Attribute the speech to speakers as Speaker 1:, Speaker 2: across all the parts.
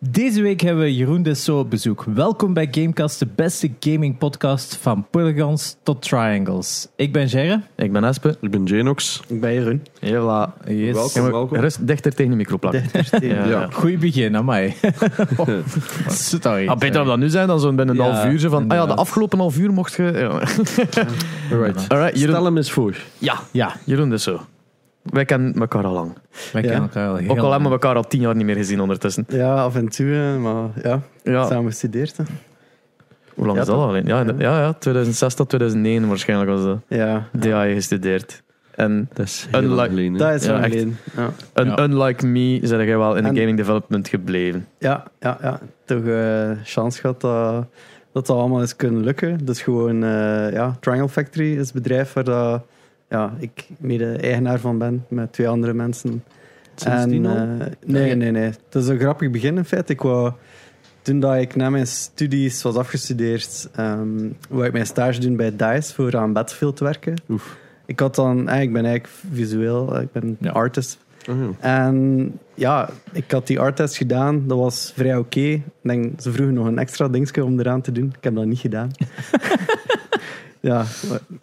Speaker 1: Deze week hebben we Jeroen Dessau op bezoek. Welkom bij Gamecast, de beste gaming podcast van polygons tot triangles. Ik ben Gerre.
Speaker 2: Ik ben Espe.
Speaker 3: Ik ben Janox.
Speaker 4: Ik ben Jeroen.
Speaker 2: Hela.
Speaker 1: Yes.
Speaker 3: Welkom, welkom.
Speaker 2: Rust dichter tegen de micro plakken.
Speaker 3: Ja.
Speaker 2: ja.
Speaker 1: Goeie begin, amai. Sorry.
Speaker 2: Ah, beter dat we dat nu zijn dan zo'n binnen een
Speaker 1: Ja,
Speaker 2: half uur. Zo van, ah ja, de
Speaker 1: inderdaad.
Speaker 2: afgelopen half uur mocht je... Ja,
Speaker 3: Alright.
Speaker 2: Alright, Jeroen,
Speaker 3: Stel hem eens voor.
Speaker 2: ja,
Speaker 1: Ja,
Speaker 2: Jeroen dus zo. Wij kennen elkaar al lang.
Speaker 1: wij kennen
Speaker 4: Ja.
Speaker 1: elkaar al heel
Speaker 2: Ook al
Speaker 1: lang.
Speaker 2: hebben we elkaar al tien jaar niet meer gezien ondertussen.
Speaker 4: Ja, avonturen, maar ja,
Speaker 2: Ja,
Speaker 4: samen gestudeerd. hè.
Speaker 2: hoe lang
Speaker 4: Ja,
Speaker 2: is dat
Speaker 4: toch?
Speaker 2: al? alleen? Ja, inderdaad. ja, ja, 2006 tot 2009 waarschijnlijk was dat.
Speaker 4: Ja,
Speaker 2: DI gestudeerd. En
Speaker 3: Dat is heel
Speaker 2: Een
Speaker 3: lang
Speaker 2: like-
Speaker 3: geleden, hè.
Speaker 4: dat is
Speaker 2: Ja,
Speaker 4: wel
Speaker 2: echt.
Speaker 4: geleden. Ja.
Speaker 2: un-
Speaker 1: Ja.
Speaker 2: unlike me zijn jij wel in de
Speaker 4: En-
Speaker 2: gaming development gebleven.
Speaker 4: ja, ja, ja. Toch eh chance gehad dat dat, dat allemaal is kunnen lukken. Dus gewoon, eh, ja, Triangle Factory is het bedrijf waar dat, ja, ik mede-eigenaar van ben met twee andere mensen.
Speaker 3: Sindsdien al?
Speaker 4: eh, nee, nee, nee. Het is een grappig begin in feite. Ik wou, toen dat ik na mijn studies was afgestudeerd, ehm wou ik mijn stage doen bij DICE voor aan Battlefield te werken.
Speaker 3: Oef.
Speaker 4: Ik had dan, eh, ik ben eigenlijk visueel, eh, ik ben
Speaker 1: Ja.
Speaker 4: artist.
Speaker 3: Oh, ja.
Speaker 4: En ja, ik had die arttest gedaan, dat was vrij oké. Ik denk, ze vroegen nog een extra dingetje om eraan te doen. Ik heb dat niet gedaan. ja,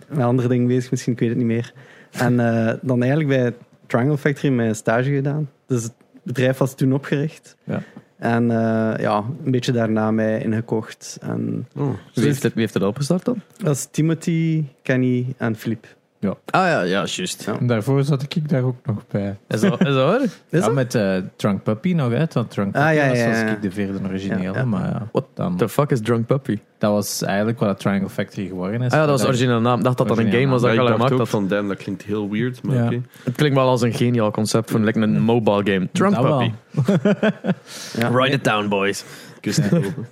Speaker 4: met andere dingen bezig misschien, ik weet het niet meer. En eh, dan eigenlijk bij Triangle Factory mijn stage gedaan. Dus het bedrijf was toen opgericht.
Speaker 1: Ja.
Speaker 4: En eh, ja, een beetje daarna mij ingekocht. En
Speaker 3: Oh.
Speaker 2: Wie heeft het, wie heeft het opgestart dan?
Speaker 4: dat is Timothy, Kenny en Filip.
Speaker 2: Ah ja, ja, juist.
Speaker 4: Ja.
Speaker 1: En daarvoor zat ik daar ook nog bij.
Speaker 2: Is dat, is dat waar?
Speaker 4: Is
Speaker 1: ja,
Speaker 4: dat?
Speaker 1: met eh Drunk Puppy nog, hè? Want Drunk
Speaker 4: Ah,
Speaker 1: Puppy
Speaker 4: ja,
Speaker 1: was
Speaker 4: ja,
Speaker 1: zoals
Speaker 4: ja.
Speaker 1: ik de vierde origineel,
Speaker 4: Ja, ja.
Speaker 1: maar ja,
Speaker 2: What
Speaker 1: dan,
Speaker 2: The fuck is Drunk Puppy?
Speaker 1: dat was eigenlijk wat Triangle Factory geworden is.
Speaker 2: Ah ja, dat was de
Speaker 1: Maar
Speaker 2: originele naam. Ik dacht dat dat een
Speaker 1: Originele
Speaker 2: game was dat
Speaker 3: Maar
Speaker 2: ik
Speaker 3: ik
Speaker 2: al
Speaker 3: dacht
Speaker 2: gemaakt
Speaker 3: ook
Speaker 2: had.
Speaker 3: van, damn, dat klinkt heel weird, maar
Speaker 1: Ja.
Speaker 3: oké.
Speaker 2: Het klinkt wel als een geniaal concept voor like een mobile game. Drunk
Speaker 1: dat wel.
Speaker 2: Puppy.
Speaker 4: Ja.
Speaker 2: Write it down, boys.
Speaker 3: Kust die open.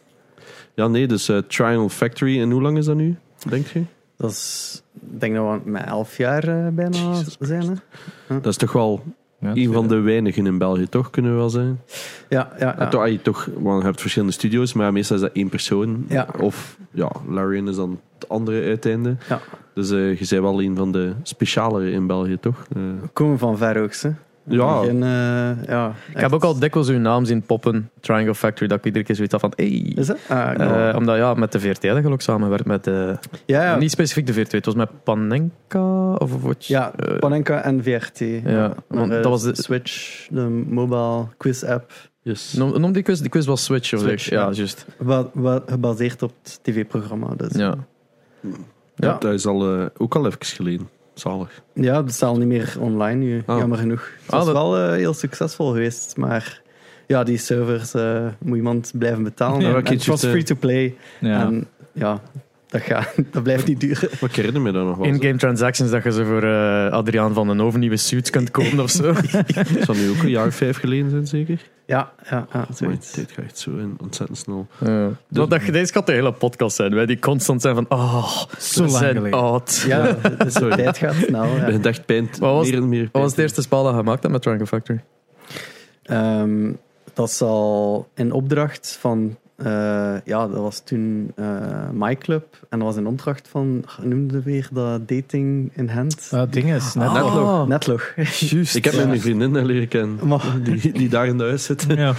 Speaker 3: Ja, nee, dus eh, Triangle Factory. En hoe lang is dat nu, denk je?
Speaker 4: Dat is, ik denk dat we met elf jaar eh, bijna
Speaker 3: Jesus
Speaker 4: zijn. Hè?
Speaker 3: Dat is toch wel
Speaker 1: Ja,
Speaker 3: een van de weinigen in België, toch? Kunnen we wel zeggen.
Speaker 4: Ja, ja, ja.
Speaker 3: En toch, ah, je, toch, want je hebt verschillende studio's, maar meestal is dat één persoon.
Speaker 4: Ja.
Speaker 3: Of, ja, Larian is dan het andere uiteinde.
Speaker 4: Ja.
Speaker 3: Dus eh, je bent wel een van de specialere in België, toch? Eh,
Speaker 4: We komen van ver ook, ze.
Speaker 3: ja,
Speaker 4: Begin, eh, ja
Speaker 2: Ik heb ook al dikwijls uw naam zien poppen, Triangle Factory, dat ik iedere keer zoiets had van, hey.
Speaker 4: Is dat? Ah, ik
Speaker 2: Eh,
Speaker 4: wel.
Speaker 2: omdat ja, met de VRT dat je ook samenwerkt met, eh,
Speaker 4: ja, ja.
Speaker 2: niet specifiek de VRT, het was met Panenka of of wat?
Speaker 4: ja
Speaker 2: Eh,
Speaker 4: Panenka en VRT. Ja,
Speaker 2: want dat was de-
Speaker 4: Switch, de mobile quiz app,
Speaker 3: yes.
Speaker 2: noem, noem die quiz, die quiz was Switch of
Speaker 4: Switch,
Speaker 2: zo. ja,
Speaker 4: ja.
Speaker 2: juist.
Speaker 4: wat, wat gebaseerd op het tv-programma. Dus. Ja.
Speaker 2: Ja.
Speaker 3: Ja,
Speaker 4: Ja.
Speaker 3: dat is al, eh, ook al even geleden. Zalig.
Speaker 4: het is al niet meer online nu,
Speaker 3: Ah.
Speaker 4: jammer genoeg. Het
Speaker 2: Ah,
Speaker 4: was
Speaker 2: dat-
Speaker 4: wel eh, heel succesvol geweest, maar ja, die servers eh, moet iemand blijven betalen.
Speaker 3: Ja,
Speaker 4: En
Speaker 3: wat ik
Speaker 4: het was
Speaker 3: juist, eh,
Speaker 4: free-to-play.
Speaker 1: Ja.
Speaker 4: En ja, dat, gaat, dat blijft niet duren.
Speaker 3: Maar ik herinner me dat nog wel.
Speaker 2: In-game transactions dat je zo voor eh, Adriaan van den Hoven nieuwe suits kunt kopen of zo.
Speaker 3: Het zal nu ook een jaar of vijf geleden zijn, zeker?
Speaker 4: Ja, ja, ja
Speaker 3: Maar
Speaker 4: zoiets.
Speaker 3: dit gaat echt zo in, ontzettend snel.
Speaker 2: Ja. Dat, dat, deze gaat de hele podcast zijn. Wij die constant zijn van, oh,
Speaker 1: Zo
Speaker 2: we
Speaker 1: lang
Speaker 2: zijn
Speaker 1: geleden.
Speaker 2: oud.
Speaker 4: Ja, dus de
Speaker 3: Sorry.
Speaker 4: tijd gaat snel.
Speaker 3: Ik
Speaker 4: Ja.
Speaker 3: begint echt pijn,
Speaker 2: Wat was-
Speaker 3: meer en meer
Speaker 2: Wat
Speaker 3: pijn
Speaker 2: was het
Speaker 3: te-
Speaker 2: eerste spel dat je gemaakt hebt met Triangle Factory?
Speaker 4: Ehm, dat zal in opdracht van, eh, ja, dat was toen eh MyClub. En dat was in opdracht van, ach, noemde weer dat dating in hand.
Speaker 1: Eh, ding is, net
Speaker 3: Ah. Netlog.
Speaker 4: Netlog.
Speaker 2: Oh, Juist.
Speaker 3: Ik heb
Speaker 4: Ja.
Speaker 3: mijn vriendin daar leren kennen,
Speaker 4: Maar,
Speaker 3: die, die daar in de huis zit.
Speaker 1: Ja.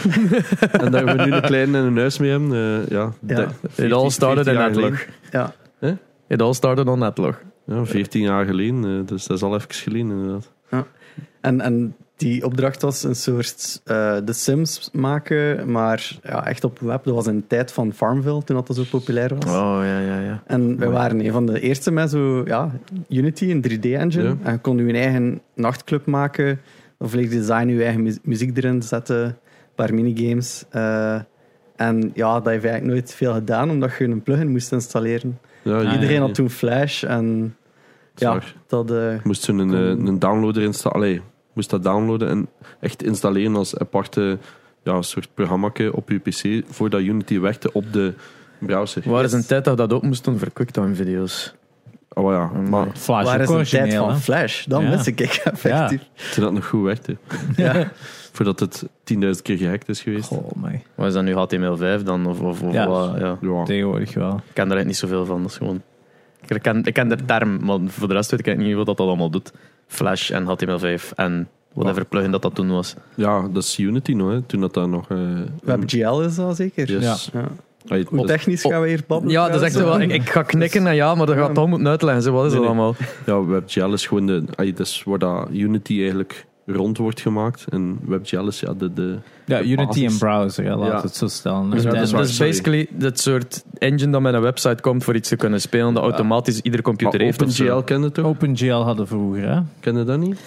Speaker 3: En daar we nu een kleine en een huis mee hebben. eh, ja,
Speaker 4: Ja.
Speaker 3: de-
Speaker 4: It
Speaker 3: 14,
Speaker 2: all started
Speaker 3: 14
Speaker 2: in
Speaker 3: jaar
Speaker 2: Netlog.
Speaker 3: geleden.
Speaker 4: ja,
Speaker 2: It all started on Netlog.
Speaker 3: Ja, 14 jaar geleden, eh, dus dat is al even geleden inderdaad.
Speaker 4: en, en die opdracht was een soort eh The Sims maken, maar ja, echt op web. Dat was in de tijd van Farmville, toen dat, dat zo populair was.
Speaker 2: Oh, ja, ja, ja.
Speaker 4: En we waren een van de eerste met zo, ja, Unity, een 3D-engine.
Speaker 3: Ja.
Speaker 4: En je kon je eigen nachtclub maken. Of like design, je eigen mu- muziek erin zetten. Een paar minigames. Eh, en ja, dat heeft eigenlijk nooit veel gedaan, omdat je een plugin moest installeren.
Speaker 3: Ja,
Speaker 1: Ah,
Speaker 4: Iedereen
Speaker 3: ja,
Speaker 4: had toen Flash en
Speaker 3: ja.
Speaker 4: ja,
Speaker 3: Zwaar.
Speaker 4: dat... eh,
Speaker 3: moest toen een, eh, een downloader installeren. moest dat downloaden en echt installeren als aparte ja, soort programma op je PC voordat Unity werkte op de browser.
Speaker 2: Waar is een tijd dat we dat ook moest doen voor quicktime-video's?
Speaker 3: Oh ja, maar
Speaker 1: Flash
Speaker 4: waar
Speaker 1: ook
Speaker 4: is de tijd
Speaker 1: origineel,
Speaker 4: van
Speaker 1: hè.
Speaker 4: Flash? Dan
Speaker 1: Ja.
Speaker 4: mis ik ik effectief.
Speaker 3: toen dat nog goed werkte.
Speaker 4: Ja.
Speaker 3: Voordat het 10.000 keer gehackt is geweest.
Speaker 1: Goh, my.
Speaker 2: Waar is dat nu HTML5 dan? Of, of, of
Speaker 1: Ja.
Speaker 2: wat? Ja.
Speaker 3: Ja.
Speaker 1: Tegenwoordig wel.
Speaker 2: Ik ken daar eigenlijk niet zoveel van. Dat is gewoon... Ik ken, ik ken de term, maar voor de rest weet ik eigenlijk niet wat dat allemaal doet. Flash en HTML5 en Whatever plugin dat dat toen was.
Speaker 3: Ja, dat is Unity nog, hè, toen dat daar nog... eh,
Speaker 4: We hebben GL is al zeker.
Speaker 3: Yes.
Speaker 1: Ja.
Speaker 4: Ja.
Speaker 3: Allee,
Speaker 4: Hoe
Speaker 3: dat-
Speaker 4: technisch gaan we hier babbelen?
Speaker 2: Ja, dat is echt
Speaker 4: trouwens?
Speaker 2: wel. Ik, ik ga knikken en ja, maar dat gaat Tom moeten uitleggen. Zo, wat is
Speaker 3: Nee,
Speaker 2: dat
Speaker 3: nee.
Speaker 2: allemaal?
Speaker 3: Ja, WebGL is gewoon de, allee, dat is waar dat Unity eigenlijk rond wordt gemaakt. En WebGL is ja, de, de,
Speaker 1: Ja,
Speaker 3: de
Speaker 1: Unity
Speaker 3: basis.
Speaker 1: en browser, hè, laten we
Speaker 3: Ja.
Speaker 1: het zo stellen.
Speaker 3: Dus
Speaker 1: En
Speaker 3: dat is
Speaker 1: dan-
Speaker 3: waar.
Speaker 2: Dat is
Speaker 3: sorry.
Speaker 2: basically dat soort engine dat met een website komt voor iets te kunnen spelen, dat automatisch iedere computer
Speaker 3: Maar
Speaker 2: heeft. of zo.
Speaker 3: OpenGL kende
Speaker 1: Oh.
Speaker 3: toch?
Speaker 1: OpenGL hadden vroeger, hè?
Speaker 3: Kende dat niet?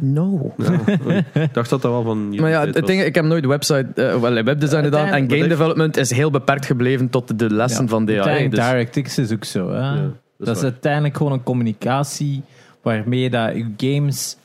Speaker 2: No.
Speaker 3: Ja, ik dacht dat dat wel van Unity
Speaker 2: Maar ja,
Speaker 3: was.
Speaker 2: het ding, ik heb nooit website, eh, wel, webdesign gedaan en
Speaker 1: uiteindelijk-
Speaker 2: game development is heel beperkt gebleven tot de lessen
Speaker 1: Ja.
Speaker 2: van DAE.
Speaker 1: Uiteindelijk
Speaker 2: Dus,
Speaker 1: DirectX is ook zo, hè?
Speaker 3: Ja,
Speaker 1: dat, is
Speaker 3: waar.
Speaker 1: uiteindelijk gewoon een communicatie waarmee dat uw games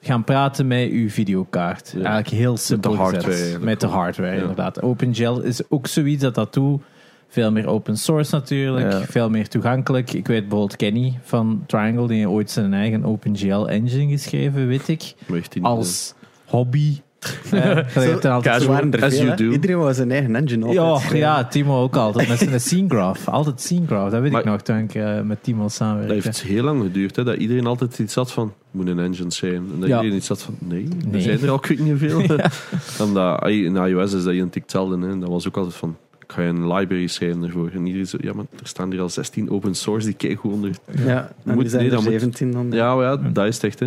Speaker 1: gaan praten met uw videokaart.
Speaker 3: Ja.
Speaker 1: Eigenlijk heel simpel
Speaker 3: hardware
Speaker 1: gezet.
Speaker 3: eigenlijk
Speaker 1: Met de
Speaker 3: gewoon.
Speaker 1: hardware,
Speaker 3: Ja.
Speaker 1: inderdaad. OpenGL is ook zoiets dat dat doet. Veel meer open source natuurlijk,
Speaker 2: Ja.
Speaker 1: veel meer toegankelijk. Ik weet bijvoorbeeld Kenny van Triangle, die heeft ooit zijn eigen OpenGL engine geschreven, weet ik.
Speaker 3: Maar heeft die niet,
Speaker 1: Als hobby. Eh, je hebt er altijd
Speaker 4: Ze
Speaker 1: zo-
Speaker 4: waren er
Speaker 3: As
Speaker 4: veel,
Speaker 3: you
Speaker 4: hè.
Speaker 3: do.
Speaker 4: Iedereen wou zijn eigen engine
Speaker 1: ja,
Speaker 4: altijd.
Speaker 1: ja, Timo ook altijd. Met zijn scene graph. Altijd scene graph. Dat weet ik
Speaker 3: Maar-
Speaker 1: nog toen ik eh, met Timo
Speaker 3: eh,
Speaker 1: samenwerkte.
Speaker 3: Dat heeft heel lang geduurd, hè, dat iedereen altijd iets had van, moet een engine zijn. En dat
Speaker 1: Ja.
Speaker 3: iedereen iets had van, nee,
Speaker 1: Nee.
Speaker 3: er zijn er al, ik weet niet veel. Omdat, eh, in iOS is dat identiek hetzelfde. Hè. Dat was ook altijd van, ik ga een library schrijven ervoor. En iedereen zo, ja, maar er staan hier al 16 open source, die kijk gewoon er.
Speaker 4: Ja, en
Speaker 3: Moet-
Speaker 4: nu zijn
Speaker 3: nee,
Speaker 4: er
Speaker 3: dat moet-
Speaker 4: 17 dan.
Speaker 3: Ja, maar ja, dat is het echt, hè.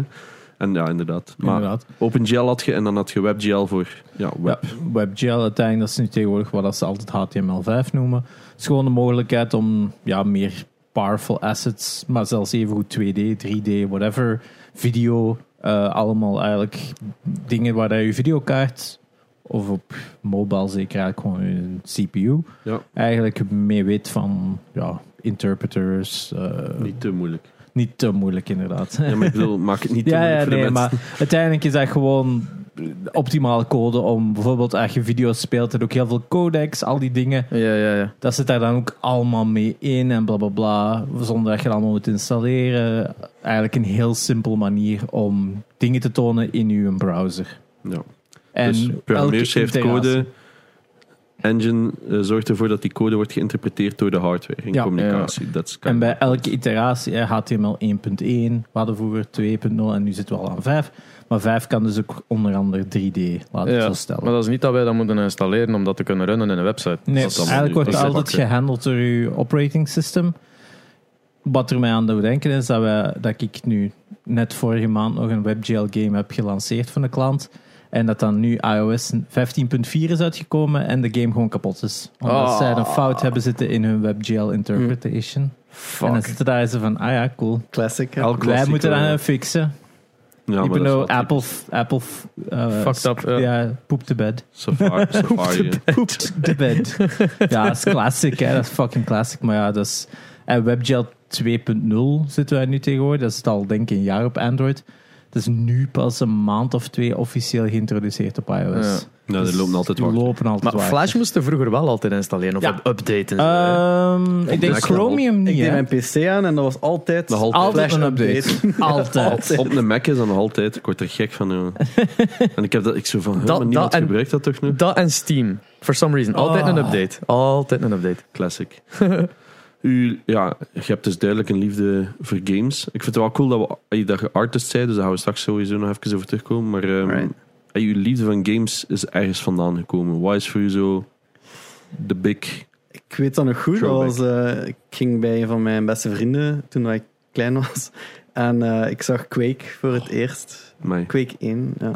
Speaker 3: En ja, inderdaad. Maar
Speaker 1: Inderdaad.
Speaker 3: OpenGL had je en dan had je WebGL voor ja, web.
Speaker 1: Ja, WebGL uiteindelijk, dat is nu tegenwoordig wat dat ze altijd HTML5 noemen. Het is gewoon de mogelijkheid om ja, meer powerful assets, maar zelfs even goed 2D, 3D, whatever, video, eh, allemaal eigenlijk dingen waar dat je videokaart of op mobile zeker eigenlijk gewoon een CPU
Speaker 3: Ja.
Speaker 1: eigenlijk mee weet van ja, interpreters. eh,
Speaker 3: Niet te moeilijk.
Speaker 1: Niet te moeilijk, inderdaad.
Speaker 3: Ja, maar ik bedoel, maak het niet te
Speaker 1: Ja, ja,
Speaker 3: moeilijk voor
Speaker 1: nee,
Speaker 3: de mensen.
Speaker 1: maar uiteindelijk is dat gewoon de optimale code om bijvoorbeeld als je video's speelt en ook heel veel codecs, al die dingen,
Speaker 2: ja, ja, ja.
Speaker 1: dat zit daar dan ook allemaal mee in en bla bla bla, zonder dat je dat allemaal moet installeren. Eigenlijk een heel simpel manier om dingen te tonen in je browser.
Speaker 3: Ja.
Speaker 1: En
Speaker 3: dus programmeurs
Speaker 1: elke
Speaker 3: heeft
Speaker 1: integratie-
Speaker 3: code. Engine eh, zorgt ervoor dat die code wordt geïnterpreteerd door de hardware in
Speaker 1: Ja.
Speaker 3: communicatie. Dat is-
Speaker 1: En bij elke iteratie, hè, HTML 1.1, we hadden vroeger 2.0 en nu zitten we al aan 5. Maar 5 kan dus ook onder andere 3D,
Speaker 3: Ah,
Speaker 1: laten we het
Speaker 2: Ja,
Speaker 1: zo stellen.
Speaker 2: Maar dat is niet dat wij dat moeten installeren om dat te kunnen runnen in een website.
Speaker 1: Nee,
Speaker 3: Dat is allemaal
Speaker 1: eigenlijk
Speaker 3: nu-
Speaker 1: wordt
Speaker 3: dat
Speaker 1: het
Speaker 3: is
Speaker 1: altijd
Speaker 3: apart,
Speaker 1: gehandeld door uw operating system. Wat er mij aan doet denken is dat, wij, dat ik nu net vorige maand nog een WebGL game heb gelanceerd van de klant. En dat dan nu iOS 15.4 is uitgekomen en de game gewoon kapot is. Omdat
Speaker 2: Ah.
Speaker 1: zij een fout hebben zitten in hun WebGL
Speaker 3: Hm.
Speaker 1: interpretation. En dan zitten daar ze van, ah ja, cool.
Speaker 4: Classic. hè.
Speaker 3: Elk
Speaker 1: Wij
Speaker 3: klassieker,
Speaker 1: moeten dat
Speaker 3: ja.
Speaker 1: eh, fixen.
Speaker 3: Ja, maar
Speaker 1: Even
Speaker 3: dat is
Speaker 1: though
Speaker 3: wel
Speaker 1: Apple, Apple eh,
Speaker 2: Fucked up, ja.
Speaker 1: ja, poep de bed.
Speaker 3: Safari. Safari hè.
Speaker 1: Poept de bed. ja, dat is classic, hè. Dat is fucking classic. Maar ja, dat is... eh, En WebGL 2.0 zitten wij nu tegenwoordig. Dat zit al, denk ik, een jaar op Android. Dat is nu pas een maand of twee officieel geïntroduceerd op iOS.
Speaker 2: Ja.
Speaker 3: nou,
Speaker 1: Dus
Speaker 3: die lopen altijd
Speaker 1: die
Speaker 3: wacht.
Speaker 1: lopen altijd
Speaker 2: Maar
Speaker 1: wachten.
Speaker 2: Flash eh, moesten vroeger wel altijd installeren of
Speaker 1: Ja.
Speaker 2: up- updaten.
Speaker 1: Ehm, ik denk
Speaker 3: dat kan
Speaker 1: Chromium
Speaker 4: Ik
Speaker 1: niet,
Speaker 4: deed
Speaker 1: hè.
Speaker 4: mijn PC aan en dat was altijd...
Speaker 3: Nog altijd.
Speaker 1: Altijd
Speaker 4: Flash
Speaker 1: een update. Altijd.
Speaker 3: Op een Mac is dan nog altijd. Ik word er gek van. joh. en ik heb dat. Ik zo van. huh,
Speaker 2: Dat-
Speaker 3: maar niemand
Speaker 2: dat en-
Speaker 3: gebruikt dat toch nu?
Speaker 2: Dat en Steam. For some reason. Altijd
Speaker 1: Ah.
Speaker 2: een update. Altijd een update.
Speaker 3: Classic. U, ja, je hebt dus duidelijk een liefde voor games. Ik vind het wel cool dat, we, eh, dat je artist bent, dus daar gaan we straks sowieso nog even over terugkomen. Maar ehm
Speaker 4: Right.
Speaker 3: eh, uw liefde van games is ergens vandaan gekomen. Why is voor u zo de big...
Speaker 4: Ik weet dat nog goed. Dat
Speaker 3: Throwback.
Speaker 4: was, eh, ik ging bij een van mijn beste vrienden toen dat ik klein was. En eh, ik zag Quake voor het eerst.
Speaker 3: Mij.
Speaker 4: Quake 1, ja.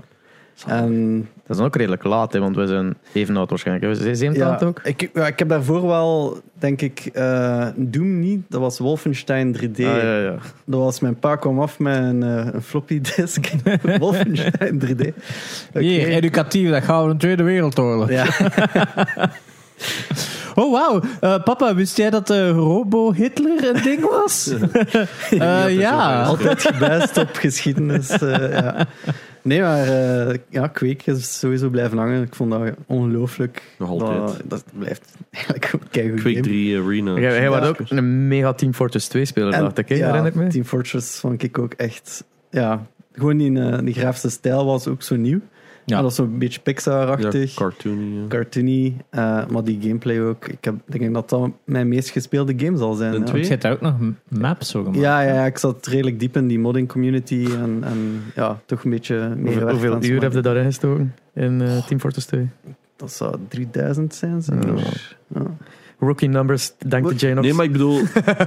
Speaker 4: En
Speaker 2: Dat is dan ook redelijk laat, hè, want wij zijn even oud waarschijnlijk. hè. We zijn 87 ook.
Speaker 4: Ik, ja, ik heb daarvoor wel, denk ik, eh, Doom niet. Dat was Wolfenstein 3D.
Speaker 2: Ah, ja, ja.
Speaker 4: Dat was mijn pa kwam af met een, eh, een floppy disk. Wolfenstein 3D. Oké.
Speaker 1: Hier, educatief, dat gaan we in de Tweede Wereldoorlog.
Speaker 4: Ja.
Speaker 1: Oh, wauw. Eh, papa, wist jij dat eh, Robo Hitler een ding was? Eh, ja.
Speaker 4: Altijd gebijst op geschiedenis. eh, ja. Nee, maar eh ja, Quake is sowieso blijven hangen. Ik vond dat ongelooflijk.
Speaker 3: Nog altijd.
Speaker 4: Dat, dat blijft eigenlijk een keigoed
Speaker 3: Quake
Speaker 4: Nou,
Speaker 3: 3
Speaker 4: game.
Speaker 3: Arena.
Speaker 2: Jij, jij was
Speaker 4: Ja.
Speaker 2: ook een mega Team Fortress 2 speler,
Speaker 4: En,
Speaker 2: dacht ik. hè,
Speaker 4: ja,
Speaker 2: herinner ik me?
Speaker 4: Team Fortress vond ik ook echt... Ja, gewoon die, eh, die grafische stijl was ook zo nieuw.
Speaker 1: Ja.
Speaker 4: Maar dat is zo'n beetje Pixar-achtig.
Speaker 3: Ja, cartoony. ja.
Speaker 4: cartoony, eh, maar die gameplay ook. Ik heb, denk dat dat mijn meest gespeelde game zal zijn.
Speaker 3: Een
Speaker 4: ja.
Speaker 3: twee?
Speaker 1: Je hebt Nou, daar ook nog m- maps zo gemaakt.
Speaker 4: Ja, ja, ja, ik zat redelijk diep in die modding community en, en ja, toch een beetje meer
Speaker 2: Hoeveel,
Speaker 4: werk
Speaker 2: hoeveel
Speaker 4: aan
Speaker 2: uur heb
Speaker 4: smaken.
Speaker 2: je daarin gestoken in eh, Team Fortress 2?
Speaker 4: Dat zou 3000 zijn, zeker. Ja.
Speaker 2: Rookie numbers, dankte Jane nog.
Speaker 3: Nee, maar ik bedoel,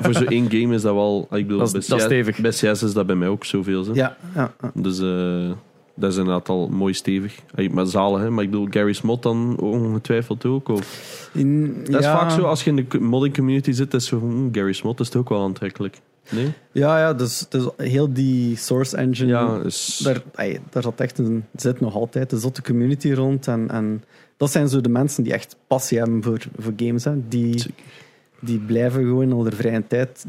Speaker 3: voor zo'n één game is dat wel... Ik bedoel,
Speaker 2: Dat is-
Speaker 3: bij
Speaker 2: dat is
Speaker 3: CS
Speaker 2: stevig.
Speaker 3: Bij CS is dat bij mij ook zoveel. Hè.
Speaker 4: Ja, ja, ja.
Speaker 3: Dus eh, dat is inderdaad al mooi stevig. Ey, Maar zalen, hè. Maar ik bedoel, Gary Smot dan ongetwijfeld ook. Of,
Speaker 4: In-
Speaker 3: dat is
Speaker 4: ja.
Speaker 3: vaak zo, als je in de co- modding community zit, is zo, hm, Gary Smot is het ook wel aantrekkelijk. Nee?
Speaker 4: Ja, ja, dus, dus heel die source engine,
Speaker 3: Ja, is...
Speaker 4: daar, ey, daar zat echt een, zit nog altijd een zotte community rond. En, en dat zijn zo de mensen die echt passie hebben voor, voor games. Hè. Die,
Speaker 3: Zeker.
Speaker 4: die blijven gewoon al de vrije tijd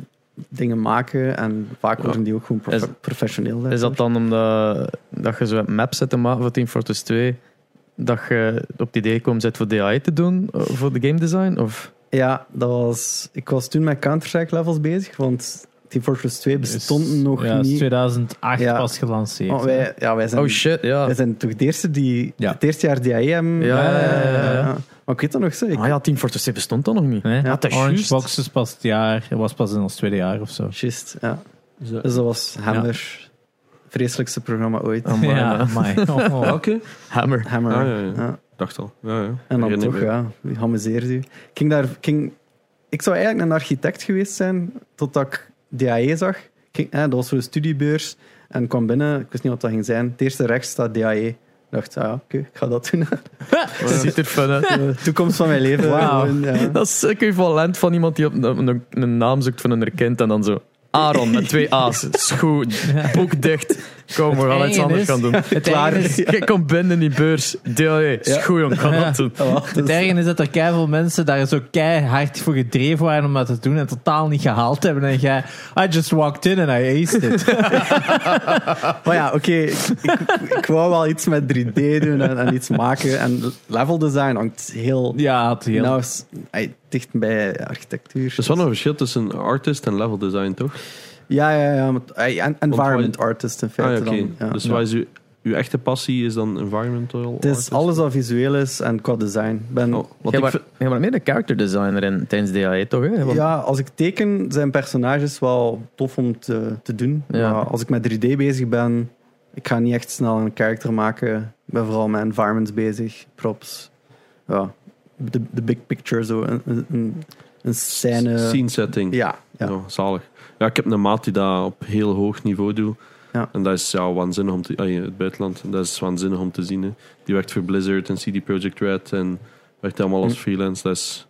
Speaker 4: dingen maken. En vaak
Speaker 3: Ja.
Speaker 4: worden die ook gewoon profe-
Speaker 2: Is-
Speaker 4: professioneel.
Speaker 2: Is
Speaker 4: daarvoor.
Speaker 2: dat dan omdat dat je zo hebt maps zet te maken voor Team Fortress 2, dat je op het idee komt zet voor DI te doen, eh, voor de game design? Of?
Speaker 4: Ja, dat was, ik was toen met Counter-Strike levels bezig, want Team Fortress 2
Speaker 1: Dus-
Speaker 4: bestond nog
Speaker 1: ja, is
Speaker 4: niet.
Speaker 1: 2008
Speaker 4: Ja.
Speaker 1: pas gelanceerd.
Speaker 4: Maar wij, ja, wij zijn,
Speaker 2: Oh shit, ja.
Speaker 4: wij zijn toch de eerste die
Speaker 1: Ja.
Speaker 4: het eerste jaar die IM.
Speaker 2: Ja, ja, ja, ja, ja.
Speaker 4: Maar ik weet dat nog zo. Ik,
Speaker 2: Ah ja, Team Fortress 2 bestond dan nog niet.
Speaker 1: Nee?
Speaker 2: Ja, dat is
Speaker 1: Orange
Speaker 2: juist.
Speaker 1: Box is pas het jaar, was pas in ons tweede jaar of zo.
Speaker 4: Juist, ja.
Speaker 3: is dat-
Speaker 4: Dus dat was Hammer. Vreselijkste programma ooit.
Speaker 2: Amai,
Speaker 1: ja,
Speaker 2: man.
Speaker 1: amai. Oh, oh.
Speaker 3: Welke?
Speaker 2: Hammer.
Speaker 4: Hammer.
Speaker 3: Ah, ja, ja.
Speaker 4: Ja.
Speaker 3: Dacht al. Ja, ja.
Speaker 4: En dan
Speaker 3: Herinner
Speaker 4: toch,
Speaker 3: me.
Speaker 4: ja, wie amuseert u? Ik, ging daar, ik ging, ik zou eigenlijk een architect geweest zijn, totdat ik DAE zag. Ik ging, hè, dat was zo'n studiebeurs. En ik kwam binnen, ik wist niet wat dat ging zijn. Het eerste rechts staat DAE. Ik dacht, ah, ja, oké, ik ga dat doen.
Speaker 2: Dat ziet er fun uit.
Speaker 4: De toekomst van mijn leven.
Speaker 2: Wauw.
Speaker 4: Gewoon, ja.
Speaker 2: Dat is equivalent van iemand die op een, een- een naam zoekt van een kind en dan zo... Aaron met twee A's. Schoen. Boek dicht. Kom, we gaan iets
Speaker 1: enge
Speaker 2: anders
Speaker 1: is-
Speaker 2: gaan doen.
Speaker 1: Het
Speaker 4: Klaar.
Speaker 1: erge is-
Speaker 2: Je komt binnen in die beurs. E, DI. Schoen, jong, gaan dat doen.
Speaker 4: Ja, dus-
Speaker 1: Het erge is dat er keihard mensen daar zo keihard voor gedreven waren om dat te doen en totaal niet gehaald hebben. En jij, I just walked in and I aced it.
Speaker 4: Maar ja, oké, ik, ik, ik wou wel iets met 3D doen en, en iets maken. En level design hangt heel
Speaker 1: ja, het heel.
Speaker 4: nauw s- ey, dicht bij architectuur.
Speaker 3: Er is wel een verschil tussen artist en level design, toch?
Speaker 4: Ja, ja, ja. maar- ey, en- environment artist in
Speaker 3: Ah, ja,
Speaker 4: feite.
Speaker 3: oké.
Speaker 4: dan, ja.
Speaker 3: Dus
Speaker 4: Ja.
Speaker 3: waar is uw, uw echte passie is dan environmental
Speaker 4: Het is
Speaker 3: artist?
Speaker 4: alles wat visueel is en qua design. Ik Ben,
Speaker 3: Oh,
Speaker 2: Jij
Speaker 3: wat ik
Speaker 2: was
Speaker 3: vind-
Speaker 2: jij was meer een character designer in, tijdens DAE, toch? Hè? Want-
Speaker 4: ja, als ik teken, zijn personages wel tof om te, te doen.
Speaker 2: Ja.
Speaker 4: Maar als ik met 3D bezig ben, ik ga niet echt snel een karakter maken. Ik ben vooral met environments bezig, props. Ja, de, de big picture, zo een, een- een, een scène.
Speaker 3: Scene setting.
Speaker 4: Ja, ja.
Speaker 3: Ja, zalig. Ja, ik heb een maat die dat op heel hoog niveau doet.
Speaker 4: Ja.
Speaker 3: En dat is ja, waanzinnig om te ah, ja, het buitenland. Dat is waanzinnig om te zien. hè. Die werkt voor Blizzard en CD Projekt Red en werkt allemaal als freelance. Dat is,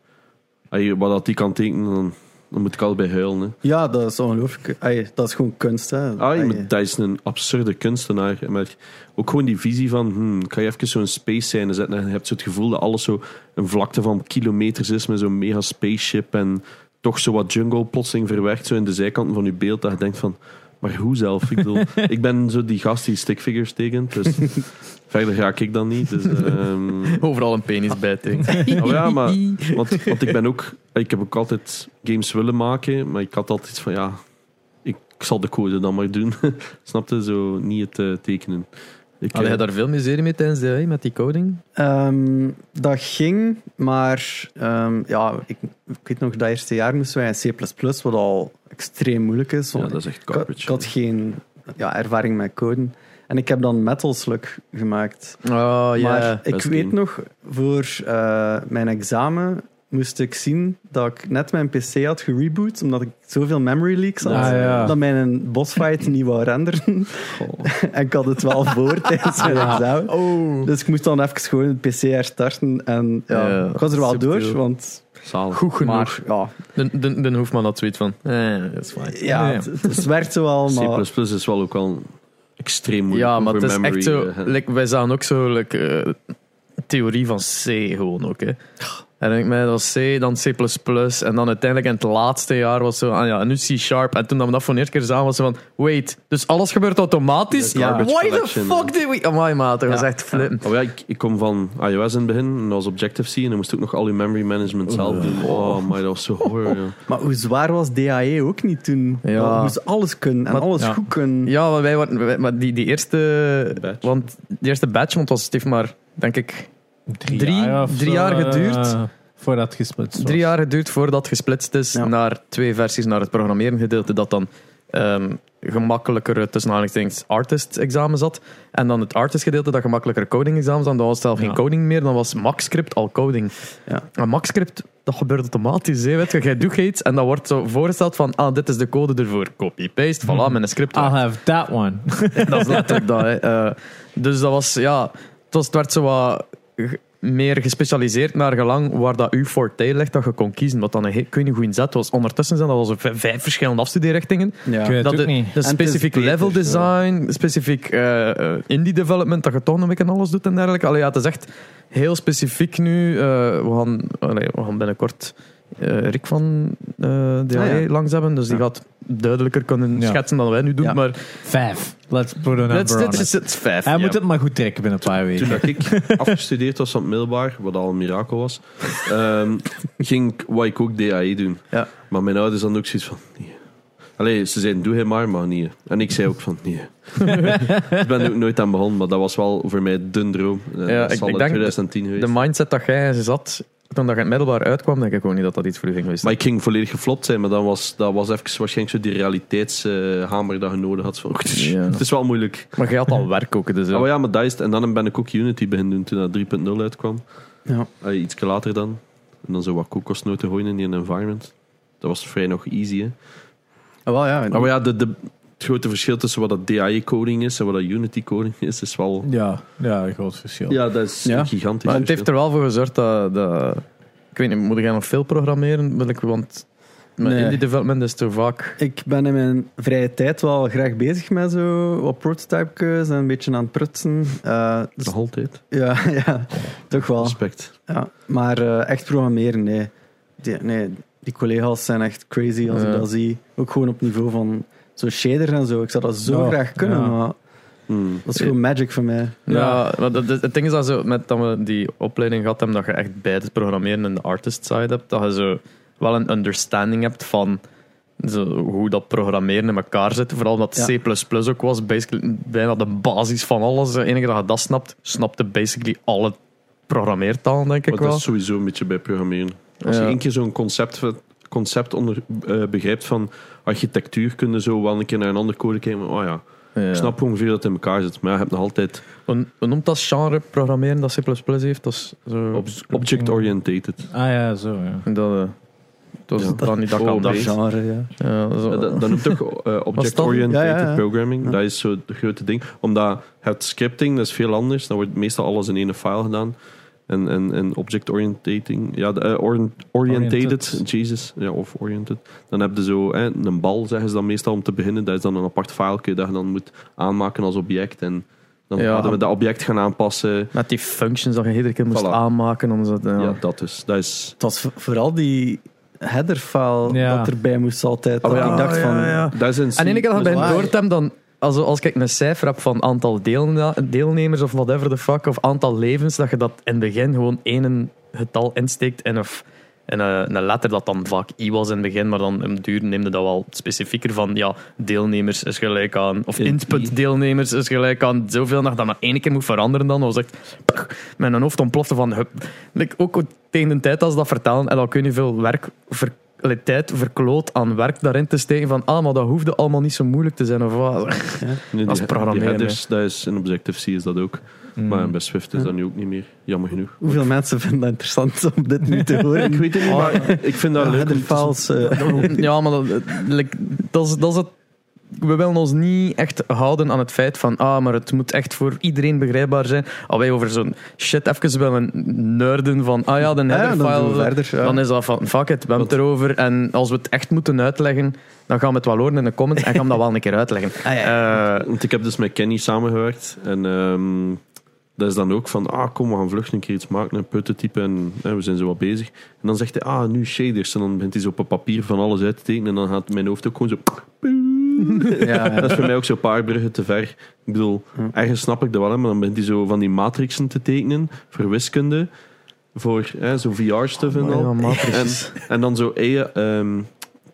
Speaker 3: ah, je- wat dat die kan tekenen, dan, dan moet ik al bij huilen. Hè.
Speaker 4: Ja, dat is ongelooflijk. Ey, dat is gewoon kunst. Hè.
Speaker 3: Ah,
Speaker 4: Ey.
Speaker 3: maar dat is een absurde kunstenaar. Maar ook gewoon die visie van, hmm, ik ga je even zo'n space scène zetten. En je hebt zo het gevoel dat alles zo een vlakte van kilometers is met zo'n mega spaceship. En toch zo wat jungle plotseling verwerkt zo in de zijkanten van je beeld. Dat je denkt van, maar hoe zelf? Ik, bedoel, ik ben zo die gast die stickfigures tekent. Dus verder ga ik dan niet. Dus, ehm,
Speaker 2: Overal een penis bij, denk ik.
Speaker 3: Oh ja, maar want, want ik ben ook, ik heb ook altijd games willen maken, maar ik had altijd iets van ja, ik zal de code dan maar doen. Snapte zo niet het eh, tekenen. Ik,
Speaker 2: Had
Speaker 3: eh,
Speaker 2: jij daar veel miserie mee tijdens DAE, met die coding?
Speaker 4: Ehm, dat ging, maar ehm, ja, ik, ik weet nog, dat eerste jaar moesten wij in C++, wat al extreem moeilijk is.
Speaker 3: ja,
Speaker 4: want
Speaker 3: dat is echt
Speaker 4: ik, ik
Speaker 3: garbage.
Speaker 4: had geen ja, ervaring met coden. En ik heb dan Metal Slug gemaakt.
Speaker 2: Oh,
Speaker 4: maar ik
Speaker 3: best
Speaker 4: weet
Speaker 3: game.
Speaker 4: nog, voor eh, mijn examen moest ik zien dat ik net mijn PC had gereboot, omdat ik zoveel memory leaks had,
Speaker 1: Ah, ja.
Speaker 4: dat mijn bossfight niet wou renderen. en ik had het wel voor tijdens mijn examen.
Speaker 2: Oh.
Speaker 4: Dus ik moest dan even gewoon het PC herstarten. En ja,
Speaker 2: Ja,
Speaker 4: ik was er wel
Speaker 2: subtiel.
Speaker 4: door, want...
Speaker 3: Zalig.
Speaker 2: Goed genoeg.
Speaker 4: Maar ja,
Speaker 2: De, de, de Hoefman had zoiets van, eh, dat is fijn.
Speaker 4: ja
Speaker 1: Nee.
Speaker 4: het, het werkte wel, maar...
Speaker 3: C++ is wel ook al extreem moeilijk.
Speaker 2: Ja, maar
Speaker 3: voor
Speaker 2: het is
Speaker 3: memory,
Speaker 2: echt zo...
Speaker 3: eh,
Speaker 2: like, wij zagen ook zo like, eh, theorie van C gewoon ook, hè. En dan denk ik, mij, dat was C, dan C++. En dan uiteindelijk in het laatste jaar was zo, ah ja, en nu C Sharp. En toen dat we dat voor de eerste keer zagen, was zo van, wait, dus alles gebeurt automatisch?
Speaker 3: Ja, garbage
Speaker 2: Why the
Speaker 3: collection,
Speaker 2: fuck did we... Amai, maat, dat was
Speaker 4: Ja.
Speaker 2: echt flippen.
Speaker 3: Oh ja, ik, ik kom van iOS in het begin, en dat was Objective-C, en dan moest ik ook nog al je memory management zelf doen. Oh, maar dat was zo horror, ja.
Speaker 4: Maar hoe zwaar was DAE ook niet toen?
Speaker 2: Ja.
Speaker 4: Ja. moest alles kunnen en
Speaker 2: Maar-
Speaker 4: alles
Speaker 1: ja.
Speaker 4: goed kunnen.
Speaker 2: Ja, maar wij waren, wij- maar die, die eerste...
Speaker 3: Batch.
Speaker 2: Want die eerste batch, want het was heeft maar, denk ik, Drie-
Speaker 1: of
Speaker 2: drie
Speaker 1: zo,
Speaker 2: jaar
Speaker 1: eh,
Speaker 2: geduurd.
Speaker 1: voordat het gesplitst was.
Speaker 2: drie jaar geduurd voordat het gesplitst is
Speaker 4: Ja.
Speaker 2: naar twee versies, naar het programmeren gedeelte dat dan ehm, gemakkelijker eh, tussen aanhalingstekens artist examen zat en dan het artist gedeelte dat gemakkelijker coding examen zat. Dan was het zelf
Speaker 1: Ja.
Speaker 2: geen coding meer, dan was MaxScript al coding.
Speaker 4: Ja.
Speaker 2: En MaxScript dat gebeurt automatisch, hè, weet je, jij doet iets en dan wordt zo voorgesteld van ah dit is de code ervoor, copy paste, voilà,
Speaker 1: Mhm.
Speaker 2: mijn script.
Speaker 1: I'll have that one.
Speaker 2: dat is letterlijk dat. hè. Eh, dus dat was, ja, het, was, het werd zo wat ge- meer gespecialiseerd naar gelang waar dat uw forte ligt, dat je kon kiezen. Wat dan een heel- ik weet niet hoe in zet was. Ondertussen zijn dat al zo'n vij- vijf verschillende afstudierichtingen.
Speaker 1: Ik weet
Speaker 4: Ja.
Speaker 1: het
Speaker 2: Dat
Speaker 1: ook
Speaker 2: de,
Speaker 1: niet.
Speaker 2: de
Speaker 4: is
Speaker 2: specifiek
Speaker 4: beter,
Speaker 2: level
Speaker 4: ja.
Speaker 2: design, specifiek eh, eh, indie development, dat je toch een beetje alles doet en dergelijke. Allee, ja, het is echt heel specifiek nu. Eh, we, gaan, allee, we gaan binnenkort eh, Rick van eh DAE
Speaker 4: Ah, ja.
Speaker 2: langs hebben, dus die
Speaker 4: Ja.
Speaker 2: gaat duidelijker kunnen
Speaker 1: Ja.
Speaker 2: schetsen dan wij nu doen.
Speaker 4: Ja.
Speaker 2: Maar
Speaker 1: Vijf. Let's put a number
Speaker 2: dit
Speaker 1: on
Speaker 2: dit
Speaker 1: it.
Speaker 2: is het vijf.
Speaker 1: Hij
Speaker 2: ja.
Speaker 1: moet het maar goed trekken binnen een paar
Speaker 3: Toen
Speaker 1: weken.
Speaker 3: dat ik afgestudeerd was aan het middelbaar, wat al een mirakel was, ehm, ging ik, wat ik ook DAE doen.
Speaker 4: Ja.
Speaker 3: Maar mijn ouders hadden ook zoiets van, nee. Allee, ze zeiden, doe hij maar, maar niet. En ik zei ook van, nee. ik ben er ook nooit aan begonnen, maar dat was wel voor mij de droom. Eh,
Speaker 2: Ja,
Speaker 3: dat
Speaker 2: ik-
Speaker 3: zal
Speaker 2: ik
Speaker 3: in
Speaker 2: denk
Speaker 3: 2010 geweest.
Speaker 2: De mindset dat jij zat toen dat je in het middelbaar uitkwam, denk ik ook niet dat dat iets voor u ging geweest.
Speaker 3: Maar ik ging volledig geflopt zijn, maar dan was, dat was even waarschijnlijk zo die realiteitshamer dat je nodig had. Van, oh, het is-
Speaker 2: Ja.
Speaker 3: Het is wel moeilijk.
Speaker 2: Maar jij had al werk ook, dus...
Speaker 3: Oh Ja.
Speaker 2: eh,
Speaker 3: maar ja, maar dat is het. En dan ben ik ook Unity beginnen doen toen dat 3.0 uitkwam.
Speaker 4: Ja.
Speaker 3: Allee, iets later dan. En dan zo wat kokosnoten gooien in die environment. Dat was vrij nog easy, hè.
Speaker 4: Ah, wel, ja.
Speaker 3: Maar, ja, de, de, het grote verschil tussen wat dat DAE-coding is en wat dat Unity-coding is, is wel...
Speaker 1: Ja, ja, een groot verschil.
Speaker 3: Ja, dat is dus
Speaker 4: Ja.
Speaker 3: een gigantisch
Speaker 2: maar het
Speaker 3: verschil.
Speaker 2: heeft er wel voor gezorgd dat... dat ik weet niet, moet jij nog veel programmeren? Wil ik, want met
Speaker 4: Nee.
Speaker 2: indie development is te vaak...
Speaker 4: Ik ben in mijn vrije tijd wel graag bezig met zo wat prototypes en een beetje aan het prutsen. Eh, dus-
Speaker 3: Nog altijd.
Speaker 4: ja, ja, toch
Speaker 2: Ah.
Speaker 4: wel.
Speaker 3: Respect.
Speaker 4: Ja. Maar eh, echt programmeren, nee. Die, nee. die collega's zijn echt crazy als
Speaker 2: Ja.
Speaker 4: ik dat zie. Ook gewoon op niveau van zo shader en zo. Ik zou dat zo
Speaker 1: Ja,
Speaker 4: graag kunnen,
Speaker 1: ja.
Speaker 4: maar
Speaker 3: Hmm.
Speaker 4: dat is gewoon magic voor mij.
Speaker 2: Ja,
Speaker 1: Ja.
Speaker 2: maar dat, dat- het ding is dat, zo, met, dat we die opleiding gehad hebben, dat je echt bij het programmeren en de artist side hebt, dat je zo wel een understanding hebt van zo, hoe dat programmeren in elkaar zit. Vooral omdat
Speaker 4: Ja.
Speaker 2: C++ ook was basically bijna de basis van alles. De enige dat je dat snapt, snapte basically alle programmeertalen, denk ik
Speaker 3: Maar Oh, dat
Speaker 2: wel.
Speaker 3: is sowieso een beetje bij programmeren. Als
Speaker 2: Ja.
Speaker 3: je één keer zo'n concept, concept onder, eh, begrijpt van architectuur, kun je zo wel een keer naar een ander code kijken. maar, Oh ja,
Speaker 2: Ja.
Speaker 3: ik snap ongeveer dat het in elkaar zit. Maar ja, je hebt nog altijd
Speaker 2: Hoe, hoe noemt dat genre programmeren dat C++ heeft? Dat is zo...
Speaker 3: ob- object-orientated.
Speaker 1: Ah ja, zo ja.
Speaker 2: dat, eh, dat is
Speaker 3: Ja.
Speaker 2: dan niet dat
Speaker 3: Oh,
Speaker 2: kan.
Speaker 4: Dat
Speaker 2: Dat,
Speaker 3: nee.
Speaker 4: genre, ja.
Speaker 2: ja, zo-
Speaker 3: Eh, Dat, dat noemt toch eh, object-oriented
Speaker 4: Ja, ja, ja.
Speaker 3: programming.
Speaker 4: Ja.
Speaker 3: Dat is zo het grote ding. Omdat het scripting, dat is veel anders. Dan wordt meestal alles in één file gedaan. En, en, en object-orientating, ja, de, eh, orient- orientated,
Speaker 1: Oriented.
Speaker 3: Jesus, ja, of oriented. Dan heb je zo eh, een bal, zeggen ze dan meestal om te beginnen. Dat is dan een apart fileke dat je dan moet aanmaken als object. En dan
Speaker 2: Ja.
Speaker 3: hadden we dat object gaan aanpassen.
Speaker 2: Met die functions dat je iedere keer moest
Speaker 3: Voilà.
Speaker 2: aanmaken. Om zo,
Speaker 3: Ja,
Speaker 2: ja.
Speaker 3: dat dus. Dat is,
Speaker 4: Het was v- vooral die headerfile
Speaker 1: Ja.
Speaker 4: dat erbij moest altijd.
Speaker 3: Oh,
Speaker 4: dat
Speaker 3: ja.
Speaker 4: Ik dacht van...
Speaker 2: Ja, ja.
Speaker 3: dat is een
Speaker 2: En de ene keer dat je bij
Speaker 4: Dus
Speaker 2: een
Speaker 4: waar-
Speaker 2: doort hebt, dan... Als, als ik een cijfer heb van aantal deelna- deelnemers of whatever the fuck, of aantal levens, dat je dat in het begin gewoon één getal insteekt en een, f- en een, een letter dat dan vaak i was in het begin, maar dan in het duur neemde dat wel specifieker van, ja, deelnemers is gelijk aan, of
Speaker 3: In
Speaker 2: input
Speaker 3: i.
Speaker 2: deelnemers is gelijk aan zoveel, dat je dat maar één keer moet veranderen dan. Dat was echt, mijn hoofd ontplofte van, hup. Like, ook tegen de tijd als ze dat vertellen, en dan kun je veel werk ver, allee, tijd verkloot aan werk daarin te steken van, ah, maar dat hoefde allemaal niet zo moeilijk te zijn, of wat.
Speaker 3: Nee,
Speaker 2: Als
Speaker 3: die-
Speaker 2: programmeren,
Speaker 3: Die headers, dat is in Objective-C is dat ook.
Speaker 1: Mm. Hmm.
Speaker 3: Maar bij Swift is dat nu ook niet meer. Jammer genoeg.
Speaker 4: Hoeveel mensen vinden dat interessant om dit nu te horen?
Speaker 3: Ik weet het niet, maar ik vind dat leuk. om te zien.
Speaker 4: Headerfiles... eh,
Speaker 2: Ja, maar dat, like, dat, is, dat is het. We willen ons niet echt houden aan het feit van, ah, maar het moet echt voor iedereen begrijpbaar zijn. Als wij over zo'n shit even willen nerden van, ah ja, de
Speaker 4: ja, dan
Speaker 2: headerfile,
Speaker 4: doen we verder, ja.
Speaker 2: dan is dat van, fuck it, we hebben het erover. En als we het echt moeten uitleggen, dan gaan we het wel horen in de comments en gaan we dat wel een keer uitleggen.
Speaker 4: Ah, ja.
Speaker 2: Eh,
Speaker 3: Want ik heb dus met Kenny samengewerkt. En ehm, Dat is dan ook van, ah, kom, we gaan vlug een keer iets maken, een prototype en hè, we zijn zo wat bezig. En dan zegt hij, ah, nu shaders. En dan begint hij zo op een papier van alles uit te tekenen. En dan gaat mijn hoofd ook gewoon zo... Ah,
Speaker 4: Ja,
Speaker 3: Dat is voor mij ook zo'n paar bruggen te ver. Ik bedoel, ergens snap ik dat wel, hè, maar dan begint hij zo van die matrixen te tekenen voor wiskunde, voor hè, zo VR-stuff en al. En, en dan zo AI, ehm,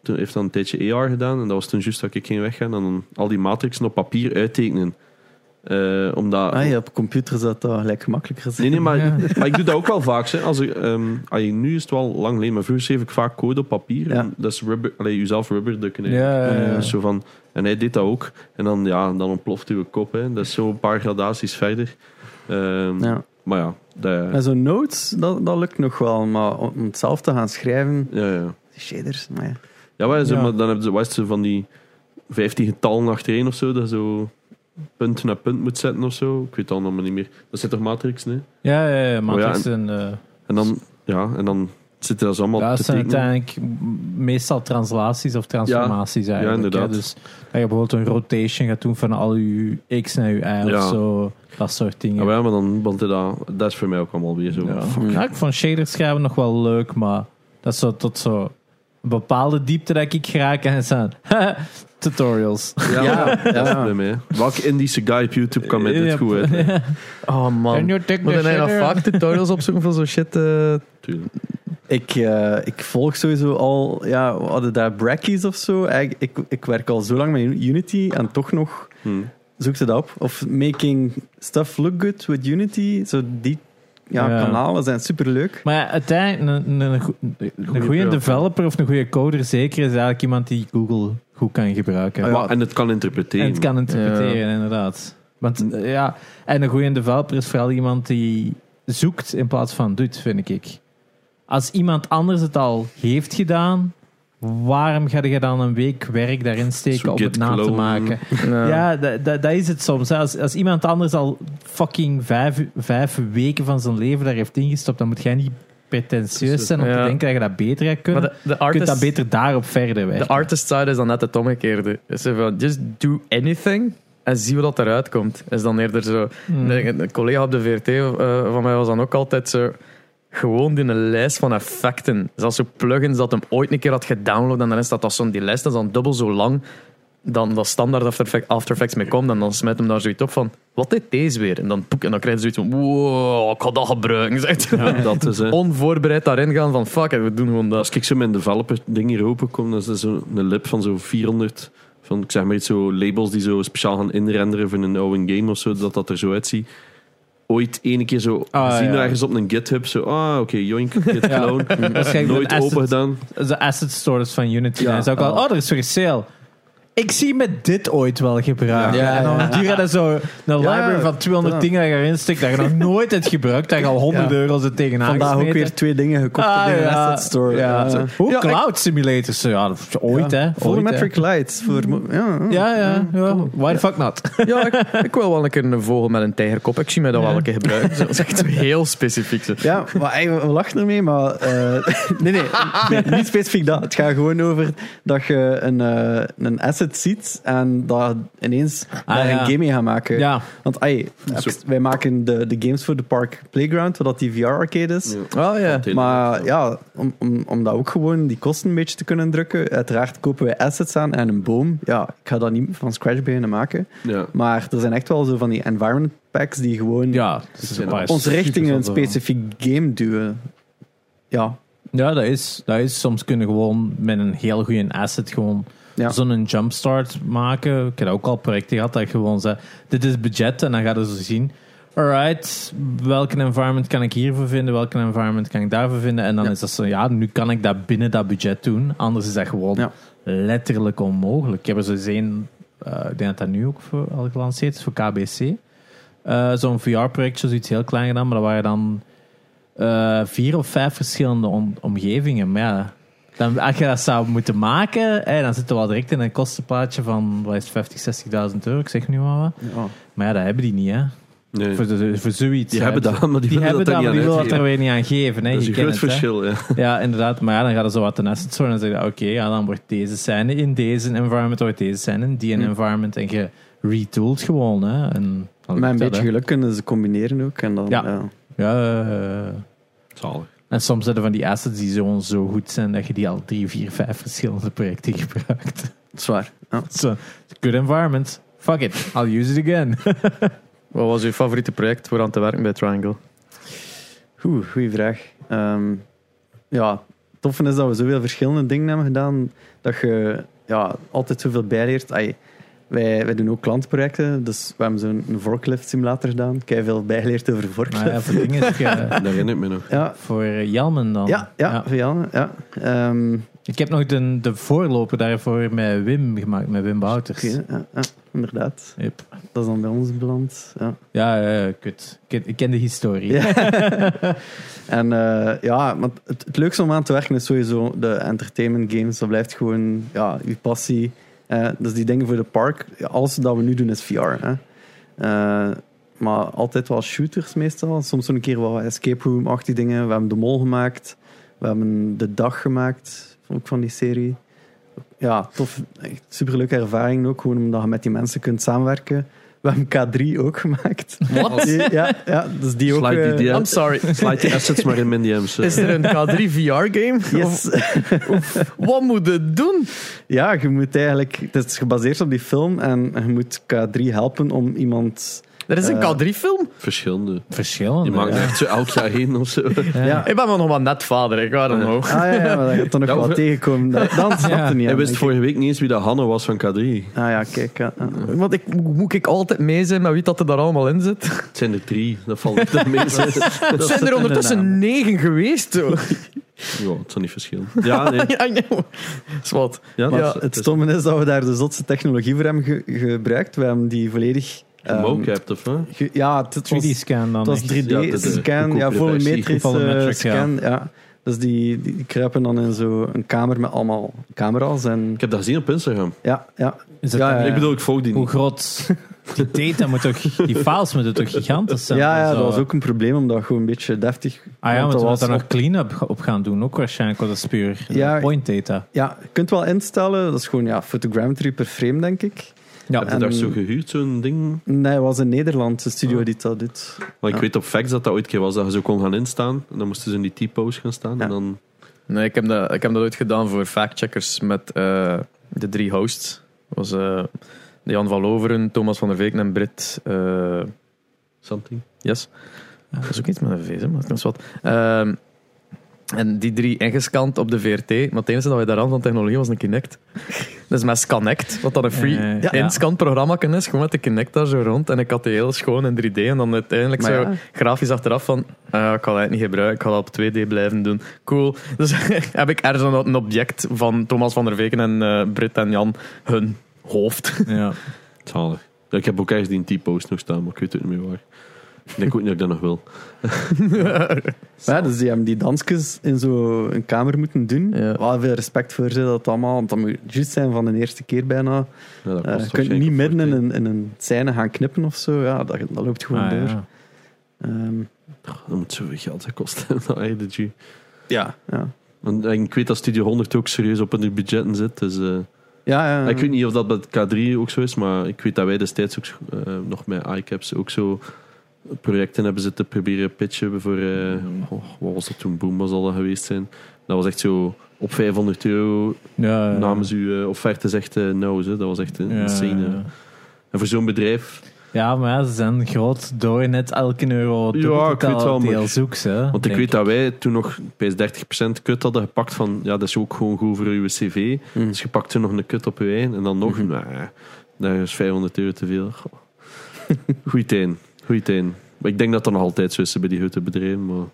Speaker 3: toen heeft dan een tijdje AR gedaan en dat was toen juist dat ik ging weggaan en dan al die matrixen op papier uittekenen. Eh, omdat...
Speaker 4: Ah, ja, op computer zou dat gelijk gemakkelijker zijn.
Speaker 3: Nee, nee, maar,
Speaker 1: Ja.
Speaker 3: maar ik doe dat ook wel vaak. Hè. Als ik, ehm, allee, nu is het wel lang geleden, maar vroeger schreef ik vaak code op papier.
Speaker 4: Ja.
Speaker 3: En dat is rubber, allee, jezelf rubberdukken. hè.
Speaker 1: Ja, ja, ja.
Speaker 3: Dus Zo van, en hij deed dat ook. En dan, ja, dan ontploft uw kop. Hè. Dat is zo een paar gradaties verder. Ehm,
Speaker 4: Ja.
Speaker 3: Maar ja, dat-
Speaker 4: En zo'n notes, dat, dat lukt nog wel. Maar om het zelf te gaan schrijven,
Speaker 3: ja, ja.
Speaker 4: die shaders, maar ja.
Speaker 3: ja, maar, zo,
Speaker 1: Ja.
Speaker 3: maar dan hebben ze, wat is het, zo van die 15 getallen achtereen of zo, dat je zo punt naar punt moet zetten of zo. Ik weet het allemaal niet meer. Dat zit toch matrix, nee?
Speaker 1: Ja, ja, ja. Matrix
Speaker 3: Oh ja,
Speaker 1: en... eh,
Speaker 3: En dan, ja, en dan zitten dat zo allemaal
Speaker 1: Ja,
Speaker 3: te
Speaker 1: het zijn
Speaker 3: tekenen.
Speaker 1: uiteindelijk m- meestal translaties of transformaties eigenlijk.
Speaker 3: ja, inderdaad.
Speaker 1: hè. Dus dat je bijvoorbeeld een rotation gaat doen van al je x naar je y
Speaker 3: Ja. Ah,
Speaker 1: of zo. Dat soort dingen.
Speaker 3: Ja, maar ja, maar dan, want dat, dat is voor mij ook allemaal weer zo.
Speaker 1: Ja.
Speaker 3: Fuck.
Speaker 1: Ja, ik vond shaders schrijven nog wel leuk, maar dat is zo tot zo een bepaalde diepte dat ik raak en staan. Tutorials.
Speaker 3: Ja, dat is
Speaker 4: ja.
Speaker 3: bij mij. Welke Indische guy op YouTube kan met dit
Speaker 1: Ja.
Speaker 3: goed uit?
Speaker 2: Oh man.
Speaker 1: you take
Speaker 2: Moet
Speaker 1: the
Speaker 2: je nou
Speaker 1: shader?
Speaker 2: vaak tutorials opzoeken voor zo'n shit? eh,
Speaker 3: Tuurlijk.
Speaker 4: Ik, eh, ik volg sowieso al, ja, we hadden daar brackies of zo. Ik, ik, ik werk al zo lang met Unity en toch nog
Speaker 3: Hm.
Speaker 4: zoekte dat op. Of making stuff look good with Unity. Zo die ja,
Speaker 1: Ja.
Speaker 4: kanalen zijn superleuk.
Speaker 1: Maar ja, uiteindelijk, een, een, een, goe- een goede
Speaker 3: pro.
Speaker 1: developer of een goede coder zeker is eigenlijk iemand die Google goed kan gebruiken.
Speaker 4: Ja.
Speaker 3: Maar- en het kan
Speaker 1: En
Speaker 3: interpreteren.
Speaker 1: het kan interpreteren, inderdaad. Want eh, ja, en een goede developer is vooral iemand die zoekt in plaats van doet, vind ik. Als iemand anders het al heeft gedaan, waarom ga je dan een week werk daarin
Speaker 3: Zo
Speaker 1: steken om
Speaker 3: git
Speaker 1: het na te
Speaker 3: clone.
Speaker 1: maken?
Speaker 2: nou,
Speaker 1: Ja, dat dat- dat is het soms. hè. Als, als iemand anders al fucking vijf, vijf weken van zijn leven daar heeft ingestopt, dan moet jij niet
Speaker 3: Dus, eh,
Speaker 1: pretentieus zijn om
Speaker 2: ja.
Speaker 1: te denken dat je dat beter gaat
Speaker 2: Maar
Speaker 1: kunnen.
Speaker 2: de, de
Speaker 1: je kunt dat
Speaker 2: artist,
Speaker 1: beter daarop verder
Speaker 2: de
Speaker 1: werken.
Speaker 2: artist side is dan net het omgekeerde. Is zo van, just do anything en zie hoe dat eruit komt. Is dan eerder zo...
Speaker 1: Hmm.
Speaker 2: Een, een collega op de VRT eh, van mij was dan ook altijd zo... Gewoon in een lijst van effecten. Zelfs zo plugins dat hem ooit een keer had gedownload en dan is dat als zo'n die lijst dat is dan dubbel zo lang dan dat standaard After Effects, After Effects mee komt. En dan smijt hem daar zoiets op van... Wat deed deze weer? En dan, poek, en dan krijg je zoiets van... Wow, ik ga dat gebruiken. zegt hij.
Speaker 3: Dat is, hè.
Speaker 2: Onvoorbereid daarin gaan van... Fuck, it, we doen gewoon dat.
Speaker 3: Als ik zo mijn developer ding hier openkom, dan is dat zo'n lip van zo'n 400 van, ik zeg maar iets, zo labels die zo speciaal gaan inrenderen voor een oude game of zo, dat dat er zo uitziet. Ooit ene keer zo
Speaker 1: Ah,
Speaker 3: zien
Speaker 1: ja.
Speaker 3: ergens op een GitHub, zo, ah, oké, joink, git
Speaker 1: Ja.
Speaker 3: clone.
Speaker 1: Waarschijnlijk
Speaker 3: Nooit
Speaker 1: een asset.
Speaker 3: open gedaan.
Speaker 1: de asset stores van Unity.
Speaker 3: Ja.
Speaker 1: en zo ook al, oh, er is weer sale. Ik zie me dit ooit wel gebruiken.
Speaker 4: Ja.
Speaker 1: en dan
Speaker 4: Ja.
Speaker 1: duur dat zo een library van 200
Speaker 4: ja.
Speaker 1: dingen dat je erin stikt, dat je nog nooit hebt gebruikt, dat je al 100
Speaker 4: Ja.
Speaker 1: euro er tegenaan
Speaker 4: Vandaag ook
Speaker 1: gesmeten.
Speaker 4: weer twee dingen gekocht
Speaker 1: Ah,
Speaker 4: in de
Speaker 1: ja.
Speaker 4: asset store.
Speaker 1: Ja.
Speaker 4: Ja.
Speaker 1: Hoe
Speaker 2: Ja,
Speaker 1: cloud simulators? Ja, dat is ooit,
Speaker 4: Ja.
Speaker 1: hè?
Speaker 4: Volle
Speaker 1: Ooit, hè.
Speaker 4: metric lights. Voor, mo- ja, ja.
Speaker 1: Ja, ja, ja. Why the fuck not?
Speaker 2: Ja, ik, ik wil wel een keer een vogel met een tijgerkop. Ik zie mij dat wel een keer gebruiken. Zo, Dat is echt heel specifiek. zo.
Speaker 4: Ja, maar eigenlijk, we lachen ermee, maar... eh, nee, nee, nee, niet specifiek dat. Het gaat gewoon over dat je een, eh, een asset ziet en dat ineens daar
Speaker 1: Ah, ja.
Speaker 4: een game mee gaat maken.
Speaker 1: Ja,
Speaker 4: Want ai, wij maken de, de games voor de Park Playground, wat die VR-arcade is.
Speaker 2: Oh ja.
Speaker 4: Maar ja, om, om, om dat ook gewoon die kosten een beetje te kunnen drukken. Uiteraard kopen wij assets aan en een boom. Ja, ik ga dat niet van scratch beginnen maken.
Speaker 3: Ja.
Speaker 4: Maar er zijn echt wel zo van die environment packs die gewoon
Speaker 1: ja. dat is
Speaker 3: zijn
Speaker 1: een paar
Speaker 4: ons richting
Speaker 1: super
Speaker 4: een
Speaker 1: zoveel.
Speaker 4: specifiek game duwen. Ja,
Speaker 1: Ja, dat is, dat is. Soms kunnen gewoon met een heel goede asset gewoon
Speaker 4: Ja.
Speaker 1: zo'n jumpstart maken. Ik heb ook al projecten gehad dat ik gewoon zei, dit is budget en dan gaat het zo zien. Alright, welke environment kan ik hiervoor vinden? Welke environment kan ik daarvoor vinden? En dan
Speaker 4: Ja.
Speaker 1: is dat zo, ja, nu kan ik dat binnen dat budget doen. Anders is dat gewoon
Speaker 4: Ja.
Speaker 1: letterlijk onmogelijk. Ik heb er zo eens één, eh, ik denk dat dat nu ook voor, al gelanceerd is, voor KBC. Eh, zo'n VR-projectje, zoiets heel klein gedaan, maar dat waren dan eh, vier of vijf verschillende om- omgevingen. Maar ja, dan, als je dat zou moeten maken, hè, dan zitten we al direct in een kostenplaatje van wat is het, 50, 60.000 euro, ik zeg nu maar wat.
Speaker 4: ja.
Speaker 1: Maar ja, dat hebben die niet, hè.
Speaker 3: Nee.
Speaker 1: Voor, de- voor zoiets.
Speaker 3: Die
Speaker 1: hè.
Speaker 3: hebben dat, maar die,
Speaker 1: Die
Speaker 3: willen
Speaker 1: hebben dat,
Speaker 3: daar
Speaker 1: maar die
Speaker 3: niet aan
Speaker 1: willen dat er
Speaker 3: uitgeven.
Speaker 1: weer niet aan geven. Hè.
Speaker 3: Dat is
Speaker 1: Je
Speaker 3: een
Speaker 1: kent
Speaker 3: groot
Speaker 1: het, hè.
Speaker 3: verschil, ja.
Speaker 1: Ja, inderdaad. Maar ja, dan gaat er zo wat een asset
Speaker 3: Hm.
Speaker 1: store en dan zeg je, oké, ja, dan wordt deze scène in deze environment, wordt deze scène in die environment. En je retooled gewoon. Hè. En dan lukt
Speaker 4: Met een
Speaker 1: dat,
Speaker 4: beetje
Speaker 1: hè.
Speaker 4: geluk kunnen ze combineren ook. En dan,
Speaker 1: Ja.
Speaker 4: ja.
Speaker 1: Ja, eh, eh.
Speaker 3: Zalig.
Speaker 1: en soms zitten van die assets die zo, zo goed zijn dat je die al drie, vier, vijf verschillende projecten gebruikt.
Speaker 4: zwaar. Ja.
Speaker 1: so, good environment. Fuck it, I'll use it again.
Speaker 2: Wat was uw favoriete project voor aan te werken bij Triangle?
Speaker 4: Oeh, goeie vraag. Ehm, ja, het toffe is dat we zoveel verschillende dingen hebben gedaan, dat je ja, altijd zoveel bijleert. Ai, wij, wij doen ook klantprojecten, dus we hebben zo'n een forklift simulator gedaan. Kei veel bijgeleerd over
Speaker 1: maar ja,
Speaker 4: forklift.
Speaker 1: voor dingen is eh,
Speaker 3: Dat herinner ik me nog.
Speaker 4: Ja,
Speaker 1: voor eh, Jelmen dan.
Speaker 4: ja, ja, ja. ja, Ehm,
Speaker 1: Ik heb nog de, de voorloper daarvoor met Wim gemaakt, met Wim Bouters.
Speaker 4: oké, ja, ja, inderdaad.
Speaker 1: Yep.
Speaker 4: Dat is dan bij ons beland. Ja.
Speaker 1: Ja, eh, kut. Ik ken, ik ken de historie.
Speaker 4: Ja. en eh, ja, maar het, het leukste om aan te werken is sowieso de entertainment games. Dat blijft gewoon ja, je passie. Eh, dus die dingen voor de park, ja, alles dat we nu doen is VR. Hè. Eh, maar altijd wel shooters meestal. Soms zo'n keer wel escape room-achtige dingen. We hebben De Mol gemaakt. We hebben De Dag gemaakt, ook van die serie. Ja, tof. Echt superleuke ervaring ook. Gewoon omdat je met die mensen kunt samenwerken. We hebben K3 ook gemaakt.
Speaker 2: Wat?
Speaker 4: Die- ja, ja, dus die ook...
Speaker 3: Slide
Speaker 4: eh,
Speaker 3: die- die-
Speaker 2: I'm sorry.
Speaker 3: Slide die assets maar in mijn DM's. hè.
Speaker 2: Is er een K3 VR-game?
Speaker 4: Yes.
Speaker 2: Wat moet het doen?
Speaker 4: Ja, je moet eigenlijk... Het is gebaseerd op die film en je moet K3 helpen om iemand...
Speaker 2: Er is een
Speaker 4: Eh.
Speaker 2: K3-film.
Speaker 3: Verschillende.
Speaker 1: Verschillende.
Speaker 3: Je maakt
Speaker 1: ja.
Speaker 3: er echt zo elk jaar heen of zo.
Speaker 1: Oh, Ja.
Speaker 4: Ja.
Speaker 2: Ik ben maar nog maar net vader, ik ga er nog.
Speaker 4: Ah ja, ja maar dat gaat dan nog
Speaker 3: Dat
Speaker 4: wel
Speaker 3: we-
Speaker 4: tegenkomen. Dat, dan snapte
Speaker 1: Ja.
Speaker 4: niet.
Speaker 3: Hij wist
Speaker 4: aan, denk ik.
Speaker 3: vorige week niet eens wie dat Hanne was van K3.
Speaker 4: Ah ja, kijk. ja, ja.
Speaker 2: Want ik, moet ik altijd mee zijn met wie dat er daar allemaal in zit?
Speaker 3: Het zijn er drie. Dat valt echt mee. ja,
Speaker 2: Er zijn er ondertussen negen geweest. zo.
Speaker 3: het zal niet verschillen. Ja, nee.
Speaker 2: Ja, I know. Is wat.
Speaker 3: Ja,
Speaker 4: Maar
Speaker 3: dat is-
Speaker 4: het stomme is dat we daar de zotste technologie voor hebben ge- gebruikt. We hebben die volledig... ehm,
Speaker 3: Mocap, of hè?
Speaker 4: ge- ja, het was,
Speaker 1: 3D-scan dan.
Speaker 4: het was
Speaker 1: echt.
Speaker 3: Ja, de- de
Speaker 4: 3D-scan. Ja,
Speaker 3: goedkopere
Speaker 4: volumetrische
Speaker 1: versie. Volumetric, ja.
Speaker 4: scan. Ja. Dus die, die kruipen dan in zo'n kamer met allemaal camera's. En,
Speaker 3: Ik heb dat gezien op Instagram.
Speaker 4: ja, ja,
Speaker 1: Is het
Speaker 4: Ja,
Speaker 1: dan-
Speaker 4: ja,
Speaker 3: Ik bedoel, ik volg die
Speaker 1: Hoe
Speaker 3: niet.
Speaker 1: groot die data moet toch... Die files moeten toch gigantisch zijn?
Speaker 4: Ja, ja
Speaker 1: Zo.
Speaker 4: dat
Speaker 3: eh.
Speaker 4: was ook een probleem, omdat het gewoon een beetje deftig...
Speaker 1: Ah ja, want
Speaker 4: want dat
Speaker 1: we moeten
Speaker 4: was
Speaker 1: daar
Speaker 4: op-
Speaker 1: nog clean-up ge- op gaan doen. Ook waarschijnlijk, want dat is puur
Speaker 4: Ja.
Speaker 1: point data.
Speaker 4: Ja, je kunt wel instellen. Dat is gewoon ja, photogrammetry per frame, denk ik.
Speaker 1: Ja,
Speaker 3: Heb je daar
Speaker 4: en-
Speaker 3: zo gehuurd, zo'n ding?
Speaker 4: Nee, het was in Nederland, de
Speaker 3: Ah.
Speaker 4: studio die dat doet.
Speaker 3: Maar ik
Speaker 4: Ja.
Speaker 3: weet op Facts dat dat ooit een keer was, dat je zo kon gaan instaan. En dan moesten ze in die T-pose gaan staan.
Speaker 4: Ja.
Speaker 3: En dan...
Speaker 2: Nee, ik heb, dat, ik heb dat ooit gedaan voor factcheckers met eh, de drie hosts. Dat was eh, Jan van Loveren, Thomas van der Veek en Britt. eh,
Speaker 3: Something.
Speaker 2: yes. Dat is ook iets met een VZ, maar dat is wat. Ehm, en die drie ingescand op de VRT. Maar het enige dat wij daar aan van technologie was een Kinect. Dus met Sconnect, wat dan een free
Speaker 1: Eh, ja.
Speaker 2: inscan programma is. Gewoon met de Kinect daar zo rond. En ik had die heel schoon in 3D. En dan uiteindelijk
Speaker 4: Maar
Speaker 2: zo
Speaker 4: ja.
Speaker 2: grafisch achteraf van... ah, ik ga dat niet gebruiken. Ik ga dat op 2D blijven doen. Cool. Dus heb ik ergens een, een object van Thomas van der Veken en eh Britt en Jan. Hun hoofd.
Speaker 1: ja.
Speaker 3: Zalig. Ja, ik heb ook ergens die in T-pose nog staan, maar ik weet het niet meer waar. Ik denk ook niet dat ik dat nog wil.
Speaker 4: Maar ja, dus die hebben die dansjes in zo'n kamer moeten doen.
Speaker 2: Ja.
Speaker 4: Wel veel respect voor ze dat allemaal, want dat moet juist zijn van de eerste keer bijna.
Speaker 3: Ja, dat kost
Speaker 4: Eh, je kunt
Speaker 3: waarschijnlijk
Speaker 4: niet
Speaker 3: ook
Speaker 4: midden in
Speaker 3: voor
Speaker 4: een, in een scène gaan knippen of zo. Ja, dat, dat loopt gewoon
Speaker 1: Ah,
Speaker 4: door.
Speaker 1: ja.
Speaker 4: Ehm,
Speaker 3: het- Dat moet zoveel geld zijn kosten. Nou, dat energy.
Speaker 4: ja. Ja.
Speaker 3: Want eh, ik weet dat Studio 100 ook serieus op hun budgetten zit. Dus, eh,
Speaker 4: Ja, ehm,
Speaker 3: ik weet niet of dat met K3 ook zo is, maar ik weet dat wij destijds ook eh, nog met iCaps ook zo projecten hebben zitten proberen pitchen voor, eh, oh, wat was dat toen, Boomba zal dat geweest zijn. Dat was echt zo, op 500 euro
Speaker 1: Ja, ja.
Speaker 3: namens uw eh, offerte zegt eh no, hè. dat was echt een
Speaker 1: Ja,
Speaker 3: insane. eh. En voor zo'n bedrijf,
Speaker 1: Ja, maar ja, ze zijn groot door net elke euro
Speaker 3: Ja,
Speaker 1: dubbel te
Speaker 3: ik weet
Speaker 1: tellen
Speaker 3: wel,
Speaker 1: die
Speaker 3: maar-
Speaker 1: al zoekt. Hè,
Speaker 3: want ik weet dat wij toen nog bij 30% kut hadden gepakt van, ja dat is ook gewoon goed voor uw cv.
Speaker 4: Mm.
Speaker 3: Dus je pakt er nog een kut op je eind en dan nog,
Speaker 4: Mhm.
Speaker 3: nah, daar is 500 euro te veel. Goh. Goeie teen, goeie teen. Maar ik denk dat dat nog altijd zo is bij die huttenbedrijven. Maar...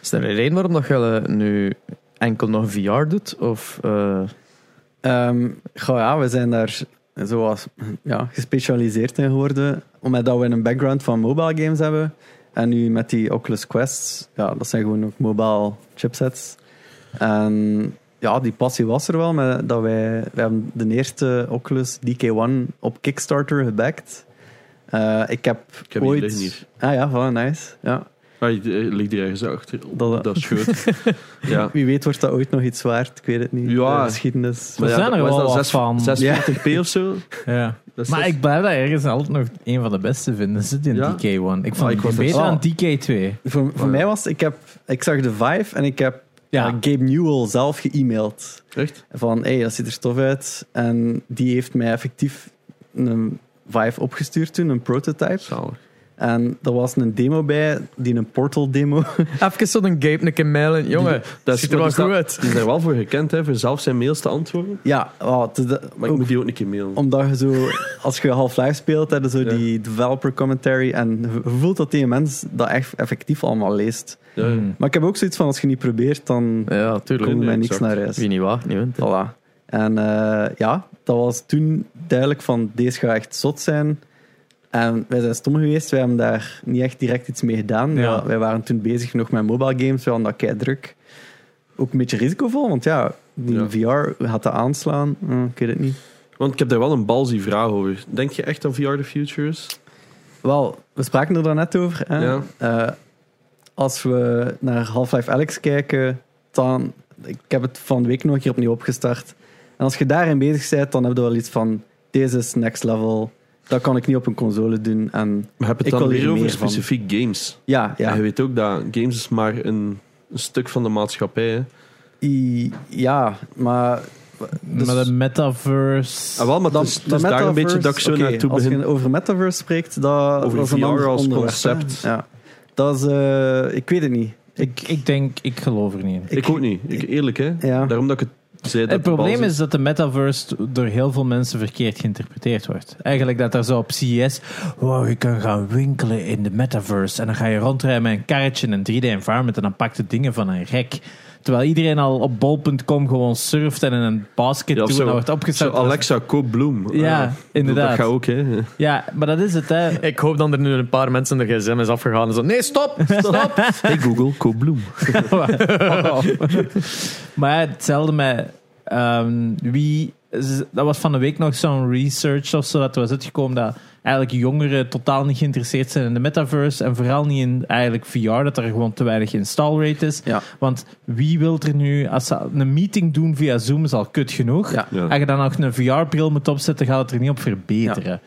Speaker 2: Is er een reden waarom dat je eh, nu enkel nog VR doet? Of... eh,
Speaker 4: Ehm, goh, ja, we zijn daar zoals, ja, gespecialiseerd in geworden. Omdat we een background van mobile games hebben. En nu met die Oculus Quests, ja, dat zijn gewoon ook mobile chipsets. En ja, die passie was er wel. Maar dat wij, wij hebben de eerste Oculus DK1 op Kickstarter gebacked. Eh, ik heb,
Speaker 3: Ik heb hier
Speaker 4: ooit...
Speaker 3: liggen hier.
Speaker 4: Ah ja, voilà, nice. Ja.
Speaker 3: Ah, die- eh, ligt hier ergens achter. op
Speaker 4: Dat-
Speaker 3: dat scheut. ja.
Speaker 4: Wie weet wordt dat ooit nog iets waard. Ik weet het niet.
Speaker 3: Ja.
Speaker 4: De geschiedenis.
Speaker 1: Maar- zijn er
Speaker 3: was
Speaker 1: wel
Speaker 3: dat
Speaker 1: wat van.
Speaker 3: 640p of zo?
Speaker 1: Ja.
Speaker 3: Dat is
Speaker 1: Maar
Speaker 3: zes-
Speaker 1: ik blijf dat ergens altijd nog een van de beste vinden. Zit in
Speaker 3: Ja?
Speaker 1: DK1. Ik vond
Speaker 3: Ah, ik
Speaker 1: het
Speaker 3: was er-
Speaker 1: beter
Speaker 4: Oh.
Speaker 1: dan DK2.
Speaker 4: Voor, voor
Speaker 3: Ja.
Speaker 4: mij was, ik, heb, ik zag de vibe en ik heb
Speaker 1: Ja.
Speaker 4: eh, Gabe Newell zelf ge-mailed.
Speaker 3: Echt?
Speaker 4: Van, hé, hey, dat ziet er tof uit. En die heeft mij effectief een vibe opgestuurd toen, een prototype.
Speaker 3: Zalig.
Speaker 4: En er was een demo bij, die een portal demo.
Speaker 2: Even zo'n gape, een keer Jongen, dat ziet er wel
Speaker 3: maar die
Speaker 2: goed
Speaker 3: is
Speaker 2: uit.
Speaker 3: Die is daar wel voor gekend, hè, voor zelf zijn mails te antwoorden.
Speaker 4: ja, oh, het is de-
Speaker 3: Maar ik
Speaker 4: ook
Speaker 3: moet die ook een keer mailen.
Speaker 4: omdat je zo, als je Half-Life speelt, heb je zo
Speaker 3: Ja.
Speaker 4: die developer commentary. En je voelt dat die mens dat echt effectief allemaal leest.
Speaker 3: Ja, ja.
Speaker 1: Hmm.
Speaker 4: Maar ik heb ook zoiets van, als je niet probeert, dan
Speaker 2: Ja, tuurlijk.
Speaker 3: Nee,
Speaker 4: komt
Speaker 3: nee,
Speaker 4: mij niks
Speaker 3: exact.
Speaker 4: naar huis.
Speaker 2: Wie niet waagt, niet wint.
Speaker 4: Voilà. En eh, ja, dat was toen duidelijk van, deze gaat echt zot zijn. En wij zijn stom geweest, wij hebben daar niet echt direct iets mee gedaan.
Speaker 1: Ja.
Speaker 4: Maar Wij waren toen bezig nog met mobile games, we hadden dat kei druk. Ook een beetje risicovol, want ja, die VR gaat dat aanslaan. Hm, ik weet het niet.
Speaker 3: Want ik heb daar wel een balzie vraag over. Denk je echt dat VR de future is?
Speaker 4: Wel, we spraken er daarnet over. Hè?
Speaker 3: Ja.
Speaker 4: Eh, als we naar Half-Life Alex kijken, dan... Ik heb het van de week nog een keer opnieuw opgestart. En als je daarin bezig bent, dan heb je wel iets van... Deze is next level. Dat kan ik niet op een console doen. En
Speaker 3: We hebben
Speaker 4: Ik
Speaker 3: het dan
Speaker 4: wil hier
Speaker 3: weer over
Speaker 4: meer van.
Speaker 3: specifiek games.
Speaker 4: ja,
Speaker 3: Ja.
Speaker 4: ja.
Speaker 3: je weet ook dat games is maar een, een stuk van de maatschappij. Hè.
Speaker 4: I- ja maar... Dus-
Speaker 1: maar de metaverse...
Speaker 3: Ah, wel, maar het is, het is daar een beetje dat ik zo
Speaker 4: oké,
Speaker 3: naartoe
Speaker 4: Als
Speaker 3: begin.
Speaker 4: je over metaverse spreekt, dat,
Speaker 3: Over
Speaker 4: dat is een
Speaker 3: VR
Speaker 4: ander
Speaker 3: als
Speaker 4: onderwerp,
Speaker 3: concept.
Speaker 4: hè. Ja. Dat is... eh, ik weet het niet.
Speaker 1: ik, ik denk, ik geloof er niet in.
Speaker 3: Ik, ook niet. Ik, eerlijk, hè.
Speaker 4: Ja.
Speaker 3: Daarom dat ik het zei. Dat
Speaker 1: Het
Speaker 3: de
Speaker 1: probleem
Speaker 3: balzie-
Speaker 1: is dat de metaverse door heel veel mensen verkeerd geïnterpreteerd wordt. Eigenlijk dat er zo op CES, wow, je kan gaan winkelen in de metaverse en dan ga je rondrijden met een karretje in een 3D-environment en dan pakt je dingen van een rek. Terwijl iedereen al op bol.com gewoon surft en in een basket doet
Speaker 3: Ja, of
Speaker 1: en
Speaker 3: zo-
Speaker 1: dan wordt
Speaker 3: Zo,
Speaker 1: opgestart.
Speaker 3: Alexa, koop bloem.
Speaker 1: Ja,
Speaker 3: Ah, ik bedoel,
Speaker 1: inderdaad.
Speaker 3: Dat gaat ook, hè.
Speaker 1: Ja, maar dat is het, hè.
Speaker 2: Ik hoop dat er nu een paar mensen de gsm is afgegaan en zo. Nee, stop! Stop!
Speaker 3: Hey Google, koop bloem.
Speaker 1: maar ja, hetzelfde met ehm, wie. z- Dat was van de week nog zo'n research of zo. Dat was uitgekomen dat eigenlijk jongeren totaal niet geïnteresseerd zijn in de metaverse. En vooral niet in eigenlijk VR, dat er gewoon te weinig install rate is.
Speaker 4: Ja.
Speaker 1: Want wie wil er nu, als ze een meeting doen via Zoom, is al kut genoeg.
Speaker 4: Ja.
Speaker 3: Ja.
Speaker 1: Als je dan nog een VR-bril moet opzetten, gaat het er niet op verbeteren.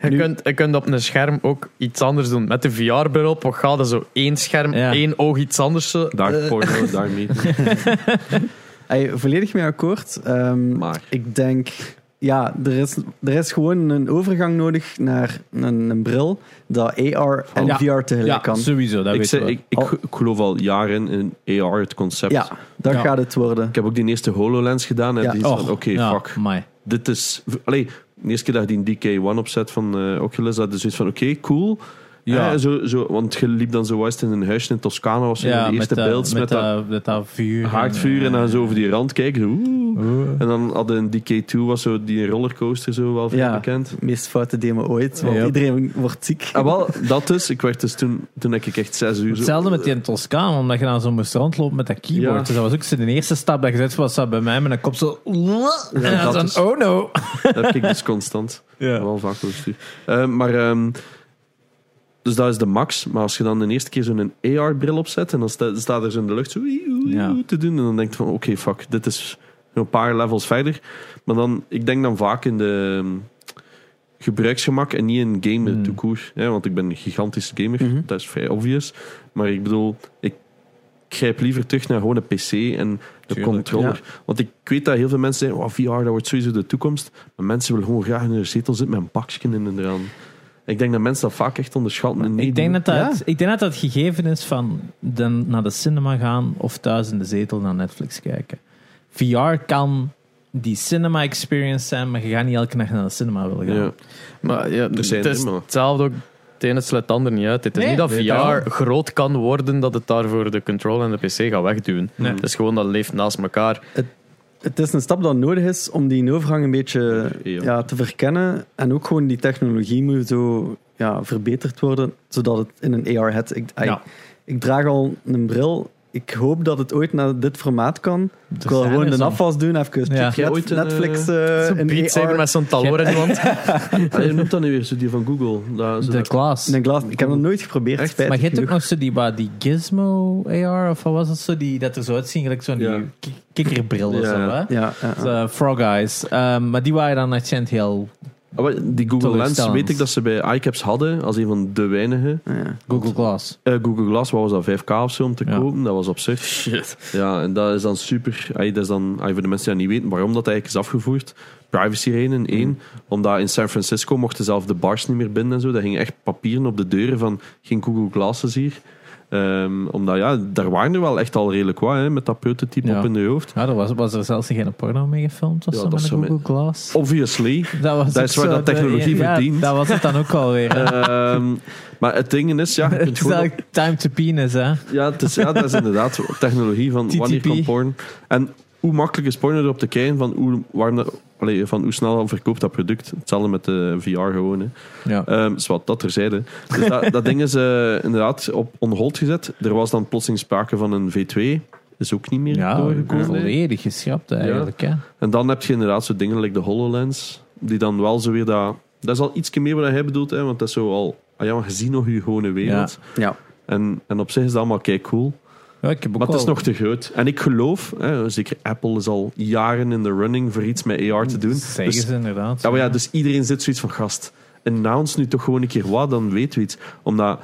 Speaker 2: Je,
Speaker 4: Nu-
Speaker 2: kunt, je kunt op een scherm ook iets anders doen. Met de VR-bril op wat gaat er zo één scherm,
Speaker 1: Ja.
Speaker 2: één oog iets anders. zo.
Speaker 3: Daar
Speaker 2: Eh,
Speaker 3: porno, daar niet.
Speaker 4: Hey, volledig mee akkoord. Ehm,
Speaker 3: Maar.
Speaker 4: Ik denk, ja, er is, er is gewoon een overgang nodig naar een, een bril dat AR en
Speaker 1: Ja.
Speaker 4: VR tegelijk kan.
Speaker 1: sowieso. Dat
Speaker 3: Ik,
Speaker 1: weten
Speaker 3: zei,
Speaker 1: we.
Speaker 3: ik, ik,
Speaker 4: Al-
Speaker 3: ik geloof al jaren in AR, het concept.
Speaker 4: Ja, dat
Speaker 1: Ja.
Speaker 4: gaat het worden.
Speaker 3: Ik heb ook die eerste HoloLens gedaan en
Speaker 4: Ja.
Speaker 3: die is
Speaker 1: Och,
Speaker 3: van, oké,
Speaker 1: ja,
Speaker 3: fuck.
Speaker 1: amai.
Speaker 3: Dit is... Allee, de eerste keer dat je die DK1 opzet van eh, Oculus, dat is zoiets van, oké, cool.
Speaker 1: Ja.
Speaker 3: Eh, zo, zo, want je liep dan zo was het in een huisje in Toscane, was zo
Speaker 1: Ja,
Speaker 3: de eerste
Speaker 1: met,
Speaker 3: beelds met, dat
Speaker 1: dat, met dat vuur. en-
Speaker 3: haardvuur en dan zo over die rand kijken. zo, oeh.
Speaker 1: Oeh.
Speaker 3: En dan hadden een DK2, was zo die rollercoaster zo wel veel
Speaker 4: Ja.
Speaker 3: bekend.
Speaker 4: Meest foute demo ooit, want
Speaker 1: Ja.
Speaker 4: iedereen wordt ziek.
Speaker 3: Ah, wel, dat dus. Ik werd dus toen, toen ik echt zes uur... zo- eh,
Speaker 1: Hetzelfde met die in Toscaan, omdat je dan zo moest rondlopen met dat keyboard.
Speaker 3: Ja.
Speaker 1: Dus dat was ook zo de eerste stap dat je zet, was dat bij mij met een kop zo... en dan
Speaker 3: dat
Speaker 1: zo'n,
Speaker 3: is-
Speaker 1: oh no.
Speaker 3: Dat heb ik dus constant. Wel vaak positief. Eh, maar, ehm, dus dat is de max. Maar als je dan de eerste keer zo'n AR-bril opzet en dan sta- staat er zo in de lucht zo oei, oei,
Speaker 1: Ja.
Speaker 3: oei te doen. En dan denk je van, oké, fuck, dit is een paar levels verder. Maar dan, ik denk dan vaak in de ehm, gebruiksgemak en niet in gamen
Speaker 1: Hmm.
Speaker 3: tout court, hè, want ik ben een gigantische gamer,
Speaker 4: Mhm.
Speaker 3: dat is vrij obvious. Maar ik bedoel, ik grijp liever terug naar gewoon een pc en de
Speaker 1: Tuurlijk,
Speaker 3: controller. Want ik weet dat heel veel mensen zeggen, "Wow, VR dat wordt sowieso de toekomst. Maar mensen willen gewoon graag in hun zetel zitten met een bakje in hun raam. Ik denk dat mensen dat vaak echt onderschatten. en
Speaker 1: ik,
Speaker 3: niet
Speaker 1: denk dat dat,
Speaker 4: Ja.
Speaker 1: ik denk dat dat het gegeven is van dan naar de cinema gaan of thuis in de zetel naar Netflix kijken. VR kan die cinema experience zijn, maar je gaat niet elke nacht naar de cinema willen
Speaker 3: doen.
Speaker 1: gaan.
Speaker 3: Ja.
Speaker 2: Maar ja, het
Speaker 3: zijn
Speaker 2: is
Speaker 3: er, maar-
Speaker 2: hetzelfde ook. Het ene sluit het ander niet uit. Het is
Speaker 1: Nee,
Speaker 2: niet dat
Speaker 1: nee, daarom.
Speaker 2: VR groot kan worden dat het daarvoor de controller en de PC gaat wegduwen.
Speaker 1: Nee.
Speaker 2: Het is gewoon dat leeft naast elkaar.
Speaker 4: Het is een stap dat nodig is om die overgang een beetje
Speaker 3: Ja.
Speaker 4: ja, te verkennen. En ook gewoon die technologie moet zo ja, verbeterd worden, zodat het in een AR-head... Ik,
Speaker 1: Ja.
Speaker 4: ik draag al een bril ik hoop dat het ooit naar dit formaat kan. Ik wil
Speaker 1: zijn
Speaker 4: gewoon
Speaker 1: er
Speaker 4: de
Speaker 1: zo'n.
Speaker 4: afwas doen, even
Speaker 1: Ja.
Speaker 4: net-
Speaker 3: jij ooit een,
Speaker 4: Netflix eh,
Speaker 2: Zo'n
Speaker 4: in
Speaker 2: Beat Saber
Speaker 4: AR.
Speaker 2: met zo'n taloor in de hand.
Speaker 3: Allee, noemt dat nu weer, zo die van Google. Daar, zo
Speaker 1: De
Speaker 3: dat-
Speaker 1: Glass.
Speaker 4: Een glas. Ik heb dat nooit geprobeerd,
Speaker 3: Echt?
Speaker 1: Maar
Speaker 4: spijtig
Speaker 1: je hebt ook
Speaker 4: genoeg.
Speaker 1: nog zo die, wat, die Gizmo AR, of wat was dat zo? Die, dat er zo uitzien, gelijk zo'n
Speaker 3: Ja.
Speaker 1: die ki- kikkerbril of
Speaker 3: Ja.
Speaker 1: zo, hè?
Speaker 4: Ja, ja, ja.
Speaker 1: Zo, Eh, Frog Eyes. Ehm, maar die waren dan accent heel
Speaker 3: Ah, wel, die Google Lens
Speaker 1: Teleurstellend.
Speaker 3: weet ik dat ze bij iCaps hadden, als een van de weinige.
Speaker 4: Ja.
Speaker 1: Google Glass.
Speaker 3: Eh, Google Glass, wat was dat, 5K of zo om te
Speaker 1: Ja.
Speaker 3: kopen? Dat was op zich. Shit. Ja, en dat is dan super. Ay, dat is dan, ay, voor de mensen die dat niet weten waarom dat eigenlijk is afgevoerd. Privacy redenen, één.
Speaker 1: Hmm.
Speaker 3: Omdat in San Francisco mochten zelf de bars niet meer binnen en zo. Daar gingen echt papieren op de deuren van geen Google Glasses hier. Ehm, omdat ja, daar waren er wel echt al redelijk wat hè, met dat prototype
Speaker 1: Ja.
Speaker 3: op in je hoofd.
Speaker 1: Ja, er was, was er zelfs geen porno mee gefilmd of
Speaker 3: Ja,
Speaker 1: zo
Speaker 3: dat
Speaker 1: met
Speaker 3: is
Speaker 1: een
Speaker 3: zo met-
Speaker 1: Google Glass.
Speaker 3: Obviously.
Speaker 1: Dat, was
Speaker 3: dat
Speaker 1: ook
Speaker 3: is waar
Speaker 1: zo
Speaker 3: dat
Speaker 1: de-
Speaker 3: technologie
Speaker 1: ja,
Speaker 3: verdient.
Speaker 1: Dat was het dan ook alweer. hè.
Speaker 3: Ehm, maar het ding is, ja, je
Speaker 1: Het
Speaker 3: kunt
Speaker 1: is
Speaker 3: gewoon op-
Speaker 1: eigenlijk time to penis, hè?
Speaker 3: Ja, het is, ja, dat is inderdaad technologie van
Speaker 1: TTP.
Speaker 3: wanneer kan porn. En hoe makkelijk is porn erop te kijken van hoe, warm dat, allee, van hoe snel dat verkoopt dat product. Hetzelfde met de VR gewoon. Hè.
Speaker 1: Ja.
Speaker 3: Ehm, is wat dat terzijde. Dus dat, dat ding is eh, inderdaad op on hold gezet. Er was dan plotseling sprake van een V2. Is ook niet meer
Speaker 1: Ja,
Speaker 3: doorgekomen.
Speaker 1: volledig geschrapt eigenlijk. Hè?
Speaker 3: En dan heb je inderdaad zo dingen like de HoloLens. Die dan wel zo weer dat... Dat is al iets meer wat hij bedoelt. Hè, want dat is zo al... Ah ja, maar je ziet nog je gewone wereld.
Speaker 4: Ja.
Speaker 3: En, en op zich is dat allemaal kei cool.
Speaker 1: Ja, ik heb ook
Speaker 3: Maar het is
Speaker 1: wel-
Speaker 3: nog te groot. En ik geloof, hè, zeker Apple is al jaren in de running voor iets met AR te doen.
Speaker 1: Zeggen
Speaker 3: Dus,
Speaker 1: ze inderdaad.
Speaker 3: ja, maar ja, dus iedereen zit zoiets van gast. Announce nu toch gewoon een keer wat, dan weten we iets. Omdat,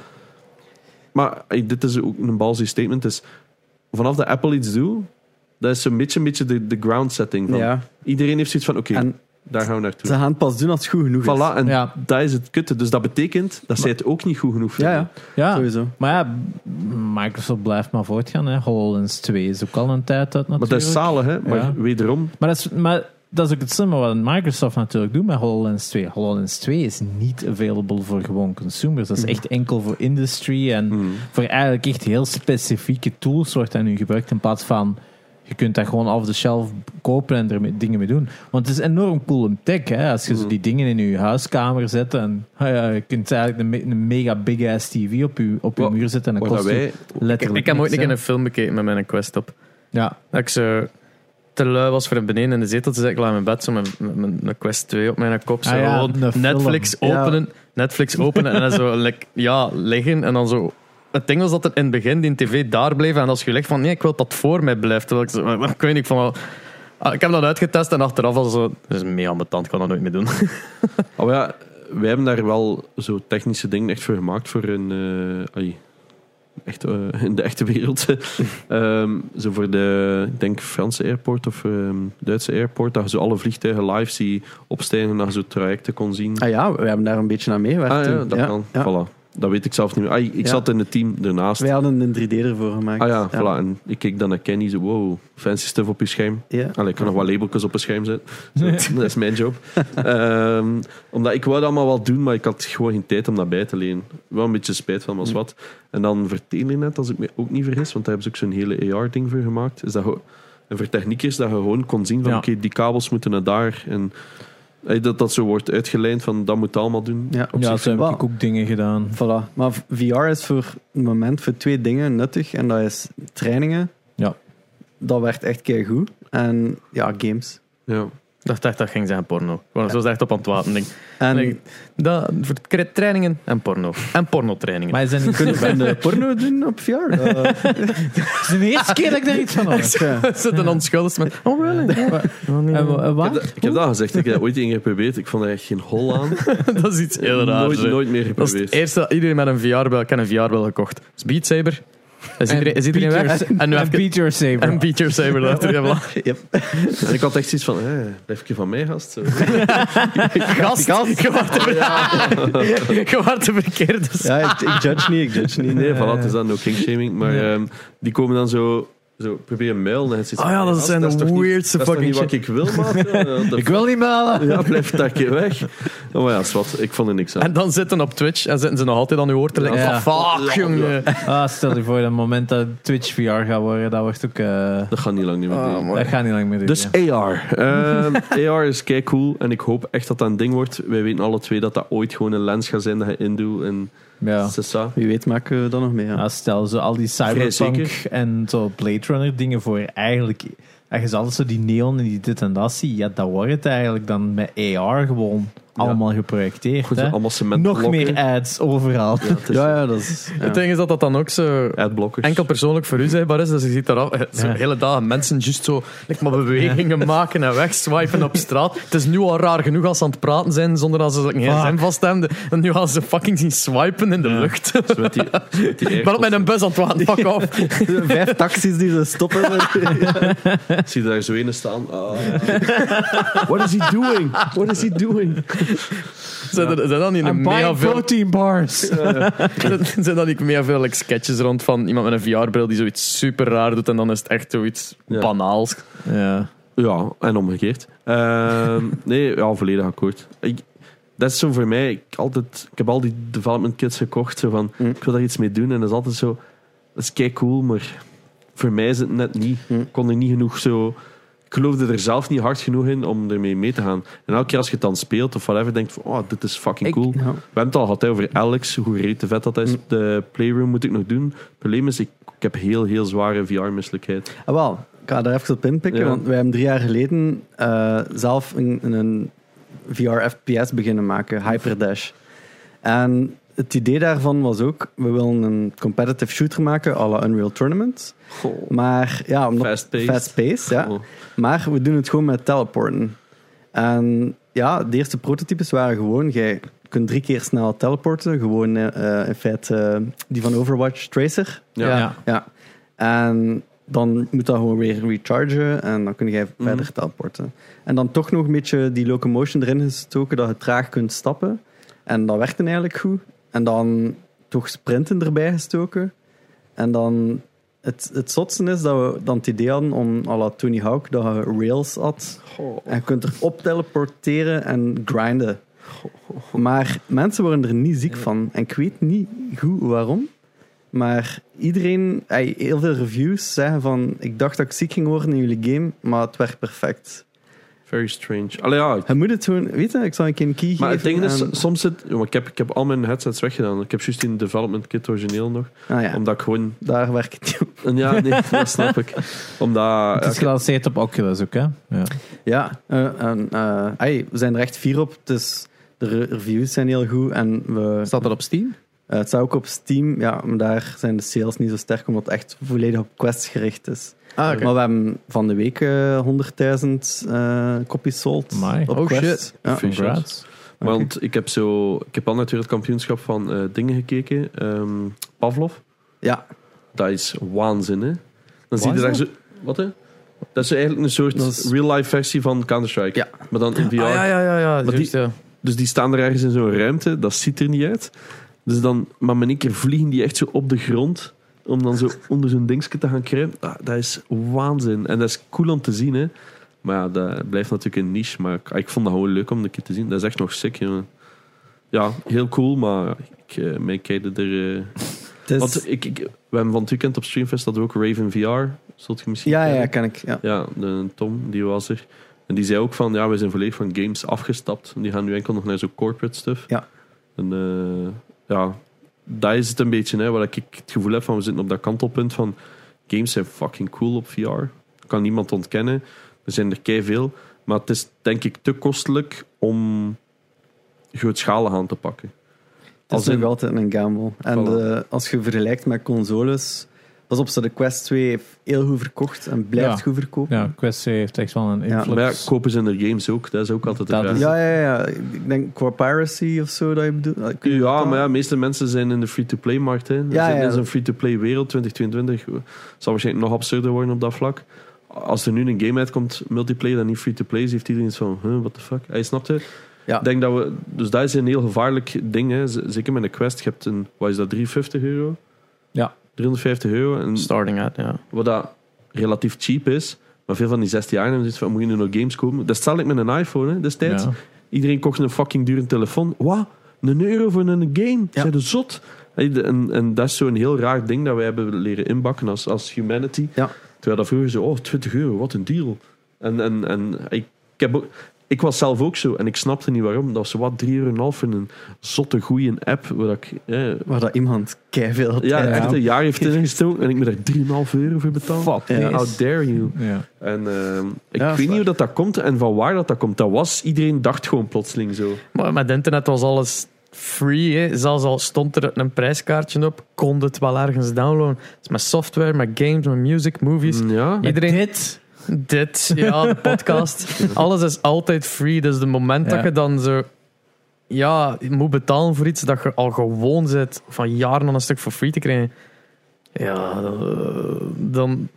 Speaker 3: maar ey, dit is ook een balzie statement. Is, vanaf dat Apple iets doet, dat is zo'n beetje, een beetje de, de ground setting. Van.
Speaker 4: Ja.
Speaker 3: Iedereen heeft zoiets van, oké,
Speaker 4: En
Speaker 3: daar gaan we naartoe.
Speaker 4: ze gaan het pas doen als het goed genoeg is.
Speaker 3: Voilà, en
Speaker 1: Ja.
Speaker 3: dat is het kutte. Dus dat betekent dat zij het ook niet goed genoeg
Speaker 4: Ja,
Speaker 3: vinden.
Speaker 4: ja,
Speaker 1: Ja,
Speaker 4: sowieso.
Speaker 1: maar ja, Microsoft blijft maar voortgaan. Hè. HoloLens 2 is ook al een tijd uit natuurlijk.
Speaker 3: Maar dat is zalig, hè? Maar
Speaker 1: Ja.
Speaker 3: wederom,
Speaker 1: Maar dat is, maar dat is ook het slimme wat Microsoft natuurlijk doet met HoloLens 2. HoloLens 2 is niet available voor gewoon consumers. Dat is
Speaker 3: Mhm.
Speaker 1: echt enkel voor industry en
Speaker 3: hmm,
Speaker 1: voor eigenlijk echt heel specifieke tools wordt dat nu gebruikt in plaats van je kunt dat gewoon off the shelf kopen en er mee- dingen mee doen. Want het is enorm cool om tech, hè? als je
Speaker 3: Mhm.
Speaker 1: zo die dingen in je huiskamer zet en ah ja, je kunt eigenlijk een, me- een mega big ass TV op je, op je
Speaker 3: Wat-
Speaker 1: muur zetten en dat
Speaker 3: wat dat
Speaker 1: kost je
Speaker 3: wij
Speaker 1: letterlijk
Speaker 2: Ik heb ooit
Speaker 1: niks,
Speaker 2: een keer
Speaker 1: hè.
Speaker 2: een film bekeken met mijn quest op.
Speaker 1: Ja,
Speaker 2: Dat ik zo te lui was voor een beneden in de zetel te zitten. Ik lag in mijn bed zo met met- met een Quest 2 op mijn kop. Zo
Speaker 1: Ah ja,
Speaker 2: gewoon
Speaker 1: een film.
Speaker 2: Netflix
Speaker 4: Ja.
Speaker 2: openen, Netflix openen en dan zo like, ja, liggen. En dan zo... Het ding was dat er in het begin die tv daar bleef. En als je legt van nee, ik wil dat voor mij blijft. Terwijl ik, zo, ik weet niet van wel... Ah, Ik heb dat uitgetest en achteraf was het zo... Dat is mega ambetant, ik kan dat nooit meer doen.
Speaker 3: Oh ja, wij hebben daar wel zo technische dingen echt voor gemaakt voor een. eh, ai, echt, eh, in de echte wereld. Ehm, zo voor de, ik denk, Franse airport of ehm, Duitse airport. Dat je zo alle vliegtuigen live zie opstijgen en dat je zo trajecten kon zien.
Speaker 4: Ah ja, we hebben daar een beetje aan meegewerkt.
Speaker 3: ah ja,
Speaker 4: toen.
Speaker 3: dat kan.
Speaker 4: ja.
Speaker 3: Voilà. Dat weet ik zelf niet meer. Ai, ik
Speaker 4: Ja.
Speaker 3: zat in het team ernaast.
Speaker 4: Wij hadden een 3D ervoor gemaakt.
Speaker 3: Ah ja, voilà. En ik keek dan naar Kenny. Zo, wow, fancy stuff op je scherm.
Speaker 4: Ja.
Speaker 3: Allee, ik kan nog wat labeltjes op een scherm zetten. Zo, dat is mijn job. Ehm, omdat ik wou dat allemaal wel doen, maar ik had gewoon geen tijd om dat bij te lenen. Wel een beetje spijt van, maar
Speaker 2: Mm.
Speaker 3: is wat. En dan vertelen net, als ik me ook niet vergis, want daar hebben ze ook zo'n hele AR-ding voor gemaakt. Is dat gewoon- en voor techniekers dat je gewoon kon zien van,
Speaker 1: Ja.
Speaker 3: oké, die kabels moeten naar daar. En eh, dat dat zo wordt uitgelijnd van, dat moet je allemaal doen.
Speaker 4: Ja.
Speaker 3: Op
Speaker 1: ja
Speaker 3: zich-
Speaker 1: zo heb
Speaker 4: wel.
Speaker 1: ik ook dingen gedaan.
Speaker 4: Voilà. Maar v- VR is voor een moment voor twee dingen nuttig. En dat is trainingen.
Speaker 1: Ja.
Speaker 4: Dat werd echt goed. En ja, games.
Speaker 3: ja.
Speaker 2: Ik dacht echt dat ging zijn porno. Gewoon, Zo is het echt op aan het wapen. Ik denk,
Speaker 4: En
Speaker 2: nee, dat, voor tra- trainingen en porno. En pornotrainingen.
Speaker 1: Maar is dat niet
Speaker 4: kunnen we een porno doen op VR? Eh,
Speaker 1: Het is de eerste keer dat ik daar iets van hoor.
Speaker 4: ja.
Speaker 2: Er zit een onschuldig met... Oh, really?
Speaker 1: En wa- eh,
Speaker 3: Ik, heb
Speaker 1: waar?
Speaker 3: dat, ik heb dat gezegd, ik heb dat ooit één keer geprobeerd. Ik vond er echt geen hol aan.
Speaker 2: dat is iets heel raars.
Speaker 3: nooit,
Speaker 2: hè.
Speaker 3: nooit meer
Speaker 2: Dat is
Speaker 3: geprobeerd.
Speaker 2: het eerste dat iedereen met een VR-bel... Ik heb een VR-bel gekocht. Dat is Beat Saber. Is iedereen, is iedereen
Speaker 1: Beat
Speaker 2: weg?
Speaker 1: Your-
Speaker 2: En nu
Speaker 1: en
Speaker 2: heb ik...
Speaker 1: Beat Your Saber.
Speaker 2: En Beat Your Saber. Dat heb ik
Speaker 4: yep.
Speaker 3: En ik had echt zoiets van, eh, blijf je van mij, gast? Zo.
Speaker 2: Gast, je wordt de, je wordt de verkeerde.
Speaker 4: ja ik, ik judge niet, ik judge niet.
Speaker 3: Nee, voilà, het is dan ook kingshaming. Maar ehm, die komen dan zo, zo proberen muil. En
Speaker 2: Ah ja, dat zijn de weirdste
Speaker 3: fucking
Speaker 2: fucking
Speaker 3: Dat is toch niet wat ik wil, maat? Eh, Ja,
Speaker 1: Ik wil niet malen.
Speaker 3: dat- Ja, blijf daar keer weg. Oh, maar ja, zwart, ik vond er niks aan.
Speaker 2: En dan zitten op Twitch en zitten ze nog altijd aan uw oor te leggen.
Speaker 1: Ja.
Speaker 2: Van, fuck,
Speaker 3: Ja.
Speaker 2: jongen.
Speaker 1: Ah, stel je voor dat moment dat Twitch VR gaat worden, dat wordt ook... eh,
Speaker 3: Dat gaat niet lang niet meer duren.
Speaker 1: dat gaat niet lang meer duren.
Speaker 3: Dus AR. Ehm, AR is kei cool en ik hoop echt dat dat een ding wordt. Wij weten alle twee dat dat ooit gewoon een lens gaat zijn dat je indoet. En
Speaker 1: Ja.
Speaker 3: C'est ça.
Speaker 4: Wie weet maken we dat nog mee. Ja.
Speaker 1: Ja, stel zo al die cyberpunk en zo Blade Runner dingen voor eigenlijk. En je zal altijd zo die neon en die dit en dat zien. Ja, dat wordt het eigenlijk dan met AR gewoon allemaal geprojecteerd.
Speaker 3: Goed,
Speaker 1: hè?
Speaker 3: allemaal cement
Speaker 1: Nog meer ads overal. Ja,
Speaker 4: ja, ja, dat is...
Speaker 2: Het ding is dat dat dan ook zo
Speaker 3: adblockers.
Speaker 2: enkel persoonlijk voor u zijbaar is. Dus je ziet daar al- zo
Speaker 1: Ja.
Speaker 2: hele dagen mensen just zo like, maar bewegingen maken en wegswipen op straat. Het is nu al raar genoeg als ze aan het praten zijn zonder dat ze een gsm vast hebben. En nu gaan ze fucking zien swipen in de lucht.
Speaker 3: Zo met die, met die
Speaker 2: Ik ben op
Speaker 3: AirPods.
Speaker 2: mijn bus aan het wachten, fuck off.
Speaker 4: Vijf taxis die ze stoppen.
Speaker 3: Zie je daar zo ene staan? Ah. What is he doing? What is he doing?
Speaker 2: Zijn, er, zijn dan niet een mega veel,
Speaker 1: protein bars.
Speaker 2: zijn dan niet mega veel like, sketches rond van iemand met een VR-bril die zoiets super raar doet en dan is het echt zoiets
Speaker 3: Ja.
Speaker 2: banaals.
Speaker 1: Ja.
Speaker 3: Ja, en omgekeerd. Ehm, nee, ja, volledig akkoord. Ik, dat is zo voor mij. Ik, altijd, ik heb al die development kits gekocht. Zo van,
Speaker 4: Mm.
Speaker 3: Ik wil daar iets mee doen. En dat is altijd zo. Dat is kei cool, maar voor mij is het net niet.
Speaker 4: Mm.
Speaker 3: Ik kon er niet genoeg zo. Ik geloofde er zelf niet hard genoeg in om ermee mee te gaan. En elke keer als je het dan speelt of whatever, denk je van, oh, dit is fucking
Speaker 2: Ik-
Speaker 3: cool.
Speaker 4: Ja.
Speaker 3: We hebben het al gehad hè, over Alex, hoe reet de vet dat
Speaker 4: Mm.
Speaker 3: is. De playroom moet ik nog doen. Het probleem is, ik, ik heb heel, heel zware VR-misselijkheid.
Speaker 4: Ah, wel, ik ga daar even op inpikken,
Speaker 3: Ja.
Speaker 4: want wij hebben drie jaar geleden eh, zelf een, een VR-FPS beginnen maken, Hyperdash. En het idee daarvan was ook, we willen een competitive shooter maken à la Unreal Tournament. Maar ja, omdat...
Speaker 3: Fast-paced.
Speaker 4: fast-paced, ja.
Speaker 3: Oh.
Speaker 4: Maar we doen het gewoon met teleporten. En ja, de eerste prototypes waren gewoon... Jij kunt drie keer snel teleporten. Gewoon eh, eh, in feite eh, die van Overwatch, Tracer.
Speaker 3: Ja.
Speaker 1: Ja.
Speaker 4: Ja. En dan moet dat gewoon weer rechargen. En dan kun jij verder teleporten. En dan toch nog een beetje die locomotion erin gestoken... dat je traag kunt stappen. En dat werkte eigenlijk goed. En dan toch sprinten erbij gestoken. En dan... Het, het zotste is dat we dan het idee hadden om à la Tony Hawk dat je rails had. En je kunt erop teleporteren en grinden. Maar mensen worden er niet ziek van. En ik weet niet goed waarom. Maar iedereen, ey, heel veel reviews zeggen van... Ik dacht dat ik ziek ging worden in jullie game, maar het werkt perfect.
Speaker 3: Very strange. Allee, ja,
Speaker 4: Je moet het gewoon... Weet je, ik zal een keer een key
Speaker 3: Maar het
Speaker 4: geven.
Speaker 3: ding is,
Speaker 4: en-
Speaker 3: soms zit... ja, maar ik, heb, ik heb al mijn headsets weggedaan. Ik heb juist in development kit origineel nog.
Speaker 4: ah ja,
Speaker 3: Omdat ik gewoon...
Speaker 4: daar werkt het niet op.
Speaker 3: en Ja, nee, dat snap ik. Omdat...
Speaker 1: Het is
Speaker 3: ja,
Speaker 1: gelanceerd op Oculus ook, hè? Ja.
Speaker 4: Ja, eh, en, eh, ey, we zijn er echt fier op. Dus de re- reviews zijn heel goed. En we,
Speaker 2: Staat dat op Steam?
Speaker 4: Eh, het staat ook op Steam, ja, maar daar zijn de sales niet zo sterk, omdat het echt volledig op quests gericht is.
Speaker 2: Ah,
Speaker 4: Maar we hebben van de week eh, 100.000 eh copies sold
Speaker 1: Amai.
Speaker 4: op
Speaker 2: Oh,
Speaker 4: Quest.
Speaker 2: shit.
Speaker 4: Ja.
Speaker 1: Congrats.
Speaker 3: Want ik heb zo... Ik heb al naar het wereldkampioenschap van eh, dingen gekeken. Ehm, Pavlov.
Speaker 4: ja,
Speaker 3: Dat is waanzin, hè? Dan zie je daar zo... Wat, hè? Dat is eigenlijk een soort
Speaker 4: Dat is-
Speaker 3: real-life versie van Counter-Strike.
Speaker 4: Ja.
Speaker 3: Maar dan in VR.
Speaker 2: Ah, ja, ja, ja. ja,
Speaker 3: Maar
Speaker 2: juist,
Speaker 3: die-
Speaker 2: ja.
Speaker 3: Dus die staan er ergens in zo'n ruimte. Dat ziet er niet uit. Dus dan... Maar met een keer vliegen die echt zo op de grond... Om dan zo onder zo'n dingetje te gaan kruipen. Ah, dat is waanzin. En dat is cool om te zien, hè? Maar ja, dat blijft natuurlijk een niche. Maar ik, ik vond dat gewoon leuk om een keer te zien. Dat is echt nog sick, jongen. Ja, heel cool, maar ik, eh, mij kijken er... eh,
Speaker 4: het is-
Speaker 3: want ik, ik, we hebben van het weekend op Streamfest hadden we ook Raven VR. Zult je misschien
Speaker 4: ja, ja,
Speaker 3: kennen?
Speaker 4: kan ik. Ja.
Speaker 3: Ja, de Tom, die was er. En die zei ook van, ja, we zijn volledig van games afgestapt. En die gaan nu enkel nog naar zo'n corporate stuff.
Speaker 4: Ja.
Speaker 3: En eh, ja, daar is het een beetje, hè, waar ik het gevoel heb van, we zitten op dat kantelpunt van, games zijn fucking cool op VR. Kan niemand ontkennen. Er zijn er kei veel. Maar het is denk ik te kostelijk om grootschalig aan te pakken.
Speaker 4: Het
Speaker 3: Als
Speaker 4: is nog
Speaker 3: in-
Speaker 4: altijd een gamble. En
Speaker 3: Voilà.
Speaker 4: de- als je vergelijkt met consoles, pas op, ze de Quest 2 heeft heel goed verkocht en blijft
Speaker 1: Ja.
Speaker 4: goed verkopen.
Speaker 1: Ja, Quest 2 heeft echt wel een
Speaker 4: Ja.
Speaker 1: invloed.
Speaker 3: Maar ja, kopen ze er games ook. Dat is ook altijd de
Speaker 1: Dat
Speaker 3: vraag.
Speaker 1: is-
Speaker 4: Ja, ja, ja. Ik denk qua piracy of zo dat je bedoelt. Eh, kun je
Speaker 3: Ja,
Speaker 4: dat-
Speaker 3: maar ja, de meeste mensen zijn in de free-to-play-markt. hè. We
Speaker 4: Ja,
Speaker 3: zitten
Speaker 4: ja.
Speaker 3: in zo'n free-to-play wereld 2022. zal waarschijnlijk nog absurder worden op dat vlak. Als er nu een game uitkomt, multiplayer, dat niet free-to-play is, heeft iedereen iets van, huh, what the fuck? Hij snapt het.
Speaker 4: Ja.
Speaker 3: Ik Denk dat we, dus dat is een heel gevaarlijk ding. Hè. Z- Zeker met een quest. Je hebt een, wat is dat, 350 euro?
Speaker 1: Ja.
Speaker 3: 350 euro. En
Speaker 2: Starting out, ja.
Speaker 3: wat dat relatief cheap is. Maar veel van die 16 jaar hebben zoiets van, moet je nu nog games kopen? Dat stel ik met een iPhone, hè, destijds.
Speaker 1: Ja.
Speaker 3: Iedereen kocht een fucking dure telefoon. Wat? Een euro voor een game?
Speaker 4: Ja.
Speaker 3: Zijn de zot? Hey, de- En, en dat is zo'n heel raar ding dat wij hebben leren inbakken als, als humanity.
Speaker 4: Ja.
Speaker 3: Terwijl dat vroeger zo, oh, 20 euro, wat een deal. En, en, en ik, ik heb ook... Ik was zelf ook zo en ik snapte niet waarom. Dat was wat drie uur en een half in een zotte goeie app. Waar ik, eh,
Speaker 4: Waar dat iemand keiveel
Speaker 3: ja,
Speaker 4: tijd-
Speaker 3: echt een jaar heeft ingestoken en ik moet daar 3,5 euro voor betalen.
Speaker 1: Fuck,
Speaker 3: Ja,
Speaker 4: yes.
Speaker 3: How dare you.
Speaker 1: Ja.
Speaker 3: En ehm, ik
Speaker 4: Ja,
Speaker 3: weet
Speaker 4: is
Speaker 3: niet
Speaker 4: waar.
Speaker 3: hoe dat, dat komt en van waar dat, dat komt. Dat was, iedereen dacht gewoon plotseling zo.
Speaker 2: Maar met internet was alles free. Hè. Zelfs al stond er een prijskaartje op, kon het wel ergens downloaden. Het is met software, met games, met music, movies.
Speaker 3: Mm, Ja,
Speaker 1: Met
Speaker 2: Iedereen-
Speaker 1: dit?
Speaker 2: Dit, ja, de podcast. Alles is altijd free. Dus het moment
Speaker 1: Ja.
Speaker 2: dat je dan zo... Ja, je moet betalen voor iets dat je al gewoon zit van jaren aan een stuk voor free te krijgen. Ja, eh, dan...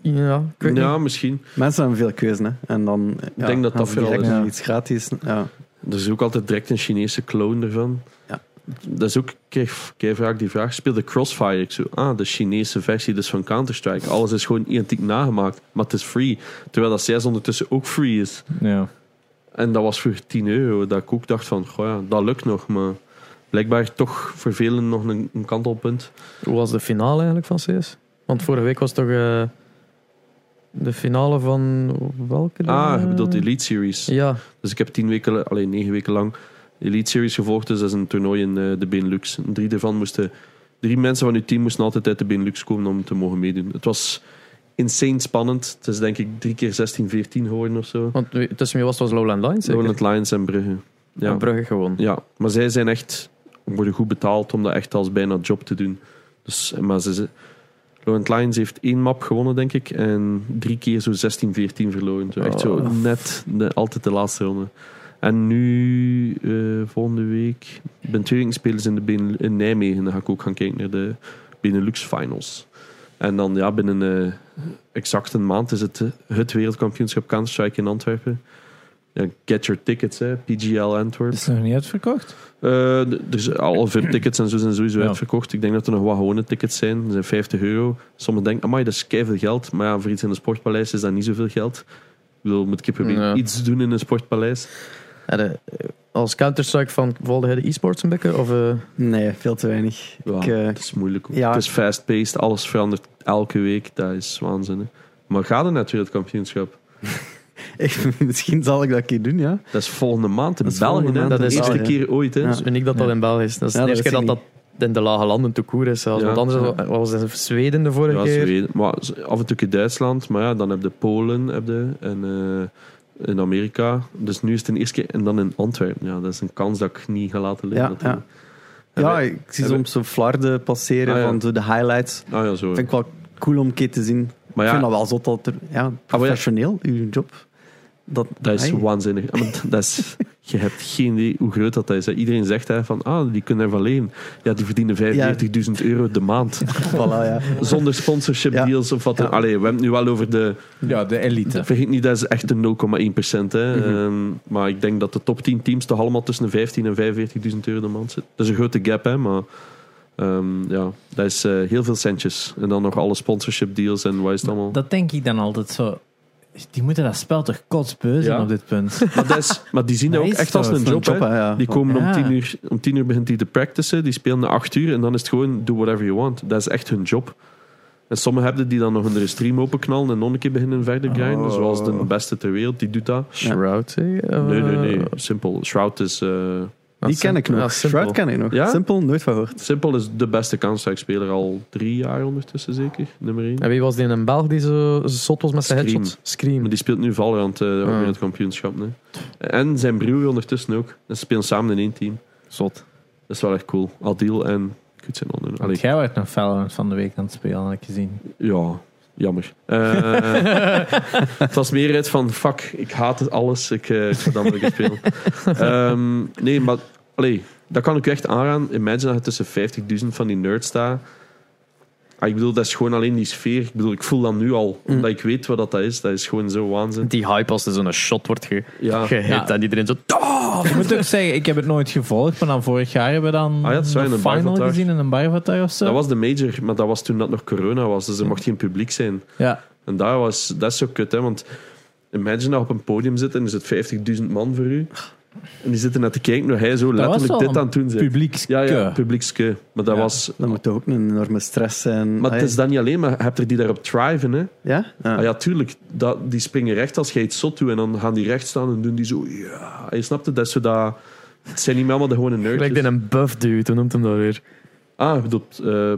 Speaker 2: Ja, ik weet
Speaker 3: ja
Speaker 2: niet.
Speaker 3: misschien.
Speaker 4: Mensen hebben veel keuze, hè. En dan... eh, ja,
Speaker 3: denk dat
Speaker 4: gaan
Speaker 3: dat
Speaker 4: ze
Speaker 3: vooral
Speaker 4: direct
Speaker 1: is.
Speaker 4: naar
Speaker 1: Ja.
Speaker 4: iets gratis. Ja.
Speaker 3: Er is ook altijd direct een Chinese clone ervan.
Speaker 4: Ja.
Speaker 3: Dat is ook, ik krijg- krijg vaak die vraag, speelde Crossfire? Ik zo, ah, de Chinese versie dus van Counter-Strike. Alles is gewoon identiek nagemaakt, maar het is free. Terwijl dat CS ondertussen ook free is.
Speaker 1: Ja.
Speaker 3: En dat was voor 10 euro, dat ik ook dacht van, goh ja, dat lukt nog, maar... Blijkbaar toch voor velen nog een, een kantelpunt.
Speaker 2: Hoe was de finale eigenlijk van CS? Want vorige week was toch eh, de finale van welke?
Speaker 3: Ah, je
Speaker 2: eh?
Speaker 3: bedoelt Elite Series.
Speaker 2: Ja,
Speaker 3: Dus ik heb tien weken, alleen negen weken lang Elite Series gevolgd. Dus dat is een toernooi in eh, de Benelux. En drie daarvan moesten, drie mensen van uw team moesten altijd uit de Benelux komen om te mogen meedoen. Het was insane spannend. Het is denk ik drie keer 16, 14 geworden of zo.
Speaker 2: want wie- tussen wie was het was Lowland Lines. zeker?
Speaker 3: Lowland Lions en Brugge. Ja.
Speaker 2: En Brugge gewoon.
Speaker 3: Ja, maar zij zijn echt, worden goed betaald om dat echt als bijna job te doen. Dus, maar ze, ze- Lowland Lions heeft één map gewonnen, denk ik. En drie keer zo 16-14 verloren. Zo, echt zo
Speaker 2: Oh.
Speaker 3: net, net altijd de laatste ronde. En nu, eh, volgende week, ik ben twee weken spelers in, de Benel- in Nijmegen. Dan ga ik ook gaan kijken naar de Benelux Finals. En dan ja, binnen eh, exact een maand is het eh, het wereldkampioenschap Counter-Strike in Antwerpen. Ja, get your tickets, hè. PGL Antwerp.
Speaker 1: Is het nog niet uitverkocht?
Speaker 3: Eh, d- dus alle VIP-tickets en zo zijn sowieso
Speaker 1: Ja.
Speaker 3: uitverkocht. Ik denk dat er nog wat gewone tickets zijn. Dat zijn 50 euro. Sommigen denken, amai, dat is keiveel geld. Maar ja, voor iets in een sportpaleis is dat niet zoveel geld. Ik bedoel, moet ik hier proberen
Speaker 2: Ja.
Speaker 3: iets doen in een sportpaleis?
Speaker 2: En, eh, als Counter-Strike van volgde hij de e-sports een beetje? Of, eh,
Speaker 4: Nee, veel te weinig.
Speaker 3: Ja,
Speaker 4: Ik, eh,
Speaker 3: het is moeilijk. hoor.
Speaker 4: ja.
Speaker 3: Het is fast-paced, alles verandert elke week. Dat is waanzin. hè. Maar ga er natuurlijk het wereldkampioenschap.
Speaker 4: ik- misschien zal ik dat een keer doen, ja.
Speaker 3: Dat is volgende maand in
Speaker 4: Dat is
Speaker 3: België.
Speaker 4: volgende
Speaker 3: hè.
Speaker 4: maand
Speaker 3: de
Speaker 2: in
Speaker 3: eerste
Speaker 2: België.
Speaker 3: keer ooit. Hè.
Speaker 4: Ja.
Speaker 2: dat is uniek dat dat
Speaker 1: Ja.
Speaker 2: in België is. Dat is
Speaker 4: Ja,
Speaker 2: de
Speaker 4: dat
Speaker 2: eerste keer
Speaker 4: wist
Speaker 2: dat dat
Speaker 4: ik
Speaker 2: in de lage landen te koer is. Zelfs.
Speaker 3: Ja.
Speaker 2: Want anders
Speaker 4: Ja.
Speaker 2: was- wat was het in Zweden de vorige
Speaker 3: Ja,
Speaker 2: keer.
Speaker 3: Zweden. Maar af en toe in Duitsland. Maar ja, dan heb je Polen heb je, en eh, in Amerika. Dus nu is het een eerste keer. En dan in Antwerpen. Ja, dat is een kans dat ik niet ga laten liggen.
Speaker 4: Ja,
Speaker 3: dat
Speaker 4: ja.
Speaker 3: En
Speaker 4: Ja,
Speaker 3: wij-
Speaker 4: ik zie
Speaker 3: en wij-
Speaker 4: soms zo flarden passeren
Speaker 3: Ah, ja.
Speaker 4: van zo de highlights.
Speaker 3: Ah ja, zo.
Speaker 4: Vind ik wel cool om een keer te zien.
Speaker 3: Maar
Speaker 4: ik
Speaker 3: ja, Ah,
Speaker 4: vind dat
Speaker 3: dat,
Speaker 4: wel zot dat er... Ja, professioneel, uw job. Dat,
Speaker 3: is
Speaker 4: Ai.
Speaker 3: waanzinnig. Ah, maar dat is, je hebt geen idee hoe groot dat is. hè. Iedereen zegt hè, van, ah, die kunnen ervan leven. Ja, die verdienen 45.000 euro de maand.
Speaker 4: Voilà, ja.
Speaker 3: Zonder sponsorship
Speaker 4: Ja.
Speaker 3: deals of wat dan. Allee, we hebben het nu wel over de...
Speaker 1: Ja, Mhm. de elite.
Speaker 3: Vergeet niet, dat is echt een 0,1%. hè. Ehm, maar ik denk dat de top 10 teams toch allemaal tussen de 15 en 45.000 euro de maand zitten. Dat is een grote gap, hè, maar ehm, ja, dat is eh, heel veel centjes. En dan nog alle sponsorship deals en wat is het allemaal.
Speaker 1: Dat denk ik dan altijd zo. Die moeten dat spel toch kotsbeu zijn
Speaker 3: Ja.
Speaker 1: op dit punt.
Speaker 3: Maar, dat is, maar die zien dat
Speaker 1: Dat
Speaker 3: ook
Speaker 1: is
Speaker 3: echt als
Speaker 1: toch
Speaker 3: een job. hè.
Speaker 4: hè, ja.
Speaker 3: Die komen
Speaker 1: Ja.
Speaker 3: om, 10 uur, om 10 uur begint die te practicen, die spelen na 8 uur en dan is het gewoon do whatever you want. Dat is echt hun job. En sommigen hebben die dan nog een stream openknallen en nog een keer beginnen verder grinden.
Speaker 4: Oh.
Speaker 3: Zoals de beste ter wereld, die doet dat.
Speaker 2: Shroud, zeg, eh,
Speaker 3: Nee, nee, nee. Simpel. Shroud is... eh,
Speaker 2: dat
Speaker 4: Die
Speaker 2: is
Speaker 4: ken ik
Speaker 2: simpel.
Speaker 4: nog.
Speaker 2: Ja, simpel.
Speaker 4: Shroud ken ik nog.
Speaker 3: Ja?
Speaker 4: Simpel, nooit van gehoord.
Speaker 3: Simpel is de beste Counter-Strike-speler al drie jaar ondertussen zeker. Nummer één.
Speaker 2: En wie was die in een Belg die zo zot was met zijn
Speaker 3: Scream.
Speaker 2: headshots? Scream.
Speaker 3: Maar die speelt nu Valorant eh ook
Speaker 2: Ah.
Speaker 3: in het kampioenschap. Nee. En zijn broer ondertussen ook. Ze spelen samen in één team.
Speaker 1: Zot.
Speaker 3: Dat is wel echt cool. Adil en... Ik weet zijn andere.
Speaker 1: Want
Speaker 3: Allee,
Speaker 1: jij werd nog Valorant van de week aan het spelen, had ik gezien.
Speaker 3: ja, jammer. Eh, het was meer uit van... Fuck, ik haat het alles. Ik eh, ik ga dan nog eens spelen. Ehm, nee, maar... Allee, dat kan ik u echt aanraden. Imagine dat je tussen 50.000 van die nerds staat. Ah, ik bedoel, dat is gewoon alleen die sfeer. Ik bedoel, ik voel dat nu al. Omdat ik weet wat dat is. Dat is gewoon zo waanzin.
Speaker 2: Die hype als er zo'n shot wordt ge
Speaker 3: Ja.
Speaker 2: gehit
Speaker 1: Ja.
Speaker 2: en iedereen zo...
Speaker 1: Ik moet ook zeggen, ik heb het nooit gevolgd, maar dan vorig jaar hebben we dan
Speaker 3: Ah ja, het is wel
Speaker 1: een
Speaker 3: in een
Speaker 1: final
Speaker 3: barvatar.
Speaker 1: gezien in een barvatar of zo.
Speaker 3: Dat was de major, maar dat was toen dat nog corona was. Dus er mocht geen publiek zijn.
Speaker 1: Ja,
Speaker 3: En dat, was, dat is zo kut, hè. Want imagine dat je op een podium zit en er zit 50.000 man voor u. En die zitten naar te kijken hoe hij zo letterlijk
Speaker 1: wel
Speaker 3: dit
Speaker 1: een
Speaker 3: aan het doen zit.
Speaker 1: Publiekske.
Speaker 3: Ja, ja, publiekske. Maar dat
Speaker 1: Ja.
Speaker 3: was...
Speaker 4: Dat moet ook een enorme stress zijn.
Speaker 3: Maar
Speaker 4: Ah,
Speaker 3: het is dan niet alleen, maar je hebt er die daarop driven, hè.
Speaker 4: Ja? Ja.
Speaker 3: Ah ja, tuurlijk. Dat, die springen recht als jij iets zot doet. En dan gaan die recht staan en doen die zo... Ja, Ah, je snapt het? Dat is zo dat... Het zijn niet meer allemaal de gewone nerds.
Speaker 2: Gelijk in een buff dude, hoe noemt hem dat weer?
Speaker 3: Ah, je bedoelt... eh,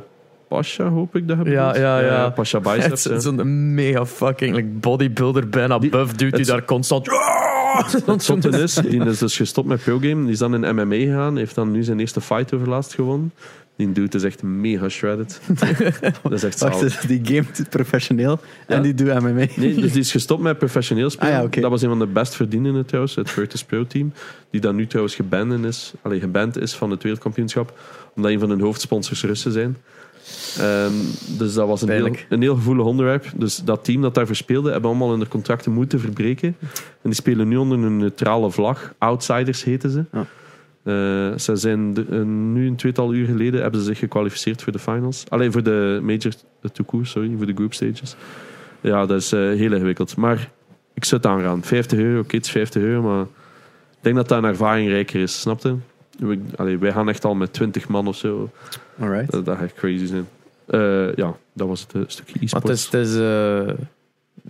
Speaker 3: Pasha, hoop ik dat je
Speaker 2: Ja,
Speaker 3: bedoelt.
Speaker 2: ja, ja.
Speaker 3: Pasha
Speaker 2: Het
Speaker 3: Biceps.
Speaker 2: is
Speaker 3: hè.
Speaker 2: Zo'n mega fucking like bodybuilder bijna
Speaker 3: Die-
Speaker 2: buff dude die
Speaker 3: het-
Speaker 2: daar constant...
Speaker 3: Het zotte is, die is dus gestopt met pro game. Die is dan in MMA gegaan. Heeft dan nu zijn eerste fight overlaatst gewonnen. Die dude is echt mega shredded. dat is echt
Speaker 4: Wacht,
Speaker 3: zalig.
Speaker 4: dus die game doet professioneel en
Speaker 3: Ja.
Speaker 4: die doet MMA.
Speaker 3: Nee, dus die is gestopt met professioneel spelen.
Speaker 4: Ah ja, oké.
Speaker 3: Dat was een van de best verdienende trouwens, het Virtus Pro team. Die dan nu trouwens geband is, allee, geband is van het wereldkampioenschap. Omdat een van hun hoofdsponsors Russen zijn. Ehm, dus dat was een heel,
Speaker 2: Pijnlijk.
Speaker 3: een heel gevoelig onderwerp. Dus dat team dat daarvoor speelde, hebben allemaal hun contracten moeten verbreken. En die spelen nu onder een neutrale vlag. Outsiders heten ze.
Speaker 4: Ja.
Speaker 3: Eh, ze zijn de- eh, nu een tweetal uur geleden hebben ze zich gekwalificeerd voor de finals. Alleen voor de major eh, to court, sorry, voor de group stages. Ja, dat is eh, heel ingewikkeld. Maar ik zou het aanraden. 50 euro, oké, het is 50 euro, maar ik denk dat dat een ervaring rijker is, snap je? We- allee, wij gaan echt al met 20 man of zo.
Speaker 4: Alright.
Speaker 3: Dat, dat gaat crazy zijn. Eh, ja, dat was het eh, stukje
Speaker 2: Maar het is,
Speaker 3: e-sports.
Speaker 2: het is eh,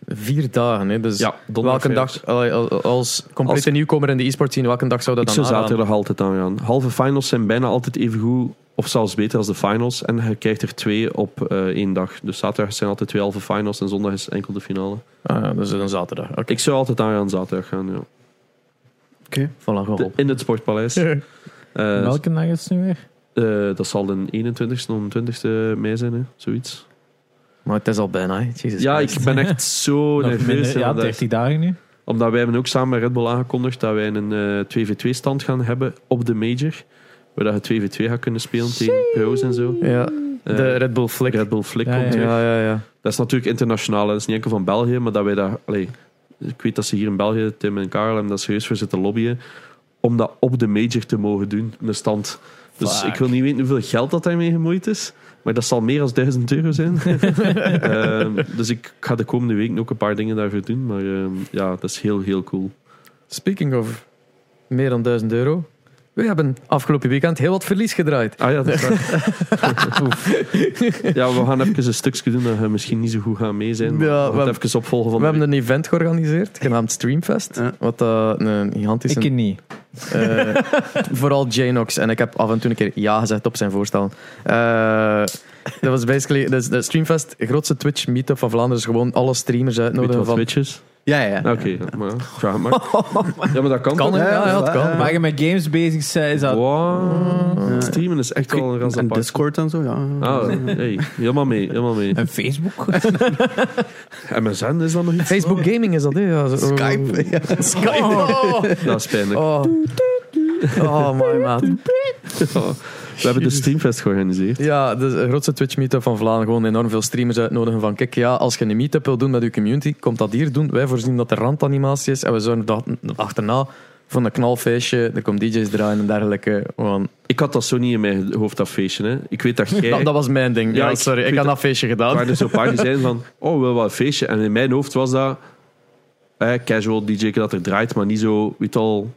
Speaker 2: vier dagen, hè? dus
Speaker 3: Ja, donderdag.
Speaker 2: welke
Speaker 3: vrijdag.
Speaker 2: dag, allee, als- als complete
Speaker 3: Als-
Speaker 2: nieuwkomer in de e-sport zien, welke dag zou dat
Speaker 3: Ik
Speaker 2: dan
Speaker 3: zou
Speaker 2: aanraden?
Speaker 3: zaterdag altijd aangaan. Halve finals zijn bijna altijd even goed, of zelfs beter als de finals. En je krijgt er twee op eh, één dag. Dus zaterdag zijn altijd twee halve finals en zondag is enkel de finale.
Speaker 2: Ah, ja, dus een zaterdag. Oké,
Speaker 3: Ik zou altijd aangaan zaterdag gaan, ja.
Speaker 2: voilà,
Speaker 3: De-
Speaker 2: geholpen.
Speaker 3: in het Sportpaleis. Eh eh,
Speaker 1: Welke dag is het nu weer?
Speaker 3: dat zal de 21ste of 20ste mei zijn, hè? zoiets.
Speaker 2: Maar het is al bijna, hè. Jezus
Speaker 3: Ja,
Speaker 2: Christus.
Speaker 3: ik ben echt zo
Speaker 1: Nog
Speaker 3: nerveus.
Speaker 1: minder,
Speaker 3: hè,
Speaker 1: ja,
Speaker 3: vandaag.
Speaker 1: 30 dagen nu.
Speaker 3: Omdat wij hebben ook samen met Red Bull aangekondigd dat wij een eh 2v2-stand gaan hebben op de Major. Waar dat je 2v2 gaat kunnen spelen tegen pro's en zo.
Speaker 2: Ja,
Speaker 3: Eh,
Speaker 2: de Red Bull Flick.
Speaker 3: Red Bull Flick
Speaker 1: Ja,
Speaker 3: komt terug.
Speaker 2: ja, ja, ja.
Speaker 3: Dat is natuurlijk internationaal. hè. Dat is niet enkel van België, maar dat wij daar... allee, ik weet dat ze hier in België, Tim en Karel, hebben dat serieus voor zitten lobbyen. Om dat op de major te mogen doen, een stand. Dus
Speaker 1: Fuck.
Speaker 3: ik wil niet weten hoeveel geld dat daarmee gemoeid is. Maar dat zal meer dan 1000 euro zijn. Ehm, dus ik ga de komende week ook een paar dingen daarvoor doen. Maar ehm, ja, dat is heel, heel cool.
Speaker 2: Speaking of meer dan 1000 euro. We hebben afgelopen weekend heel wat verlies gedraaid.
Speaker 3: Ah ja, dat is waar. ja, we gaan even een stukje doen dat we misschien niet zo goed gaan mee zijn. Maar
Speaker 2: Ja,
Speaker 3: we gaan
Speaker 2: we-
Speaker 3: het even opvolgen van
Speaker 2: We
Speaker 3: de
Speaker 2: hebben een event georganiseerd, genaamd Streamfest.
Speaker 4: Ja.
Speaker 2: Wat eh, een gigantische...
Speaker 1: Ik niet.
Speaker 2: Eh, vooral Janox. En ik heb af en toe een keer ja gezegd op zijn voorstel. Eh, dat was basically... Dus de Streamfest, de grootste Twitch meetup van Vlaanderen, is gewoon alle streamers
Speaker 3: Weet je
Speaker 2: uitnodigen
Speaker 3: wat
Speaker 2: van...
Speaker 3: Twitch is?
Speaker 4: Ja, ja.
Speaker 3: Oké, ja, maar ja, vraag het maar. Ja, maar dat kan,
Speaker 2: Kan,
Speaker 3: toch?
Speaker 2: hè? Ja, ja, het kan.
Speaker 1: Maar je met games bezig bent, is dat...
Speaker 3: Wow. Streamen is echt wel een ras
Speaker 4: en
Speaker 3: apart.
Speaker 4: Discord en zo, ja.
Speaker 2: dus-
Speaker 3: Ah, hey, helemaal mee, helemaal mee.
Speaker 1: En Facebook?
Speaker 3: MSN is dan nog iets?
Speaker 2: Facebook Gaming is dat, hè? Ja, zo-
Speaker 4: Skype. Ja.
Speaker 2: Skype. Oh,
Speaker 3: Dat is pijnlijk.
Speaker 2: oh. oh my man.
Speaker 3: We hebben de Streamfest georganiseerd.
Speaker 2: Ja, de grootste Twitch meetup van Vlaanderen. Gewoon enorm veel streamers uitnodigen van kijk, ja, als je een meetup wil doen met je community, komt dat hier doen. Wij voorzien dat er randanimatie is en we zorgen dat achterna voor een knalfeestje, er komt DJ's draaien en dergelijke. Gewoon,
Speaker 3: Ik had dat zo niet in mijn hoofd, dat feestje. Hè. Ik weet dat jij...
Speaker 2: dat, dat was mijn ding.
Speaker 3: Ja,
Speaker 2: Ja,
Speaker 3: ik-
Speaker 2: sorry,
Speaker 3: ik
Speaker 2: ik,
Speaker 3: weet
Speaker 2: had
Speaker 3: dat-
Speaker 2: dat feestje
Speaker 3: Er
Speaker 2: gedaan.
Speaker 3: waren dus zo'n paar die zeiden van... Oh, wel wat een feestje. En in mijn hoofd was dat... eh, casual DJ dat er draait, maar niet zo... Weet al,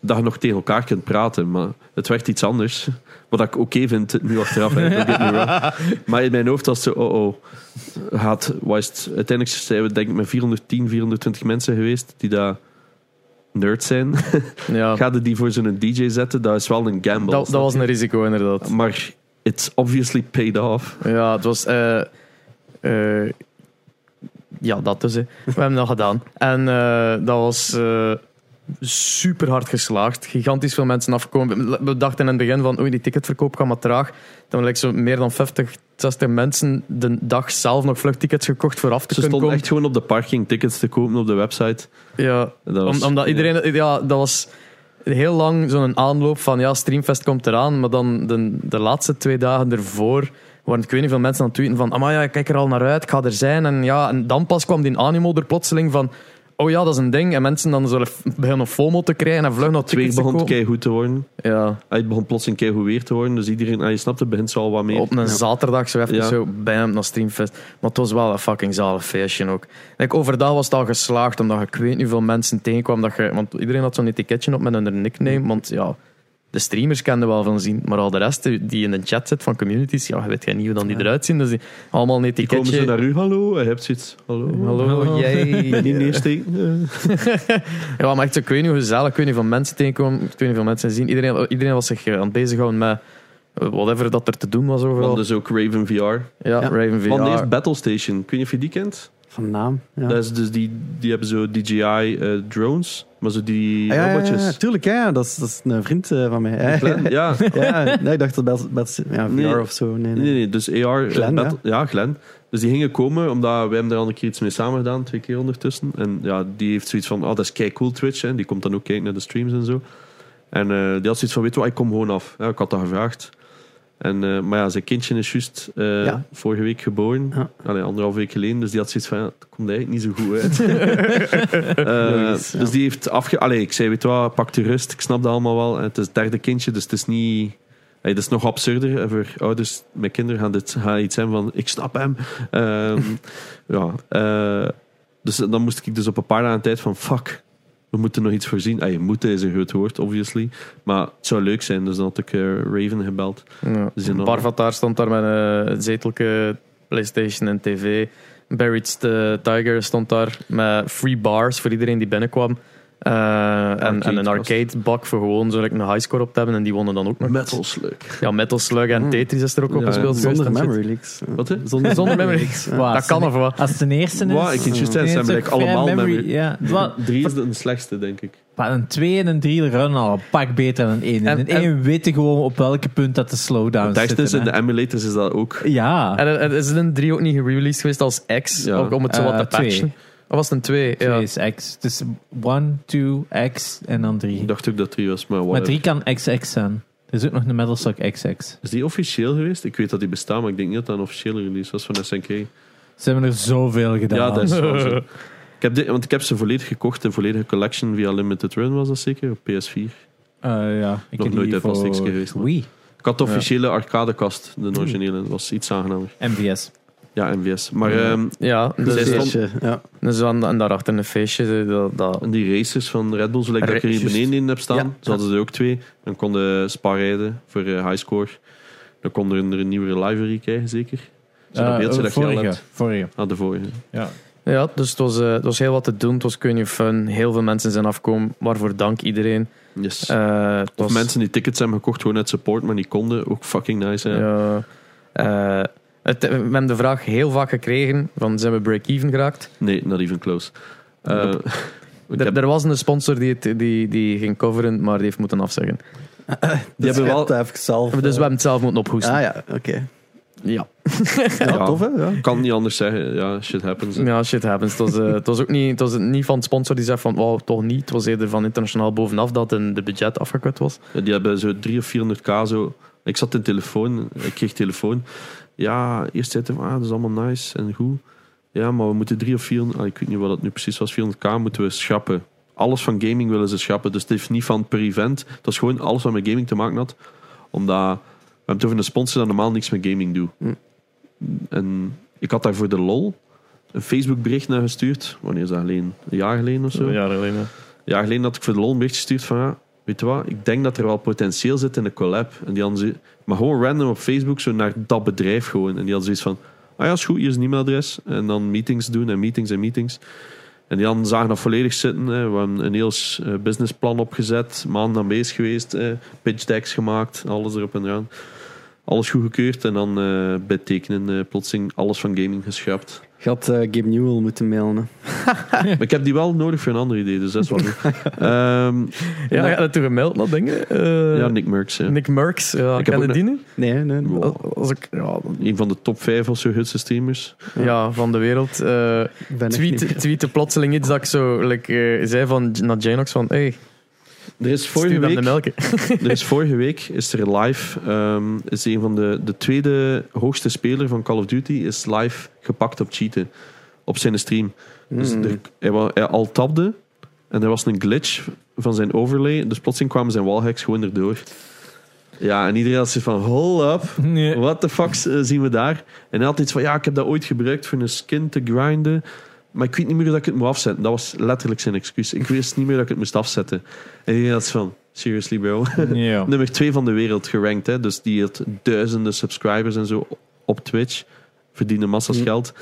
Speaker 3: dat je nog tegen elkaar kunt praten. Maar het werd iets anders. Wat ik oké vind, nu achteraf. Hè, Don't get me wrong. Maar in mijn hoofd was het zo... Oh, oh. Had, was het, uiteindelijk zijn we denk ik met 410, 420 mensen geweest die daar nerds zijn.
Speaker 2: Ja, dat,
Speaker 3: dus- Ga je die voor zo'n DJ zetten? Dat is wel een gamble.
Speaker 2: dat was een risico inderdaad.
Speaker 3: Maar it's obviously paid off.
Speaker 2: Ja, het was. eh, eh, ja, dat dus. hè. We hebben dat gedaan. En eh, dat was eh, super hard geslaagd. Gigantisch veel mensen afgekomen. We dachten in het begin van oei, die ticketverkoop gaat maar traag. Toen hebben zo meer dan 50, 60 mensen de dag zelf nog vluchttickets gekocht voor af te
Speaker 3: Ze
Speaker 2: kunnen
Speaker 3: stonden
Speaker 2: komen.
Speaker 3: echt gewoon op de parking tickets te kopen op de website.
Speaker 2: Ja,
Speaker 3: Dat was-
Speaker 2: om, omdat iedereen, ja. dat was heel lang zo'n aanloop van ja, Streamfest komt eraan, maar dan de, de laatste twee dagen ervoor waren ik weet niet veel mensen aan het tweeten van, ah ja, ik kijk er al naar uit, ik ga er zijn. En ja, en dan pas kwam die animo er plotseling van, oh ja, dat is een ding. En mensen dan zullen f- beginnen FOMO te krijgen en vlug nog
Speaker 3: Het weer
Speaker 2: tickets te
Speaker 3: begon
Speaker 2: kopen.
Speaker 3: kei goed te worden.
Speaker 2: Ja,
Speaker 3: Ah, Het begon plots een kei goed weer te worden. Dus iedereen, ah, je snapt, het begint zo al wat meer.
Speaker 2: op een zaterdag zo even
Speaker 3: Ja.
Speaker 2: zo, bam, naar Streamfest. Maar het was wel een fucking zalig feestje ook. Like, overdag was het al geslaagd, omdat je ik weet niet hoeveel mensen tegenkwam. Dat je, want iedereen had zo'n etiketje op met hun
Speaker 3: Hm.
Speaker 2: nickname. Want ja, de streamers kenden wel van zien, maar al de rest die in de chat zit van communities, ja, je weet geen niet hoe dan die eruit zien. Dus die, allemaal een
Speaker 3: Die komen
Speaker 2: etiketje.
Speaker 3: zo naar u, hallo, en hebt zoiets. Hallo.
Speaker 2: Hallo, jij.
Speaker 3: Niet neersteken. Eh.
Speaker 2: Ja, maar echt, zo, ik weet niet hoe gezellig, ik weet niet van mensen tegenkomen, ik weet niet hoeveel mensen zien. Iedereen, iedereen was zich eh, aan het bezighouden met eh, whatever dat er te doen was
Speaker 3: Want
Speaker 2: overal.
Speaker 3: dus ook Raven VR.
Speaker 2: ja,
Speaker 4: Ja.
Speaker 2: Raven VR.
Speaker 3: Want eerst Battle Station. Ik weet niet of je die kent.
Speaker 4: Van naam. Ja. Ah,
Speaker 3: Dat is dus die, die hebben zo DJI eh, drones, maar zo die
Speaker 4: Ah, ja, ja, ja,
Speaker 3: robotjes.
Speaker 4: tuurlijk, ja, ja, dat, is, dat is een vriend eh, van mij.
Speaker 3: Die
Speaker 4: hè.
Speaker 3: klein- ja.
Speaker 4: ja, nee, ik dacht dat best, best ja, VR
Speaker 3: Nee.
Speaker 4: of zo. Nee, nee.
Speaker 3: Nee, nee, dus AR... eh,
Speaker 4: Glen,
Speaker 3: battle- ja. Glen. Dus die gingen komen, omdat wij hem daar al een keer iets mee samen gedaan, twee keer ondertussen. En ja, die heeft zoiets van, oh, dat is kei cool Twitch, hè. Die komt dan ook kijken naar de streams en zo. En eh, die had zoiets van, weet je wat, ik kom gewoon af. Ja, ik had dat gevraagd. En, eh, maar ja, zijn kindje is juist eh,
Speaker 4: Ja.
Speaker 3: vorige week geboren.
Speaker 4: Ja.
Speaker 3: Allee, anderhalf week geleden. Dus die had zoiets van, ja, dat komt eigenlijk niet zo goed uit. Eh,
Speaker 4: Logisch, ja.
Speaker 3: Dus die heeft afge... Allee, ik zei, weet je wat, pak de rust. Ik snap dat allemaal wel. En het is het derde kindje, dus het is niet... Hey, dat is nog absurder eh, voor ouders met kinderen. Gaan dit gaan iets zijn van, ik snap hem. Ehm, ja, eh, dus dan moest ik dus op een paar dagen tijd van, fuck, we moeten nog iets voorzien. Ah, je moet is een groot woord, obviously. Maar het zou leuk zijn, dus dan had ik eh, Raven gebeld.
Speaker 2: Ja.
Speaker 3: Dus in
Speaker 2: Parvataar stond daar met eh, een zetelke, PlayStation en TV. Buried eh, Tiger stond daar met free bars voor iedereen die binnenkwam. Eh, en, en een
Speaker 3: Arcade
Speaker 2: arcade bak voor gewoon zo like, een highscore op te hebben. En die wonnen dan ook nog.
Speaker 3: Metal Slug.
Speaker 2: Ja, Metal Slug en Tetris is er ook
Speaker 3: Ja,
Speaker 2: op
Speaker 3: ja.
Speaker 2: gespeeld.
Speaker 4: Zonder
Speaker 2: geweest.
Speaker 4: memory leaks.
Speaker 3: Wat, hè?
Speaker 4: Zonder,
Speaker 2: Zonder memory leaks.
Speaker 4: Ja.
Speaker 1: Waar,
Speaker 2: Dat kan of wat?
Speaker 1: Als het een eerste is...
Speaker 3: Wow, ik vind juist, het zijn
Speaker 1: is ook
Speaker 3: eigenlijk allemaal
Speaker 1: vrij
Speaker 3: memory.
Speaker 1: Ja. Wat-
Speaker 3: Drie is de slechtste, denk ik.
Speaker 1: Maar een 2 en een 3 runnen al een pak beter dan een 1. En
Speaker 2: En-
Speaker 1: een
Speaker 2: en-
Speaker 1: 1 weet gewoon op welke punt dat de slowdowns
Speaker 3: Technisch
Speaker 1: zitten.
Speaker 3: in de
Speaker 1: hè.
Speaker 3: emulators is dat ook.
Speaker 1: Ja,
Speaker 2: En, en is het een 3 ook niet gereleased geweest als X?
Speaker 3: Ja.
Speaker 2: Ook om het zo wat
Speaker 1: Eh,
Speaker 2: te patchen?
Speaker 1: twee.
Speaker 2: Of was het een 2?
Speaker 1: 2
Speaker 2: Ja.
Speaker 1: is X. Het is 1, 2, X en dan 3.
Speaker 3: Ik dacht ook dat drie was, maar
Speaker 1: Maar
Speaker 3: whatever.
Speaker 1: 3 kan XX zijn. Er is ook nog een Metal Slug XX.
Speaker 3: Is die officieel geweest? Ik weet dat die bestaat, maar ik denk niet dat dat een officiële release was van SNK.
Speaker 1: Ze hebben er zoveel gedaan.
Speaker 3: Ja, dat is wel zo. Ik heb dit, want ik heb ze volledig gekocht, een volledige collection via Limited Run was dat zeker, op PS4.
Speaker 1: Eh, ja, ik
Speaker 3: Nog
Speaker 1: heb
Speaker 3: nooit
Speaker 1: die
Speaker 3: uit
Speaker 1: voor
Speaker 3: plastiekje geweest, man.
Speaker 1: Wii.
Speaker 3: Ik had de officiële arcadekast, de originele, dat was iets aangenamer.
Speaker 1: MVS.
Speaker 3: Ja, MVS. Maar ehm,
Speaker 2: Ja,
Speaker 3: Zij
Speaker 2: dus,
Speaker 3: stond-
Speaker 4: Ja.
Speaker 2: dus dan, en daarachter een feestje. Dat, dat,
Speaker 3: die racers van Red Bull, zoals ik
Speaker 2: Ra-
Speaker 3: dat ik er hier
Speaker 2: juist.
Speaker 3: beneden in heb staan,
Speaker 2: Ja.
Speaker 3: ze hadden er ook twee. Dan konden spa rijden voor eh, highscore. Dan kon er een, er een nieuwe livery krijgen, zeker. Zo'n
Speaker 1: Eh,
Speaker 3: beeldje dat je al
Speaker 1: vorige,
Speaker 3: hebt.
Speaker 1: vorige.
Speaker 3: Ah, de vorige.
Speaker 1: Ja.
Speaker 2: Ja, dus het was, eh, het was heel wat te doen. Het was kun je fun. eh, Heel veel mensen zijn afgekomen. Waarvoor dank iedereen.
Speaker 3: Yes.
Speaker 2: Eh, het
Speaker 3: Of
Speaker 2: was-
Speaker 3: mensen die tickets hebben gekocht gewoon uit support, maar die konden ook fucking nice. Hè.
Speaker 2: Ja. Eh, het- we hebben de vraag heel vaak gekregen: van, zijn we break-even geraakt?
Speaker 3: Nee, not even close. Eh, ik
Speaker 2: Er,
Speaker 3: heb-
Speaker 2: er was een sponsor die, het, die, die ging coveren, maar die heeft moeten afzeggen.
Speaker 3: die hebben wel.
Speaker 4: even zelf.
Speaker 3: eh,
Speaker 2: Dus
Speaker 4: eh,
Speaker 2: we hebben het zelf moeten ophoesten.
Speaker 4: Ah ja, oké.
Speaker 2: ja.
Speaker 4: Ja,
Speaker 3: Ja.
Speaker 4: tof hè? Ja.
Speaker 3: kan niet anders zeggen. Ja, shit happens.
Speaker 2: Ja, shit happens. Het was, eh, het was ook niet, het was niet van de sponsor die zegt van wow, toch niet. Het was eerder van internationaal bovenaf dat een, de budget afgekut was.
Speaker 3: Ja, Die hebben zo 3 of 400k zo. Ik zat in telefoon, ik kreeg telefoon. Ja, eerst zei hij van, ah, dat is allemaal nice en goed. Ja, maar we moeten 3 of 400, ah, ik weet niet wat het nu precies was, 400k moeten we schrappen. Alles van gaming willen ze schrappen. Dus het heeft niet van per event. Het was gewoon alles wat met gaming te maken had. Omdat, we hebben het over een sponsor dat normaal niks met gaming doet.
Speaker 4: Hm.
Speaker 3: En ik had daar voor de lol een Facebook bericht naar gestuurd. Wanneer is dat alleen? Een jaar geleden of zo?
Speaker 2: geleden.
Speaker 3: Een jaar geleden had ik voor de lol een berichtje gestuurd van... Ja, weet je wat, ik denk dat er wel potentieel zit in de collab. En die hadden ze- maar gewoon random op Facebook, zo naar dat bedrijf gewoon. En die hadden zoiets van... Ah ja, is goed, hier is een e-mailadres. En dan meetings doen en meetings en meetings. En die hadden zagen dat volledig zitten. Hè. We hebben een heel s- eh, businessplan opgezet. Maanden aan bezig geweest. eh, pitch decks gemaakt. Alles erop en eraan. Alles goedgekeurd. En dan eh, bij het tekenen eh, plotseling alles van gaming geschrapt.
Speaker 4: Ik had eh, Gabe Newell moeten mailen. hè.
Speaker 3: maar ik heb die wel nodig voor een ander idee. Dus dat is wel goed. Ehm,
Speaker 2: Ja, hij had toen gemeld naar dingen. Eh,
Speaker 3: ja, Nick Merckx. hè.
Speaker 2: Nick Merckx. Ja,
Speaker 3: Ik
Speaker 2: ken
Speaker 3: heb
Speaker 2: je
Speaker 3: ook
Speaker 2: die nu?
Speaker 4: Nee, nee. nee.
Speaker 3: Wow.
Speaker 2: Als ik, ja,
Speaker 3: Een van de top 5 of zo Hutse streamers.
Speaker 2: ja, van de wereld. eh
Speaker 4: Ik Ben echt niet
Speaker 2: tweet,
Speaker 4: meer.
Speaker 2: tweette plotseling iets dat ik zo like, eh, zei van, naar Janox van hey,
Speaker 3: Er is
Speaker 2: stuur
Speaker 3: vorige
Speaker 2: hem de
Speaker 3: week,
Speaker 2: melken.
Speaker 3: er is vorige week is er live, ehm, is een van de, de tweede hoogste speler van Call of Duty, is live gepakt op cheaten. op zijn stream.
Speaker 4: Mm.
Speaker 3: Dus er- hij, wa- hij al tabde en er was een glitch van zijn overlay. Dus plotseling kwamen zijn wallhacks gewoon erdoor. Ja, en iedereen had zoiets van, hold up.
Speaker 1: Nee.
Speaker 3: What the fuck eh, zien we daar? En hij had iets van, ja, ik heb dat ooit gebruikt voor een skin te grinden. Maar ik weet niet meer dat ik het moet afzetten. Dat was letterlijk zijn excuus. Ik wist niet meer dat ik het moest afzetten. En iedereen had van, seriously bro.
Speaker 1: Ja.
Speaker 3: Nummer 2 van de wereld gerankt. Hè? Dus die had duizenden subscribers en zo op Twitch. Verdienen massa's
Speaker 4: Mm.
Speaker 3: geld.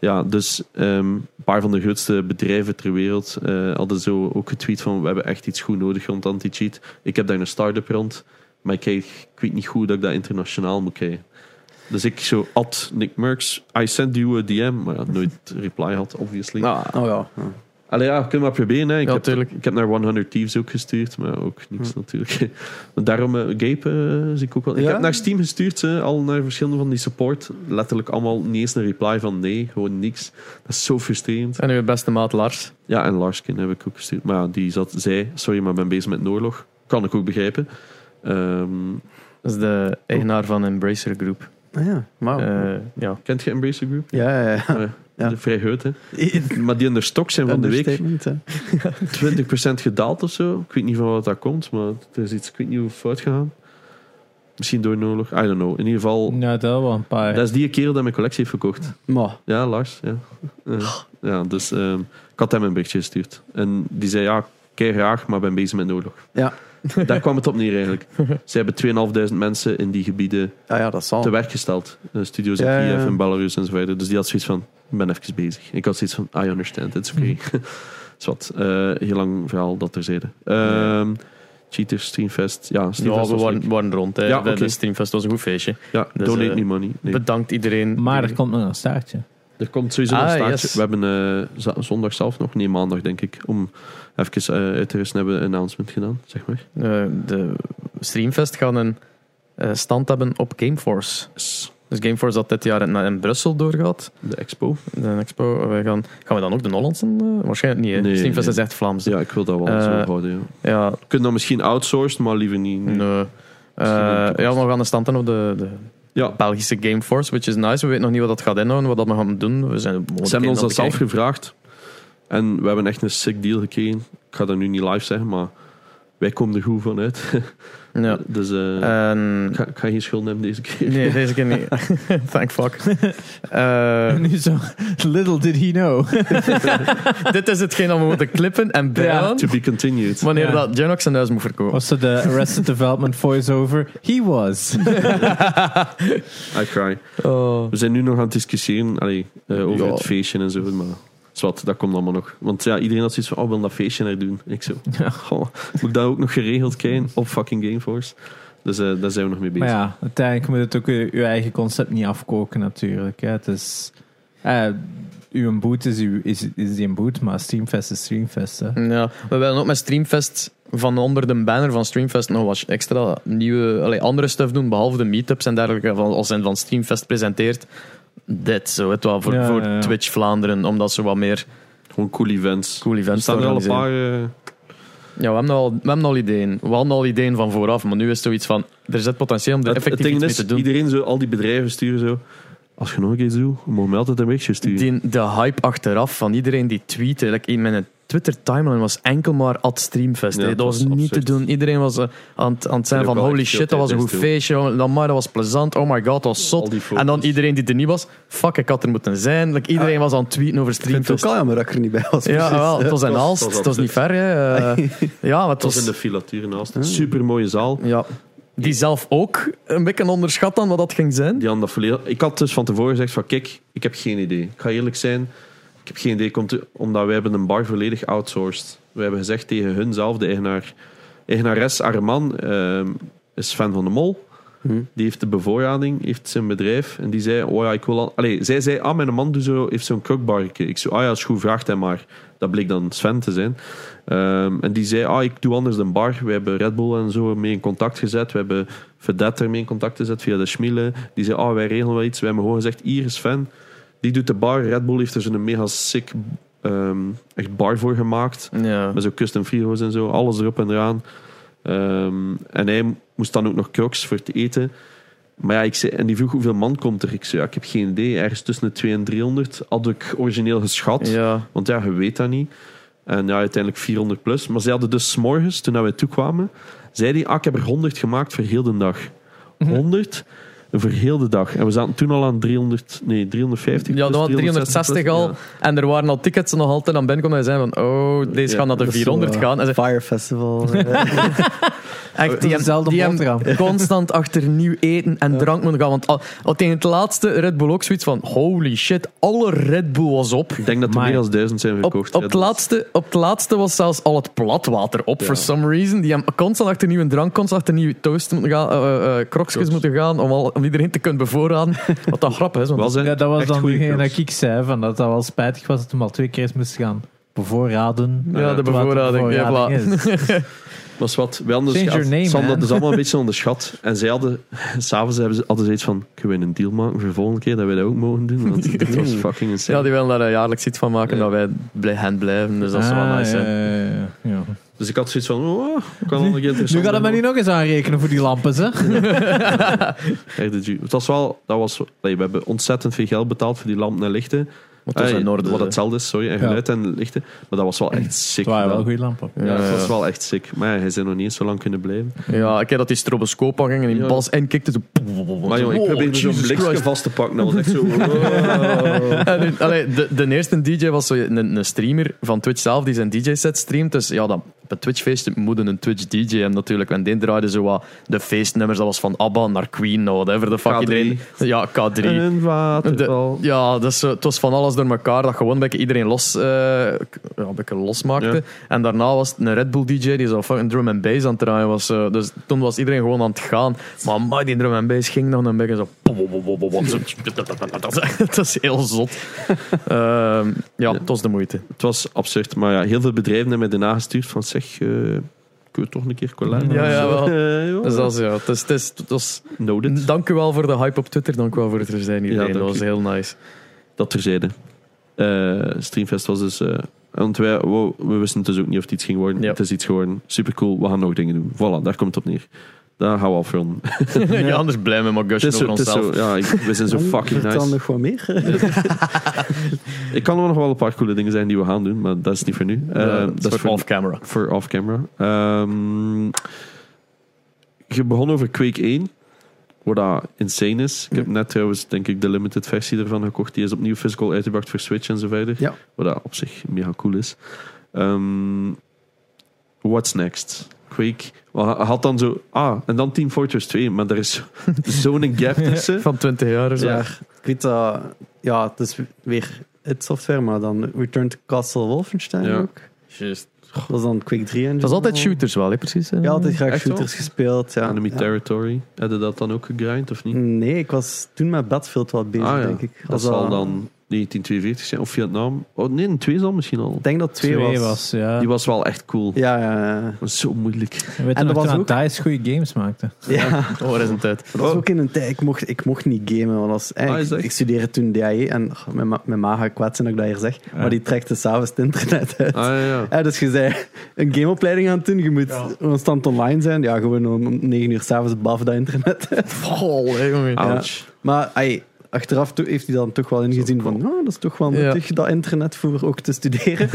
Speaker 3: Ja, dus ehm, een paar van de grootste bedrijven ter wereld eh, hadden zo ook getweet van... We hebben echt iets goed nodig rond anti-cheat. Ik heb daar een start-up rond. Maar ik, krijg- ik weet niet goed dat ik dat internationaal moet krijgen. Dus ik zo, at Nick Merks, I send you a DM. Maar ja, nooit reply had, obviously.
Speaker 4: Oh ja.
Speaker 3: Allee ja, kunnen we maar proberen. Hè. Ik,
Speaker 2: Ja,
Speaker 3: heb,
Speaker 2: tuurlijk. Hm.
Speaker 3: ik heb naar 100 Thieves ook gestuurd, maar ook niks natuurlijk. Maar daarom, eh, Gape eh, zie ik ook wel. Ik
Speaker 4: Ja?
Speaker 3: heb naar Steam gestuurd, hè, al naar verschillende van die support. Letterlijk allemaal niet eens een reply van nee, gewoon niks. Dat is zo frustrerend.
Speaker 2: En uw beste maat Lars.
Speaker 3: Ja, en Larskin heb ik ook gestuurd. Maar ja, die zat, zei, sorry, maar ik ben bezig met een oorlog. Kan ik ook begrijpen. Ehm,
Speaker 2: Dat is de eigenaar van Embracer Group.
Speaker 4: Ah, ja. Wauw.
Speaker 2: Eh, ja.
Speaker 3: kent je Embracer Group?
Speaker 4: ja, ja, ja. Ja.
Speaker 3: De Vrij heut, hè. Maar die in de stok zijn van de week.
Speaker 4: Understatement, hè.
Speaker 3: 20% gedaald of zo. Ik weet niet van wat dat komt, maar er is iets, ik weet niet hoe fout gegaan. Misschien door een oorlog, I don't know. In ieder geval,
Speaker 1: Nou, dat wel een paar.
Speaker 3: dat is die kerel dat mijn collectie heeft verkocht.
Speaker 4: Maar,
Speaker 3: Ja, Lars. Ja, Eh, ja dus ehm, ik had hem een berichtje gestuurd. En die zei, ja, kei graag, maar ben bezig met een oorlog.
Speaker 4: Ja.
Speaker 3: Daar kwam het op neer eigenlijk. Ze hebben 2500 mensen in die gebieden
Speaker 4: ah, ja, dat zal.
Speaker 3: te werk gesteld. Eh, studio's in
Speaker 4: Ja, ja,
Speaker 3: Kiev
Speaker 4: ja.
Speaker 3: en Belarus en zo verder. Dus die had zoiets van, ik ben even bezig. Ik had zoiets van, I understand, it's okay. is wat, eh, heel lang verhaal dat terzijde. Ehm Cheaters, Streamfest. Ja,
Speaker 2: Ja,
Speaker 3: Streamfest
Speaker 2: we
Speaker 3: was
Speaker 2: waren,
Speaker 3: leuk.
Speaker 2: waren rond. Hè.
Speaker 3: Ja,
Speaker 2: De-
Speaker 3: oké.
Speaker 2: De Streamfest was een goed feestje.
Speaker 3: ja,
Speaker 2: dus,
Speaker 3: donate
Speaker 2: eh,
Speaker 3: me money. Nee.
Speaker 2: Bedankt iedereen.
Speaker 1: Maar er
Speaker 2: Die-
Speaker 1: komt nog een staartje.
Speaker 3: Er komt sowieso nog
Speaker 2: Ah,
Speaker 3: een staartje.
Speaker 2: yes.
Speaker 3: We hebben eh, za- zondag zelf nog, nee maandag denk ik, om even eh, uit te rusten hebben we een announcement gedaan, zeg maar.
Speaker 2: eh, de Streamfest gaan een eh, stand hebben op Gameforce.
Speaker 3: Yes.
Speaker 2: Dus Gameforce dat dit jaar in, in Brussel doorgaat.
Speaker 3: De expo.
Speaker 2: De expo. We gaan, gaan we dan ook de Hollandse? eh, waarschijnlijk niet. hè?
Speaker 3: Nee,
Speaker 2: Streamfest
Speaker 3: nee.
Speaker 2: is echt Vlaams. hè.
Speaker 3: Ja, ik wil dat wel
Speaker 2: Eh,
Speaker 3: zo houden. Ja.
Speaker 2: ja
Speaker 3: We kunnen dat misschien outsourcen, maar liever niet. nu.
Speaker 2: Nee. Eh, ja, maar we gaan de stand hebben op de, de
Speaker 3: Ja,
Speaker 2: Belgische Gameforce, which is nice. We weten nog niet wat dat gaat inhouden, wat dat we gaan doen. We zijn de
Speaker 3: Ze hebben
Speaker 2: mogelijkheden
Speaker 3: ons
Speaker 2: aan het
Speaker 3: dat zelf
Speaker 2: bekijken.
Speaker 3: gevraagd. En we hebben echt een sick deal gekregen. Ik ga dat nu niet live zeggen, maar wij komen er goed van uit.
Speaker 2: Ja.
Speaker 3: Dus eh,
Speaker 2: En-
Speaker 3: ik, ga, ik ga geen schuld nemen deze keer.
Speaker 2: nee, deze keer niet. Thank fuck. Eh,
Speaker 1: En nu zo, little did he know.
Speaker 2: dit is hetgeen dat we moeten klippen en
Speaker 1: Ja,
Speaker 2: bijhouden
Speaker 3: To be continued.
Speaker 2: wanneer
Speaker 1: Ja.
Speaker 2: dat Genox zijn huis moet verkopen.
Speaker 1: Was ze de Arrested Development voice-over? He was.
Speaker 3: I cry.
Speaker 2: Oh.
Speaker 3: We zijn nu nog aan het discussiëren allee, eh, over
Speaker 2: Ja.
Speaker 3: het feestje en zo. Maar zwart, dat komt allemaal nog. Want ja, iedereen had zoiets van, oh, wil dat feestje naar doen? Ik zo, goh, moet ik dat ook nog geregeld krijgen op fucking Gameforce? Dus eh, daar zijn we nog mee bezig.
Speaker 1: Maar ja, uiteindelijk moet het ook je, je eigen concept niet afkoken natuurlijk. Hè. Het is... eh, uw boot is, uw, is, is die een boot, maar Streamfest is Streamfest. Hè.
Speaker 2: Ja, we willen ook met Streamfest van onder de banner van Streamfest nog wat extra nieuwe, allee, andere stuff doen, behalve de meetups en dergelijke, van, als zijn van Streamfest presenteert. Dit zo, het wel voor,
Speaker 1: Ja,
Speaker 2: voor
Speaker 1: ja, ja.
Speaker 2: Twitch Vlaanderen, omdat ze wat meer
Speaker 3: Gewoon cool events.
Speaker 2: cool
Speaker 3: Er
Speaker 2: events
Speaker 3: staan er al een
Speaker 2: organiseren.
Speaker 3: paar... eh,
Speaker 2: Ja, we hebben, al, we hebben al ideeën. We hadden al ideeën van vooraf, maar nu is het zoiets van, er zit potentieel om er
Speaker 3: Het, het
Speaker 2: effectief
Speaker 3: ding
Speaker 2: iets mee
Speaker 3: is,
Speaker 2: te doen.
Speaker 3: iedereen zo, al die bedrijven sturen zo. Als je nog iets doet, mogen we altijd een berichtje sturen.
Speaker 2: Die, de hype achteraf van iedereen die tweette. Like in mijn Twitter timeline was enkel maar at streamfest.
Speaker 3: Ja,
Speaker 2: hè.
Speaker 3: het
Speaker 2: dat was,
Speaker 3: was
Speaker 2: niet
Speaker 3: absurd.
Speaker 2: te doen. Iedereen was eh, aan, het- aan het zijn
Speaker 3: Ik heb
Speaker 2: van
Speaker 3: ook wel
Speaker 2: holy
Speaker 3: echt
Speaker 2: shit,
Speaker 3: veel
Speaker 2: dat was een goed
Speaker 3: tijd
Speaker 2: feestje. jongen. Dan maar, dat was plezant. Oh my god, dat was
Speaker 3: Al
Speaker 2: zot.
Speaker 3: die foto's.
Speaker 2: En dan iedereen die er niet was, fuck, ik had er moeten zijn. Like, iedereen was aan het tweeten over
Speaker 4: Ik vind het
Speaker 2: streamfest.
Speaker 4: ook al jammer dat ik er niet bij was.
Speaker 2: Ja,
Speaker 4: precies.
Speaker 2: wel, het was in
Speaker 3: was-
Speaker 2: Aalst.
Speaker 3: het was
Speaker 2: Het was niet ver. Hè. Eh, ja, maar het was,
Speaker 3: Dat was in de filatuur naast.
Speaker 2: Ah.
Speaker 3: Super mooie zaal.
Speaker 2: ja, die zelf ook een beetje onderschat dan wat dat ging zijn.
Speaker 3: Die hadden dat volledig- Ik had dus van tevoren gezegd van kijk, ik heb geen idee. Ik ga eerlijk zijn, ik heb geen idee. Komt omdat wij hebben een bar volledig outsourced. We hebben gezegd tegen hun zelf, de eigenaar, eigenares Arman ehm, is fan van de mol.
Speaker 4: Hm.
Speaker 3: Die heeft de bevoorrading, heeft zijn bedrijf. En die zei, oh ja, ik wil... al- Allee, zij zei, ah, mijn man doet zo, heeft zo'n kookbarke. Ik zo, ah ja, is goed, vraagt hem maar. Dat bleek dan Sven te zijn. Ehm, en die zei, ah, ik doe anders dan bar. We hebben Red Bull en zo mee in contact gezet. We hebben Vedette ermee in contact gezet via de Schmiele. Die zei, ah, wij regelen wel iets. We hebben gewoon gezegd, hier is Sven. Die doet de bar. Red Bull heeft er zo'n mega sick ehm, echt bar voor gemaakt.
Speaker 2: Ja.
Speaker 3: Met zo'n custom frigo's en zo, alles erop en eraan. Ehm, en hij moest dan ook nog crocs voor het eten. Maar ja, ik zei, en die vroeg hoeveel man komt er? Ik zei, ja, ik heb geen idee. Ergens tussen de 200 en 300 had ik origineel geschat.
Speaker 2: Ja.
Speaker 3: Want ja, je weet dat niet. En ja, uiteindelijk 400 plus. Maar ze hadden dus 's morgens, toen wij toekwamen, zei die, ah, ik heb er 100 gemaakt voor heel de dag.
Speaker 2: Mhm.
Speaker 3: 100 voor heel de dag. En we zaten toen al aan 300, nee, 350.
Speaker 2: Ja, dat
Speaker 3: plus,
Speaker 2: was 360 al.
Speaker 3: plus.
Speaker 2: En er waren al tickets die nog altijd aan binnenkomen. En zeiden van, oh, deze
Speaker 3: Ja,
Speaker 2: gaan naar de
Speaker 4: Dat is
Speaker 2: 400
Speaker 4: zo, eh,
Speaker 2: gaan. En ze,
Speaker 4: Fire Festival. eh,
Speaker 2: echt,
Speaker 1: Tot
Speaker 2: die
Speaker 1: dezelfde
Speaker 2: hebben, die hebben
Speaker 1: boterham.
Speaker 2: constant achter nieuw eten en drank moeten gaan. Want al, al tegen het laatste Red Bull ook zoiets van, holy shit, alle Red Bull was op.
Speaker 3: Ik denk dat er
Speaker 1: Amai.
Speaker 3: meer dan 1000 zijn
Speaker 2: Op,
Speaker 3: verkocht.
Speaker 2: op,
Speaker 3: Ja,
Speaker 2: het
Speaker 3: dat is-
Speaker 2: laatste, op het laatste was zelfs al het platwater op, for some reason. Die hebben constant achter nieuwe drank, constant achter nieuwe toast moeten gaan, eh, eh, eh, krokjes
Speaker 3: Crocs.
Speaker 2: moeten gaan, om, al, om iedereen te kunnen bevoorraden. Wat dan grappig is, want
Speaker 3: Wel zijn
Speaker 1: Ja, dat was
Speaker 3: echt
Speaker 1: dan
Speaker 3: goeie
Speaker 1: degene
Speaker 3: crocs.
Speaker 1: dat ik zei, van dat dat wel spijtig was dat we al twee keer eens moest gaan bevoorraden. Eh,
Speaker 2: ja, de
Speaker 1: Wat
Speaker 2: bevoorrading. Ja, voilà.
Speaker 1: bevoorrading is.
Speaker 3: Maar is wat, wij hadden dus
Speaker 1: Change
Speaker 3: gehad-
Speaker 1: your name,
Speaker 3: Sam
Speaker 1: man.
Speaker 3: had dus allemaal een beetje onderschat. En zij hadden, s'avonds hadden ze hadden ze iets van, kunnen we een deal maken voor de volgende keer dat wij dat ook mogen doen? Want dit was fucking insane.
Speaker 2: Ja, die willen daar eh, jaarlijks iets van maken,
Speaker 3: Ja.
Speaker 2: dat wij blij hen blijven. Dus dat is wel
Speaker 1: Ah,
Speaker 2: nice.
Speaker 1: ja,
Speaker 2: hè.
Speaker 1: ja, ja, ja.
Speaker 3: Dus ik had zoiets van, oh, ik kan nog een keer
Speaker 1: Nu gaat het mij
Speaker 3: maar
Speaker 1: niet nog eens aanrekenen voor die lampen, zeg.
Speaker 3: Het was wel, dat was, nee, we hebben ontzettend veel geld betaald voor die lampen en lichten.
Speaker 2: Want dat is
Speaker 3: Eh,
Speaker 2: in orde.
Speaker 3: Wat hetzelfde is, sorry, en
Speaker 1: Ja.
Speaker 3: geluid en lichten. Maar dat was wel echt sick.
Speaker 1: Het waren wel
Speaker 3: gedaan.
Speaker 1: goede lampen.
Speaker 3: Ja,
Speaker 2: Ja,
Speaker 3: dat
Speaker 2: ja.
Speaker 3: was wel echt sick. Maar ja, hij zijn nog niet eens zo lang kunnen blijven.
Speaker 2: Ja, ik heb dat die stroboscoop aan ging en die
Speaker 3: Ja.
Speaker 2: Bas en kikte zo... Oh,
Speaker 3: Maar joh, ik
Speaker 1: Oh,
Speaker 3: probeerde zo'n
Speaker 2: Jesus
Speaker 3: blikje
Speaker 2: Christ.
Speaker 3: vast te pakken. Dat was echt zo... wow.
Speaker 2: En nu- allee, de, de eerste DJ was zo een, een streamer van Twitch zelf die zijn DJ-set streamt. Dus ja, dan, op een Twitch-feest moet een Twitch-DJ hem natuurlijk. En die draaide zo wat de feestnummers. Dat was van ABBA naar Queen, nou, whatever the fuck.
Speaker 3: K3.
Speaker 2: Iedereen, ja, K3.
Speaker 3: Een
Speaker 2: De-
Speaker 3: waterval.
Speaker 2: ja, dus, eh, het was van alles door elkaar. Dat gewoon een beetje iedereen los, eh, k- ja, een beetje losmaakte.
Speaker 3: Ja.
Speaker 2: En daarna was het een Red Bull DJ die zo fucking drum and bass aan het draaien was. eh, dus toen was iedereen gewoon aan het gaan. Maar amai, die drum and bass ging dan een beetje zo. Het was heel zot. Ehm, ja, het was de moeite.
Speaker 3: Het was absurd, maar ja, heel veel bedrijven hebben mij daarna gestuurd van zeg, eh kun je toch een keer collab?
Speaker 2: Ja, ja, wel.
Speaker 3: Eh, ja.
Speaker 2: Dus dat is, ja, het is, het is, het was,
Speaker 3: Noted.
Speaker 2: dank u wel voor de hype op Twitter. Dank u wel voor het er zijn
Speaker 3: Ja,
Speaker 2: iedereen.
Speaker 3: dank
Speaker 2: dat was
Speaker 3: u.
Speaker 2: heel nice.
Speaker 3: Dat terzijde. Eh, Streamfest was dus... eh, want wij, wow, we wisten dus ook niet of het iets ging worden.
Speaker 2: Ja.
Speaker 3: Het is iets geworden. Supercool, we gaan nog dingen doen. Voilà, daar komt het op neer. Daar gaan we afronden.
Speaker 2: ja, anders blij met maar
Speaker 3: Het is
Speaker 2: gushing
Speaker 3: zo,
Speaker 2: over
Speaker 3: het is zo,
Speaker 2: onszelf.
Speaker 3: ja, ik- we zijn zo
Speaker 4: dan
Speaker 3: fucking
Speaker 4: vertel
Speaker 3: nice.
Speaker 4: nog wat meer.
Speaker 3: Ik kan er nog wel een paar coole dingen zijn die we gaan doen, maar dat is niet voor nu. Eh,
Speaker 2: Ja,
Speaker 3: dat is voor
Speaker 2: off-camera.
Speaker 3: voor off-camera. Ehm, je begon over Quake 1, wat dat insane is. Ik heb net trouwens, denk ik, de limited versie ervan gekocht. Die is opnieuw physical uitgebracht voor Switch en zo verder.
Speaker 4: Ja.
Speaker 3: Wat dat op zich mega cool is. Ehm, what's next? Quake Wel, hij had dan zo... Ah, en dan Team Fortress 2, maar er is zo'n gap tussen.
Speaker 2: Van 20 jaar of zo.
Speaker 3: Ja.
Speaker 4: Ik weet dat... Ja, het is weer het software, maar dan Return to Castle Wolfenstein
Speaker 3: Ja.
Speaker 4: ook. Dat is dan Quake 3 en
Speaker 2: Dat is
Speaker 4: zo.
Speaker 2: altijd shooters wel, hè, precies. eh.
Speaker 4: Ja, altijd
Speaker 1: Mm.
Speaker 4: graag
Speaker 3: Echt wel?
Speaker 4: shooters gespeeld. Ja.
Speaker 3: Enemy
Speaker 4: Ja. Mm.
Speaker 3: Territory. Heb je dat dan ook gegrind, of niet?
Speaker 4: Nee, ik was toen met Battlefield wat bezig,
Speaker 3: Ah, ja.
Speaker 4: denk ik.
Speaker 3: Dat
Speaker 4: Als
Speaker 3: zal dan 1942 zijn, of Vietnam. Oh nee, een 2 zal misschien al.
Speaker 4: Ik denk dat het twee,
Speaker 1: Twee
Speaker 4: was.
Speaker 1: was, ja.
Speaker 3: Die was wel echt cool.
Speaker 4: Ja, ja, ja.
Speaker 3: Maar zo moeilijk.
Speaker 1: Weet
Speaker 4: En
Speaker 1: je
Speaker 4: er
Speaker 1: nog
Speaker 4: was
Speaker 1: toen
Speaker 4: ook-
Speaker 1: dat DICE goede games maakte?
Speaker 4: ja.
Speaker 2: Oh, er is een tijd.
Speaker 4: Dat was ook in een tijd. Ik mocht, ik mocht niet gamen. Want als, eh,
Speaker 3: Ah, is
Speaker 4: ik,
Speaker 3: dat
Speaker 4: ik
Speaker 3: echt?
Speaker 4: studeerde toen DAE en oh, mijn, ma- mijn ma gaat kwaad zijn dat ik dat hier zeg. Maar die trekt dus s'avonds het internet uit.
Speaker 3: Ah, ja, ja.
Speaker 4: Eh, dus je zei een gameopleiding aan het doen. Je moet constant online zijn. Ja, gewoon om 9 uur s'avonds baf dat internet.
Speaker 2: Oh, hè, jongen.
Speaker 3: Ouch.
Speaker 4: maar ai, achteraf toe heeft hij dan toch wel ingezien van oh, dat is toch wel
Speaker 2: Ja.
Speaker 4: nuttig, dat internet, voor ook te studeren.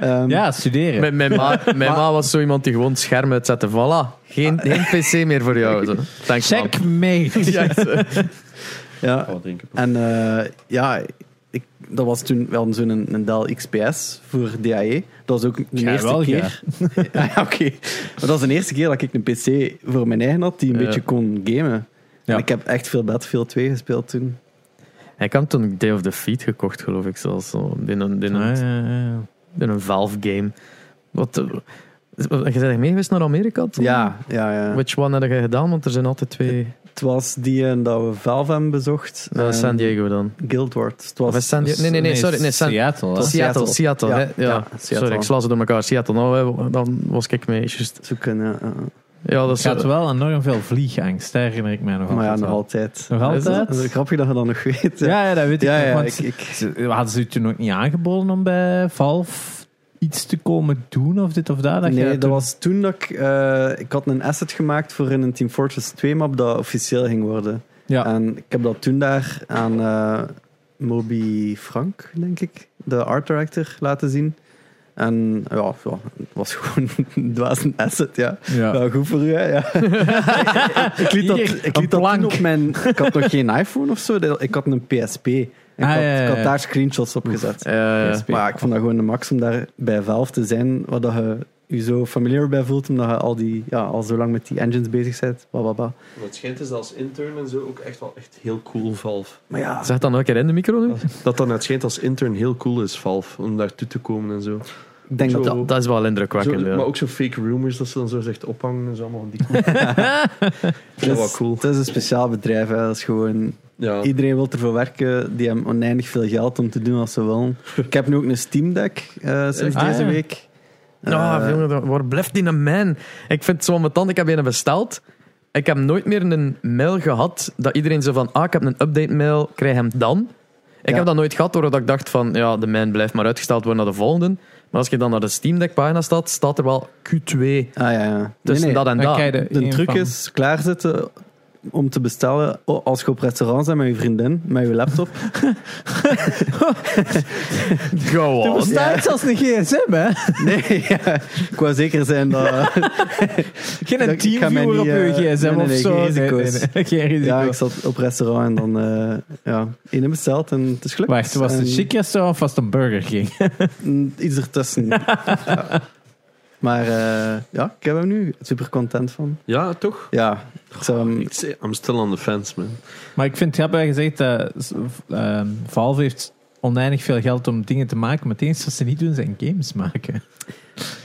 Speaker 4: Ehm,
Speaker 1: Ja, studeren.
Speaker 2: Mijn, mijn, ma, mijn ma was zo iemand die gewoon het scherm uitzette. Voilà, geen, geen pc meer voor jou. Zo. Thanks, mam.
Speaker 1: Checkmate.
Speaker 2: Ja, echt, eh.
Speaker 4: ja.
Speaker 3: Oh, drinken.
Speaker 4: En eh, ja, ik, dat was toen wel zo'n een, een Dell XPS voor DAE. Dat was ook de
Speaker 1: Jij
Speaker 4: eerste
Speaker 1: wel,
Speaker 4: keer. Ja, ja, oké. Maar dat was de eerste keer dat ik een PC voor mijn eigen had die een
Speaker 2: Ja.
Speaker 4: beetje kon gamen.
Speaker 1: Ja.
Speaker 4: En ik heb echt veel Battlefield 2 gespeeld toen.
Speaker 2: Ik had toen Day of the Feet gekocht, geloof ik. Zelfs, zo. In, een, in,
Speaker 1: Ah,
Speaker 2: een,
Speaker 1: ja, ja, ja.
Speaker 2: in een Valve game. Wat, eh, wat- je bent mee geweest naar Amerika? toen?
Speaker 4: Ja, ja, ja.
Speaker 2: Which one heb je gedaan? Want er zijn altijd twee.
Speaker 4: Het was die en dat we Valve hebben bezocht.
Speaker 2: Dat is
Speaker 4: Ehm,
Speaker 2: San Diego dan.
Speaker 4: Guild Wars. Het
Speaker 2: Of is
Speaker 4: was
Speaker 2: San Diego? Nee, nee, nee, sorry. Nee, San,
Speaker 1: Seattle. hè?
Speaker 4: was-
Speaker 2: Seattle. Seattle,
Speaker 4: Seattle. Ja,
Speaker 2: hè?
Speaker 4: ja,
Speaker 2: ja. Sorry,
Speaker 4: Seattle.
Speaker 2: ik sla ze door elkaar. Seattle, nou, eh, dan was ik mee. Just.
Speaker 4: zoeken. ja, ja.
Speaker 2: Ja, dat
Speaker 1: Het
Speaker 2: is
Speaker 1: gaat wel enorm veel vliegangst, daar herinner ik mij nog
Speaker 4: Maar ja,
Speaker 1: altijd
Speaker 4: nog
Speaker 1: wel.
Speaker 4: altijd.
Speaker 1: Nog altijd?
Speaker 4: Dat is grappig dat je dat nog weet. hè.
Speaker 1: Ja, ja, dat weet ik
Speaker 4: Ja,
Speaker 1: nog.
Speaker 4: ja,
Speaker 1: want
Speaker 4: ik- ik-
Speaker 1: ze- Hadden ze het toen ook niet aangeboden om bij Valve iets te komen doen of dit of Ah, dat? dat
Speaker 4: nee,
Speaker 1: jij
Speaker 4: dat
Speaker 1: toen-
Speaker 4: was toen dat ik... eh, ik had een asset gemaakt voor in een Team Fortress 2-map dat officieel ging worden.
Speaker 1: Ja.
Speaker 4: En ik heb dat toen daar aan eh, Moby Frank, denk ik, de art director, laten zien. En ja, ja het was gewoon een dwaas asset, ja.
Speaker 1: Ja.
Speaker 4: Nou, goed voor u, hè. Ja. ik liet dat,
Speaker 1: Hier,
Speaker 4: ik
Speaker 1: een
Speaker 4: liet dat toen
Speaker 1: plank.
Speaker 4: op mijn... Ik had nog geen iPhone of zo. dat- Ik had een PSP. En ik,
Speaker 1: Ah,
Speaker 4: had,
Speaker 1: ja, ja,
Speaker 4: ik had
Speaker 1: ja.
Speaker 4: daar screenshots op gezet.
Speaker 2: Eh,
Speaker 1: PSP.
Speaker 4: Maar ja, ik vond dat gewoon de max om daar bij Valve te zijn, waar dat je je zo familiar bij voelt, omdat je al, die, ja, al zo lang met die engines bezig bent. Bla, bla, bla.
Speaker 3: Het schijnt is dat als intern en zo ook echt wel echt heel cool Valve.
Speaker 4: Maar ja,
Speaker 2: zeg dan ook keer in de micro nu.
Speaker 3: Dat dan het schijnt als intern heel cool is, Valve, om daartoe te komen en zo.
Speaker 4: ik denk dat
Speaker 3: Zo-
Speaker 4: dat...
Speaker 2: Dat, dat is wel
Speaker 3: Zo-
Speaker 2: indrukwekkend. ja.
Speaker 3: Maar ook zo fake rumors dat ze dan zo zegt ophangen en zo allemaal van die cool.
Speaker 4: Het
Speaker 3: wel
Speaker 4: is-
Speaker 3: cool.
Speaker 4: Het is een speciaal bedrijf. Hè. Dat is gewoon...
Speaker 3: Ja.
Speaker 4: Iedereen wil ervoor werken. Die hebben oneindig veel geld om te doen als ze willen. Ik heb nu ook een Steam Deck eh, sinds
Speaker 2: Ah,
Speaker 4: deze
Speaker 2: ja.
Speaker 4: week.
Speaker 2: Ah,
Speaker 4: Eh,
Speaker 2: jongen, dat- waar blijft die een man? Ik vind het zo mijn tand. Ik heb een besteld. Ik heb nooit meer een mail gehad dat iedereen zo van, ah, ik heb een update mail, krijg hem dan. Ik
Speaker 4: Ja.
Speaker 2: heb dat nooit gehad, doordat ik dacht van, ja, de man blijft maar uitgesteld worden naar de volgende. Maar als je dan naar de Steam Deck pagina staat, staat er wel Q2 tussen
Speaker 4: ah, ja, ja. nee.
Speaker 2: Dus dat en
Speaker 1: Dan
Speaker 2: dat.
Speaker 1: krijg je
Speaker 4: De
Speaker 1: een
Speaker 4: truc
Speaker 1: eh, van-
Speaker 4: is klaarzetten om te bestellen oh, als je op restaurant bent met je vriendin, met je laptop.
Speaker 2: Go on.
Speaker 1: bestaat zelfs een gsm, hè?
Speaker 4: Nee, ja, ik wou zeker zijn dat...
Speaker 1: Geen
Speaker 4: Dat-
Speaker 1: een
Speaker 4: ik ga mij
Speaker 1: teamviewer
Speaker 4: niet,
Speaker 1: op je
Speaker 4: eh,
Speaker 1: gsm
Speaker 4: nee, nee,
Speaker 1: of
Speaker 4: nee,
Speaker 1: zo.
Speaker 4: geen risico's.
Speaker 1: nee. Geen risico.
Speaker 4: Ja, ik zat op restaurant en dan eh ja, één besteld en het is gelukt.
Speaker 1: Wacht, was het
Speaker 4: En
Speaker 1: een chic restaurant of was het een Burger King?
Speaker 4: n- Iets ertussen. Ja. Maar eh, ja, ik heb hem nu super content van.
Speaker 3: ja, toch?
Speaker 4: Ja, ik zou hem-
Speaker 3: Ik zeg, I'm still on the fence, man.
Speaker 1: Maar ik vind, je hebt eigenlijk gezegd, dat ehm, Valve heeft oneindig veel geld om dingen te maken, maar het enige wat ze niet doen zijn games maken.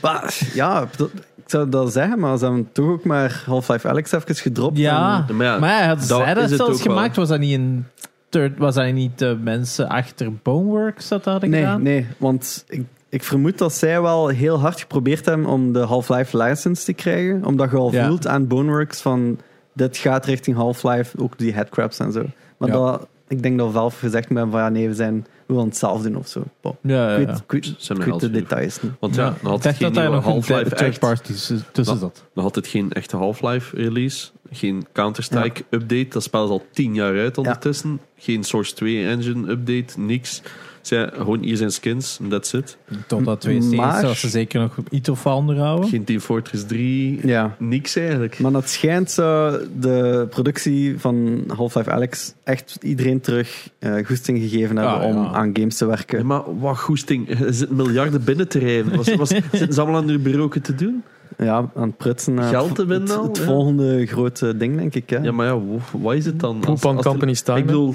Speaker 4: Maar, ja, dat- ik zou dat zeggen, maar ze hebben toch ook maar Half-Life Alex even gedropt. en-
Speaker 1: Ja,
Speaker 3: Maar ja,
Speaker 1: maar ja, hadden
Speaker 3: dat
Speaker 1: zij
Speaker 3: is
Speaker 1: dat
Speaker 3: het
Speaker 1: zelfs
Speaker 3: ook wel.
Speaker 1: gemaakt? Was dat niet een third, was dat niet de mensen achter Boneworks dat hadden
Speaker 4: Nee,
Speaker 1: gedaan?
Speaker 4: nee, want ik, ik vermoed dat zij wel heel hard geprobeerd hebben om de Half-Life license te krijgen. Omdat je al
Speaker 1: Ja.
Speaker 4: voelt aan Boneworks van dit gaat richting Half-Life, ook die headcrabs en zo. Maar
Speaker 1: Ja.
Speaker 4: dat, ik denk dat Valve gezegd hebben van ja, nee, we, zijn, we willen het zelf doen of zo. Bon.
Speaker 1: Ja, ja,
Speaker 4: Ik
Speaker 1: ja.
Speaker 4: weet, ik weet-
Speaker 3: Ze zijn
Speaker 4: ik
Speaker 3: een
Speaker 4: weet de
Speaker 3: half uur.
Speaker 4: details niet.
Speaker 3: Want ja,
Speaker 1: Ja,
Speaker 3: dan had
Speaker 1: ik
Speaker 3: het
Speaker 1: dacht
Speaker 3: geen
Speaker 1: dat daar
Speaker 3: nieuwe
Speaker 1: nog een
Speaker 3: Half-Life Nou,
Speaker 1: third- third
Speaker 3: echt.
Speaker 1: party tussen tussen zat.
Speaker 3: Dan had het geen echte Half-Life release. Geen Counter-Strike update. Dat spel is al tien jaar uit ondertussen. Geen Source 2 engine update. Niks. Zij, gewoon hier zijn skins. en That's it.
Speaker 1: Totdat 2
Speaker 4: Maar-
Speaker 1: zoals ze zeker nog iets of ander houden.
Speaker 3: Geen Team Fortress 3.
Speaker 4: Ja.
Speaker 3: Niks eigenlijk.
Speaker 4: Maar het schijnt zo de productie van Half-Life Alex echt iedereen terug eh, goesting gegeven hebben
Speaker 1: Ah, ja.
Speaker 4: om aan games te
Speaker 3: Ja,
Speaker 4: werken.
Speaker 3: maar wat goesting. Er zitten miljarden binnen te rijden. Was, was, zitten ze allemaal aan hun bureau te doen?
Speaker 4: Ja, aan het prutsen. eh,
Speaker 3: Geld te
Speaker 4: het-
Speaker 3: winnen
Speaker 4: Het,
Speaker 3: al,
Speaker 4: het
Speaker 3: ja.
Speaker 4: volgende grote ding, denk ik. Hè?
Speaker 3: Ja, maar ja, wo- wat is het dan?
Speaker 2: Poep on
Speaker 3: de-
Speaker 2: company's time,
Speaker 3: Ik
Speaker 2: hè?
Speaker 3: bedoel,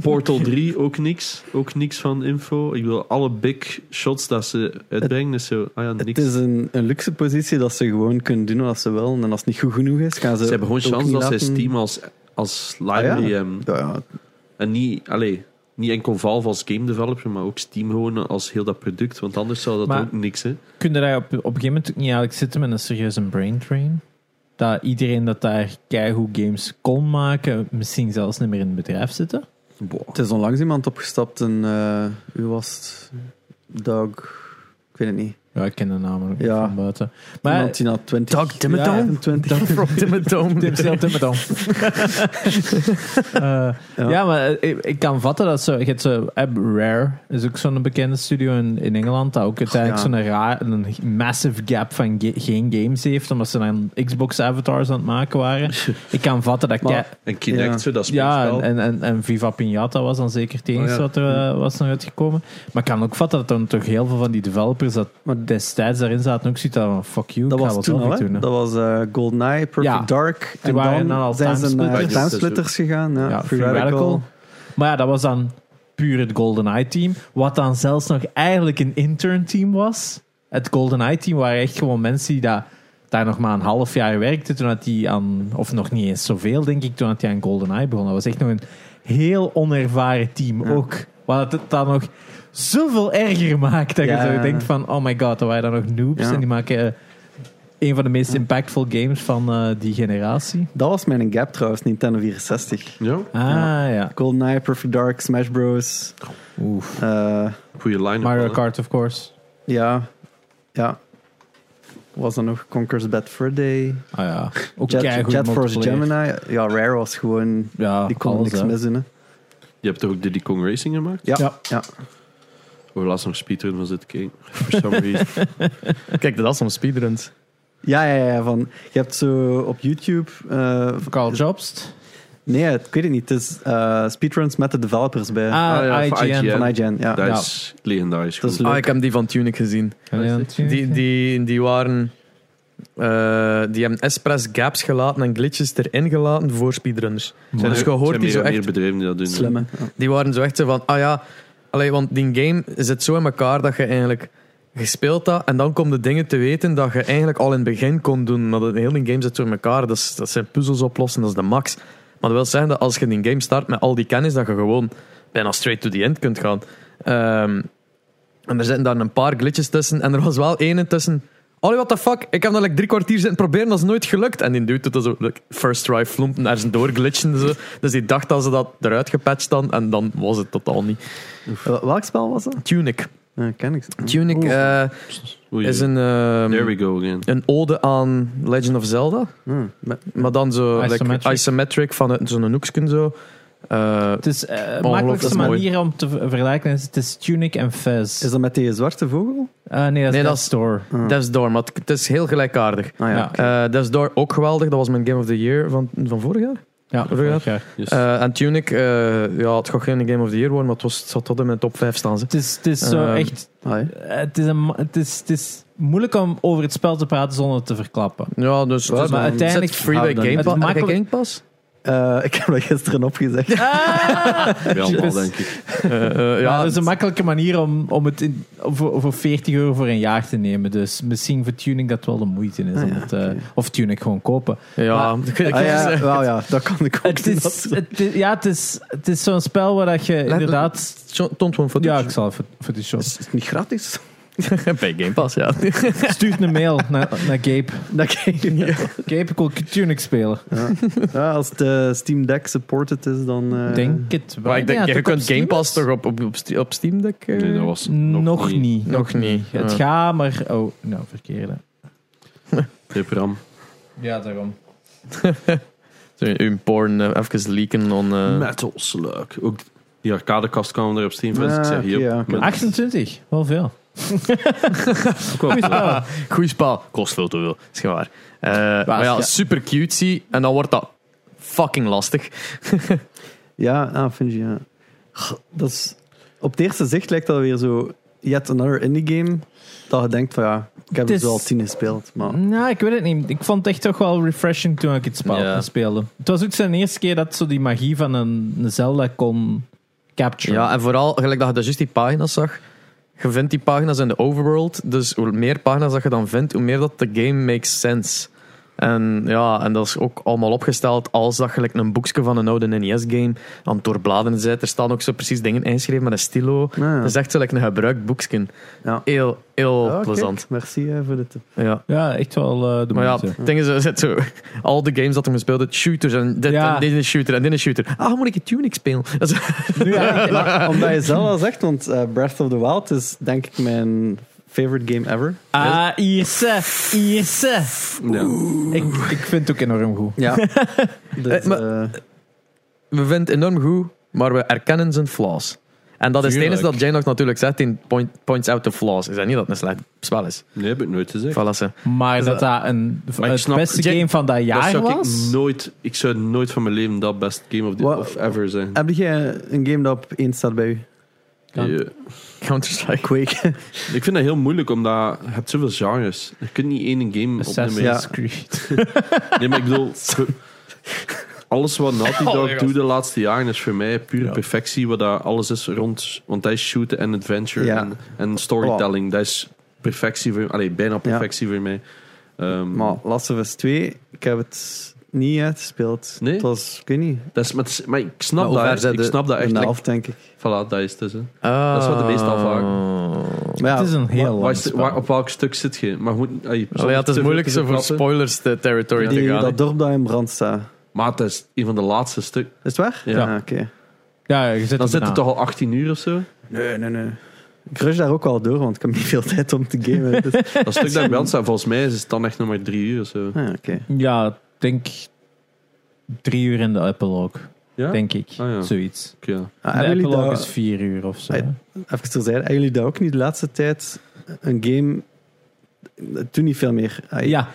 Speaker 3: Portal 3 ook niks. Ook niks van info. Ik bedoel, alle big shots dat ze uitbrengen is zo... Ah ja,
Speaker 4: Het
Speaker 3: niks.
Speaker 4: is een, een luxe positie dat ze gewoon kunnen doen wat ze willen. En als het niet goed genoeg is, gaan ze.
Speaker 3: Ze hebben gewoon
Speaker 4: ook
Speaker 3: chance
Speaker 4: niet
Speaker 3: dat zij
Speaker 4: laten.
Speaker 3: Steam als, als
Speaker 4: ja.
Speaker 3: library hebben.
Speaker 4: Ja, ja.
Speaker 3: En niet, allee, niet enkel Valve als game developer, maar ook Steam gewoon als heel dat product. Want anders zou dat
Speaker 1: Maar-
Speaker 3: ook niks, hè.
Speaker 1: Kun je daar op, op een gegeven moment ook niet eigenlijk zitten met een serieuze brain drain? Dat iedereen dat daar keigoed games kon maken, misschien zelfs niet meer in het bedrijf zitten?
Speaker 4: Het is onlangs iemand opgestapt en. eh u was het? Doug. Ik weet het niet.
Speaker 1: Ja, ik ken de namen ook
Speaker 4: Ja.
Speaker 1: van buiten.
Speaker 4: Maar,
Speaker 1: Maar
Speaker 4: iemand die na 20.
Speaker 2: Doug Dimmadome?
Speaker 4: Ja, 25.
Speaker 2: From Dimmadome.
Speaker 1: Tim Stil, Tim het dan. Eh, ja. maar eh, ik, ik kan vatten dat ze... Je hebt zo, eh, Rare is ook zo'n bekende studio in, in Engeland, dat ook uiteindelijk
Speaker 4: ja.
Speaker 1: zo'n raar, een massive gap van ga- geen games heeft, omdat ze dan Xbox-avatars aan het maken waren. ik kan vatten dat...
Speaker 4: Maar-
Speaker 1: kei-
Speaker 3: En Kinect,
Speaker 4: Ja.
Speaker 3: zo, dat
Speaker 1: Ja,
Speaker 3: speelspel.
Speaker 1: en, en, en, en Viva Pinata was dan zeker het enige
Speaker 3: Oh ja.
Speaker 1: wat er eh, was nog uitgekomen. Maar ik kan ook vatten dat dan toch heel veel van die developers dat
Speaker 4: Maar-
Speaker 1: destijds daarin zaten ook zoiets van fuck you,
Speaker 4: Dat
Speaker 1: ik ga
Speaker 4: was
Speaker 1: wat
Speaker 4: toen
Speaker 1: zelf
Speaker 4: al,
Speaker 1: niet
Speaker 4: hè?
Speaker 1: doen. hè.
Speaker 4: Dat was eh, GoldenEye, Perfect
Speaker 1: Ja.
Speaker 4: Dark. En
Speaker 1: waren
Speaker 4: dan,
Speaker 1: dan al
Speaker 4: zijn ze naar
Speaker 1: timesplitters.
Speaker 4: Timesplitters gegaan. Ja,
Speaker 1: Ja,
Speaker 4: Free
Speaker 1: Free
Speaker 4: Radical.
Speaker 1: Radical. Maar ja, dat was dan puur het GoldenEye team. Wat dan zelfs nog eigenlijk een intern team was. Het GoldenEye team waren echt gewoon mensen die daar, daar nog maar een half jaar werkten. Toen had die aan, of nog niet eens zoveel denk ik, toen had hij aan GoldenEye begon. Dat was echt nog een heel onervaren team ook. Wat het dan nog zoveel erger maakt. Dat
Speaker 4: Ja.
Speaker 1: je zo denkt van, oh my god, dat waren dan nog noobs.
Speaker 4: Ja.
Speaker 1: En die maken... eh, een van de meest impactful games van eh, die generatie.
Speaker 4: Dat was mijn gap trouwens, Nintendo 64.
Speaker 3: Ja,
Speaker 1: Ah
Speaker 4: Ja.
Speaker 1: ja.
Speaker 4: GoldenEye, Perfect Dark, Smash Bros.
Speaker 1: Oef.
Speaker 4: eh,
Speaker 3: goede line-up.
Speaker 1: Mario
Speaker 3: wel, hè.
Speaker 1: Kart, of course.
Speaker 4: ja. Ja. was dan nog Conquer's Bad Fur Day.
Speaker 1: Ah ja, ook
Speaker 4: Jet,
Speaker 1: keigoed
Speaker 4: Jet Force
Speaker 1: multiplayer.
Speaker 4: Gemini. Ja, Rare was gewoon...
Speaker 1: Ja,
Speaker 4: Die kon
Speaker 1: Ah, alles,
Speaker 4: niks
Speaker 1: hè.
Speaker 4: missen, hè.
Speaker 3: Je hebt toch ook Diddy Kong Racing gemaakt?
Speaker 4: Ja,
Speaker 1: Ja.
Speaker 4: ja.
Speaker 3: Of laatst nog speedrun van zitten kijken. For some reason.
Speaker 2: Kijk, dat is soms speedruns.
Speaker 4: Ja, ja, ja, van, je hebt zo op YouTube... eh,
Speaker 1: Carl Jobst.
Speaker 4: nee, het- ik weet het niet. Het is eh, speedruns met de developers bij.
Speaker 1: Ah,
Speaker 3: ja, van
Speaker 1: IGN.
Speaker 3: IGN.
Speaker 4: van IGN, ja.
Speaker 3: Dat
Speaker 1: Ja.
Speaker 3: is legendarisch.
Speaker 4: Dat is
Speaker 3: goed.
Speaker 4: leuk.
Speaker 2: Ah, ik heb die van Tunic gezien. Die, die, die waren. eh, die hebben expres gaps gelaten en glitches erin gelaten voor speedrunners.
Speaker 3: Zijn
Speaker 2: Dus
Speaker 3: er-
Speaker 2: je hoort
Speaker 3: zijn
Speaker 2: die
Speaker 3: meer
Speaker 2: zo
Speaker 3: en meer
Speaker 2: echt-
Speaker 3: bedrijven die dat doen.
Speaker 4: Slimme. Ja.
Speaker 2: Die waren zo echt zo van: ah ja, allee, want die game zit zo in elkaar dat je eigenlijk. Je speelt dat en dan komen de dingen te weten dat je eigenlijk al in het begin kon doen. Maar de hele game zit zo in elkaar. Dat, is- dat zijn puzzels oplossen, dat is de max. Maar dat wil zeggen dat als je die game start met al die kennis, dat je gewoon bijna straight to the end kunt gaan. Ehm, en er zitten daar een paar glitches tussen. En er was wel één tussen. Allee, what the fuck? Ik heb dat like drie kwartier zitten proberen, dat is nooit gelukt. En die dude doet dat zo, like, first try flompen, daar zijn doorglitchen. Zo. Dus die dacht dat ze dat eruit gepatcht hadden, en dan was het totaal niet.
Speaker 4: Wel- Eh, Welk spel was dat?
Speaker 2: Tunic.
Speaker 4: Ja, ken ik.
Speaker 2: Tunic
Speaker 4: Oeh.
Speaker 2: eh,
Speaker 3: Oei,
Speaker 2: is een, ehm,
Speaker 3: There we go again.
Speaker 2: een ode aan Legend of Zelda.
Speaker 4: Hmm, met-
Speaker 2: Maar dan zo like, isometric,
Speaker 1: Isometric.
Speaker 2: vanuit zo'n hoeksken zo. Eh,
Speaker 1: Het is eh,
Speaker 2: dat
Speaker 1: makkelijkste
Speaker 2: is mooi.
Speaker 1: manier om te ver- vergelijken is, het is Tunic en Fez.
Speaker 4: Is dat met die zwarte vogel?
Speaker 1: Eh, nee, dat is
Speaker 2: Nee, dat
Speaker 1: Death
Speaker 2: is-
Speaker 1: Store.
Speaker 4: Ah.
Speaker 2: Death's Door, maar het- het is heel gelijkaardig.
Speaker 4: Ah, ja.
Speaker 1: Ja.
Speaker 4: oké.
Speaker 2: Eh Death's Door ook geweldig, dat was mijn Game of the Year van, van vorig jaar.
Speaker 1: Ja,
Speaker 2: Vorig jaar.
Speaker 1: vorig jaar.
Speaker 3: Yes.
Speaker 2: Eh, en Tunic, eh, ja, het gaat geen Game of the Year worden, maar het, was, het zat tot in mijn top 5 staan. Ze.
Speaker 1: Het is, het is zo
Speaker 2: Ehm,
Speaker 1: echt...
Speaker 4: Ah, ja.
Speaker 1: eh, Het is, een, ma- het, is, het is moeilijk om over het spel te praten zonder het te verklappen.
Speaker 2: Ja, dus...
Speaker 4: Maar
Speaker 2: dus-
Speaker 1: uiteindelijk-
Speaker 2: Is het free
Speaker 4: Ah,
Speaker 2: bij
Speaker 4: dan-
Speaker 2: Game
Speaker 1: het
Speaker 2: Pass? Heb je
Speaker 1: makkelijk-
Speaker 2: Game Pass?
Speaker 4: Eh, ik heb dat gisteren opgezegd.
Speaker 3: Bij allemaal,
Speaker 1: typisch.
Speaker 3: denk ik.
Speaker 2: Eh, eh,
Speaker 1: Ah! Ja,
Speaker 2: ja,
Speaker 1: dat is een makkelijke manier om, om het in, voor, voor 40 euro voor een jaar te nemen. Dus misschien voor tuning dat wel de moeite is.
Speaker 4: Ah,
Speaker 1: om
Speaker 4: ja,
Speaker 1: het, eh,
Speaker 4: oké.
Speaker 1: Of tuning gewoon kopen.
Speaker 2: ja.
Speaker 4: Ah, ja, wel, ja, dat kan ik ook
Speaker 1: Het
Speaker 4: doen.
Speaker 1: is, het, is- ja, het is, het is zo'n spel waar dat je inderdaad...
Speaker 2: Toont gewoon
Speaker 1: Ja,
Speaker 2: footage.
Speaker 1: ik zal voor, voor die show.
Speaker 4: Is het niet gratis?
Speaker 2: bij Game Pass, ja.
Speaker 1: Stuur een mail naar, naar Gabe.
Speaker 4: Dat kan je niet.
Speaker 1: Gabe, ik wil Tunic spelen.
Speaker 4: Ja. Ja, als de Steam Deck supported is, dan... eh,
Speaker 1: denk het wel.
Speaker 2: Maar ik denk,
Speaker 1: Ja,
Speaker 2: je
Speaker 1: het ook op
Speaker 2: kunt Game
Speaker 1: Steam
Speaker 2: Pass
Speaker 1: is?
Speaker 2: toch op, op, op, Ste- op Steam Deck... eh?
Speaker 3: Nee, dat was
Speaker 1: Nog, niet.
Speaker 2: Nog niet.
Speaker 1: Het
Speaker 2: Ja.
Speaker 1: gaat, maar... Oh, nou, verkeerde.
Speaker 3: Tipram.
Speaker 1: Ja, daarom.
Speaker 2: Sorry, Uw porn eh, even leaken on...
Speaker 4: Ehm,
Speaker 2: eh,
Speaker 3: Metal Slug. Ook die arcadekast kwam er op Steam. Dus ik
Speaker 4: Ah,
Speaker 3: zeg
Speaker 4: oké,
Speaker 3: hier.
Speaker 4: ja, oké.
Speaker 3: maar-
Speaker 1: 28, wel veel.
Speaker 3: ook wel-
Speaker 2: Ah, goeie spel. Kost veel te veel, is gewoon waar. Eh, maar ja,
Speaker 1: ja.
Speaker 2: super cutesy. En dan wordt dat fucking lastig.
Speaker 4: Ja, ah, Fungi, ja. Goh, Dat is, op het eerste zicht lijkt dat weer zo yet another indie game. Dat je denkt van ja, ik heb
Speaker 1: Het
Speaker 4: er
Speaker 1: is-
Speaker 4: zo al tien gespeeld. Maar
Speaker 1: Nou, ik weet het niet. Ik vond het echt toch wel refreshing toen ik het spel
Speaker 2: Ja.
Speaker 1: speelde. Het was ook zijn eerste keer dat zo die magie van een, een Zelda kon capturen.
Speaker 2: Ja, en vooral, gelijk dat je dus juist die pagina's zag. Je vindt die pagina's in de overworld. Dus hoe meer pagina's dat je dan vindt, hoe meer dat de game makes sense. En ja, en dat is ook allemaal opgesteld als dat gelijk een boekje van een oude E NES-game aan het doorbladeren zit. Er staan ook zo precies dingen ingeschreven met een stilo.
Speaker 4: ja.
Speaker 2: Dat is echt zo like een gebruikt boekje.
Speaker 4: Ja.
Speaker 2: Heel, heel
Speaker 4: Ah, kijk,
Speaker 2: plezant.
Speaker 4: merci eh, voor de tip.
Speaker 2: Ja.
Speaker 1: Ja, echt wel eh, de
Speaker 2: Maar ja,
Speaker 1: moeite.
Speaker 2: het ding is, er zit zo, al de games dat hem gespeeld heeft, shooters en dit
Speaker 1: Ja.
Speaker 2: en dit is een shooter en dit is een shooter. Ah, moet ik het Tunic spelen? Dat is-
Speaker 1: Nu, ja, ik-
Speaker 4: Maar omdat je zelf al zegt, want eh, Breath of the Wild is denk ik mijn favorite game ever.
Speaker 1: Ah, Ierse, Ierse.
Speaker 3: Ja.
Speaker 1: Ik, ik vind het ook enorm goed.
Speaker 4: Ja. Dus,
Speaker 2: Eh, maar- we vinden het enorm goed, maar we erkennen zijn flaws. En dat is het
Speaker 3: Tuurlijk.
Speaker 2: enige dat Jane nog natuurlijk zegt in point, Points Out the Flaws. Is dat niet dat het een slecht spel is?
Speaker 3: Nee, heb ik nooit gezegd.
Speaker 2: Voilà, ze.
Speaker 1: Maar
Speaker 2: Dus
Speaker 1: dat dat een,
Speaker 3: Maar ik
Speaker 1: het
Speaker 3: snap-
Speaker 1: beste
Speaker 2: Jack-
Speaker 1: game van dat
Speaker 3: Dat
Speaker 1: jaar
Speaker 3: zou
Speaker 1: was.
Speaker 3: ik nooit... Ik zou nooit van mijn leven dat best game of, the,
Speaker 4: Wat-
Speaker 3: of ever zijn.
Speaker 4: Heb jij een game dat op één staat bij u?
Speaker 1: Ja.
Speaker 3: Ja.
Speaker 2: Counter-Strike.
Speaker 4: Quake.
Speaker 3: Ik vind dat heel moeilijk, omdat je hebt zoveel genres. Je kunt niet één game opnemen.
Speaker 1: Assassin's
Speaker 4: Ja.
Speaker 1: Creed.
Speaker 3: Nee, maar ik bedoel... Alles wat Naughty
Speaker 2: Oh,
Speaker 3: Dog
Speaker 2: gast.
Speaker 3: doet de laatste jaren is voor mij pure
Speaker 1: Ja.
Speaker 3: perfectie. Wat daar alles is rond. Want dat is shooten en adventure
Speaker 4: Ja.
Speaker 3: en, en storytelling. Dat is perfectie voor Allee, bijna perfectie voor mij. Ehm,
Speaker 4: Maar Last of Us 2, ik heb het niet uitgespeeld.
Speaker 3: Nee?
Speaker 4: Het was, ik weet niet,
Speaker 3: dat is, maar, het is- maar ik snap
Speaker 2: Maar hoe ver
Speaker 3: dat.
Speaker 2: zijn
Speaker 3: Ik
Speaker 2: de-
Speaker 3: snap dat echt.
Speaker 4: een
Speaker 3: Like,
Speaker 4: helft denk ik.
Speaker 3: voilà, dat is het dus. hè.
Speaker 2: Ah.
Speaker 3: Dat is wat de meeste afhaken.
Speaker 4: Maar ja,
Speaker 1: het is een heel
Speaker 3: Waar
Speaker 1: lang
Speaker 3: is de-
Speaker 1: spel.
Speaker 3: waar- op welk stuk zit je? Maar goed, allee,
Speaker 2: Allee, ja, het
Speaker 3: te
Speaker 2: is
Speaker 3: veel
Speaker 2: moeilijk
Speaker 3: te
Speaker 2: zo voor
Speaker 3: verklappen.
Speaker 2: spoilers te territory
Speaker 4: die,
Speaker 2: te gaan.
Speaker 4: dat
Speaker 2: hè.
Speaker 4: dorp dat in brand staat.
Speaker 3: Maar het is een van de laatste stukken.
Speaker 4: Is het waar?
Speaker 3: Ja.
Speaker 4: Ah, oké.
Speaker 1: Ja, je zit
Speaker 3: Dan
Speaker 1: er
Speaker 3: zit
Speaker 1: bijna.
Speaker 3: het toch al 18 uur of zo?
Speaker 4: Nee, nee, nee. Ik rush daar ook wel door, want ik heb niet veel tijd om te gamen. Dus,
Speaker 3: Dat stuk dat ik wel staat, volgens mij is het dan echt nog maar drie uur of zo.
Speaker 4: ah, ja, oké.
Speaker 1: Ja, ik denk drie uur in de Apple ook,
Speaker 3: Ja?
Speaker 1: denk ik.
Speaker 3: Ah, ja.
Speaker 1: Zoiets.
Speaker 3: ik, ja.
Speaker 4: Ah,
Speaker 1: De
Speaker 4: hebben jullie
Speaker 1: Apple ook
Speaker 4: dat-
Speaker 1: is vier uur of zo.
Speaker 4: Ah,
Speaker 1: hè.
Speaker 4: Even terzijde, hebben jullie dat ook niet de laatste tijd een game... Toen niet veel meer. Ah,
Speaker 1: Ja,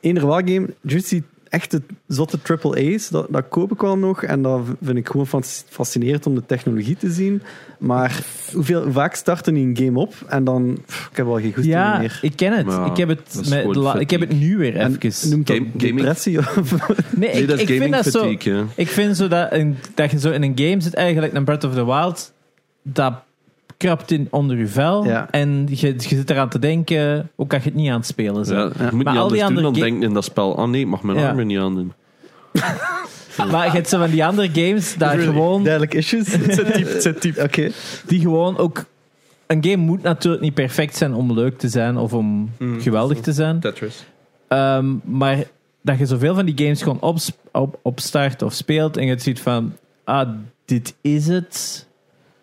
Speaker 4: Eender welk game, juist die echte zotte triple A's, dat, dat koop ik wel nog. En dat vind ik gewoon fas- fascinerend om de technologie te zien. Maar hoeveel, hoe vaak starten die een game op en dan... pff, ik heb wel geen goed
Speaker 1: ja
Speaker 4: meer.
Speaker 1: ik ken het.
Speaker 3: Maar
Speaker 1: ik, heb
Speaker 3: dat
Speaker 1: het
Speaker 3: is
Speaker 1: met
Speaker 3: gewoon
Speaker 1: de la- ik heb het nu weer
Speaker 4: En
Speaker 1: even.
Speaker 4: Noemt dat
Speaker 3: Game- gaming-
Speaker 4: depressie? of-
Speaker 1: nee,
Speaker 3: Nee,
Speaker 1: ik,
Speaker 3: dat is
Speaker 1: ik vind
Speaker 3: gaming
Speaker 1: dat zo...
Speaker 3: fatigue, ja.
Speaker 1: Ik vind zo dat, een, dat je zo in een game zit, eigenlijk een Breath of the Wild, dat krapt in onder je vel.
Speaker 4: Ja.
Speaker 1: En je, je zit eraan te denken, hoe kan je het niet aan het spelen
Speaker 3: Ja,
Speaker 1: zijn?
Speaker 3: je moet
Speaker 1: Maar
Speaker 3: niet
Speaker 1: al die
Speaker 3: anders doen
Speaker 1: andere
Speaker 3: dan
Speaker 1: ga-
Speaker 3: denken in dat spel. Ah nee, ik mag mijn
Speaker 1: Ja.
Speaker 3: armen niet aandoen.
Speaker 1: Maar je hebt zo van die andere games, daar gewoon,
Speaker 4: Duidelijk issues.
Speaker 2: Het zijn typ-
Speaker 4: Oké.
Speaker 1: die gewoon ook... Een game moet natuurlijk niet perfect zijn om leuk te zijn of om
Speaker 3: Hmm.
Speaker 1: geweldig te zijn.
Speaker 3: Tetris.
Speaker 1: Ehm, maar dat je zoveel van die games gewoon ops- op, opstart of speelt en je het ziet van, ah, dit is het.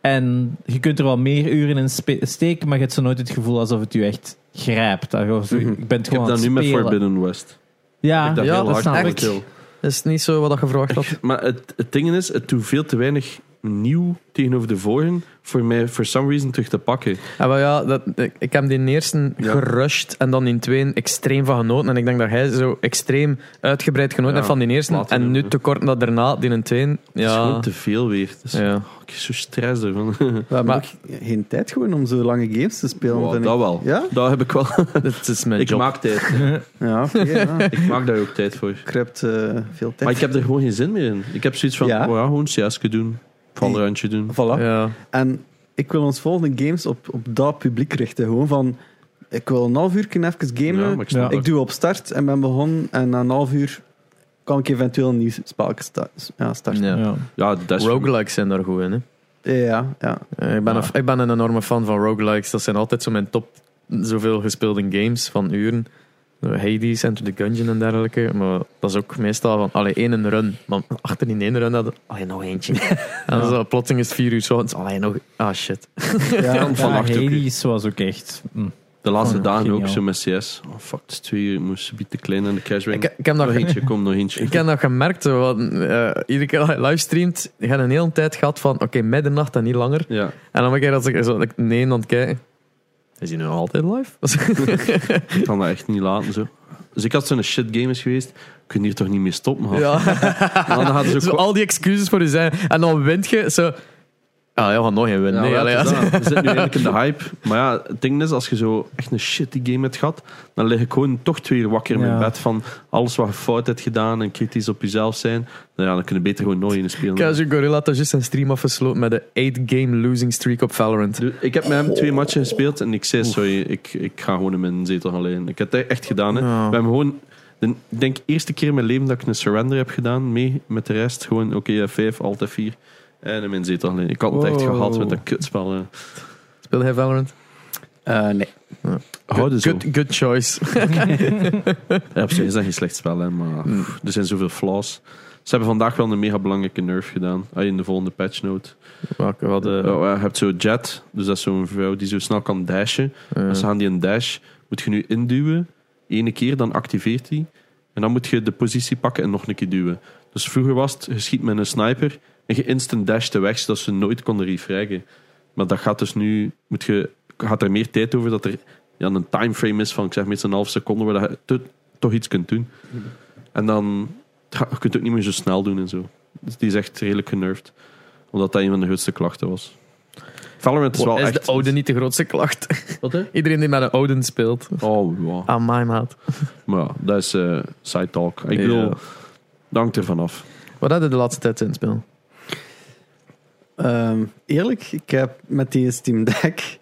Speaker 1: En je kunt er wel meer uren in spe- steken, maar je hebt zo nooit het gevoel alsof het je echt grijpt. Dat je zo-
Speaker 4: Mhm.
Speaker 1: Ik ben het
Speaker 3: Ik heb
Speaker 1: gewoon
Speaker 3: dat nu
Speaker 1: aan het
Speaker 3: met
Speaker 1: spelen.
Speaker 3: Forbidden West.
Speaker 1: Ja,
Speaker 3: ik dacht
Speaker 2: ja,
Speaker 3: heel
Speaker 2: dat
Speaker 3: hard
Speaker 1: snap
Speaker 3: aan
Speaker 1: ik.
Speaker 3: de kill.
Speaker 2: Dat is niet zo wat dat gevraagd had.
Speaker 3: Maar het, het ding is, het doet veel te weinig nieuw tegenover de vorige voor mij, for some reason, terug te pakken.
Speaker 2: Ja, maar Ah, ja, dat, ik, ik heb die eerste
Speaker 3: Ja.
Speaker 2: gerusht en dan in tweeën extreem van genoten. En ik denk dat hij zo extreem uitgebreid genoten
Speaker 3: Ja,
Speaker 2: heeft van die eerste.
Speaker 3: later,
Speaker 2: en
Speaker 3: ja.
Speaker 2: nu tekort dat daarna, die in tweeën.
Speaker 3: Het is
Speaker 2: Ja,
Speaker 3: gewoon te veel weer. Het is-
Speaker 2: ja.
Speaker 3: oh, ik heb zo stress ervan.
Speaker 4: We hebben
Speaker 2: Maar-
Speaker 4: ook geen tijd gewoon om zo lange games te spelen.
Speaker 3: Wow,
Speaker 4: vind ik.
Speaker 3: dat wel.
Speaker 4: Ja?
Speaker 3: Dat heb ik wel.
Speaker 2: dat is mijn
Speaker 3: ik
Speaker 2: job.
Speaker 3: maak tijd.
Speaker 4: Ja, oké. ja.
Speaker 3: Ik maak daar ook tijd voor.
Speaker 4: Ik heb eh, veel tijd.
Speaker 3: Maar ik heb er gewoon geen zin meer in. Ik heb zoiets van,
Speaker 4: Ja.
Speaker 3: oh ja, gewoon CS doen. Valorantje doen.
Speaker 4: Voilà.
Speaker 2: Ja.
Speaker 4: En ik wil ons volgende games op, op dat publiek richten. Gewoon van, ik wil een half uur even gamen.
Speaker 3: Ja, maar
Speaker 4: ik
Speaker 3: ik snap
Speaker 1: Ja.
Speaker 3: dat.
Speaker 4: doe op start en ben begonnen. En na een half uur kan ik eventueel een nieuw spelje sta- ja, starten.
Speaker 2: Ja.
Speaker 1: Ja.
Speaker 3: Ja, dat is Ah.
Speaker 2: Roguelikes zijn daar goed in. Hè.
Speaker 4: Ja, ja. ja.
Speaker 2: Eh, Ik ben,
Speaker 1: Ja.
Speaker 2: een, ik ben een enorme fan van roguelikes. Dat zijn altijd zo mijn top zoveel gespeelde games van uren. Zo Hades, Enter the Gungeon en dergelijke. Maar dat is ook meestal van allee, één run. Maar achter die één run hadden allee, nog eentje. En dan zo, plotseling is het vier uur zo. en het is, Allee, nog... Ah, shit.
Speaker 4: Ja,
Speaker 1: Ja,
Speaker 3: vannacht ook.
Speaker 1: Hades was ook echt... mm.
Speaker 3: de laatste
Speaker 1: Oh,
Speaker 3: dagen ook
Speaker 1: geniaal.
Speaker 3: zo met CS. Oh fuck, het is twee uur. Ik moest een beetje te klein aan de cash
Speaker 2: Ik,
Speaker 3: brengen.
Speaker 2: ik heb
Speaker 3: Nog
Speaker 2: nog
Speaker 3: eentje, kom nog eentje.
Speaker 2: Ik heb dat gemerkt, zo, want, eh, iedere keer als je livestreamt, je hebt een hele tijd gehad van, oké, middernacht en niet langer.
Speaker 3: Ja.
Speaker 2: En dan ben ik dat ik zo, like, nee, dan kijken. Is hij nu nog altijd live?
Speaker 3: Ik kan dat echt niet laten zo. Dus ik had zo'n shit game is geweest. Ik kun hier toch niet mee stoppen. gast?
Speaker 2: ja.
Speaker 3: Maar Dan hadden ze
Speaker 2: zo
Speaker 3: ook
Speaker 2: al die excuses voor je zijn. En dan wint je, zo... Ah, ja, we gaan nog geen winnen.
Speaker 3: Ja,
Speaker 2: nee,
Speaker 3: wel,
Speaker 2: allee,
Speaker 3: het
Speaker 2: ja.
Speaker 3: is dat. we zitten nu eigenlijk in de hype. Maar ja, het ding is, als je zo echt een shitty game hebt gehad, dan lig ik gewoon toch twee uur wakker in mijn
Speaker 1: Ja.
Speaker 3: bed van alles wat je fout hebt gedaan en kritisch op jezelf zijn. Nou ja, dan kun je beter gewoon nooit in spelen.
Speaker 2: Ik had zo'n Gorilla had juist zijn stream afgesloten met de 8-game losing streak op Valorant.
Speaker 3: Dus Ik heb met hem twee matchen gespeeld en ik zei, sorry, ik, ik ga gewoon in mijn zetel gaan liggen. Ik heb dat echt gedaan. Hè.
Speaker 2: Ja.
Speaker 3: We hebben gewoon, de, ik denk eerste keer in mijn leven dat ik een surrender heb gedaan, mee met de rest. Gewoon, oké, F5, Alt F4 en in mijn zetel gaan liggen. Ik had het echt
Speaker 1: Wow.
Speaker 3: gehaald met dat kutspel. hè.
Speaker 2: Speelde hij Valorant?
Speaker 4: Eh, nee.
Speaker 3: Houden Oh, zo.
Speaker 2: Good, good choice.
Speaker 3: Ja, op zich is dat geen slecht spel, hè, maar
Speaker 2: Mm.
Speaker 3: pff, er zijn zoveel flaws. Ze hebben vandaag wel een mega belangrijke nerf gedaan. Ah, in de volgende patch note.
Speaker 2: Wat hadden...
Speaker 3: Oh, ja, je hebt zo Jet, dus dat is zo'n vrouw die zo snel kan dashen.
Speaker 2: eh,
Speaker 3: Als ze gaan die een dash, moet je nu induwen. Ene keer, dan activeert hij. En dan moet je de positie pakken en nog een keer duwen. Dus vroeger was het, je schiet met een sniper en je instant dash de weg, zodat ze nooit konden refraggen. Maar dat gaat dus nu, moet je, gaat er meer tijd over dat er ja, een timeframe is van, ik zeg meestal een half seconde, waar dat je to- toch iets kunt doen. En dan, ja, je kunt het ook niet meer zo snel doen en zo. Dus die is echt redelijk genervd. Omdat dat een van de grootste klachten was. Valorant is wel
Speaker 2: is
Speaker 3: echt...
Speaker 2: de oude niet de grootste klacht?
Speaker 3: Wat hè?
Speaker 2: Iedereen die met een Oden speelt.
Speaker 3: Oh, wow.
Speaker 2: Ah, my maat.
Speaker 3: Maar ja, dat is eh, side talk. Ik bedoel,
Speaker 2: Ja.
Speaker 3: dat hangt er vanaf.
Speaker 2: Wat hadden de laatste tijd in het spel?
Speaker 4: Ehm, eerlijk, ik heb met die Steam Deck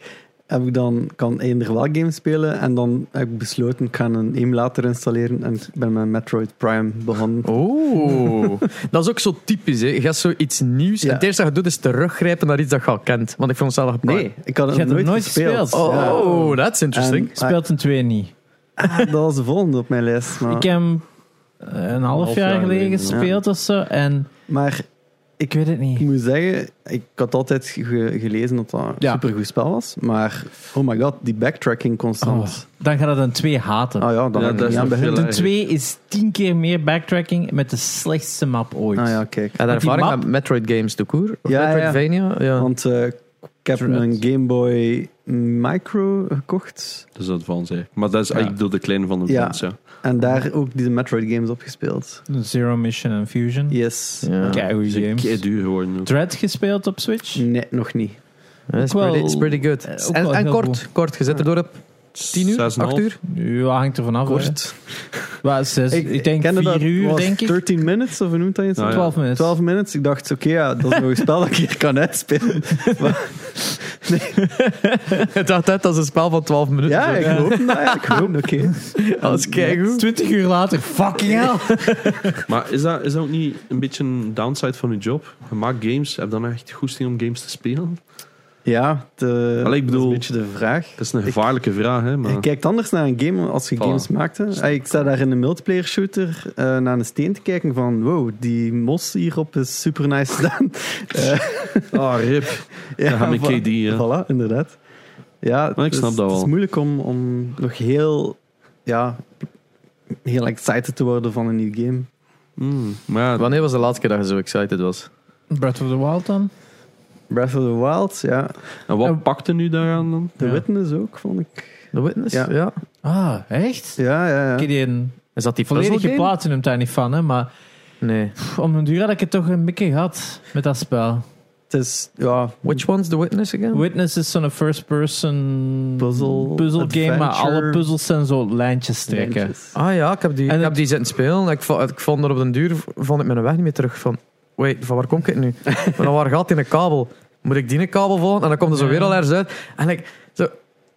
Speaker 4: heb ik dan kan eender wel games spelen en dan heb ik besloten ik ga een emulator installeren en ik ben met Metroid Prime begonnen.
Speaker 2: Oh, dat is ook zo typisch. Hè. Je gaat zoiets nieuws.
Speaker 4: Ja.
Speaker 2: En het eerste dat je doet is teruggrijpen naar iets dat je al kent. Want ik vond het zelf
Speaker 4: Nee, ik had
Speaker 1: Je
Speaker 4: het
Speaker 1: hebt
Speaker 4: nooit,
Speaker 1: het nooit gespeeld?
Speaker 4: Ja.
Speaker 2: Oh, dat is interesting.
Speaker 3: Ah.
Speaker 4: En-
Speaker 1: Speelt een twee niet.
Speaker 4: Ah, dat was de volgende op mijn
Speaker 3: Ah.
Speaker 4: lijst. Maar,
Speaker 1: eh, Ik heb hem een half, jaar, geleden gespeeld of zo. En
Speaker 4: maar
Speaker 1: Ik weet het
Speaker 4: Ik
Speaker 3: Hm.
Speaker 1: niet.
Speaker 4: moet zeggen, ik had altijd ge- gelezen dat dat een
Speaker 1: Ja.
Speaker 4: supergoed spel was. Maar, oh my god, die backtracking constant.
Speaker 1: Oh, dan gaat het een 2 haten.
Speaker 4: Ah ja, dan
Speaker 3: Ja,
Speaker 4: heb ik
Speaker 3: dat
Speaker 4: niet
Speaker 3: is
Speaker 4: aan
Speaker 3: nog
Speaker 4: begin.
Speaker 3: veel,
Speaker 1: De
Speaker 3: hè.
Speaker 4: Ah
Speaker 3: Eigenlijk.
Speaker 1: 2 is 10 keer meer backtracking met de slechtste map ooit.
Speaker 4: Ah ja, kijk.
Speaker 2: Ja, de
Speaker 1: Want die
Speaker 2: ervaring
Speaker 1: map-
Speaker 2: met Metroid games de koer. Of
Speaker 4: Ja, ja.
Speaker 2: Metroidvania. Ja.
Speaker 4: Want eh, ik heb
Speaker 1: Dread.
Speaker 4: een Game Boy Micro gekocht.
Speaker 3: Dus dat van zeg. Maar dat is
Speaker 1: Ja.
Speaker 3: eigenlijk door de kleine van de
Speaker 4: Ja.
Speaker 3: mensen. Ja.
Speaker 4: En daar ook die Metroid games op gespeeld.
Speaker 1: Zero Mission en Fusion.
Speaker 4: Yes.
Speaker 2: Ja.
Speaker 1: Kei goeie
Speaker 3: Dus een
Speaker 1: games.
Speaker 3: kei duur geworden. ook.
Speaker 1: Dread gespeeld op Switch.
Speaker 4: Nee, nog niet.
Speaker 1: Ah,
Speaker 2: Ja, It's
Speaker 1: Ook wel-
Speaker 2: pretty, it's pretty good.
Speaker 1: eh, ook wel
Speaker 2: En, en
Speaker 1: heel
Speaker 2: kort,
Speaker 1: goed.
Speaker 2: kort. Je zet erdoor op 10 uur,
Speaker 3: Zes en
Speaker 2: 8
Speaker 3: half.
Speaker 2: uur.
Speaker 1: Ja, hangt er vanaf. hè.
Speaker 4: Kort.
Speaker 1: Wel, zes- ik, denk
Speaker 4: kende dat
Speaker 1: 4 uur,
Speaker 4: was
Speaker 1: denk ik.
Speaker 4: 13 minutes, of hoe noemt dat je het?
Speaker 3: Ah, ja.
Speaker 1: 12 minuten.
Speaker 4: 12 minutes. Ik dacht, oké, ja, dat is nog een spel dat ik hier kan uitspelen.
Speaker 2: Het dacht uit als een spel van 12 minuten.
Speaker 4: Ja, ik hoop dat eigenlijk gewoon. Oké.
Speaker 2: Dat is keigoed.
Speaker 1: 20 uur later, fucking hell.
Speaker 3: Maar is dat, is dat ook niet een beetje een downside van je job? Je maakt games, heb je dan echt goesting om games te spelen?
Speaker 4: Ja, de,
Speaker 3: Allee, ik
Speaker 4: dat is
Speaker 3: bedoel-
Speaker 4: een beetje de vraag.
Speaker 3: Dat is een gevaarlijke vraag, hè?
Speaker 4: Je
Speaker 3: Maar...
Speaker 4: kijkt anders naar een game als je
Speaker 3: Voilà.
Speaker 4: games maakte. Ey, ik sta daar in een multiplayer shooter eh, naar een steen te kijken van wow, die mos hierop is super nice gedaan.
Speaker 3: Ah, rip.
Speaker 4: ja,
Speaker 3: gaan we
Speaker 4: va-
Speaker 3: KD, hè.
Speaker 4: Voilà, inderdaad. Ja,
Speaker 3: Maar ik
Speaker 4: het
Speaker 3: snap
Speaker 4: is-
Speaker 3: dat
Speaker 4: Het is
Speaker 3: wel.
Speaker 4: moeilijk om, om nog heel, ja, heel excited te worden van een nieuw game.
Speaker 3: Mm, maar ja,
Speaker 2: Wanneer was de laatste keer dat je zo excited was?
Speaker 1: Breath of the Wild dan?
Speaker 4: Breath of the Wild, ja.
Speaker 3: en wat pakte nu daaraan dan?
Speaker 4: The
Speaker 1: Ja.
Speaker 4: Witness ook, vond ik.
Speaker 2: The Witness?
Speaker 4: Ja.
Speaker 2: Ja.
Speaker 1: Ah, echt?
Speaker 4: Ja, ja,
Speaker 1: Ik
Speaker 4: ja.
Speaker 1: heb die een
Speaker 2: Is dat die
Speaker 1: volledige
Speaker 2: puzzelgame?
Speaker 1: platinum daar niet van, hè, maar
Speaker 2: Nee.
Speaker 1: pff, om een duur had ik het toch een beetje gehad met dat spel.
Speaker 4: Het is, ja,
Speaker 2: Which one's The Witness again?
Speaker 1: Witness is zo'n first-person
Speaker 4: Puzzle,
Speaker 1: puzzle game, maar
Speaker 4: adventure.
Speaker 1: alle puzzels zijn zo lijntjes trekken.
Speaker 4: lijntjes.
Speaker 2: Ah ja, ik heb die,
Speaker 1: En
Speaker 2: ik
Speaker 1: het-
Speaker 2: heb die zitten spelen. Ik vond, ik vond er op den duur vond ik mijn weg niet meer terug. Van, wait, van waar kom ik het nu? Maar dan waar gaat die een kabel? Moet ik die een kabel volgen? En dan komt er zo
Speaker 1: Ja.
Speaker 2: weer al ergens uit. En ik, zo,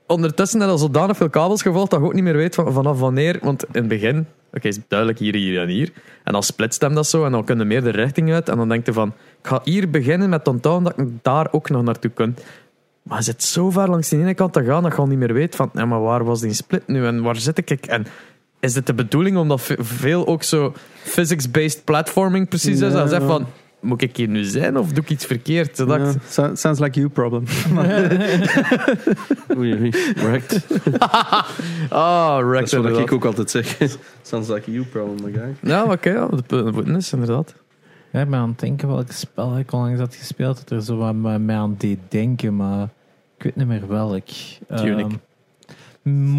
Speaker 2: ondertussen heb ik al zodanig veel kabels gevolgd dat ik ook niet meer weet van, vanaf wanneer. Want in het begin, oké, is duidelijk hier, hier en hier. En dan splitst hem dat zo en dan kun je meer de richting uit. En dan denk je van, ik ga hier beginnen met onthouden dat ik daar ook nog naartoe kan. Maar je zit zo ver langs die ene kant te gaan dat je al niet meer weet van, ja, maar waar was die split nu en waar zit ik? En is dit de bedoeling omdat ve- veel ook zo physics-based platforming precies is?
Speaker 4: Ja.
Speaker 2: Dan zeg je van, moet ik hier nu zijn of doe ik iets verkeerd? Dat ik-
Speaker 4: Ja, so- sounds like you problem.
Speaker 3: Oei, oei, wrecked.
Speaker 2: Ah, wrecked
Speaker 3: Dat is wat
Speaker 2: inderdaad.
Speaker 3: ik ook altijd zeg. Sounds like you problem, my guy.
Speaker 2: Ja, maar oké, ja, de pu- de witness inderdaad.
Speaker 1: Ja, ik ben aan het denken welk spel ik onlangs had gespeeld. Dat er zo wat me- mij aan deed denken, maar ik weet niet meer welk.
Speaker 2: Tunic.
Speaker 1: Ehm,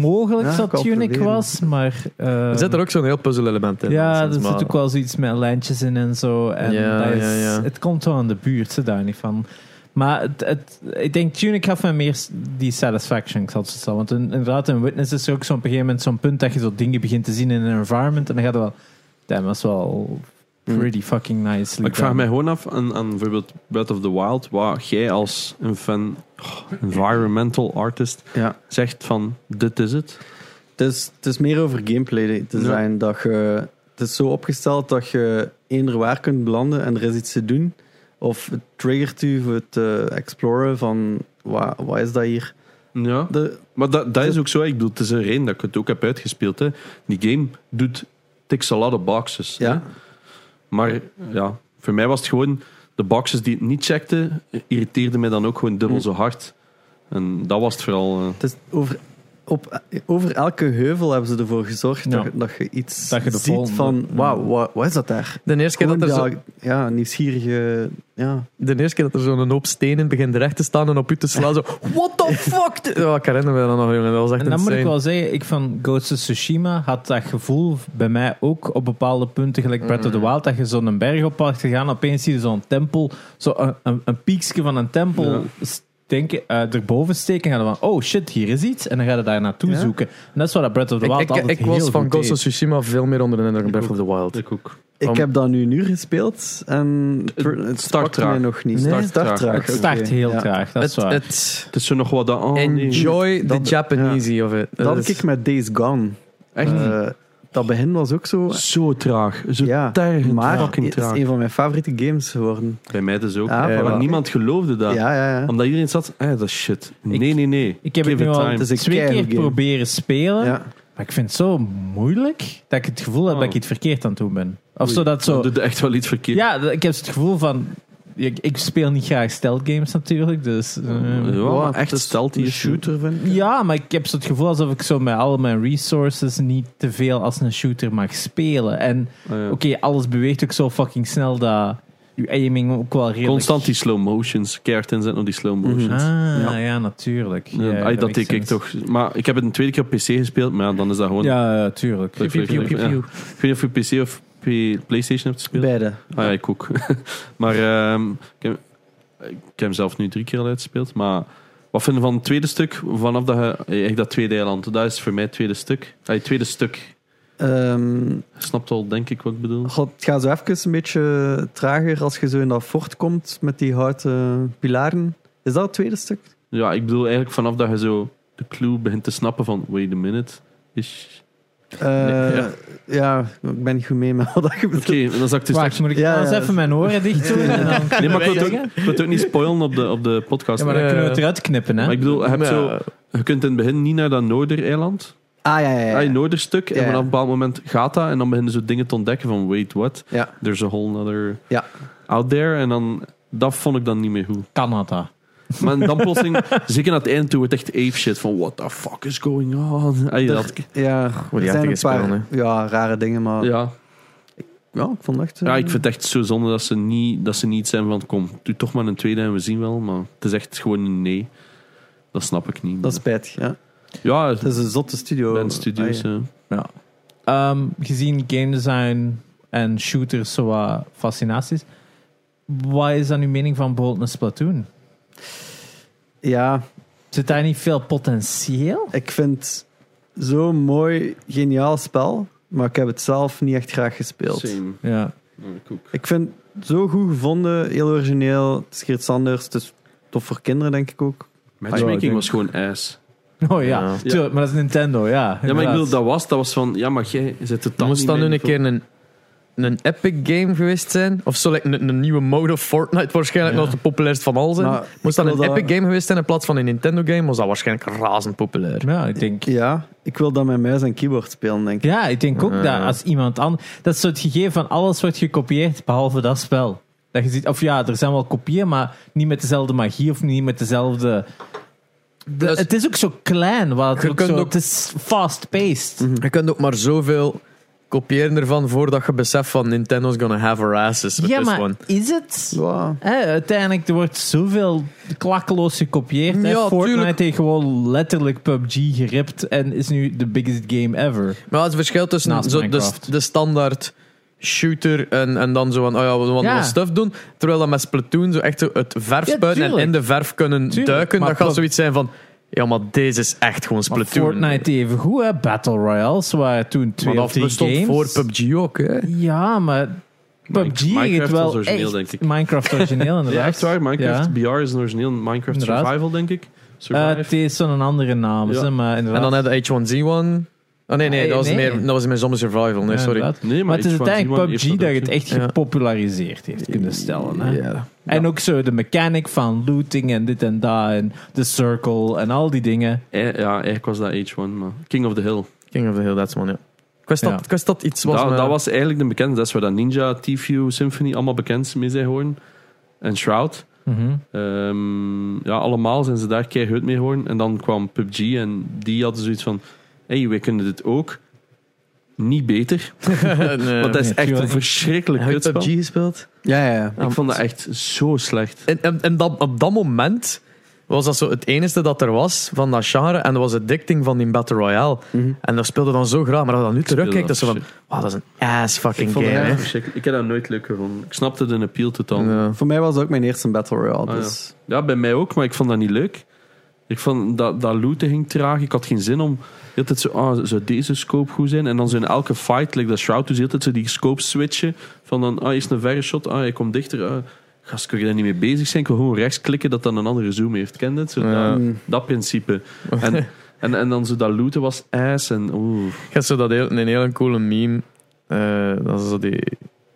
Speaker 1: mogelijk
Speaker 4: Ja,
Speaker 1: dat
Speaker 4: ik wou
Speaker 1: Tunic
Speaker 4: proberen.
Speaker 1: was, maar... ehm,
Speaker 2: Er zit er ook zo'n heel puzzel-element in.
Speaker 1: Ja, er
Speaker 2: minstens, maar-
Speaker 1: zit ook wel zoiets met lijntjes in en zo. En
Speaker 2: Ja,
Speaker 1: dat is,
Speaker 2: ja, ja.
Speaker 1: Het komt wel aan de buurt, ze daar niet van. Maar het, het, ik denk, Tunic gaf me meer s- die satisfaction, ik zal het zo zeggen. Want in- inderdaad, in Witness is er ook zo'n op een gegeven moment zo'n punt dat je zo dingen begint te zien in een environment. En dan gaat het wel... Damn, dat is wel
Speaker 2: Mm.
Speaker 1: pretty fucking nice.
Speaker 3: Maar ik vraag mij gewoon af aan, aan bijvoorbeeld Breath of the Wild, waar jij als een fan, oh, environmental artist,
Speaker 4: ja.
Speaker 3: zegt van dit is het.
Speaker 4: Het is, het is meer over gameplay design. Dat je, het is zo opgesteld dat je eender waar kunt belanden en er is iets te doen. Of het triggert u voor het eh, exploren van wa- wat, is dat hier?
Speaker 3: Ja.
Speaker 4: De,
Speaker 3: Maar dat, dat is ook zo. Ik bedoel, het is een reden dat ik het ook heb uitgespeeld. Hè. Die game doet ticks a lot of boxes. hè.
Speaker 4: ja,
Speaker 3: Maar ja, voor mij was het gewoon... De boxes die het niet checkte, irriteerden mij dan ook gewoon dubbel zo hard. En dat was het vooral... eh.
Speaker 4: het is over, op, over elke heuvel hebben ze ervoor gezorgd
Speaker 1: Ja.
Speaker 4: dat, je- dat je iets
Speaker 1: Dat je de
Speaker 4: ziet
Speaker 1: volgende-
Speaker 4: van wauw, wat, wat is dat daar?
Speaker 2: De eerste keer dat er
Speaker 4: Gewoon
Speaker 2: zo...
Speaker 4: dat- ja, nieuwsgierige... Ja.
Speaker 2: De eerste keer dat er zo'n hoop stenen begint recht te staan en op u te slaan, zo... What the fuck? Ja, ik herinner me dat nog, jongen. Dat was echt
Speaker 1: En dan moet ik
Speaker 2: insane.
Speaker 1: wel zeggen, ik van Ghost of Tsushima had dat gevoel bij mij ook op bepaalde punten, gelijk Breath of
Speaker 2: Mm.
Speaker 1: the Wild, dat je zo'n berg op had gegaan, opeens zie je zo'n tempel, zo een, een, een piekje van een tempel stinken, eh, erboven steken en gaan van, oh shit, hier is iets, en dan ga je daar naartoe
Speaker 4: Ja.
Speaker 1: zoeken. En dat is wat dat Breath of the Wild
Speaker 2: Ik, ik,
Speaker 1: altijd
Speaker 2: ik was
Speaker 1: heel
Speaker 2: van
Speaker 1: goed
Speaker 2: Ghost of
Speaker 1: deed.
Speaker 2: Tsushima veel meer onder de indruk van Breath
Speaker 3: Ik
Speaker 2: of the Wild.
Speaker 3: Ik ook.
Speaker 4: Ik
Speaker 2: Om-
Speaker 4: heb dat nu een uur gespeeld en het,
Speaker 3: Het
Speaker 4: het
Speaker 3: start
Speaker 4: pakte
Speaker 3: traag.
Speaker 4: mij nog niet.
Speaker 2: Nee?
Speaker 3: Start traag.
Speaker 1: Het start
Speaker 4: oké,
Speaker 1: heel
Speaker 4: ja.
Speaker 1: traag, dat is
Speaker 2: Het,
Speaker 1: waar.
Speaker 2: het,
Speaker 3: Het is zo nog wat... dat- Oh, nee.
Speaker 2: enjoy the
Speaker 4: Dat-
Speaker 2: Japanese of dus- it.
Speaker 4: Dat
Speaker 2: is-
Speaker 4: had ik met Days Gone.
Speaker 3: Echt?
Speaker 4: Eh, dat begin was ook zo.
Speaker 3: Zo traag. Zo
Speaker 4: Ja,
Speaker 3: tergend
Speaker 4: maar
Speaker 3: fucking
Speaker 4: het is
Speaker 3: traag.
Speaker 4: een van mijn favoriete games geworden.
Speaker 3: Bij mij dus ook.
Speaker 4: Ja,
Speaker 3: Eh,
Speaker 4: voilà.
Speaker 3: want niemand geloofde dat.
Speaker 4: Ja, ja, ja.
Speaker 3: Omdat iedereen zat... Eh, dat is shit. Nee, nee, nee.
Speaker 1: Ik heb
Speaker 3: Give
Speaker 1: het nu
Speaker 3: it
Speaker 1: al
Speaker 3: time.
Speaker 4: is een
Speaker 1: twee keer
Speaker 4: keihard game.
Speaker 1: proberen spelen,
Speaker 4: ja.
Speaker 1: maar ik vind het zo moeilijk dat ik het gevoel heb
Speaker 3: Oh.
Speaker 1: dat ik iets verkeerd aan het doen ben. Of zo dat zo...
Speaker 3: Dan doet het echt wel iets verkeerd.
Speaker 1: Ja, d- ik heb het gevoel van. ik, ik speel niet graag stealth games natuurlijk, dus... eh,
Speaker 3: Ja, maar echt
Speaker 5: het is
Speaker 3: stealth
Speaker 5: een
Speaker 3: hier
Speaker 5: shooter, vind ik.
Speaker 1: ja, maar ik heb zo het gevoel alsof ik zo met al mijn resources niet te veel als een shooter mag spelen. En
Speaker 3: Ah, ja.
Speaker 1: oké, alles beweegt ook zo fucking snel dat je aiming ook wel redelijk...
Speaker 3: Constant die slow motions. Keert inzetten op die slow motions.
Speaker 1: Ah, ja,
Speaker 3: Ja.
Speaker 1: natuurlijk. Ja,
Speaker 3: Ja, ai, dat
Speaker 1: makes
Speaker 3: deed ik
Speaker 1: sense.
Speaker 3: toch. Maar ik heb het een tweede keer op PC gespeeld, maar ja, dan is dat gewoon.
Speaker 1: Ja, ja, tuurlijk.
Speaker 3: dat
Speaker 2: Pew, pew,
Speaker 3: werkt
Speaker 2: pew,
Speaker 3: niet.
Speaker 2: pew,
Speaker 3: Ja. Ik weet niet of je PC of P- PlayStation hebt gespeeld.
Speaker 4: Beide.
Speaker 3: Ah ja, ik ook. maar ehm, ik, heb, ik heb hem zelf nu drie keer al uitgespeeld. Maar wat vinden we van het tweede stuk? Vanaf dat, je- eigenlijk dat tweede eiland. Dat is voor mij het tweede stuk. Ah, het tweede stuk.
Speaker 4: Ehm,
Speaker 3: Je Snapt al, denk ik, wat ik bedoel.
Speaker 4: god, het gaat zo even een beetje trager als je zo in dat fort komt met die houten pilaren. Is dat het tweede stuk?
Speaker 3: Ja, ik bedoel eigenlijk vanaf dat je zo de clue begint te snappen van wait a minute. Is...
Speaker 4: Eh,
Speaker 3: ja.
Speaker 4: ja. ik ben niet goed mee met wat dat je
Speaker 3: Oké,
Speaker 4: bedoelt.
Speaker 3: en dan zag ik dus...
Speaker 1: Wacht, moet ik
Speaker 4: Ja,
Speaker 1: nou eens
Speaker 4: ja.
Speaker 1: even mijn oren dicht doen? en dan
Speaker 3: Nee,
Speaker 1: kunnen
Speaker 3: maar
Speaker 1: wij
Speaker 3: ik wil het ook,
Speaker 1: zeggen?
Speaker 3: ik wil het ook niet spoilen op de, op de podcast.
Speaker 1: Ja, maar dan
Speaker 2: Eh,
Speaker 1: kunnen we het eruit knippen, hè?
Speaker 3: Maar ik bedoel, je, hebt
Speaker 2: Maar
Speaker 3: zo,
Speaker 2: ja,
Speaker 3: je kunt in het begin niet naar dat Noordereiland.
Speaker 4: Ah, ja, ja,
Speaker 3: Ja.
Speaker 4: ja.
Speaker 3: je Noorderstuk. En
Speaker 4: Ja.
Speaker 3: vanaf een bepaald moment gaat dat. En dan beginnen ze dingen te ontdekken van wait, what?
Speaker 4: Ja.
Speaker 3: There's a whole other
Speaker 4: Ja.
Speaker 3: out there. En dan, dat vond ik dan niet meer goed.
Speaker 1: Canada.
Speaker 3: Maar dan plotseling, zeker aan het eind toe, wordt echt ape shit van what the fuck is going on? Ah, ja, dat-
Speaker 4: Ja,
Speaker 2: Wordt die echt gespeeld,
Speaker 4: ja, rare dingen, maar ja.
Speaker 3: ja.
Speaker 4: ik vond het echt... eh,
Speaker 3: ja, ik vind het echt zo zonde dat ze niet, dat ze niet zijn van kom, doe toch maar een tweede en we zien wel. Maar het is echt gewoon een nee. Dat snap ik niet.
Speaker 4: Dat is spijtig, ja.
Speaker 3: ja, eh,
Speaker 4: Het is een zotte studio.
Speaker 3: Ben Studios.
Speaker 4: Ah, ja.
Speaker 3: ja.
Speaker 1: Ehm, gezien game design en shooters, zo wat fascinaties. Wat is dan uw mening van bijvoorbeeld een Splatoon?
Speaker 4: ja,
Speaker 1: Zit daar niet veel potentieel?
Speaker 4: ik vind het zo'n mooi, geniaal spel, maar ik heb het zelf niet echt graag gespeeld.
Speaker 3: Same.
Speaker 1: Ja.
Speaker 3: Ja, ik ook.
Speaker 4: Ik vind het zo goed gevonden, heel origineel. Het is iets anders, het is tof voor kinderen, denk ik ook.
Speaker 3: Matchmaking
Speaker 4: Ja, ik
Speaker 3: was gewoon ass.
Speaker 1: Oh ja,
Speaker 2: Ja.
Speaker 1: Tuurlijk, maar dat is Nintendo, ja.
Speaker 3: Ja, maar ik
Speaker 1: inderdaad.
Speaker 3: bedoel, dat was, dat was van, ja, maar jij zit het dan
Speaker 2: Moest
Speaker 3: niet
Speaker 2: dat nu
Speaker 3: mee
Speaker 2: een keer een, een epic game geweest zijn? Of zo, like, een, een nieuwe mode of Fortnite waarschijnlijk
Speaker 1: Ja.
Speaker 2: nog de populairst van al zijn?
Speaker 4: Maar
Speaker 2: Moest
Speaker 4: ik
Speaker 2: dat een
Speaker 4: wil dat-
Speaker 2: epic game geweest zijn in plaats van een Nintendo game, was dat waarschijnlijk razend populair.
Speaker 1: Ja, ik denk...
Speaker 4: Ja, ik wil dat met muis en keyboard spelen, denk ik.
Speaker 1: Ja, ik denk ook
Speaker 2: Ja.
Speaker 1: dat als iemand anders... Dat is zo het gegeven van alles wordt gekopieerd, behalve dat spel. Dat je ziet, of ja, er zijn wel kopieën, maar niet met dezelfde magie of niet met dezelfde... De-
Speaker 2: Dus-
Speaker 1: het is ook zo klein, wat het,
Speaker 2: Je
Speaker 1: ook
Speaker 2: kunt
Speaker 1: zo,
Speaker 2: ook- Mhm.
Speaker 1: het is fast-paced.
Speaker 2: Je kunt ook maar zoveel kopiëren ervan voordat je beseft van Nintendo's gonna have our asses with
Speaker 1: Ja,
Speaker 2: this
Speaker 1: maar
Speaker 2: one.
Speaker 1: is het?
Speaker 4: Ja.
Speaker 1: Hè, uiteindelijk er wordt zoveel klakkeloos gekopieerd. hè.
Speaker 2: Ja,
Speaker 1: Fortnite
Speaker 2: tuurlijk.
Speaker 1: heeft gewoon letterlijk PUBG geript en is nu de biggest game ever.
Speaker 2: Maar het verschil tussen
Speaker 1: Naast
Speaker 2: zo de,
Speaker 1: Minecraft.
Speaker 2: de standaard shooter en, en dan zo van, oh ja, we willen
Speaker 1: Ja.
Speaker 2: wat stuff doen. Terwijl dat met Splatoon zo echt zo het verf
Speaker 1: Ja,
Speaker 2: spuiten en
Speaker 1: tuurlijk.
Speaker 2: in de verf kunnen
Speaker 1: Tuurlijk,
Speaker 2: duiken,
Speaker 1: maar
Speaker 2: dat gaat
Speaker 1: pro-
Speaker 2: zoiets zijn van, ja, maar deze is echt gewoon
Speaker 1: Maar
Speaker 2: Splatoon.
Speaker 1: Fortnite even goed, hè? Battle Royales waren toen twee
Speaker 2: Maar
Speaker 1: of
Speaker 2: dat
Speaker 1: drie
Speaker 2: bestond
Speaker 1: games.
Speaker 2: voor PUBG ook, hè.
Speaker 1: Ja, maar PUBG heeft
Speaker 3: Minecraft
Speaker 1: wel
Speaker 3: was origineel,
Speaker 1: echt
Speaker 3: denk ik.
Speaker 1: Minecraft origineel inderdaad.
Speaker 3: Ja, echt waar. Minecraft
Speaker 1: Ja.
Speaker 3: BR is een origineel Minecraft
Speaker 1: Inderdaad.
Speaker 3: Survival, denk ik.
Speaker 1: Eh,
Speaker 3: Survive.
Speaker 1: het is zo'n andere naam,
Speaker 3: Ja.
Speaker 1: hè, maar
Speaker 2: En
Speaker 1: inderdaad.
Speaker 2: dan hebben H1Z1. Oh nee, nee,
Speaker 1: Nee,
Speaker 2: dat was,
Speaker 1: nee.
Speaker 2: Meer, dat was meer Zombie Survival.
Speaker 1: Ja,
Speaker 2: Nee, sorry.
Speaker 1: inderdaad.
Speaker 3: nee, maar,
Speaker 1: Maar het is
Speaker 3: H1Z1
Speaker 1: uiteindelijk
Speaker 3: heeft
Speaker 1: PUBG dat je
Speaker 3: ook
Speaker 1: het echt
Speaker 2: Ja.
Speaker 1: gepopulariseerd heeft kunnen stellen. Hè?
Speaker 2: Ja.
Speaker 1: En ook zo de mechanic van looting en dit en dat en de circle en al die dingen.
Speaker 3: zo. Eh, Ja, eigenlijk was dat H1, maar King of the Hill.
Speaker 2: King of the Hill, that's one, ja. Ik wist,
Speaker 1: Ja.
Speaker 2: dat, ik wist dat iets was.
Speaker 3: dat,
Speaker 2: maar-
Speaker 3: dat was eigenlijk de bekende. Dat is waar dat Ninja, T-View, Symphony allemaal bekend mee zijn geworden. En Shroud. Ehm, ja, allemaal zijn ze daar keihard mee geworden. En dan kwam PUBG en die hadden zoiets van... hey, wij kunnen dit ook. Niet beter.
Speaker 2: Eh, nee.
Speaker 3: Want dat is
Speaker 1: nee,
Speaker 3: echt een
Speaker 1: tuurlijk.
Speaker 3: verschrikkelijk
Speaker 2: Heb je
Speaker 3: kutspel.
Speaker 2: PUBG gespeeld?
Speaker 4: Ja, ja, ja.
Speaker 3: Ik vond dat echt zo slecht.
Speaker 2: En, en, en dat, op dat moment was dat zo het enige dat er was van dat genre. En dat was het dicting van die Battle Royale.
Speaker 3: Mhm.
Speaker 2: En dat speelde dan zo graag. Maar als je dat nu terugkijkt, dat is zo van... Wow, dat is een ass fucking
Speaker 3: Ik
Speaker 2: game,
Speaker 3: vond dat
Speaker 2: hè.
Speaker 3: echt verschrikkelijk. Ik heb dat nooit leuk gevonden. Ik snapte de appeal totaal. niet.
Speaker 2: Ja.
Speaker 4: eh, Voor mij was het ook mijn eerste Battle Royale,
Speaker 3: eh, Ah, ja.
Speaker 4: dus...
Speaker 3: Ja, bij mij ook, maar ik vond dat niet leuk. Ik vond dat, dat looten ging traag. Ik had geen zin om. Je had het zo, ah, zou deze scope goed zijn? En dan zo in elke fight, like dat Shroud, dus je had het zo die scope switchen. Van dan, ah, eerst een verre shot, ah, hij komt dichter. Ah, gast, kun je daar niet mee bezig zijn? Ik wil gewoon rechts klikken dat dan een andere zoom heeft. Ken je dit? Zo,
Speaker 2: Ja.
Speaker 3: dat, dat principe. En, en, en dan zo dat looten was ass. En, oeh.
Speaker 2: Ik had zo dat heel, een hele coole meme. eh, dat ze zo die,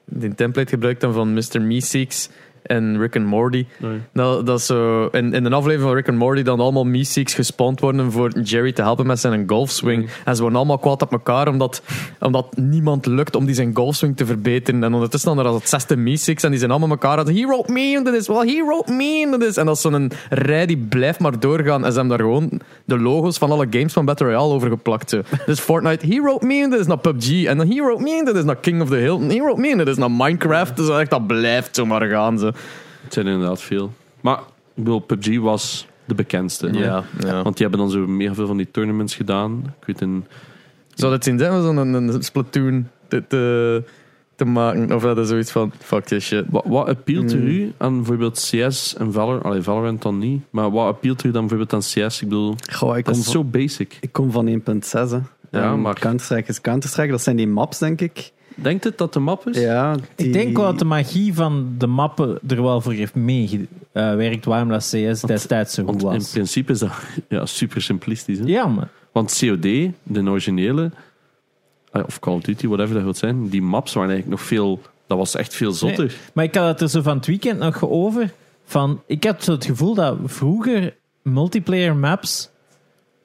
Speaker 2: die template gebruikt dan van Mr. Meeseeks. en Rick and Morty.
Speaker 3: Nee.
Speaker 2: Nou, Dat, dat is zo, in, in een aflevering van Rick and Morty dan allemaal mystics gespawnd worden voor Jerry te helpen met zijn golfswing. En ze worden allemaal kwaad op elkaar omdat, omdat niemand lukt om die zijn golfswing te verbeteren. En ondertussen dan er als het zesde mystics en die zijn allemaal elkaar aan het, he wrote me into this, well he wrote me into this. En dat is zo'n rij die blijft maar doorgaan en ze hebben daar gewoon de logo's van alle games van Battle Royale over geplakt. zo. Dus Fortnite, he wrote me into this, naar PUBG. En dan he wrote me into this, naar King of the Hill. En He wrote me into this, naar Minecraft. Dus echt, dat blijft zo maar gaan. Zo.
Speaker 3: Het zijn inderdaad veel. Maar ik bedoel, PUBG was de bekendste. hè.
Speaker 2: ja.
Speaker 3: Want die hebben dan zo meer veel van die tournaments gedaan. Ik weet in
Speaker 2: Zou dat zien zijn om zo'n een, een Splatoon te, te, te maken? Of dat is zoiets van, fuck this shit.
Speaker 3: Wat, wat appealt er
Speaker 4: Hmm.
Speaker 3: u aan bijvoorbeeld CS en Valor, allee, Valorant dan niet, maar wat appealt er u dan bijvoorbeeld aan CS? Ik bedoel,
Speaker 4: Goh, ik,
Speaker 3: dat
Speaker 4: kom
Speaker 3: is
Speaker 4: van,
Speaker 3: zo basic.
Speaker 4: ik kom van 1.6. hè.
Speaker 3: Ja,
Speaker 4: En
Speaker 3: maar-
Speaker 4: Counter-Strike is Counter-Strike. Dat zijn die maps, denk ik.
Speaker 3: Denkt het dat de map is?
Speaker 4: Ja, die-
Speaker 1: Ik denk wel dat de magie van de mappen er wel voor heeft meegewerkt waarom dat CS destijds zo goed
Speaker 3: Want in
Speaker 1: was.
Speaker 3: principe is dat ja, super simplistisch. Hè?
Speaker 1: Ja, maar
Speaker 3: Want COD, de originele, eh, of Call of Duty, whatever dat wil zijn, die maps waren eigenlijk nog veel, dat was echt veel zotter.
Speaker 1: Maar ik had het er zo van het weekend nog over. Van, ik heb zo het gevoel dat vroeger multiplayer maps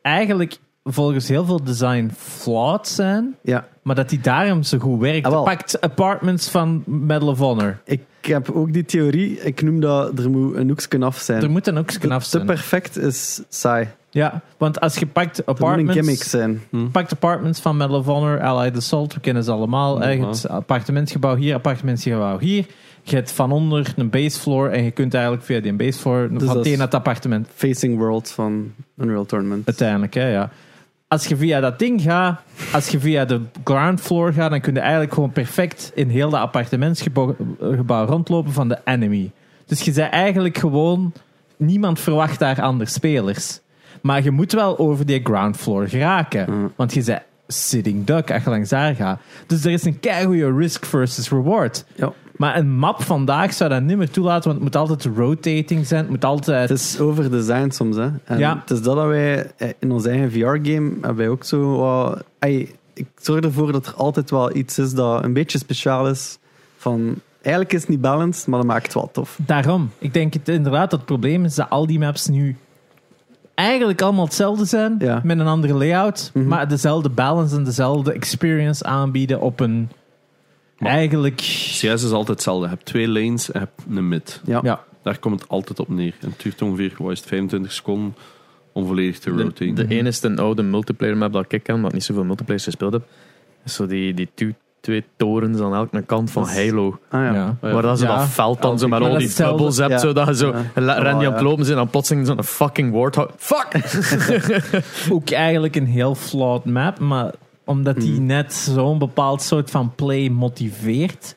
Speaker 1: eigenlijk volgens heel veel design flawed zijn.
Speaker 4: Ja,
Speaker 1: Maar dat die daarom zo goed werkt.
Speaker 4: Ah, wel.
Speaker 1: Pakt Apartments van Medal of Honor.
Speaker 4: ik heb ook die theorie. Ik noem dat er moet een hoeksken af zijn.
Speaker 1: Er moet dan ook knap
Speaker 4: te
Speaker 1: zijn.
Speaker 4: perfect is saai.
Speaker 1: Ja, want als je pakt
Speaker 4: Er moet een gimmick
Speaker 1: Apartments...
Speaker 4: zijn.
Speaker 1: Pakt Apartments van Medal of Honor, Allied Assault, we kennen ze allemaal. Eh,
Speaker 3: Ja.
Speaker 1: Het appartementsgebouw hier, appartementsgebouw hier. Je hebt van onder een base floor en je kunt eigenlijk via die base floor
Speaker 4: Dus
Speaker 1: van
Speaker 4: dat
Speaker 1: het
Speaker 4: is-
Speaker 1: een naar het appartement.
Speaker 4: Facing World van Unreal Tournament.
Speaker 1: Uiteindelijk, hè, ja. Als je via dat ding gaat, als je via de ground floor gaat, dan kun je eigenlijk gewoon perfect in heel dat appartementsgebouw gebouw rondlopen van de enemy. Dus je zei eigenlijk gewoon, niemand verwacht daar andere spelers. Maar je moet wel over die ground floor geraken. Want je zei sitting duck als je langs daar gaat. Dus er is een keigoede risk versus reward.
Speaker 4: Ja.
Speaker 1: Maar een map vandaag zou dat niet meer toelaten, want het moet altijd rotating zijn. Het moet altijd...
Speaker 4: Het is overdesign soms. Hè. En
Speaker 1: Ja.
Speaker 4: Het is dat dat wij eh, in ons eigen VR-game hebben wij ook zo. wat- ey, ik zorg ervoor dat er altijd wel iets is dat een beetje speciaal is. Van, eigenlijk is het niet balanced, maar dat maakt het wel tof.
Speaker 1: Daarom. Ik denk het, inderdaad dat het probleem is dat al die maps nu eigenlijk allemaal hetzelfde zijn.
Speaker 4: Ja.
Speaker 1: Met een andere layout.
Speaker 4: Mhm.
Speaker 1: Maar dezelfde balance en dezelfde experience aanbieden op een...
Speaker 3: Maar-
Speaker 1: eigenlijk...
Speaker 3: CS is altijd hetzelfde. Je hebt twee lanes en je hebt een mid.
Speaker 4: Ja.
Speaker 1: Ja.
Speaker 3: Daar komt het altijd op neer. En het duurt ongeveer wat is het, 25 seconden om volledig te
Speaker 2: De,
Speaker 3: rotaten.
Speaker 2: de enige oude multiplayer map dat ik ken, omdat ik niet zoveel multiplayers gespeeld heb, is zo die, die two- twee torens aan elke kant van
Speaker 4: Dat is-
Speaker 2: Halo.
Speaker 4: Ah, ja.
Speaker 1: ja.
Speaker 3: ja.
Speaker 2: Waar dat ze
Speaker 1: Ja.
Speaker 2: dat veld dan zo met
Speaker 1: Maar
Speaker 2: al
Speaker 1: dat
Speaker 2: die
Speaker 1: is hetzelfde.
Speaker 2: bubbels hebt,
Speaker 4: Ja.
Speaker 2: zo dat je zo
Speaker 4: Ja.
Speaker 2: la-
Speaker 4: Oh,
Speaker 2: Randy aan
Speaker 4: ja.
Speaker 2: het lopen zijn en dan plotseling zo'n fucking warthog. Fuck!
Speaker 1: Ook eigenlijk een heel flawed map. Maar omdat die
Speaker 4: Mhm.
Speaker 1: net zo'n bepaald soort van play motiveert.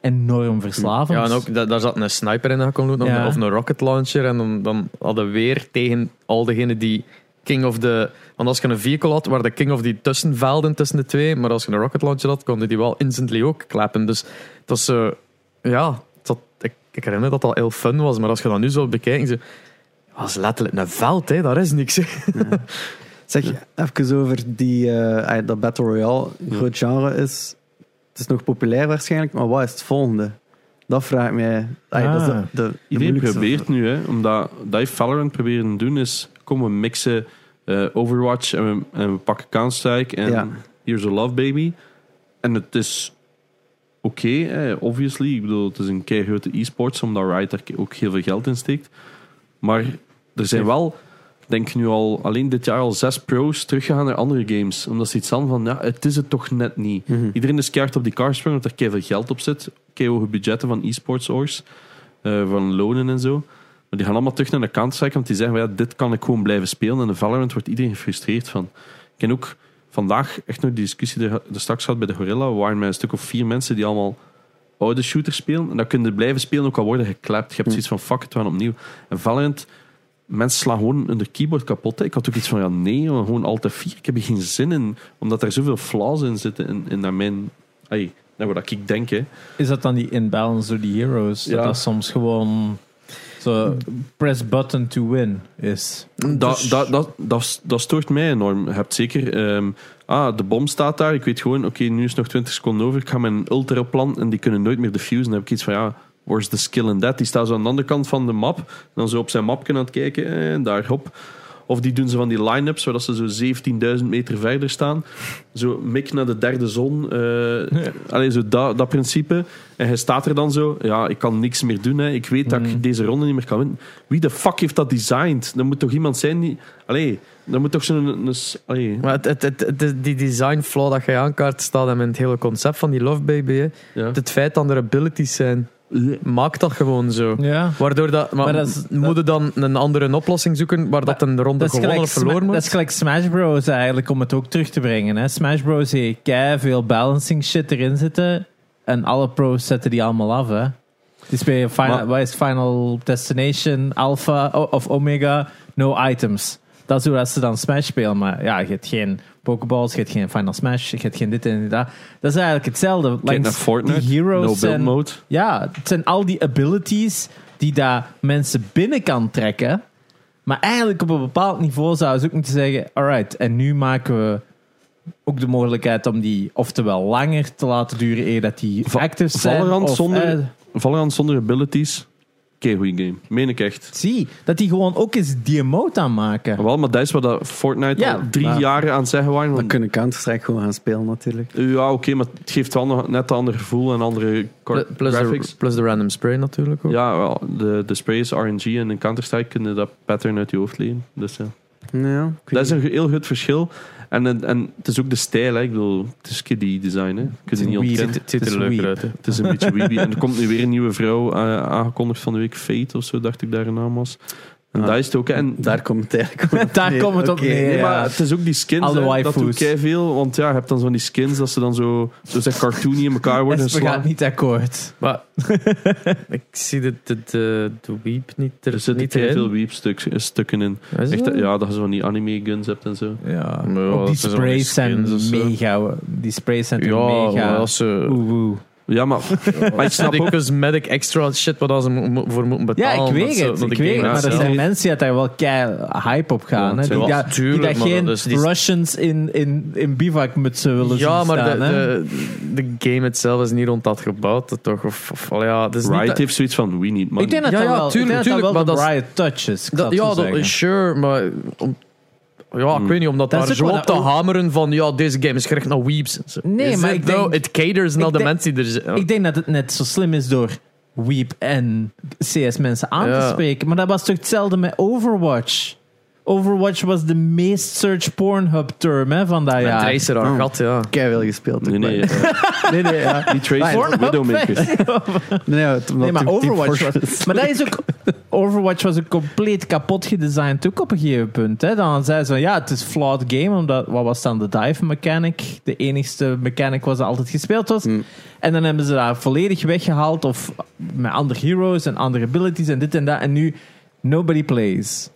Speaker 1: Enorm verslavend.
Speaker 2: Ja, en ook, da- daar zat een sniper in dat je kon doen, of-
Speaker 1: Ja.
Speaker 2: of een rocket launcher. En dan, dan hadden we weer tegen al degenen die King of the... Want als je een vehicle had, waren de King of die tussenvelden tussen de twee. Maar als je een rocket launcher had, konden die wel instantly ook klappen. Dus het was... eh, ja, het had- ik, ik herinner dat dat heel fun was. Maar als je dat nu zo bekijkt... Zo, dat is letterlijk een veld, hè. daar is niks. hè.
Speaker 4: Zeg, even over die, eh, ey, dat Battle Royale een groot genre is. Het is nog populair waarschijnlijk, maar wat is het volgende? Dat vraag ik mij. Ey, dat is de,
Speaker 1: Ah.
Speaker 4: de, de
Speaker 3: Iedereen
Speaker 4: moeilijkste
Speaker 3: probeert nu, hè, omdat dat heeft Valorant proberen te doen, is kom we mixen eh, Overwatch en we, en we pakken Counter-Strike en
Speaker 4: Ja.
Speaker 3: Here's a Love Baby. En het is oké, hè, obviously. Ik bedoel, het is een kei grote e-sports, omdat Riot daar ook heel veel geld in steekt. Maar er zijn wel, ik denk nu al, alleen dit jaar al zes pro's teruggegaan naar andere games. Omdat ze iets hadden van, ja, het is het toch net niet.
Speaker 4: Mhm.
Speaker 3: Iedereen is keihard op die car springen, omdat er veel geld op zit. Kei hoge budgetten van e-sports orgs, eh, van lonen en zo. Maar die gaan allemaal terug naar de Counter-Strike, want die zeggen, van, ja, dit kan ik gewoon blijven spelen. En de Valorant wordt iedereen gefrustreerd van. Ik ken ook vandaag echt nog die discussie die er straks gehad bij de Gorilla. We waren met een stuk of vier mensen die allemaal oude shooters spelen. En dat kunnen blijven spelen, ook al worden geklapt. Je hebt zoiets van, fuck het, we gaan opnieuw. En Valorant, mensen slaan gewoon hun keyboard kapot. hè. Ik had ook iets van, ja nee, joh, gewoon altijd vier. Ik heb er geen zin in, omdat er zoveel flaws in zitten. In, in naar mijn... Ay, naar wat ik denk, hè.
Speaker 1: Is dat dan die imbalance door die heroes?
Speaker 3: Ja.
Speaker 1: Dat dat soms gewoon... Zo, press button to win is.
Speaker 3: Dat, dat, dat, dat, dat stoort mij enorm. Je hebt zeker... ehm, ah, de bom staat daar. Ik weet gewoon, oké, nu is nog 20 seconden over. Ik ga mijn ult erop planten en die kunnen nooit meer defusen. Dan heb ik iets van, ja... where's the skill in that? Die staan zo aan de andere kant van de map. En dan zo op zijn mapje aan het kijken. eh, En daar, hop. Of die doen ze van die line-ups, zodat ze zo 17.000 meter verder staan. Zo mik naar de derde zon. eh allee, zo dat, dat principe. En hij staat er dan zo. Ja, ik kan niks meer doen. Hè. Ik weet dat
Speaker 1: Mm.
Speaker 3: ik deze ronde niet meer kan winnen. Wie de fuck heeft dat designed? Er moet toch iemand zijn die... Allee, dat moet toch zo'n... een- een s- Allee,
Speaker 2: Maar het, het, het, het- die design flaw dat je aankaart staat en met het hele concept van die Love Baby. hè.
Speaker 3: ja.
Speaker 2: Het feit dat er abilities zijn, maakt dat gewoon zo.
Speaker 1: Ja.
Speaker 2: Waardoor dat, maar
Speaker 1: Maar dat is-
Speaker 2: moet je dan een andere oplossing zoeken waar dat een ronde
Speaker 1: Dat is,
Speaker 2: gewonnen
Speaker 1: gelijk
Speaker 2: of verloren
Speaker 1: Sma-
Speaker 2: wordt?
Speaker 1: dat is gelijk Smash Bros. eigenlijk, om het ook terug te brengen. Hè. Smash Bros. heeft kei veel balancing shit erin zitten. En alle pros zetten die allemaal af. Hè. Dus bij Final,
Speaker 3: Maar-
Speaker 1: wat is Final Destination, Alpha o- of Omega, no items. Dat is hoe dat ze dan Smash spelen. Maar ja, je hebt geen Pokeballs, je hebt geen Final Smash, je hebt geen dit en dat. Dat is eigenlijk hetzelfde.
Speaker 3: Kijk naar
Speaker 1: Langs
Speaker 3: Fortnite.
Speaker 1: die heroes
Speaker 3: no build
Speaker 1: en-
Speaker 3: mode.
Speaker 1: ja, het zijn al die abilities die daar mensen binnen kan trekken. Maar eigenlijk op een bepaald niveau zouden ze ook moeten zeggen: alright, en nu maken we ook de mogelijkheid om die oftewel langer te laten duren eer dat die
Speaker 3: Va-
Speaker 1: active zijn.
Speaker 3: Valorant
Speaker 1: of,
Speaker 3: zonder,
Speaker 1: eh,
Speaker 3: Valorant zonder abilities. Oké, goeie game. Meen ik echt.
Speaker 1: zie, dat die gewoon ook eens die emote aanmaken.
Speaker 3: Wel, maar dat is wat dat Fortnite
Speaker 1: Ja,
Speaker 3: al drie
Speaker 1: maar-
Speaker 3: jaren aan het zeggen waren.
Speaker 4: Dan
Speaker 3: Want,
Speaker 4: kunnen Counter-Strike gewoon gaan spelen, natuurlijk.
Speaker 3: ja, oké, maar het geeft wel nog net een ander gevoel en andere
Speaker 2: Pl-
Speaker 3: gra-
Speaker 2: plus, de,
Speaker 3: graphics.
Speaker 2: plus de random spray natuurlijk ook.
Speaker 3: Ja, wel, de, de sprays, RNG en in Counter-Strike kunnen dat pattern uit je hoofd leren. Dus, ja.
Speaker 4: Ja, ik weet
Speaker 3: Dat is
Speaker 4: niet.
Speaker 3: een heel groot verschil. En, en, en het is ook de stijl, hè. ik bedoel, het is kiddie design. Hè. Je kunt het niet
Speaker 1: weird.
Speaker 3: ontkennen.
Speaker 2: Het, het ziet
Speaker 1: Het
Speaker 2: er
Speaker 1: is
Speaker 2: leuk
Speaker 1: weird.
Speaker 2: uit. hè.
Speaker 3: Het is een beetje weeby. En er komt nu weer een nieuwe vrouw eh, aangekondigd van de week. Fate of zo, dacht ik daar haar naam was. En
Speaker 4: Ah.
Speaker 3: daar is het ook. hè. En
Speaker 4: Daar komt het eigenlijk op
Speaker 1: Daar
Speaker 4: neer.
Speaker 1: komt het op
Speaker 4: Oké,
Speaker 1: neer,
Speaker 3: Nee,
Speaker 1: ja.
Speaker 3: maar het is ook die skins.
Speaker 1: Alle
Speaker 3: hè. dat
Speaker 1: waifus.
Speaker 3: doet kei veel. Want ja, je hebt dan van die skins dat ze dan zo, zo zeg, cartoony in elkaar worden
Speaker 1: Esper gaat
Speaker 3: geslagen.
Speaker 1: niet akkoord.
Speaker 2: Maar ik zie de, de, de, de weep niet Dus er,
Speaker 3: Er zitten
Speaker 2: niet
Speaker 3: kei
Speaker 2: in.
Speaker 3: veel weepstukken in.
Speaker 2: Is
Speaker 3: Echt,
Speaker 2: dat?
Speaker 3: ja, dat je zo van die anime guns hebt en zo.
Speaker 1: Ja,
Speaker 2: Maar ja,
Speaker 1: ook
Speaker 2: dat
Speaker 1: die
Speaker 2: zijn
Speaker 1: sprays zijn
Speaker 2: skins of zo.
Speaker 1: mega. Die sprays zijn toch
Speaker 2: ja,
Speaker 1: mega.
Speaker 2: maar als ze...
Speaker 1: Oeh, oeh.
Speaker 3: Ja, maar, maar ik snap
Speaker 2: Die
Speaker 3: ook...
Speaker 2: cosmetic extra shit wat ze mo- mo- voor moeten
Speaker 1: Ja,
Speaker 2: betalen.
Speaker 1: ik weet
Speaker 2: dat ze-
Speaker 1: het.
Speaker 2: dat
Speaker 1: Ik
Speaker 2: de
Speaker 1: weet het.
Speaker 2: game
Speaker 1: Maar dat
Speaker 2: zelf-
Speaker 1: zijn mensen die daar wel kei hype op gaan.
Speaker 3: Ja,
Speaker 1: hè. Die,
Speaker 3: tuurlijk.
Speaker 1: daar- die
Speaker 2: Tuurlijk,
Speaker 1: daar
Speaker 2: maar
Speaker 1: geen
Speaker 2: dat is- die-
Speaker 1: Russians in, in, in bivakmutsen willen
Speaker 2: Ja,
Speaker 1: zien
Speaker 2: maar de,
Speaker 1: staan. hè.
Speaker 2: de, de game itself is niet rond dat gebouwd, hè, toch? Of, of allee, ja, het is niet
Speaker 3: Riot
Speaker 2: dat-
Speaker 3: heeft zoiets van, we need money.
Speaker 1: ik denk dat
Speaker 2: Ja,
Speaker 1: dat
Speaker 2: ja,
Speaker 1: wel,
Speaker 2: tuurlijk,
Speaker 1: ik denk
Speaker 2: tuurlijk,
Speaker 1: dat dat wel
Speaker 2: maar
Speaker 1: de riot touches.
Speaker 2: dat- Hmm. ja, dat- sure, maar... om- ja, ik weet niet, omdat
Speaker 1: Dat is ook
Speaker 2: daar zo
Speaker 1: wat
Speaker 2: op te
Speaker 1: dat ook-
Speaker 2: hameren van ja, deze game is gericht naar weeps. en zo.
Speaker 1: Nee,
Speaker 2: Is
Speaker 1: maar
Speaker 2: it
Speaker 1: ik denk-
Speaker 2: though? It caters naar de
Speaker 1: denk-
Speaker 2: mensen die er zijn.
Speaker 1: Ik denk dat het net zo slim is door Weep en CS mensen aan te
Speaker 2: Ja.
Speaker 1: spreken. Maar dat was toch hetzelfde met Overwatch? Overwatch was de meest search pornhub term hè, van dat
Speaker 2: Met
Speaker 1: jaar.
Speaker 2: Tracer haar
Speaker 4: Oh.
Speaker 2: gat, ja.
Speaker 4: Kei wel gespeeld.
Speaker 3: Nee,
Speaker 4: ook,
Speaker 3: nee.
Speaker 4: maar-
Speaker 3: eh,
Speaker 4: nee, nee, ja.
Speaker 3: die Tracer
Speaker 1: Pornhub,
Speaker 3: van Widowmaker.
Speaker 4: nee, ja, het- omdat
Speaker 1: Nee, maar
Speaker 4: toen Team
Speaker 1: Overwatch
Speaker 4: Fortress-
Speaker 1: was, maar dat is ook, Overwatch was ook compleet kapot gedesigned ook op een gegeven punt. Hè. Dan zei ze van ja, het is flawed game, omdat wat was dan de dive mechanic? De enigste mechanic was dat altijd gespeeld was. En dan hebben ze dat volledig weggehaald of met andere heroes en andere abilities en dit en dat. En nu nobody plays.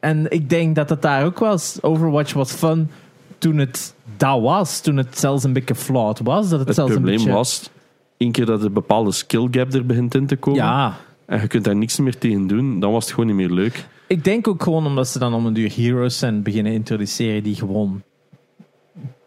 Speaker 1: En ik denk dat het daar ook was. Overwatch was fun toen het dat was. Toen het zelfs een beetje flawed was. Dat het,
Speaker 3: Het
Speaker 1: zelfs een
Speaker 3: probleem
Speaker 1: beetje...
Speaker 3: was, één keer dat er bepaalde skill gap er begint in te komen,
Speaker 1: Ja,
Speaker 3: en je kunt daar niks meer tegen doen, dan was het gewoon niet meer leuk.
Speaker 1: Ik denk ook gewoon omdat ze dan om een duur heroes zijn beginnen introduceren die gewoon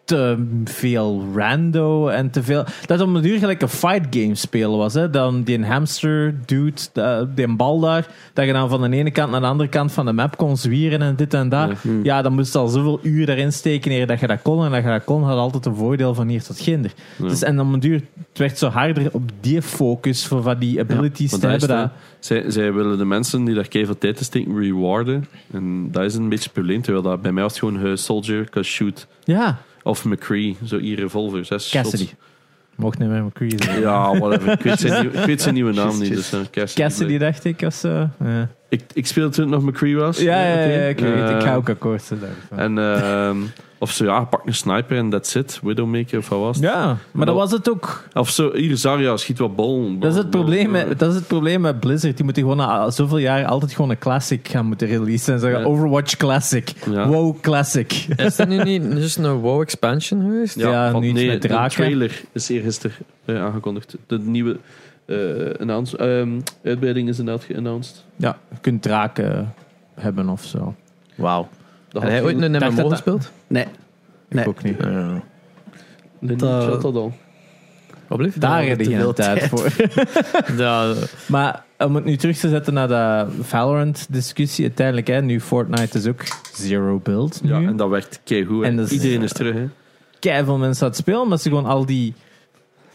Speaker 1: te veel rando en te veel... Dat om een duur gelijk een fight game spelen was. Hè? Dan die hamster dude, de- die bal daar, dat je dan van de ene kant naar de andere kant van de map kon zwieren en dit en dat.
Speaker 3: Hm.
Speaker 1: Ja, dan moest je al zoveel uur daarin steken eer dat je dat kon. En dat je dat kon, had altijd een voordeel van hier tot ginder. Dus, en om een duur, het werd zo harder op die focus voor van die abilities
Speaker 3: Want
Speaker 1: te
Speaker 3: dat is
Speaker 1: hebben.
Speaker 3: het,
Speaker 1: Dat,
Speaker 3: hè. zij, zij willen de mensen die daar keihard tijd te steken rewarden. En dat is een beetje het probleem. Terwijl dat bij mij was het gewoon eh, Soldier, kan shoot.
Speaker 1: ja,
Speaker 3: Of McCree, zo hier revolvers. zes
Speaker 1: Cassidy.
Speaker 3: shots.
Speaker 1: Mocht niet meer McCree zijn.
Speaker 3: Ja, whatever. ik, weet zijn, nieuw- ik weet zijn nieuwe naam
Speaker 4: Just,
Speaker 3: niet. Dus,
Speaker 4: just.
Speaker 3: eh, Cassidy.
Speaker 1: Cassidy, dacht ik, of zo. Ja,
Speaker 3: Ik, ik speelde toen het nog McCree was.
Speaker 1: ja, ja,
Speaker 3: meteen.
Speaker 1: ik weet het. Ik
Speaker 3: Eh,
Speaker 1: ga ook akkoord zijn daarvan.
Speaker 3: En, ehm, of zo, ja, pak een sniper en that's it. Widowmaker of wat was het?
Speaker 1: Ja, maar dat was het ook.
Speaker 3: Of zo, hier, Zarya, schiet wat bol.
Speaker 1: Dat is het probleem
Speaker 3: eh,
Speaker 1: met, dat is het probleem met Blizzard. Die moeten gewoon na zoveel jaar altijd gewoon een classic gaan moeten releasen. En zeggen
Speaker 3: Ja.
Speaker 1: Overwatch Classic,
Speaker 3: Ja.
Speaker 1: WoW Classic.
Speaker 2: Is er nu niet dus een WoW expansion geweest?
Speaker 1: Ja,
Speaker 3: van-
Speaker 1: nu iets
Speaker 3: nee,
Speaker 1: met
Speaker 3: de
Speaker 1: draken.
Speaker 3: trailer is eergisteren eh, aangekondigd. De nieuwe eh, announce- ehm, uitbreiding is inderdaad geannounced.
Speaker 1: Ja, je kunt draken hebben of zo.
Speaker 2: Wauw.
Speaker 3: Dat
Speaker 2: Heb jij ooit een
Speaker 1: dacht
Speaker 2: MMO
Speaker 1: dat-
Speaker 2: gespeeld?
Speaker 4: Nee.
Speaker 1: Ik
Speaker 4: Nee.
Speaker 1: ook niet.
Speaker 3: Nee,
Speaker 4: Dat-
Speaker 3: niet, had dat al.
Speaker 2: Wat bleef?
Speaker 1: Daar heb je
Speaker 2: te veel
Speaker 1: geen tijd voor.
Speaker 2: Ja,
Speaker 1: Maar om het nu terug te zetten naar de Valorant-discussie, uiteindelijk, hè, nu Fortnite is ook zero build.
Speaker 3: Ja,
Speaker 1: nu.
Speaker 3: en dat werkt keigoed. hè.
Speaker 1: En dat is-
Speaker 3: Iedereen is terug, hè.
Speaker 1: Kei veel mensen aan het spelen, omdat ze gewoon al die.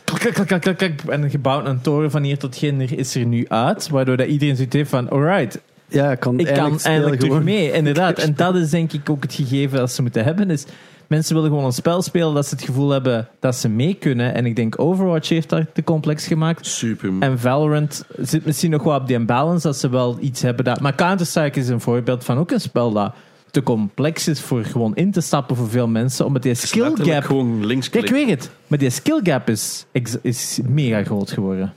Speaker 1: Klak, klak, klak, klak, klak, klak, en gebouwd een toren van hier tot ginder is er nu uit. Waardoor dat iedereen zoiets heeft van: alright,
Speaker 4: Ja, ik kan
Speaker 1: ik
Speaker 4: eindelijk
Speaker 1: kan
Speaker 4: spelen
Speaker 1: eindelijk terug
Speaker 4: gewoon.
Speaker 1: mee. Inderdaad. En dat is denk ik ook het gegeven dat ze moeten hebben. Is mensen willen gewoon een spel spelen dat ze het gevoel hebben dat ze mee kunnen. En ik denk Overwatch heeft daar te complex gemaakt.
Speaker 3: Super.
Speaker 1: En Valorant zit misschien nog wel op die balance dat ze wel iets hebben dat. Maar Counter-Strike is een voorbeeld van ook een spel dat te complex is voor gewoon in te stappen voor veel mensen. Omdat die skill
Speaker 3: Letterlijk
Speaker 1: gap.
Speaker 3: Gewoon links
Speaker 1: Kijk, ik weet het. Maar die skill gap is, ex- is mega groot geworden.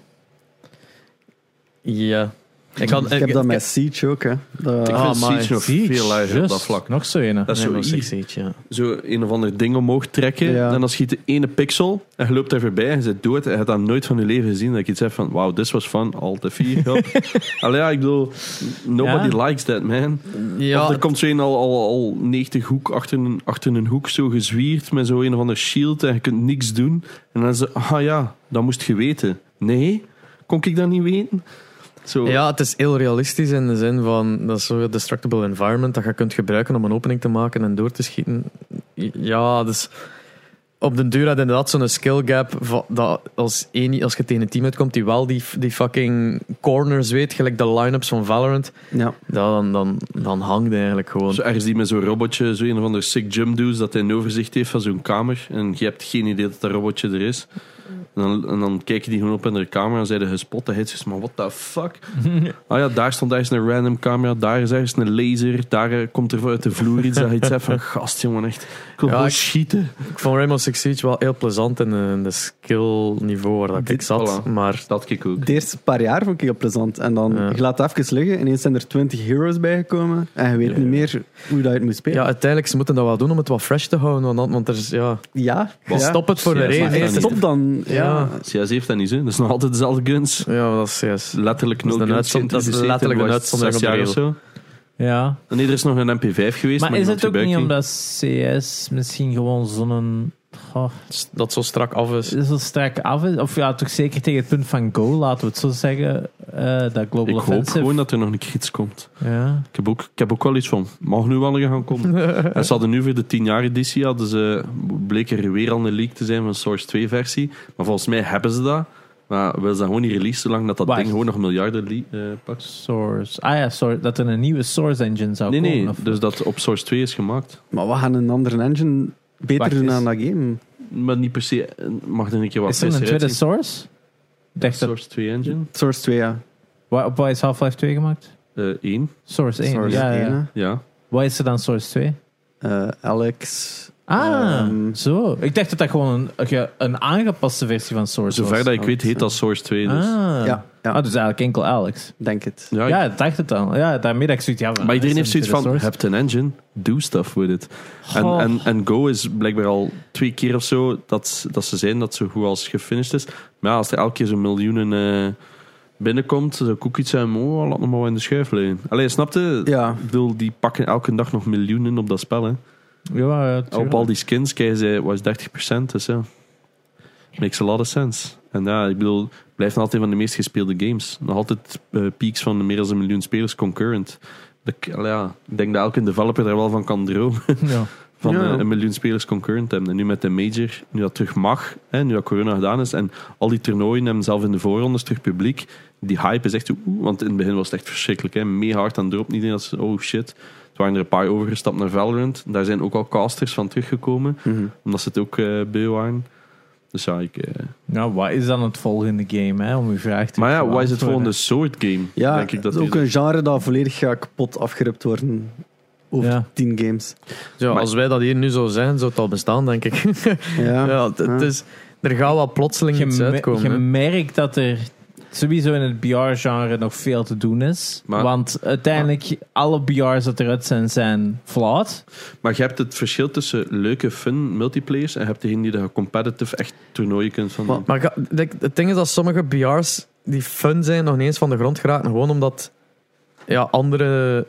Speaker 2: ja. Ik, had,
Speaker 4: Ik heb dat
Speaker 2: ik-
Speaker 4: met Siege ook, hè. Dat-
Speaker 3: Ik
Speaker 2: Ah,
Speaker 3: vind
Speaker 2: maar
Speaker 3: Siege nog
Speaker 1: Siege,
Speaker 3: veel lager op dat
Speaker 1: just.
Speaker 3: vlak.
Speaker 1: Nog zo een.
Speaker 3: Dat is
Speaker 2: Nee,
Speaker 3: zo,
Speaker 2: maar
Speaker 3: i-
Speaker 2: Six Siege, ja.
Speaker 3: zo een of ander ding omhoog trekken.
Speaker 4: Ja.
Speaker 3: En dan schiet de ene pixel en je loopt daar voorbij en je zit dood. En je hebt dat nooit van je leven gezien. Dat ik iets heb van, wauw, this was fun. Al te vier. ja. Allee, ja, ik bedoel, nobody
Speaker 1: Ja.
Speaker 3: likes that, man.
Speaker 2: Ja,
Speaker 3: of er komt zo een al, al, al 90 hoek achter een, achter een hoek zo gezwierd met zo een of ander shield en je kunt niks doen. En dan is het, ah ja, dat moest je weten. Nee, kon ik dat niet weten? Zo,
Speaker 2: Ja, het is heel realistisch in de zin van dat is zo'n destructible environment dat je kunt gebruiken om een opening te maken en door te schieten. Ja, dus op den duur had je inderdaad zo'n skill gap va- dat als, één, als je tegen een team uitkomt die wel die, die fucking corners weet, gelijk de line-ups van Valorant,
Speaker 4: Ja.
Speaker 2: dan, dan, dan hangt hij eigenlijk gewoon.
Speaker 3: Zo ergens die met zo'n robotje, zo een of ander sick jump does, dat hij een overzicht heeft van zo'n kamer. En je hebt geen idee dat dat robotje er is. En dan, en dan kijken die gewoon op in de camera en zeiden gespot. En hij zegt, maar what the fuck? Ah ja, daar stond ergens een random camera, daar is ergens een laser, daar eh, komt er uit de vloer iets dat je iets hebt van, gast jongen, echt, ik wil
Speaker 2: Ja,
Speaker 3: gewoon
Speaker 2: ik-
Speaker 3: schieten.
Speaker 2: Ik vond Rainbow Six Siege wel heel plezant in de, in de skill niveau waar dat ik
Speaker 3: Dit-
Speaker 2: zat,
Speaker 3: voilà.
Speaker 2: maar
Speaker 3: Dat ik ook.
Speaker 4: De eerste paar jaar vond ik heel plezant. En dan,
Speaker 2: Ja.
Speaker 4: je laat het even liggen, ineens zijn er 20 heroes bijgekomen. En je weet
Speaker 2: Ja.
Speaker 4: niet meer hoe dat je het moet spelen.
Speaker 2: ja, uiteindelijk ze moeten dat wel doen om het wat fresh te houden, want, dan- want er is, ja,
Speaker 4: Ja,
Speaker 3: Wat?
Speaker 4: ja.
Speaker 2: stop het voor
Speaker 3: Ja,
Speaker 2: een
Speaker 3: maar
Speaker 2: reden.
Speaker 4: Nee,
Speaker 3: is dat
Speaker 2: Stop.
Speaker 4: stop dan. Ja.
Speaker 2: Ja.
Speaker 3: CS heeft dat niet, hè? dat is nog altijd dezelfde guns.
Speaker 2: Ja, dat is juist.
Speaker 3: Letterlijk
Speaker 2: Dat is
Speaker 3: nul
Speaker 2: een
Speaker 3: guns
Speaker 2: uitzon- dat is
Speaker 3: geïntroduceerd in
Speaker 2: letterlijk een
Speaker 3: wat,
Speaker 2: uitzondering
Speaker 3: zes
Speaker 2: op de
Speaker 3: jaar of zo.
Speaker 1: Ja.
Speaker 3: Nee, er is nog een MP5 geweest, maar,
Speaker 1: Maar is
Speaker 3: niemand
Speaker 1: het ook
Speaker 3: gebruikt
Speaker 1: niet
Speaker 3: die.
Speaker 1: omdat CS misschien gewoon zo'n. Goh,
Speaker 2: dat zo strak af is.
Speaker 1: zo strak af is? Of ja, toch zeker tegen het punt van go, laten we het zo zeggen. eh, dat Global
Speaker 3: Ik hoop
Speaker 1: Offensive.
Speaker 3: gewoon dat er nog een keer iets komt.
Speaker 1: Ja.
Speaker 3: Ik heb ook, ik heb ook wel iets van, mag nu wel gaan komen. en ze hadden nu voor de 10 jaar editie, hadden ze, bleek er weer al een leak te zijn van Source 2 versie. Maar volgens mij hebben ze dat. Maar wil ze dat gewoon niet release zolang dat dat
Speaker 1: Wacht.
Speaker 3: ding gewoon nog miljarden li- eh, pakt.
Speaker 1: Source. Ah ja, sorry, dat er een nieuwe Source Engine zou
Speaker 3: Nee,
Speaker 1: komen.
Speaker 3: nee,
Speaker 1: of-
Speaker 3: dus dat op Source 2 is gemaakt.
Speaker 4: Maar we gaan een andere engine beter
Speaker 1: Wacht
Speaker 4: doen
Speaker 1: eens.
Speaker 4: aan dat game.
Speaker 3: Maar niet per se, eh, mag er een keer wat
Speaker 1: is er een
Speaker 3: frisser
Speaker 1: tweede
Speaker 3: uitzien.
Speaker 1: Source? Ik Dacht dat,
Speaker 3: Source 2 engine?
Speaker 4: Source 2, ja.
Speaker 1: waar, op wat is Half-Life 2 gemaakt?
Speaker 3: Eh 1,
Speaker 1: Source 1.
Speaker 4: Source
Speaker 1: ja, ja.
Speaker 4: 1, hè.
Speaker 3: ja.
Speaker 1: Wat is er dan Source 2?
Speaker 4: Eh, Alex.
Speaker 1: Ah,
Speaker 4: Ehm,
Speaker 1: zo. Ik dacht dat dat gewoon een, een ge- een aangepaste versie van Source was.
Speaker 3: Zover dat ik weet heet dat Source 2 dus.
Speaker 1: Ah.
Speaker 4: ja, ja,
Speaker 1: Ah, dus eigenlijk enkel Alex.
Speaker 4: denk het.
Speaker 3: Ja, ik-
Speaker 1: Ja, ik dacht het dan. Ja, daarmee dat ik zoiets... Ja,
Speaker 3: Maar iedereen heeft
Speaker 1: is een
Speaker 3: zoiets van,
Speaker 1: source.
Speaker 3: hebt een engine, do stuff with it. En,
Speaker 1: Goh.
Speaker 3: en, en Go is blijkbaar al twee keer of zo dat, ze- dat ze zijn dat zo goed als gefinished is. Maar ja, als er elke keer zo'n miljoenen eh, binnenkomt, dan zou ik ook iets zijn, oh, laat nog maar wat in de schuif liggen. Allee, snapte?
Speaker 4: Ja,
Speaker 3: Ik bedoel, die pakken elke dag nog miljoenen op dat spel. Hè.
Speaker 1: Ja, ja, tuurlijk.
Speaker 3: Op al die skins krijgen ze was 30%, dus ja. Makes a lot of sense. En ja, ik bedoel, het blijft nog altijd een van de meest gespeelde games. Nog altijd eh, peaks van meer dan een miljoen spelers concurrent. Dat, ik- allee, ja, ik denk dat elke developer daar wel van kan dromen.
Speaker 1: Ja.
Speaker 3: Van
Speaker 4: Ja.
Speaker 3: eh, een miljoen spelers concurrent hebben. En nu met de major, nu dat terug mag, hè, nu dat corona gedaan is. En al die toernooien hebben zelf in de voorrondes terug publiek. Die hype is echt, oeh, want in het begin was het echt verschrikkelijk. Hè, mega hard aan drop. Niet dat ze, oh shit. Er waren er een paar overgestapt naar Valorant. Daar zijn ook al casters van teruggekomen.
Speaker 4: mhm.
Speaker 3: Omdat ze het ook eh beu waren. Dus ja, ik... eh,
Speaker 1: Nou, wat is dan het volgende game, hè? Om uw vraag te
Speaker 3: Maar ja,
Speaker 1: beantwoorden.
Speaker 3: wat is het volgende soort game?
Speaker 4: ja
Speaker 3: denk ik dat
Speaker 4: het is ook
Speaker 3: die-
Speaker 4: een genre dat volledig gaat kapot afgerupt worden. Over
Speaker 1: Ja.
Speaker 4: 10 games.
Speaker 2: Ja,
Speaker 3: Maar-
Speaker 2: als wij dat hier nu zo zijn, zou het al bestaan, denk ik.
Speaker 4: Ja,
Speaker 2: ja, het, het
Speaker 4: ja.
Speaker 2: is, er gaat wel plotseling iets
Speaker 1: Je, me-
Speaker 2: uitkomen.
Speaker 1: je
Speaker 2: hè.
Speaker 1: merkt dat er sowieso in het BR-genre nog veel te doen is.
Speaker 3: Maar-
Speaker 1: want uiteindelijk, alle BR's dat eruit zijn, zijn flawed.
Speaker 3: Maar je hebt het verschil tussen leuke, fun multiplayers en je hebt degene die daar competitive echt toernooien kunt van
Speaker 4: Maar-
Speaker 3: doen.
Speaker 2: Maar ga- denk- het ding is dat sommige BR's die fun zijn, nog niet eens van de grond geraken. Gewoon omdat ja, andere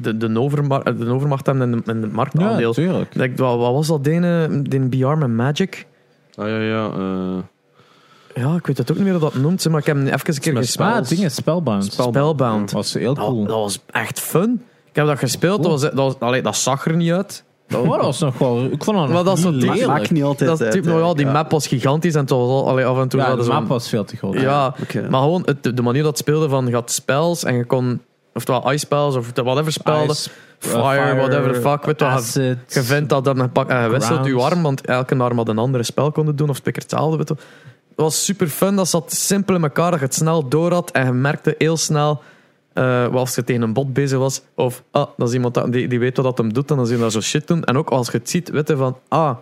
Speaker 2: de, de, overma de overmacht hebben en de, en de marktaandeel.
Speaker 1: tuurlijk.
Speaker 2: Denk, wat, wat was dat, die ene- die BR met Magic?
Speaker 3: Ah ja, ja. eh,
Speaker 2: Ja, ik weet het ook niet meer hoe dat noemt, hè, maar ik heb hem even een keer
Speaker 3: Met
Speaker 2: gespeeld.
Speaker 1: Ah, dingen, Spellbound.
Speaker 3: Spellbound.
Speaker 2: Spellbound.
Speaker 1: was heel
Speaker 2: Dat,
Speaker 1: cool.
Speaker 2: dat was echt fun. Ik heb dat gespeeld, dat, was, dat, was, allee, dat zag er niet uit.
Speaker 1: Dat was nog wel... Ik vond dat
Speaker 2: Maar dat is
Speaker 1: niet
Speaker 2: zo-
Speaker 1: lelijk.
Speaker 4: Maar maakt niet altijd
Speaker 2: Dat is
Speaker 4: uit,
Speaker 2: typ, nou ja, die
Speaker 4: eigenlijk,
Speaker 2: map was gigantisch en toen was al, allee, af en toe
Speaker 1: Ja,
Speaker 2: hadden
Speaker 1: de
Speaker 2: ze
Speaker 1: map
Speaker 2: een-
Speaker 1: was veel te groot.
Speaker 2: Ja,
Speaker 4: Oké.
Speaker 2: maar gewoon het- de manier dat het speelde van je had spells en je kon, oftewel ice spells of whatever spelden,
Speaker 1: Ice, uh,
Speaker 2: fire, whatever the fuck, weet je wat, je-
Speaker 1: acid.
Speaker 2: je vindt dat dan, je pak- en je wisselt je
Speaker 1: Grounds.
Speaker 2: arm, want elke arm had een andere spel konden doen of spikker hetzelfde, weet je wel. Het was super fun, dat zat simpel in elkaar, dat je het snel door had en je merkte heel snel eh, wat als je tegen een bot bezig was of ah, dat is iemand dat- die, die weet wat dat hem doet en dan zie je dat zo shit doen. En ook als je het ziet, weet je van ah,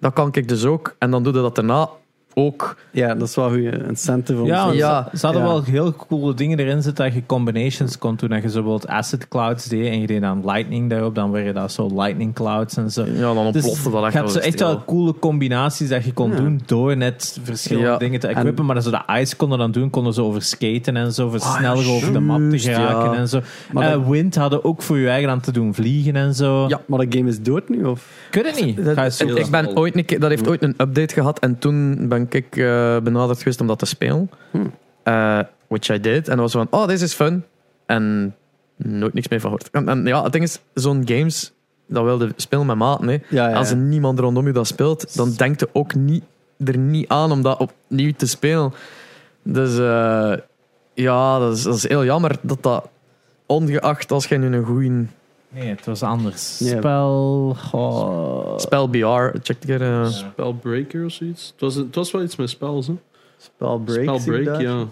Speaker 2: dat kan ik dus ook en dan doe je dat daarna ook.
Speaker 4: Ja, dat is wel een goede incentive om
Speaker 1: Ja,
Speaker 4: zo-
Speaker 2: Ja,
Speaker 1: ja, ze hadden
Speaker 4: ja.
Speaker 1: wel heel coole dingen erin zitten dat je combinations kon doen. Dat je bijvoorbeeld acid clouds deed en je deed dan lightning daarop, dan weer dat zo lightning clouds en zo.
Speaker 2: Ja, dan
Speaker 1: Dus
Speaker 2: ontplofte dat echt.
Speaker 1: Je had
Speaker 2: als
Speaker 1: zo
Speaker 2: het
Speaker 1: echt wel
Speaker 2: heel-
Speaker 1: coole combinaties dat je kon doen door net verschillende
Speaker 2: Ja.
Speaker 1: dingen te equippen. maar dat ze de ice konden dan doen, konden ze over skaten en zo, voor sneller over de map te
Speaker 2: juist,
Speaker 1: geraken
Speaker 2: ja.
Speaker 1: en zo.
Speaker 4: Maar
Speaker 1: Eh,
Speaker 4: dat-
Speaker 1: wind hadden ook voor je eigen aan te doen vliegen en zo.
Speaker 2: Ja.
Speaker 4: Maar dat game is dood nu, of?
Speaker 1: Ik weet het niet.
Speaker 2: Dat,
Speaker 1: Ga je zo-
Speaker 2: ik- ik ben ooit een keer- dat heeft
Speaker 4: Hm.
Speaker 2: ooit een update gehad en toen ben ik eh, benaderd geweest om dat te spelen.
Speaker 4: Hm.
Speaker 2: Eh, which I did. En dan was van, oh, dit is fun. En nooit niks meer van gehoord. En, en ja, het ding is, zo'n games, dat wilde spelen met maat. Nee.
Speaker 4: Ja, ja.
Speaker 2: Als er niemand rondom je dat speelt, dan denkt je ook niet, er niet aan om dat opnieuw te spelen. Dus eh, ja, dat is, dat is heel jammer dat dat, ongeacht als je nu een goede
Speaker 1: Nee, het was anders.
Speaker 4: Ja.
Speaker 1: Spel. goh.
Speaker 4: Eh,
Speaker 2: spel BR, check een keer. eh,
Speaker 3: Spellbreaker of zoiets. Het was, het was wel iets met spels, hè?
Speaker 4: Spellbreak.
Speaker 3: Spellbreak, ja.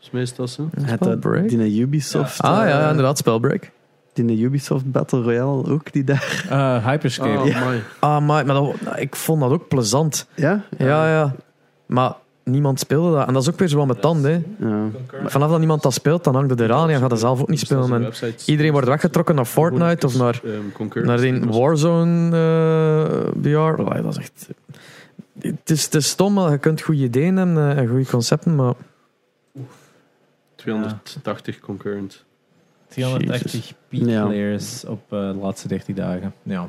Speaker 3: Is meestal zo.
Speaker 4: Het,
Speaker 2: Spellbreak?
Speaker 4: die een Ubisoft...
Speaker 2: Ah
Speaker 4: eh,
Speaker 2: ja, inderdaad, Spellbreak.
Speaker 4: Die een Ubisoft Battle Royale ook, die daar...
Speaker 1: Eh, Hyperscape.
Speaker 3: Oh, my.
Speaker 2: Ah, maar, maar dat- nou, ik vond dat ook plezant.
Speaker 4: Ja?
Speaker 2: Ja, ja. Maar niemand speelde dat. En dat is ook weer zo wat met tanden. hè.
Speaker 4: Ja.
Speaker 2: Vanaf dat niemand dat speelt, dan hangt het eraan en je gaat dat zelf ook
Speaker 3: Dus
Speaker 2: niet spelen. En iedereen wordt weggetrokken naar Fortnite of naar,
Speaker 3: ehm,
Speaker 2: naar die Warzone eh BR. Allee, dat is echt... Het is, het is stom, maar je kunt goede ideeën hebben eh, en goede concepten, maar...
Speaker 3: 280 concurrent.
Speaker 1: 380 peak
Speaker 4: Ja.
Speaker 1: players op eh, de laatste 13 dagen. Ja,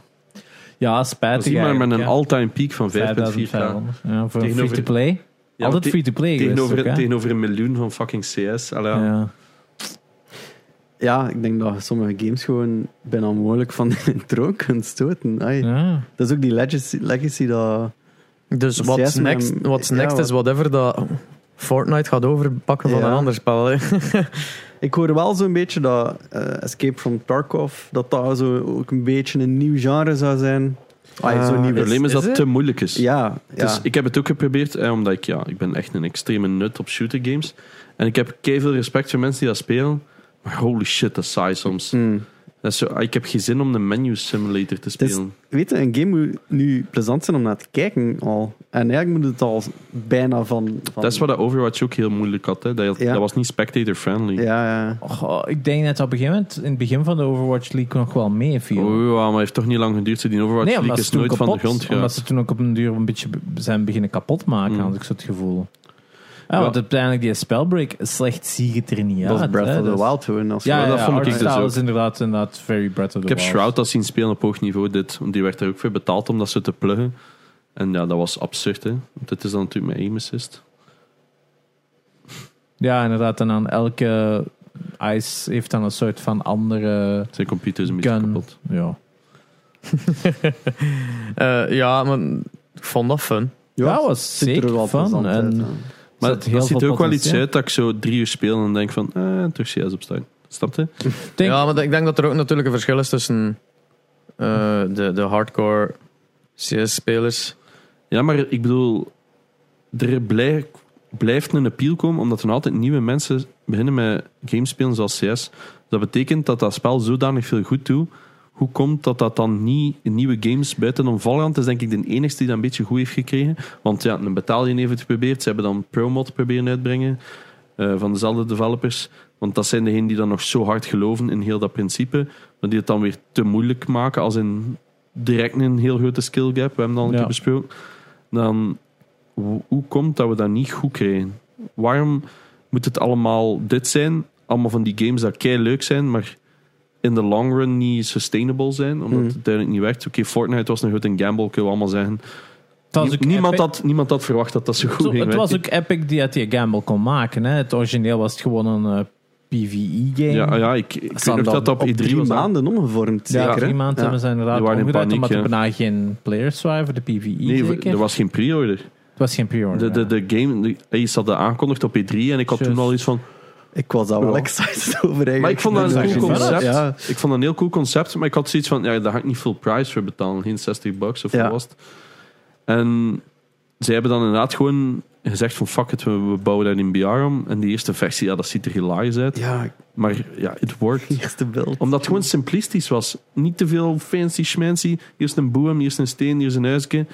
Speaker 1: ja
Speaker 3: Dat
Speaker 1: spijtig
Speaker 3: is maar met een
Speaker 1: eigenlijk,
Speaker 3: all-time peak van 5,4
Speaker 1: hè.
Speaker 3: jaar.
Speaker 1: 5500. Ja, voor
Speaker 3: Tegenover-
Speaker 1: free-to-play.
Speaker 3: Ja,
Speaker 1: Altijd
Speaker 3: te-
Speaker 1: free-to-play geweest
Speaker 3: Tegenover,
Speaker 1: ook, hè?
Speaker 3: tegenover een miljoen van fucking CS. Allee, ja.
Speaker 1: Ja.
Speaker 4: ja, ik denk dat sommige games gewoon bijna onmogelijk van een troon kunt stoten. Ai.
Speaker 1: Ja.
Speaker 4: Dat is ook die legacy, legacy dat...
Speaker 2: Dus
Speaker 4: Dus
Speaker 2: what's
Speaker 4: juist met
Speaker 2: next,
Speaker 4: een-
Speaker 2: what's
Speaker 4: ja,
Speaker 2: next
Speaker 4: wat-
Speaker 2: is whatever dat Fortnite gaat overpakken van
Speaker 4: Ja.
Speaker 2: een ander spel. hè.
Speaker 4: Ik hoor wel zo'n beetje dat eh, Escape from Tarkov, dat dat zo ook een beetje een nieuw genre zou zijn. Ai,
Speaker 2: Ah,
Speaker 4: zo
Speaker 3: Het
Speaker 4: nieuw.
Speaker 3: probleem is
Speaker 2: Is
Speaker 3: dat het
Speaker 2: het?
Speaker 3: te moeilijk is.
Speaker 4: Ja, ja.
Speaker 3: Dus ik heb het ook geprobeerd, eh, omdat ik, ja, ik ben echt een extreme nut op shooter games. En ik heb veel respect voor mensen die dat spelen. Maar holy shit, dat is saai soms.
Speaker 4: Hmm.
Speaker 3: Dat is zo, ah, ik heb geen zin om de menu simulator te
Speaker 4: Het is-
Speaker 3: spelen.
Speaker 4: weet je, een game moet nu plezant zijn om naar te kijken al. En eigenlijk moet het al bijna van... van
Speaker 3: dat is wat dat Overwatch ook heel moeilijk had. Hè. Dat, had-
Speaker 4: Ja.
Speaker 3: dat was niet spectator-friendly.
Speaker 4: Ja, ja.
Speaker 1: Och, ik denk net op een gegeven moment, in het begin van de Overwatch League nog wel mee viel.
Speaker 3: Oh, ja, maar heeft toch niet lang geduurd. zo Die Overwatch
Speaker 1: nee, omdat
Speaker 3: League
Speaker 1: ze,
Speaker 3: is
Speaker 1: toen
Speaker 3: nooit
Speaker 1: kapot,
Speaker 3: van de grond
Speaker 1: omdat ze
Speaker 3: geraakt.
Speaker 1: toen ook op een duur een beetje be- zijn beginnen kapot maken,
Speaker 3: Mm.
Speaker 1: had ik zo het gevoel. Ja,
Speaker 3: Ja.
Speaker 1: Want uiteindelijk die spellbreak, slecht zie je het er niet
Speaker 4: dat
Speaker 1: uit.
Speaker 4: is Breath
Speaker 1: hè.
Speaker 4: of the
Speaker 1: Dat is-
Speaker 4: Wild gewoon. Als
Speaker 1: Ja,
Speaker 4: je-
Speaker 1: ja,
Speaker 3: dat
Speaker 1: ja,
Speaker 3: vond ik dus
Speaker 1: artstyle
Speaker 3: ook.
Speaker 1: is inderdaad, inderdaad very Breath of the
Speaker 3: Ik heb
Speaker 1: Wild.
Speaker 3: Shroud dat zien spelen op hoog niveau. Dit, want die werd er ook voor betaald om dat ze te pluggen. En ja, dat was absurd. Hè. Want dit is dan natuurlijk mijn aim assist.
Speaker 1: Ja, inderdaad. En aan elke ice heeft dan een soort van andere
Speaker 3: Zijn computer is een beetje
Speaker 1: gun.
Speaker 3: kapot.
Speaker 1: Ja.
Speaker 2: Eh, ja, maar ik vond dat fun.
Speaker 1: Ja,
Speaker 4: het
Speaker 1: was
Speaker 4: ziet er
Speaker 1: zeker
Speaker 4: wel
Speaker 1: fun,
Speaker 4: plezant uit,
Speaker 1: en-
Speaker 4: ja.
Speaker 3: Maar
Speaker 1: Zat
Speaker 3: het
Speaker 1: heel
Speaker 3: ziet
Speaker 1: veel
Speaker 3: er ook wel iets
Speaker 1: potentieel.
Speaker 3: uit dat ik zo drie uur speel en denk van, eh, toch CS opstaan. Snap je?
Speaker 1: Denk-
Speaker 2: Ja, maar ik denk dat er ook natuurlijk een verschil is tussen eh, de, de hardcore CS-spelers.
Speaker 3: Ja, maar ik bedoel, er blij- blijft een appeal komen, omdat er nog altijd nieuwe mensen beginnen met games spelen zoals CS. Dat betekent dat dat spel zodanig veel goed doet. Hoe komt dat dat dan niet in nieuwe games buitenom Valorant is denk ik de enigste die dat een beetje goed heeft gekregen. Want ja, een Battalion heeft het geprobeerd. Ze hebben dan ProMod proberen uitbrengen eh, van dezelfde developers. Want dat zijn degenen die dan nog zo hard geloven in heel dat principe. Maar die het dan weer te moeilijk maken als in direct een heel grote skill gap. We hebben dat al een
Speaker 1: Ja.
Speaker 3: keer besproken dan ho- hoe komt dat we dat niet goed krijgen? Waarom moet het allemaal dit zijn? Allemaal van die games dat kei leuk zijn, maar in de long run niet sustainable zijn, omdat
Speaker 4: Mhm.
Speaker 3: het duidelijk niet werkt. Oké, Fortnite was een grote gamble, kunnen we allemaal zeggen.
Speaker 1: was ook
Speaker 3: niemand,
Speaker 1: epic.
Speaker 3: had, niemand had verwacht dat dat zo goed
Speaker 1: Zo,
Speaker 3: ging.
Speaker 1: het was
Speaker 3: werken.
Speaker 1: ook Epic die uit die gamble kon maken. Hè. Het origineel was het gewoon een eh, PvE-game.
Speaker 3: ja, ja, ik, ik weet
Speaker 1: Staan
Speaker 3: nog dat
Speaker 1: dan
Speaker 3: dat op
Speaker 4: Op
Speaker 3: E3
Speaker 4: drie
Speaker 3: was. aan-
Speaker 4: maanden omgevormd,
Speaker 1: Ja,
Speaker 4: zeker. hè?
Speaker 1: drie maanden
Speaker 4: Ja.
Speaker 1: hebben ze inderdaad
Speaker 3: Die waren in
Speaker 1: omgedraaid,
Speaker 3: paniek,
Speaker 1: omdat er
Speaker 3: ja.
Speaker 1: bijna geen players waren voor de PvE
Speaker 3: Nee,
Speaker 1: zeker.
Speaker 3: er was geen pre-order.
Speaker 1: Het was geen pre-order.
Speaker 3: De, de,
Speaker 1: ja.
Speaker 3: de game, de, iets hadden aangekondigd op E3 en ik had toen
Speaker 1: Juist.
Speaker 3: al iets van...
Speaker 4: Ik was daar wel
Speaker 3: Ja.
Speaker 4: excited over eigenlijk.
Speaker 3: Maar ik vond dat
Speaker 4: Ja,
Speaker 3: een cool
Speaker 1: wel.
Speaker 3: concept.
Speaker 4: Ja.
Speaker 3: Ik vond dat een heel cool concept, maar ik had zoiets van... Ja, daar ga ik niet veel price voor betalen. Geen 60 bucks of
Speaker 4: Ja.
Speaker 3: wat was het. En zij hebben dan inderdaad gewoon gezegd van... Fuck it, we, we bouwen daar in BR om. En die eerste versie, ja, dat ziet er hilarisch uit.
Speaker 4: Ja,
Speaker 3: Maar ja, het worked.
Speaker 4: eerste beeld.
Speaker 3: Omdat het gewoon simplistisch was. Niet te veel fancy schmancy. Hier is een boom, hier is een steen, hier is een huisje.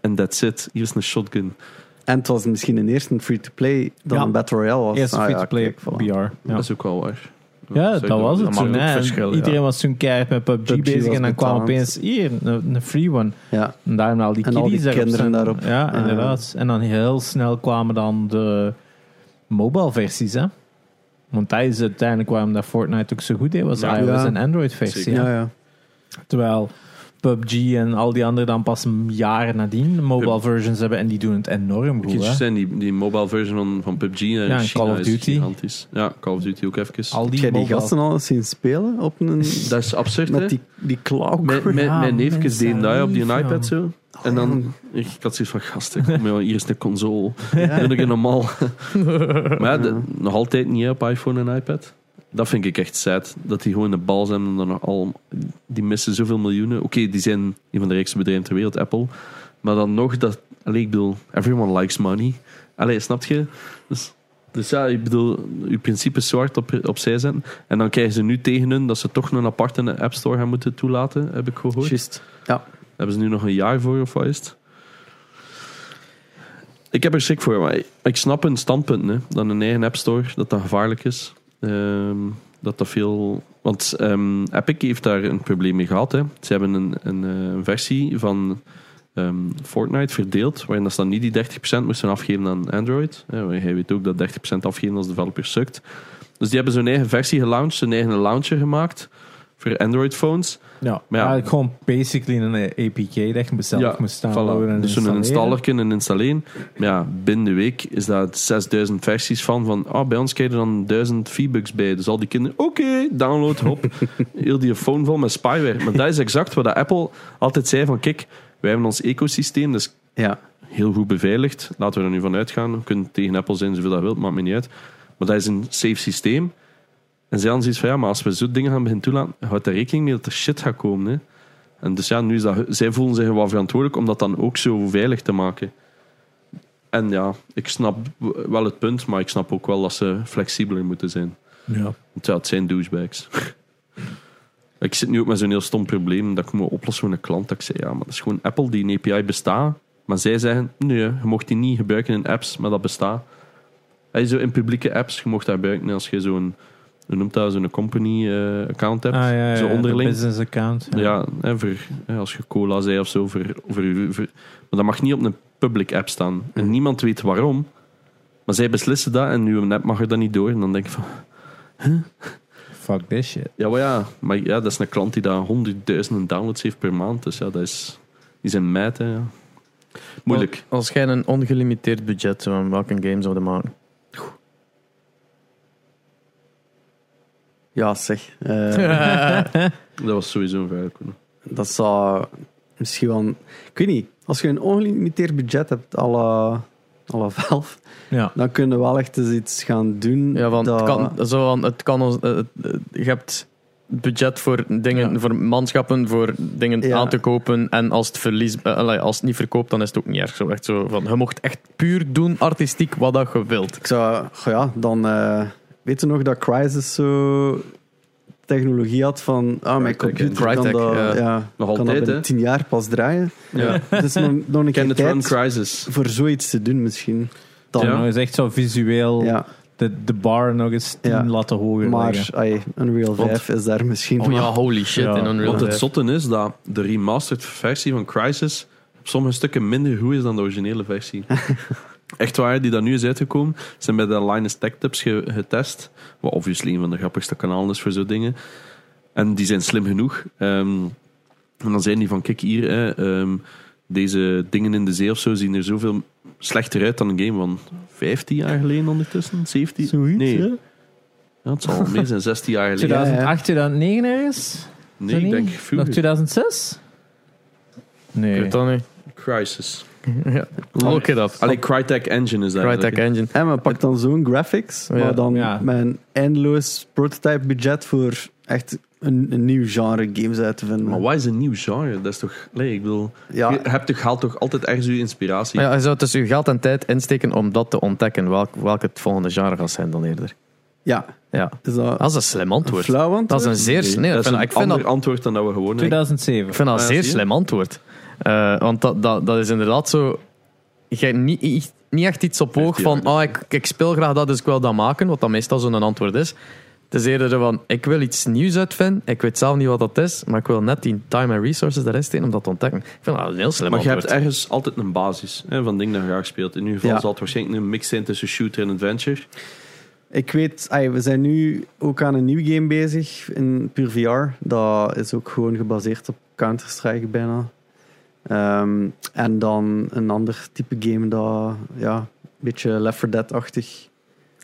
Speaker 3: En that's it. Hier is een shotgun.
Speaker 4: En het was misschien een eerste free-to-play dan
Speaker 1: Ja.
Speaker 4: een Battle Royale was.
Speaker 1: Eerste
Speaker 4: Ah, ja,
Speaker 1: free-to-play
Speaker 4: kijk, voilà.
Speaker 1: BR. Ja.
Speaker 3: Dat is ook wel waar.
Speaker 1: Ja,
Speaker 3: Zou ik
Speaker 1: dat was
Speaker 3: doen.
Speaker 1: het
Speaker 2: maakt
Speaker 1: toen.
Speaker 2: ook
Speaker 1: hè. En
Speaker 2: verschil, ja.
Speaker 1: Iedereen was toen keihard met PUBG,
Speaker 4: PUBG
Speaker 1: bezig
Speaker 4: was
Speaker 1: en dan kwam
Speaker 4: betaald.
Speaker 1: opeens hier een, een free one.
Speaker 4: Ja.
Speaker 1: En daarom al die
Speaker 4: En al die
Speaker 1: kiddies daarop
Speaker 4: kinderen
Speaker 1: zijn-
Speaker 4: daarop.
Speaker 1: Ja,
Speaker 4: Ah,
Speaker 1: inderdaad. En dan heel snel kwamen dan de mobile versies, hè. Want dat is uiteindelijk waarom dat Fortnite ook zo goed deed, was
Speaker 3: Ja.
Speaker 1: iOS
Speaker 4: Ja.
Speaker 1: en Android versie.
Speaker 3: Zeker.
Speaker 1: hè.
Speaker 4: Ja, ja.
Speaker 1: Terwijl PUBG en al die anderen dan pas jaren nadien de mobile
Speaker 3: Ja.
Speaker 1: versions hebben en die doen het enorm
Speaker 3: Ik kan
Speaker 1: goed.
Speaker 3: je
Speaker 1: hè.
Speaker 3: zijn, die, die mobile version van, van PUBG naar
Speaker 1: en
Speaker 3: China
Speaker 1: Call of
Speaker 3: is
Speaker 1: Duty.
Speaker 3: gigantisch. Ja, Call of Duty ook even.
Speaker 1: Al
Speaker 4: Heb
Speaker 1: die
Speaker 4: jij die
Speaker 1: mobile-
Speaker 4: gasten al eens zien spelen op een...
Speaker 3: dat is absurd, hè?
Speaker 4: met die, die klauw.
Speaker 3: Mijn, mijn,
Speaker 1: Ja,
Speaker 3: mijn neefjes
Speaker 1: mensen Oh,
Speaker 3: deden dat op die
Speaker 1: lief,
Speaker 3: iPad
Speaker 1: man.
Speaker 3: zo. En dan, ik, ik had zoiets van, gasten, kom joh, hier is een console. Doe ik het normaal. maar ja, de- nog altijd niet hè, op iPhone en iPad. Dat vind ik echt sad. Dat die gewoon de bal zijn en dan nog al... Die missen zoveel miljoenen. Oké, die zijn een van de rijkste bedrijven ter wereld, Apple. Maar dan nog dat... Allee, ik bedoel, everyone likes money. Allee, snap je? Dus, dus ja, ik bedoel, uw principe is zwart op, opzij zetten. En dan krijgen ze nu tegen hun dat ze toch een aparte App Store gaan moeten toelaten, heb ik gehoord.
Speaker 4: Juist. Ja.
Speaker 3: Daar hebben ze nu nog een jaar voor of wat is het? Ik heb er schrik voor, maar ik- ik snap hun standpunt. Hè, dat een eigen app store, dat dat gevaarlijk is. Ehm, dat dat veel... Want ehm, Epic heeft daar een probleem mee gehad. Hè. Ze hebben een, een, eh, een versie van ehm, Fortnite verdeeld, waarin dat ze dan niet die 30% moesten afgeven aan Android. Hè, want jij weet ook dat 30% afgeven als developer sukt. Dus die hebben zo'n eigen versie gelaunched, een eigen launcher gemaakt voor Android-phones.
Speaker 1: Ja,
Speaker 3: Maar ja.
Speaker 1: eigenlijk gewoon basically een APK dat je besteld moest downloaden en
Speaker 3: Dus zo'n
Speaker 1: installeren.
Speaker 3: installer kunnen installeren. Maar ja, binnen de week is daar 6000 versies van. van ah, bij ons krijg je dan 1000 V-Bucks bij. Dus al die kinderen, oké, download, hop. Heel die phone vol met spyware. Maar dat is exact wat dat Apple altijd zei van kijk, wij hebben ons ecosysteem, dus
Speaker 4: Ja.
Speaker 3: heel goed beveiligd. Laten we er nu van uitgaan. We kunnen tegen Apple zijn zoveel dat wilt, maakt me niet uit. Maar dat is een safe systeem. En zij hadden zoiets van, ja, maar als we zo'n dingen gaan beginnen toelaten, houdt er rekening mee dat er shit gaat komen. Hè? En dus ja, nu is dat, zij voelen zich wel verantwoordelijk om dat dan ook zo veilig te maken. En ja, ik snap w- wel het punt, maar ik snap ook wel dat ze flexibeler moeten zijn.
Speaker 1: Ja.
Speaker 3: Want ja, het zijn douchebags. ik zit nu ook met zo'n heel stom probleem dat ik moet oplossen voor een klant. Dat ik zei, ja, maar dat is gewoon Apple die een API bestaat. Maar zij zeggen, nee, je mocht die niet gebruiken in apps, maar dat bestaat. Hij zo in publieke apps, je mocht dat gebruiken als je zo'n, hoe noemt dat, zo'n company eh, account hebt.
Speaker 1: Ah, ja, ja,
Speaker 3: zo
Speaker 1: ja, de
Speaker 3: onderling.
Speaker 1: business account.
Speaker 3: Ja, hè, voor, hè, als je cola zei of zo. Voor, voor, uw- voor- maar dat mag niet op een public app staan. En niemand weet waarom. Maar zij beslissen dat en uw app mag er dan niet door. En dan denk ik van,
Speaker 1: Fuck this shit.
Speaker 3: Ja, maar ja, maar ja, dat is een klant die daar honderdduizenden downloads heeft per maand. Dus ja, dat is, die zijn meid, hè, ja. Moeilijk.
Speaker 2: Als jij een ongelimiteerd budget zou hebben, welke game zouden maken?
Speaker 4: Ja, zeg. Eh,
Speaker 3: Dat was sowieso een vraag.
Speaker 4: dat zou misschien wel... een- Ik weet niet. Als je een ongelimiteerd budget hebt, à la, à la Valve,
Speaker 1: Ja.
Speaker 4: dan kunnen we wel echt eens iets gaan doen.
Speaker 2: Ja, want
Speaker 4: dat-
Speaker 2: het kan, zo, van, het kan ons, eh, eh, je hebt budget voor dingen,
Speaker 1: Ja.
Speaker 2: voor manschappen, voor dingen
Speaker 4: Ja.
Speaker 2: aan te kopen. En als het, verlies, eh, allee, als het niet verkoopt, dan is het ook niet erg. Zo, echt zo van, je mocht echt puur doen, artistiek, wat dat je wilt.
Speaker 4: Ik zou, goh ja, dan eh weet je nog dat Crysis zo technologie had van, ah, mijn
Speaker 3: Crytek,
Speaker 4: computer
Speaker 2: hè.
Speaker 4: kan
Speaker 2: Crytek,
Speaker 4: dat,
Speaker 2: ja.
Speaker 4: ja.
Speaker 3: Nog
Speaker 4: kan dat
Speaker 3: altijd, hè?
Speaker 4: binnen tien jaar pas draaien.
Speaker 3: Ja.
Speaker 4: Het is nog, nog een
Speaker 3: Ken
Speaker 4: keer
Speaker 3: het Run
Speaker 4: tijd
Speaker 3: Crisis.
Speaker 4: voor zoiets te doen misschien. Dan,
Speaker 1: Dan
Speaker 3: Ja.
Speaker 1: nou, is echt zo visueel
Speaker 2: Oh,
Speaker 4: ja.
Speaker 1: de, de bar nog eens 10
Speaker 4: Ja.
Speaker 1: laten hoger
Speaker 4: Maar
Speaker 1: liggen.
Speaker 4: ai, Unreal
Speaker 2: Want-
Speaker 4: 5 is daar misschien
Speaker 2: Oh ja,
Speaker 4: wel-
Speaker 2: holy shit.
Speaker 1: Ja.
Speaker 2: in Unreal
Speaker 3: Want het
Speaker 2: Life.
Speaker 3: zotte is dat de remastered versie van Crisis op sommige stukken minder goed is dan de originele versie. Echt waar, die dat nu is uitgekomen, zijn bij de Linus Tech Tips ge- getest. Wat obviously een van de grappigste kanalen is voor zo'n dingen. En die zijn slim genoeg. Ehm, en dan zijn die van, kijk hier, hè, ehm, deze dingen in de zee of zo zien er zoveel slechter uit dan een game van 15 jaar geleden ondertussen. 17?
Speaker 4: Zoiets,
Speaker 3: nee,
Speaker 4: hè?
Speaker 3: Ja, het zal meer zijn 16 jaar geleden.
Speaker 1: 2008, 2009 ergens?
Speaker 3: Nee, ik denk
Speaker 1: Nog
Speaker 3: vroeger.
Speaker 1: 2006?
Speaker 2: Ik
Speaker 1: Nee.
Speaker 2: weet dat niet.
Speaker 3: Crisis.
Speaker 2: Ja. Look it up.
Speaker 3: Allee, Crytek Engine is dat.
Speaker 2: Crytek
Speaker 3: eigenlijk,
Speaker 2: Engine.
Speaker 4: Ja, maar pak dan zo'n graphics,
Speaker 2: Oh Ja.
Speaker 4: maar dan
Speaker 1: Ja.
Speaker 4: met een eindeloos prototype budget voor echt een, een nieuw genre games uit te vinden.
Speaker 3: hè. Maar wat is een nieuw genre? Dat is toch... Nee, ik bedoel...
Speaker 4: ja,
Speaker 3: Je hebt toch, haalt toch altijd ergens je inspiratie?
Speaker 2: Maar ja, je zou dus je geld en tijd insteken om dat te ontdekken, welk, welk het volgende genre gaat zijn dan eerder.
Speaker 4: ja,
Speaker 2: Ja.
Speaker 4: is dat
Speaker 2: Dat is een slim
Speaker 4: een
Speaker 2: antwoord.
Speaker 4: flauw antwoord?
Speaker 2: Dat is een zeer...
Speaker 3: Nee,
Speaker 2: Nee, ik
Speaker 3: dat is
Speaker 2: vind,
Speaker 3: een
Speaker 2: dat- ik vind dat
Speaker 3: ander antwoord dan dat we gewoon hebben.
Speaker 1: 2007.
Speaker 2: Ik vind dat
Speaker 3: Ah,
Speaker 2: een
Speaker 3: zie
Speaker 2: zeer
Speaker 3: je?
Speaker 2: slim antwoord. Eh, want dat, dat, dat is inderdaad zo. Je hebt niet, i- niet echt iets op oog
Speaker 3: 15
Speaker 2: van.
Speaker 3: jaar,
Speaker 2: Oh, ik, ik speel graag dat, dus ik wil dat maken. Wat dat meestal zo'n antwoord is. Het is eerder zo van. Ik wil iets nieuws uitvinden. Ik weet zelf niet wat dat is. Maar ik wil net die time en resources erin steken om dat te ontdekken. Ik vind dat een heel slim
Speaker 3: Maar je
Speaker 2: antwoord.
Speaker 3: hebt ergens altijd een basis hè, van dingen dat je graag speelt. In ieder geval
Speaker 4: Ja.
Speaker 3: zal het waarschijnlijk een mix zijn tussen shooter en adventure.
Speaker 4: Ik weet, ai, we zijn nu ook aan een nieuw game bezig in puur VR. Dat is ook gewoon gebaseerd op Counter-Strike bijna. Ehm, en dan een ander type game dat, ja, een beetje Left 4 Dead-achtig.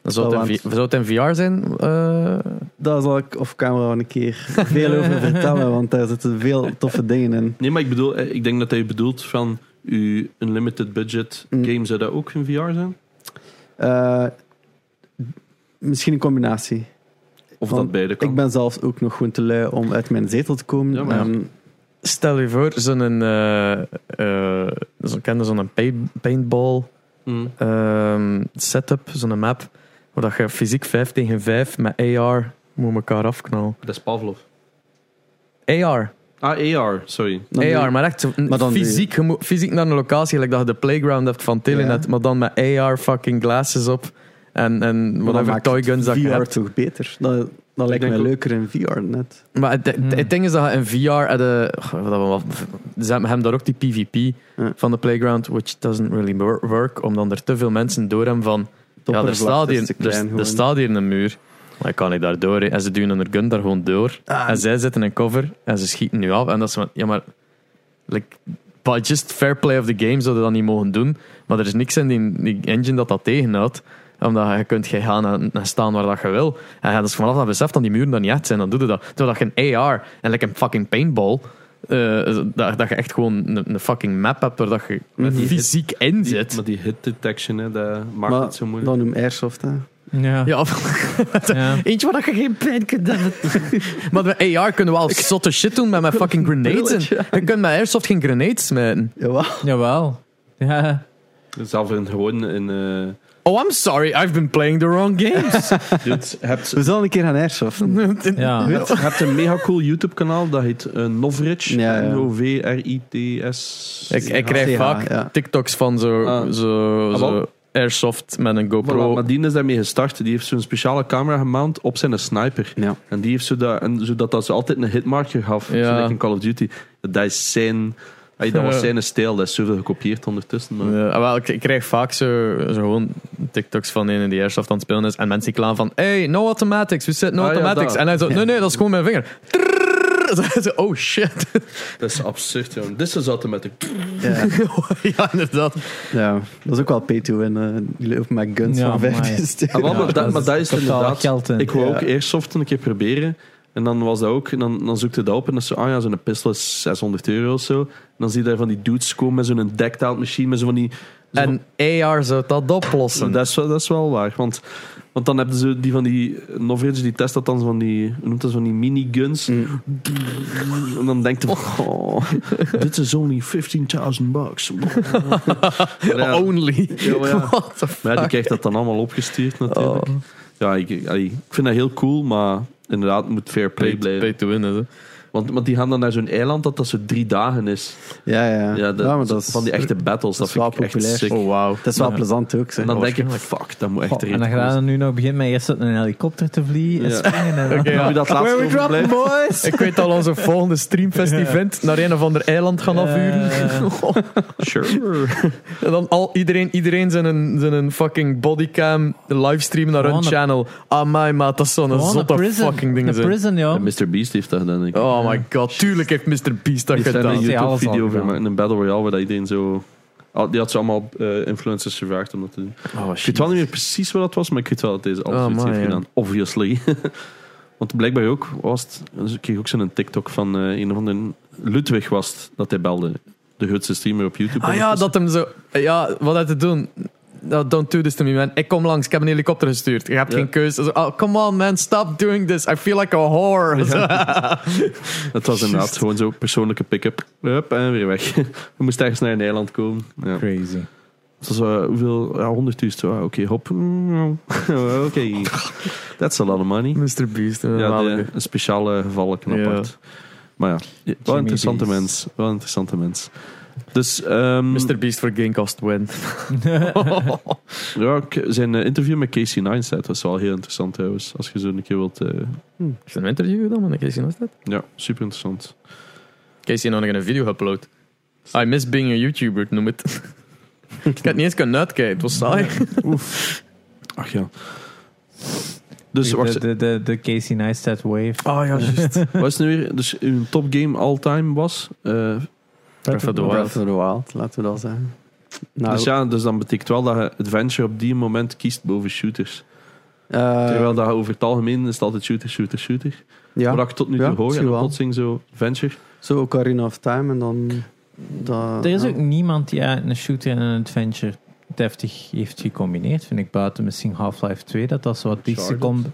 Speaker 2: zou, het in,
Speaker 4: want-
Speaker 2: V- zou het in VR zijn? Eh,
Speaker 4: Daar zal ik off camera wel een keer veel over vertellen, want daar zitten veel toffe dingen in.
Speaker 3: Nee, maar ik bedoel, eh, ik denk dat hij bedoelt van uw unlimited budget
Speaker 4: Mm.
Speaker 3: game zou dat ook in VR zijn?
Speaker 4: Eh, misschien een combinatie.
Speaker 3: Of
Speaker 4: Want
Speaker 3: dat beide kan?
Speaker 4: Ik ben zelf ook nog gewoon te lui om uit mijn zetel te komen. Ehm,
Speaker 3: Ja, maar ja.
Speaker 4: En
Speaker 2: stel je voor, zo'n. eh eh, zo'n- kende zo'n paint- paintball.
Speaker 3: Mm.
Speaker 2: ehm, setup, zo'n map, waar dat je fysiek 5 tegen 5 met AR moet elkaar afknallen.
Speaker 3: Dat is Pavlov.
Speaker 2: AR,
Speaker 3: Ah, AR, sorry.
Speaker 4: dan doe
Speaker 2: AR,
Speaker 4: ik-
Speaker 2: maar echt zo-
Speaker 4: Maar dan doe je-
Speaker 2: fysiek, je moet fysiek naar een locatie, gelijk dat je de playground hebt van Telenet,
Speaker 4: Ja.
Speaker 2: maar dan met AR fucking glasses op en, en
Speaker 4: Maar dat
Speaker 2: whatever
Speaker 4: maakt
Speaker 2: toy guns dat je
Speaker 4: VR
Speaker 2: hebt.
Speaker 4: toch beter? Dat, dat lijkt
Speaker 3: denk
Speaker 4: mij
Speaker 3: ook-
Speaker 4: leuker in VR net.
Speaker 2: Maar het, het-
Speaker 1: Hmm.
Speaker 2: het ding is dat je in VR hadden, oh, wat hebben we al- ze hebben hem daar ook die PvP
Speaker 4: Ja.
Speaker 2: van de playground, which doesn't really wor- work, omdat er te veel mensen door hem van ja, er
Speaker 4: Toppervlak,
Speaker 2: staat
Speaker 4: dat is
Speaker 2: hier,
Speaker 4: te
Speaker 2: er-
Speaker 4: klein
Speaker 2: er
Speaker 4: gewoon.
Speaker 2: staat hier een muur. Maar ik kan niet daar door. hè. En ze duwen hun gun daar gewoon door.
Speaker 4: Ah,
Speaker 2: En zij zitten in cover en ze schieten nu af. En dat is van, ja maar... Like, by just fair play of the game zouden dat niet mogen doen. Maar er is niks in die, die engine dat dat tegenhoudt. Omdat je kunt jij gaan en, en staan waar dat je wil. En dat is vanaf dat besef dat die muren daar niet echt zijn, dan doe je dat. Terwijl dat je een AR en like een fucking paintball... eh, dat, dat je echt gewoon een, een fucking map hebt waar dat je
Speaker 4: Met die-
Speaker 2: fysiek in
Speaker 3: Die-
Speaker 2: zit.
Speaker 3: Maar die hit detection, hè, dat maakt
Speaker 4: Maar
Speaker 3: het zo moeilijk.
Speaker 4: Dat noem Airsoft, hè.
Speaker 1: Ja.
Speaker 2: Ja,
Speaker 1: Ja.
Speaker 2: Eentje waar je geen pijn kunt hebben. maar met AR kunnen we al zotte shit doen met mijn fucking grenades.
Speaker 4: Brilletje.
Speaker 2: En je kunt met airsoft geen grenades smijten.
Speaker 4: Jawel.
Speaker 1: Jawel. Ja.
Speaker 3: Zelf in gewoon in... eh
Speaker 2: Oh, I'm sorry, I've been playing the wrong games.
Speaker 3: dude, hebt,
Speaker 4: We zullen een keer gaan airsoften.
Speaker 1: Ja.
Speaker 3: hebt, hebt een mega cool YouTube-kanaal, dat heet eh, Novrich.
Speaker 4: Ja, ja.
Speaker 3: N-O-V-R-I-T-S...
Speaker 2: ik, ik krijg
Speaker 4: Ja,
Speaker 2: vaak
Speaker 4: ja.
Speaker 2: TikToks van zo,
Speaker 3: Ah.
Speaker 2: zo,
Speaker 3: Ah,
Speaker 2: zo
Speaker 3: wel.
Speaker 2: airsoft met een
Speaker 3: Voilà,
Speaker 2: GoPro.
Speaker 3: maar die is daarmee gestart. Die heeft zo'n speciale camera gemount op zijn sniper.
Speaker 4: Ja.
Speaker 3: En die heeft zo dat, en zodat dat ze altijd een hitmarker gaf.
Speaker 2: Ja.
Speaker 3: Zo like in Call of Duty. Dat is zijn... ay, Dat was
Speaker 2: Ja.
Speaker 3: zijn stijl. Dat is zoveel gekopieerd ondertussen. Maar
Speaker 2: Ja, ah, wel, ik, ik krijg vaak zo, zo gewoon TikToks van een die airsoft aan het spelen is. En mensen die klaar van: Hey, no automatics, we set no
Speaker 3: Ah, ja,
Speaker 2: automatics.
Speaker 3: dat.
Speaker 2: en hij zo: Nee, nee, dat is gewoon mijn vinger. Trrrr. Zo, oh shit.
Speaker 3: dat is absurd, Dus jongen. Dit is automatic.
Speaker 4: Ja.
Speaker 2: ja, inderdaad.
Speaker 4: ja, dat is ook wel pay to win. eh, jullie lopen met guns
Speaker 1: Ja,
Speaker 4: van
Speaker 1: amai.
Speaker 4: 15
Speaker 3: Ah,
Speaker 4: stuks.
Speaker 3: wel, maar, dat, maar dat is
Speaker 1: totaal
Speaker 3: inderdaad...
Speaker 1: geld in.
Speaker 3: Ik wou
Speaker 4: Ja.
Speaker 3: ook airsoften een keer proberen. En dan was dat ook. En dan, dan zoekte dat op. En dan is zo, ah ja, zo'n pistol is 600 euro of zo. En dan zie je daar van die dudes komen met zo'n decked out machine. Met zo van die... zo van-
Speaker 2: En AR zou dat oplossen.
Speaker 3: Dat is, wel- dat is wel waar. Want, want dan hebben ze die van die Novrage, die test dat dan zo van die, hoe noemt dat, zo van die miniguns. En dan denkt hij van, oh, dit is only 15.000 bucks. Maar ja,
Speaker 1: Oh,
Speaker 2: Only.
Speaker 3: Ja, maar ja.
Speaker 2: What the
Speaker 3: maar ja, die
Speaker 2: fuck?
Speaker 3: krijgt dat dan allemaal opgestuurd natuurlijk.
Speaker 2: Oh.
Speaker 3: Ja, ik, ik- allee, ik vind dat heel cool, maar inderdaad, het moet fair play
Speaker 2: Pay,
Speaker 3: blijven.
Speaker 2: to win, hè.
Speaker 3: Want, want die gaan dan naar zo'n eiland dat dat zo drie dagen is.
Speaker 4: Ja, ja.
Speaker 3: Ja,
Speaker 4: ja,
Speaker 3: dat,
Speaker 4: maar dat is,
Speaker 3: van die echte battles, dat,
Speaker 4: dat is wel
Speaker 3: vind ik echt
Speaker 4: populair.
Speaker 3: sick.
Speaker 2: Oh, wauw.
Speaker 4: dat is wel
Speaker 1: Ja.
Speaker 4: plezant ook. Zeg.
Speaker 3: En dan denk ik,
Speaker 2: waarschijnlijk.
Speaker 3: fuck, dat moet echt
Speaker 1: en dan
Speaker 3: redelijk
Speaker 1: gaan we nu nog beginnen met eerst uit een helikopter te vliegen.
Speaker 3: Ja.
Speaker 1: En springen en dan-
Speaker 2: Oké, ja.
Speaker 3: Moet je dat laatste
Speaker 1: Where we dropping,
Speaker 3: overblijven?
Speaker 1: boys?
Speaker 2: Ik weet al onze volgende streamfest event naar een of ander eiland gaan afhuren.
Speaker 3: Sure.
Speaker 2: En dan al iedereen, iedereen zijn, een, zijn een fucking bodycam livestream naar hun
Speaker 1: Gewoon een-
Speaker 2: channel. Ah, my maat, dat is zo'n
Speaker 1: Gewoon
Speaker 2: zotte
Speaker 1: prison.
Speaker 2: fucking ding.
Speaker 1: Een
Speaker 2: zijn.
Speaker 1: prison, joh.
Speaker 3: Mr. Beast heeft dat gedaan, denk ik.
Speaker 2: Oh Oh my god, tuurlijk heeft Mr. Beast dat
Speaker 3: Ik heb
Speaker 2: gedaan.
Speaker 3: een
Speaker 1: Heeft hij alles al
Speaker 3: YouTube-video over
Speaker 1: gedaan?
Speaker 3: gemaakt, een Battle Royale, waar dat iedereen zo... Ah, Die had ze allemaal eh, influencers gevraagd om dat te doen.
Speaker 2: Oh,
Speaker 3: Ik weet wel niet meer precies wat dat was, maar ik weet wel dat deze alles
Speaker 2: Oh,
Speaker 3: iets heeft
Speaker 2: man, ja.
Speaker 3: gedaan. Obviously. Want blijkbaar ook was het... dus ik kreeg ook zo'n TikTok van eh, een of andere... Ludwig was het, dat hij belde. De grootste streamer op YouTube.
Speaker 2: Ah ja,
Speaker 3: ondertussen.
Speaker 2: dat hem zo... Ja, wat had hij te doen? No, don't do this to me, man. Ik kom langs, ik heb een helikopter gestuurd. Je hebt
Speaker 3: Ja.
Speaker 2: geen keuze. Zo, Oh, come on, man, stop doing this. I feel like a whore.
Speaker 3: Dat was inderdaad
Speaker 2: Juist.
Speaker 3: gewoon zo'n persoonlijke pick-up. Hup, en weer weg. We moesten ergens naar een eiland komen. Ja.
Speaker 1: Crazy.
Speaker 3: Dat was eh, hoeveel? Ja, 100.000. Ah, Oké, hop. Mm, Oké. That's a lot of money.
Speaker 2: Mr. Beast. een
Speaker 3: Ja, de,
Speaker 2: malige.
Speaker 3: een eh, speciale gevallen
Speaker 2: eh, Ja.
Speaker 3: apart. Maar ja, wel een interessante
Speaker 1: D's.
Speaker 3: mens. Wel een interessante mens. Dus, ehm
Speaker 2: Mr. Beast voor Gamecast win.
Speaker 3: ja, k- zijn eh, interview met Casey Neistat was wel heel interessant trouwens. Als je zo een keer wilt. eh,
Speaker 2: Is er een interview gedaan met Casey Neistat?
Speaker 3: ja, super interessant.
Speaker 2: Casey nou nog een video geüpload. I miss being a YouTuber, noem het. ik had het niet eens kunnen uitkijken, het was saai.
Speaker 3: Ach ja. Dus Ah, wacht,
Speaker 1: de, de, de, de Casey Neistat wave.
Speaker 2: Oh ja, juist.
Speaker 3: wat is het nu weer? Dus uw topgame all time was? eh,
Speaker 2: Breath of the Wild.
Speaker 4: Breath of the Wild, laten we dat zeggen. Nou,
Speaker 3: Dus ja, dus dan betekent wel dat je adventure op die moment kiest boven shooters.
Speaker 4: eh,
Speaker 3: Terwijl dat je over het algemeen is het altijd shooter, shooter, shooter.
Speaker 4: ja.
Speaker 3: Maar dat ik tot nu toe
Speaker 4: Ja,
Speaker 3: hoor en
Speaker 4: misschien
Speaker 3: dan
Speaker 4: wel.
Speaker 3: plotseling zo adventure.
Speaker 4: Zo Ocarina of Time en dan... Dat,
Speaker 1: Er is
Speaker 4: ja.
Speaker 1: ook niemand die eigenlijk een shooter en een adventure deftig heeft gecombineerd, vind ik. Buiten misschien Half-Life 2, dat dat zo wat dichtste komt.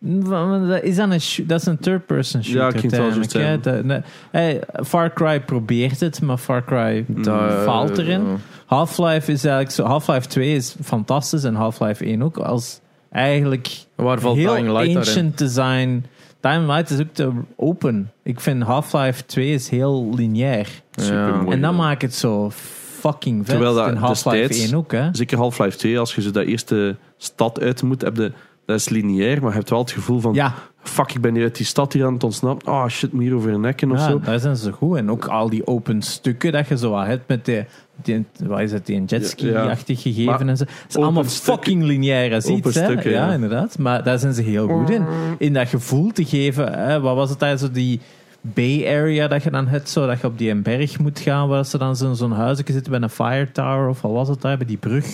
Speaker 3: Uncharted.
Speaker 1: Maar- maar dat Is dat, een shoo- dat is een third-person shooter.
Speaker 3: Ja, ik ging het wel zo
Speaker 1: uiteindelijk, hè. Dat- nee, hey, Far Cry probeert het, maar Far Cry
Speaker 2: eh,
Speaker 3: Dat-
Speaker 1: faalt erin. Half-Life is eigenlijk zo. Half-Life 2 is fantastisch en Half-Life 1 ook. Als eigenlijk
Speaker 2: Waar valt
Speaker 1: heel
Speaker 2: Dying Light daarin?
Speaker 1: ancient design. Dying Light is ook te open. Ik vind Half-Life 2 is heel lineair.
Speaker 3: Supermooi.
Speaker 2: Ja.
Speaker 1: en dat
Speaker 3: ja.
Speaker 1: maakt het zo fucking vet.
Speaker 3: Terwijl dat
Speaker 1: en Half-Life
Speaker 3: destijds-
Speaker 1: 1 ook, hè.
Speaker 3: Zeker Half-Life 2, als je zo dat eerste stad uit moet, heb je, dat is lineair, maar je hebt wel het gevoel van,
Speaker 1: Ja,
Speaker 3: fuck, ik ben hier uit die stad hier aan het ontsnappen. Ah, shit, moet hier over een nekken of
Speaker 1: ja,
Speaker 3: zo.
Speaker 1: daar zijn ze goed. En ook al die open stukken dat je zo wat hebt met die, die, wat is het, die jetski-achtig
Speaker 3: Maar
Speaker 1: gegeven en zo. Het is
Speaker 3: open
Speaker 1: allemaal
Speaker 3: stukken-
Speaker 1: fucking lineair als
Speaker 3: open
Speaker 1: iets. hè.
Speaker 3: stukken,
Speaker 1: ja,
Speaker 3: ja.
Speaker 1: inderdaad. Maar daar zijn ze heel goed in. In dat gevoel te geven, hè, wat was het daar zo die Bay Area dat je dan hebt, zo dat je op die een berg moet gaan, waar ze dan zo'n zo'n huisje zitten bij een fire tower of wat was het daar, bij die brug.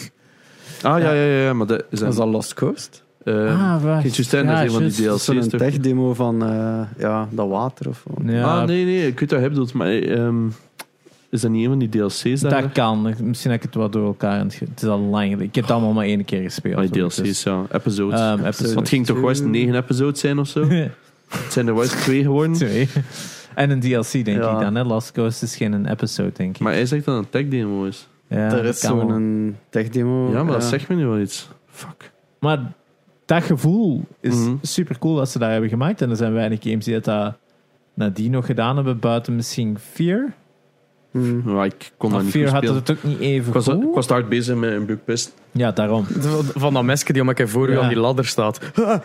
Speaker 3: Ah, ja, ja, ja, ja, maar dat is
Speaker 4: Was
Speaker 3: een...
Speaker 4: dat Lost Coast?
Speaker 3: eh,
Speaker 1: Ah, wacht.
Speaker 3: Geen Justin, dat is een van die
Speaker 1: juist.
Speaker 3: DLC's.
Speaker 4: Zo'n
Speaker 3: toch?
Speaker 4: tech-demo van eh, ja, dat water of wat.
Speaker 1: Ja,
Speaker 3: Ah, nee, nee, ik weet wat je bedoelt, maar ehm, is dat niet een van die DLC's? daar?
Speaker 1: Dat kan. Misschien heb ik het wat door elkaar. aan het ge- Het is al lang. geleden. Ik heb het allemaal maar één keer gespeeld.
Speaker 3: Ah, die
Speaker 1: Dus-
Speaker 3: DLC's, ja. Episodes.
Speaker 1: Ehm,
Speaker 3: Want het ging toch wel eens negen episodes zijn of zo? Het zijn er wel eens twee geworden.
Speaker 1: Twee. En een DLC, denk
Speaker 4: Ja.
Speaker 1: ik dan. Hè? Lost Coast is geen een episode, denk ik.
Speaker 3: Maar hij zegt dat het een tech demo is.
Speaker 1: ja,
Speaker 4: er
Speaker 1: dat
Speaker 4: is
Speaker 1: kan wel.
Speaker 4: zo'n
Speaker 1: Oh,
Speaker 4: tech-demo.
Speaker 3: Ja, maar dat
Speaker 4: eh,
Speaker 3: zegt me nu wel iets. Fuck.
Speaker 1: Maar dat gevoel is
Speaker 3: Mhm.
Speaker 1: super cool dat ze daar hebben gemaakt. En er zijn weinig games die dat nadien nog gedaan hebben, buiten misschien Fear.
Speaker 4: mm.
Speaker 3: Maar ik kon dat
Speaker 1: Maar
Speaker 3: niet
Speaker 1: Fear
Speaker 3: goed
Speaker 1: had
Speaker 3: spelen.
Speaker 1: het Oh. ook niet even
Speaker 3: Ik was,
Speaker 1: goed.
Speaker 3: ik was te hard bezig met een Bugpest.
Speaker 1: Ja, daarom.
Speaker 2: Van dat mesje die om een keer voor u
Speaker 1: Ja.
Speaker 2: aan die ladder staat.
Speaker 1: Je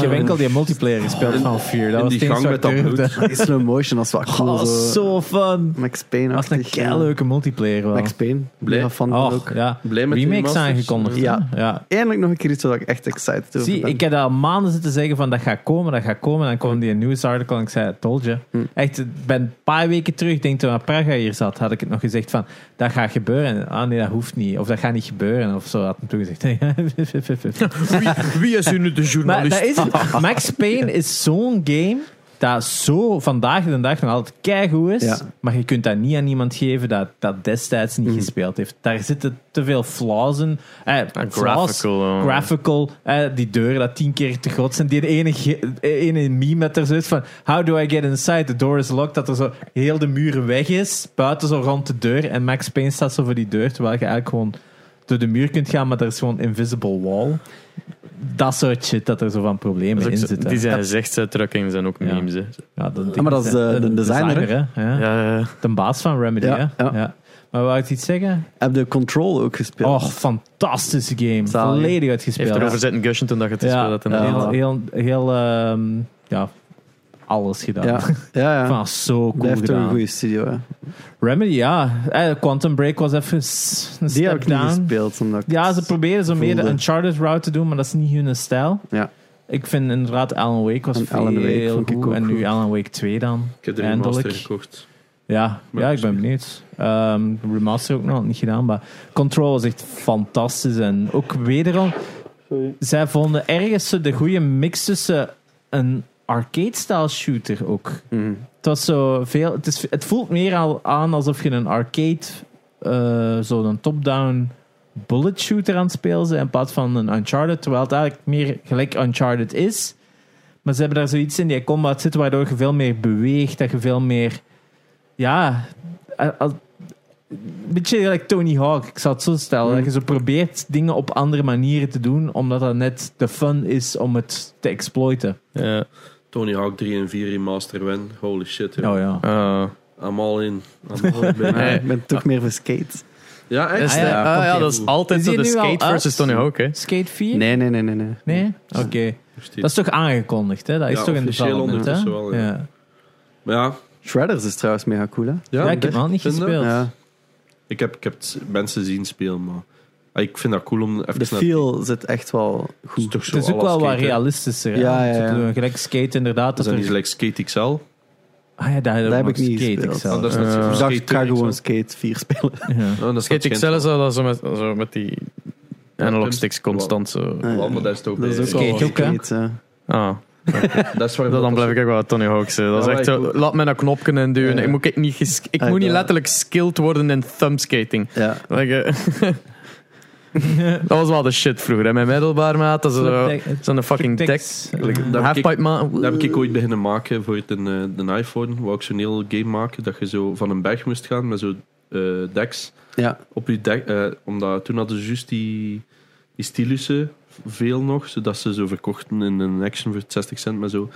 Speaker 1: hebt enkel die multiplayer gespeeld van Fear. Dat
Speaker 3: In
Speaker 1: was
Speaker 3: die
Speaker 1: het enige
Speaker 3: gang met
Speaker 1: wat ik
Speaker 3: dat
Speaker 1: durfde.
Speaker 3: bloed.
Speaker 4: In slow motion, Ah, dat is wel cool.
Speaker 1: Oh, zo fun.
Speaker 4: Max Payne.
Speaker 1: Dat was een leuke multiplayer wel.
Speaker 4: Max Payne.
Speaker 3: Blij.
Speaker 4: Mega fan van
Speaker 1: Oh,
Speaker 4: ook.
Speaker 1: ja.
Speaker 3: Blij met die
Speaker 1: Remakes
Speaker 3: remasters.
Speaker 1: aangekondigd. hè?
Speaker 4: Ja.
Speaker 1: ja.
Speaker 4: Eindelijk nog een keer iets waar ik echt excited over
Speaker 1: Zie,
Speaker 4: ben.
Speaker 1: ik heb al maanden zitten zeggen van dat gaat komen, dat gaat komen. En dan kwam die nieuwsartikel en ik zei, told you.
Speaker 4: Hm.
Speaker 1: Echt, ik ben een paar weken terug, denk toen aan Praga hier zat, had ik het nog gezegd van, dat gaat gebeuren. Ah nee, dat hoeft niet. Of dat gaat niet gebeuren. Of zo had hem toen gezegd.
Speaker 2: Wie, wie is u nu de
Speaker 1: maar
Speaker 2: journalist?
Speaker 1: dat is het. Max Payne is zo'n game dat zo vandaag de dag nog altijd keigoed is.
Speaker 4: Ja. Mhm.
Speaker 1: Maar je kunt dat niet aan iemand geven dat dat destijds niet gespeeld heeft. Daar zitten te veel flaws in. Eh, flaws,
Speaker 2: Ah, graphical, oh. ja.
Speaker 1: graphical eh, die deuren dat tien keer te groot zijn. Die ene, ge- eh, ene meme dat er zo is van... How do I get inside? The door is locked. Dat er zo heel de muur weg is. Buiten zo rond de deur. En Max Payne staat zo voor die deur. Terwijl je eigenlijk gewoon door de muur kunt gaan. Maar er is gewoon invisible wall. Dat soort shit dat er zo van problemen in zitten.
Speaker 2: die zijn gezichtsuitdrukkingen zijn ook
Speaker 1: Ja.
Speaker 2: memes. Hè.
Speaker 1: Ja, de,
Speaker 4: Ah, maar dat is de- de designer,
Speaker 1: hè? Ja.
Speaker 2: Ja,
Speaker 1: De baas van Remedy,
Speaker 4: Ja,
Speaker 1: hè?
Speaker 4: ja.
Speaker 1: Ja. Maar wou ik iets zeggen?
Speaker 4: Heb de Control ook gespeeld?
Speaker 1: Och, fantastische game.
Speaker 4: Zalig.
Speaker 1: Volledig
Speaker 2: heeft
Speaker 1: uitgespeeld.
Speaker 2: erover zitten gushen toen dat je het gespeeld had.
Speaker 1: ja,
Speaker 2: inderdaad.
Speaker 1: heel, heel, heel ehm, ja, alles gedaan.
Speaker 4: ja, ja. ja.
Speaker 1: Van, zo cool
Speaker 4: Blijft toch een
Speaker 1: gedaan.
Speaker 4: goede studio, hè.
Speaker 1: Remedy, ja. Eh, Quantum Break was even s- een
Speaker 4: Die
Speaker 1: step
Speaker 4: heb ik niet
Speaker 1: down.
Speaker 4: gespeeld. Omdat ik
Speaker 1: Ja, ze
Speaker 4: het
Speaker 1: proberen zo meer de
Speaker 4: voelde.
Speaker 1: Uncharted route te doen, maar dat is niet hun stijl.
Speaker 4: Ja.
Speaker 1: Ik vind inderdaad Alan Wake was
Speaker 4: En
Speaker 1: veel
Speaker 4: Alan Wake vond ik
Speaker 1: goed.
Speaker 4: ook
Speaker 1: En nu
Speaker 4: goed.
Speaker 1: Alan Wake 2 dan.
Speaker 3: Ik heb de
Speaker 1: Eindelijk.
Speaker 3: remaster gekocht.
Speaker 1: Ja,
Speaker 3: Maar
Speaker 1: ja ik
Speaker 3: dus
Speaker 1: ben
Speaker 3: niet.
Speaker 1: benieuwd. Ehm remaster ook nog niet gedaan, maar Control was echt fantastisch. En ook wederom, zij vonden ergens zo de goede mix tussen een arcade-style shooter ook.
Speaker 4: Mhm.
Speaker 1: Het was zo veel... Het, is, het voelt meer al aan alsof je een arcade, eh, zo'n top-down bullet shooter aan het spelen bent, in plaats van een Uncharted, terwijl het eigenlijk meer gelijk Uncharted is. Maar ze hebben daar zoiets in die combat zit, waardoor je veel meer beweegt, dat je veel meer... Ja... eh, als- een beetje gelijk Tony Hawk, ik zal het zo stellen. Dat je zo probeert dingen op andere manieren te doen, omdat dat net de fun is om het te exploiten.
Speaker 2: Ja.
Speaker 3: Tony Hawk 3 en 4 remaster win. Holy shit. hè.
Speaker 1: Oh ja.
Speaker 2: Eh,
Speaker 3: I'm all in. I'm all in, baby.
Speaker 4: Maar
Speaker 2: Nee.
Speaker 4: ik ben toch meer voor skate.
Speaker 3: Ja, echt?
Speaker 2: is
Speaker 1: Ah,
Speaker 2: de-
Speaker 1: ja,
Speaker 2: ah,
Speaker 1: oké,
Speaker 2: ja, dat is
Speaker 3: goed.
Speaker 2: altijd
Speaker 1: Is
Speaker 2: zo
Speaker 1: die
Speaker 2: de
Speaker 1: nu al
Speaker 2: skate
Speaker 1: uit?
Speaker 2: versus Tony Hawk. Hè.
Speaker 1: Skate 4?
Speaker 4: Nee, nee, nee, nee. nee.
Speaker 1: Nee? Oké. Dat is toch aangekondigd, hè? Dat is
Speaker 3: Ja,
Speaker 1: toch in de
Speaker 3: officieel
Speaker 1: development, hè?
Speaker 3: ondertussen wel, ja.
Speaker 1: ja.
Speaker 3: Maar ja,
Speaker 4: Shredders is trouwens mega cool, hè?
Speaker 1: Ja, ik heb
Speaker 3: dit-
Speaker 1: hem al niet
Speaker 3: vinden.
Speaker 1: gespeeld.
Speaker 4: Ja.
Speaker 3: Ik heb, ik heb het mensen zien spelen, maar ah, ik vind dat cool om even
Speaker 4: De
Speaker 3: naar-
Speaker 4: feel zit echt wel
Speaker 3: Het is
Speaker 4: goed.
Speaker 3: toch zo
Speaker 1: Het is ook
Speaker 3: à la
Speaker 1: wel wat
Speaker 3: skate, hè.
Speaker 1: realistischer. hè,
Speaker 4: Ja,
Speaker 1: om zo
Speaker 4: ja,
Speaker 1: te
Speaker 4: ja.
Speaker 1: doen. Gelijk skate, inderdaad.
Speaker 3: Is
Speaker 1: Dat
Speaker 3: dat niet
Speaker 1: er,
Speaker 3: gelijk Skate XL?
Speaker 1: ah ja, daar heb,
Speaker 4: Dat heb
Speaker 1: ik
Speaker 4: ik niet
Speaker 1: skate
Speaker 4: gespeeld.
Speaker 1: XL.
Speaker 3: Ah, dat is net
Speaker 2: Eh,
Speaker 3: zo-
Speaker 2: ik
Speaker 4: Dus
Speaker 3: Skate
Speaker 4: ik kan
Speaker 3: 3
Speaker 4: gewoon
Speaker 3: XL.
Speaker 4: skate 4 spelen.
Speaker 1: Ja.
Speaker 3: Oh, dat is
Speaker 2: Skate
Speaker 3: net
Speaker 2: XL
Speaker 3: geen-
Speaker 2: is dat zo met, zo met die analog sticks constant zo.
Speaker 4: Ja.
Speaker 3: Wel, maar dat is toch
Speaker 4: Dat is ook
Speaker 1: Skate
Speaker 4: wel
Speaker 1: ook, hè?
Speaker 4: skate, hè.
Speaker 2: Ah,
Speaker 3: Dat is waar
Speaker 2: dan blijf ik ook wel Tony Hawk. hè. Dat is
Speaker 3: Ja,
Speaker 2: echt
Speaker 3: maar
Speaker 2: zo,
Speaker 3: ik-
Speaker 2: laat mij naar knopken en duwen.
Speaker 4: Ja.
Speaker 2: Ik moet, ik niet, ges- ik
Speaker 4: Ah,
Speaker 2: moet niet
Speaker 4: ja.
Speaker 2: letterlijk skilled worden in thumbskating.
Speaker 4: Ja.
Speaker 2: Like, eh, dat was wel de shit vroeger. Hè. Mijn middelbaarmaat, dat is zo- zo'n fucking deck.
Speaker 1: Tex.
Speaker 3: dat heb ik-
Speaker 2: Halfpipe maat.
Speaker 3: Dat heb ik ooit beginnen maken voor het, een, eh, de iPhone. Wou ik zo'n heel game maken dat je zo van een berg moest gaan met zo'n eh, deks.
Speaker 4: Ja.
Speaker 3: Op je dek, eh, omdat toen hadden ze juist die, die stylussen veel nog, zodat ze zo verkochten in een action voor 60 cent. Maar zo.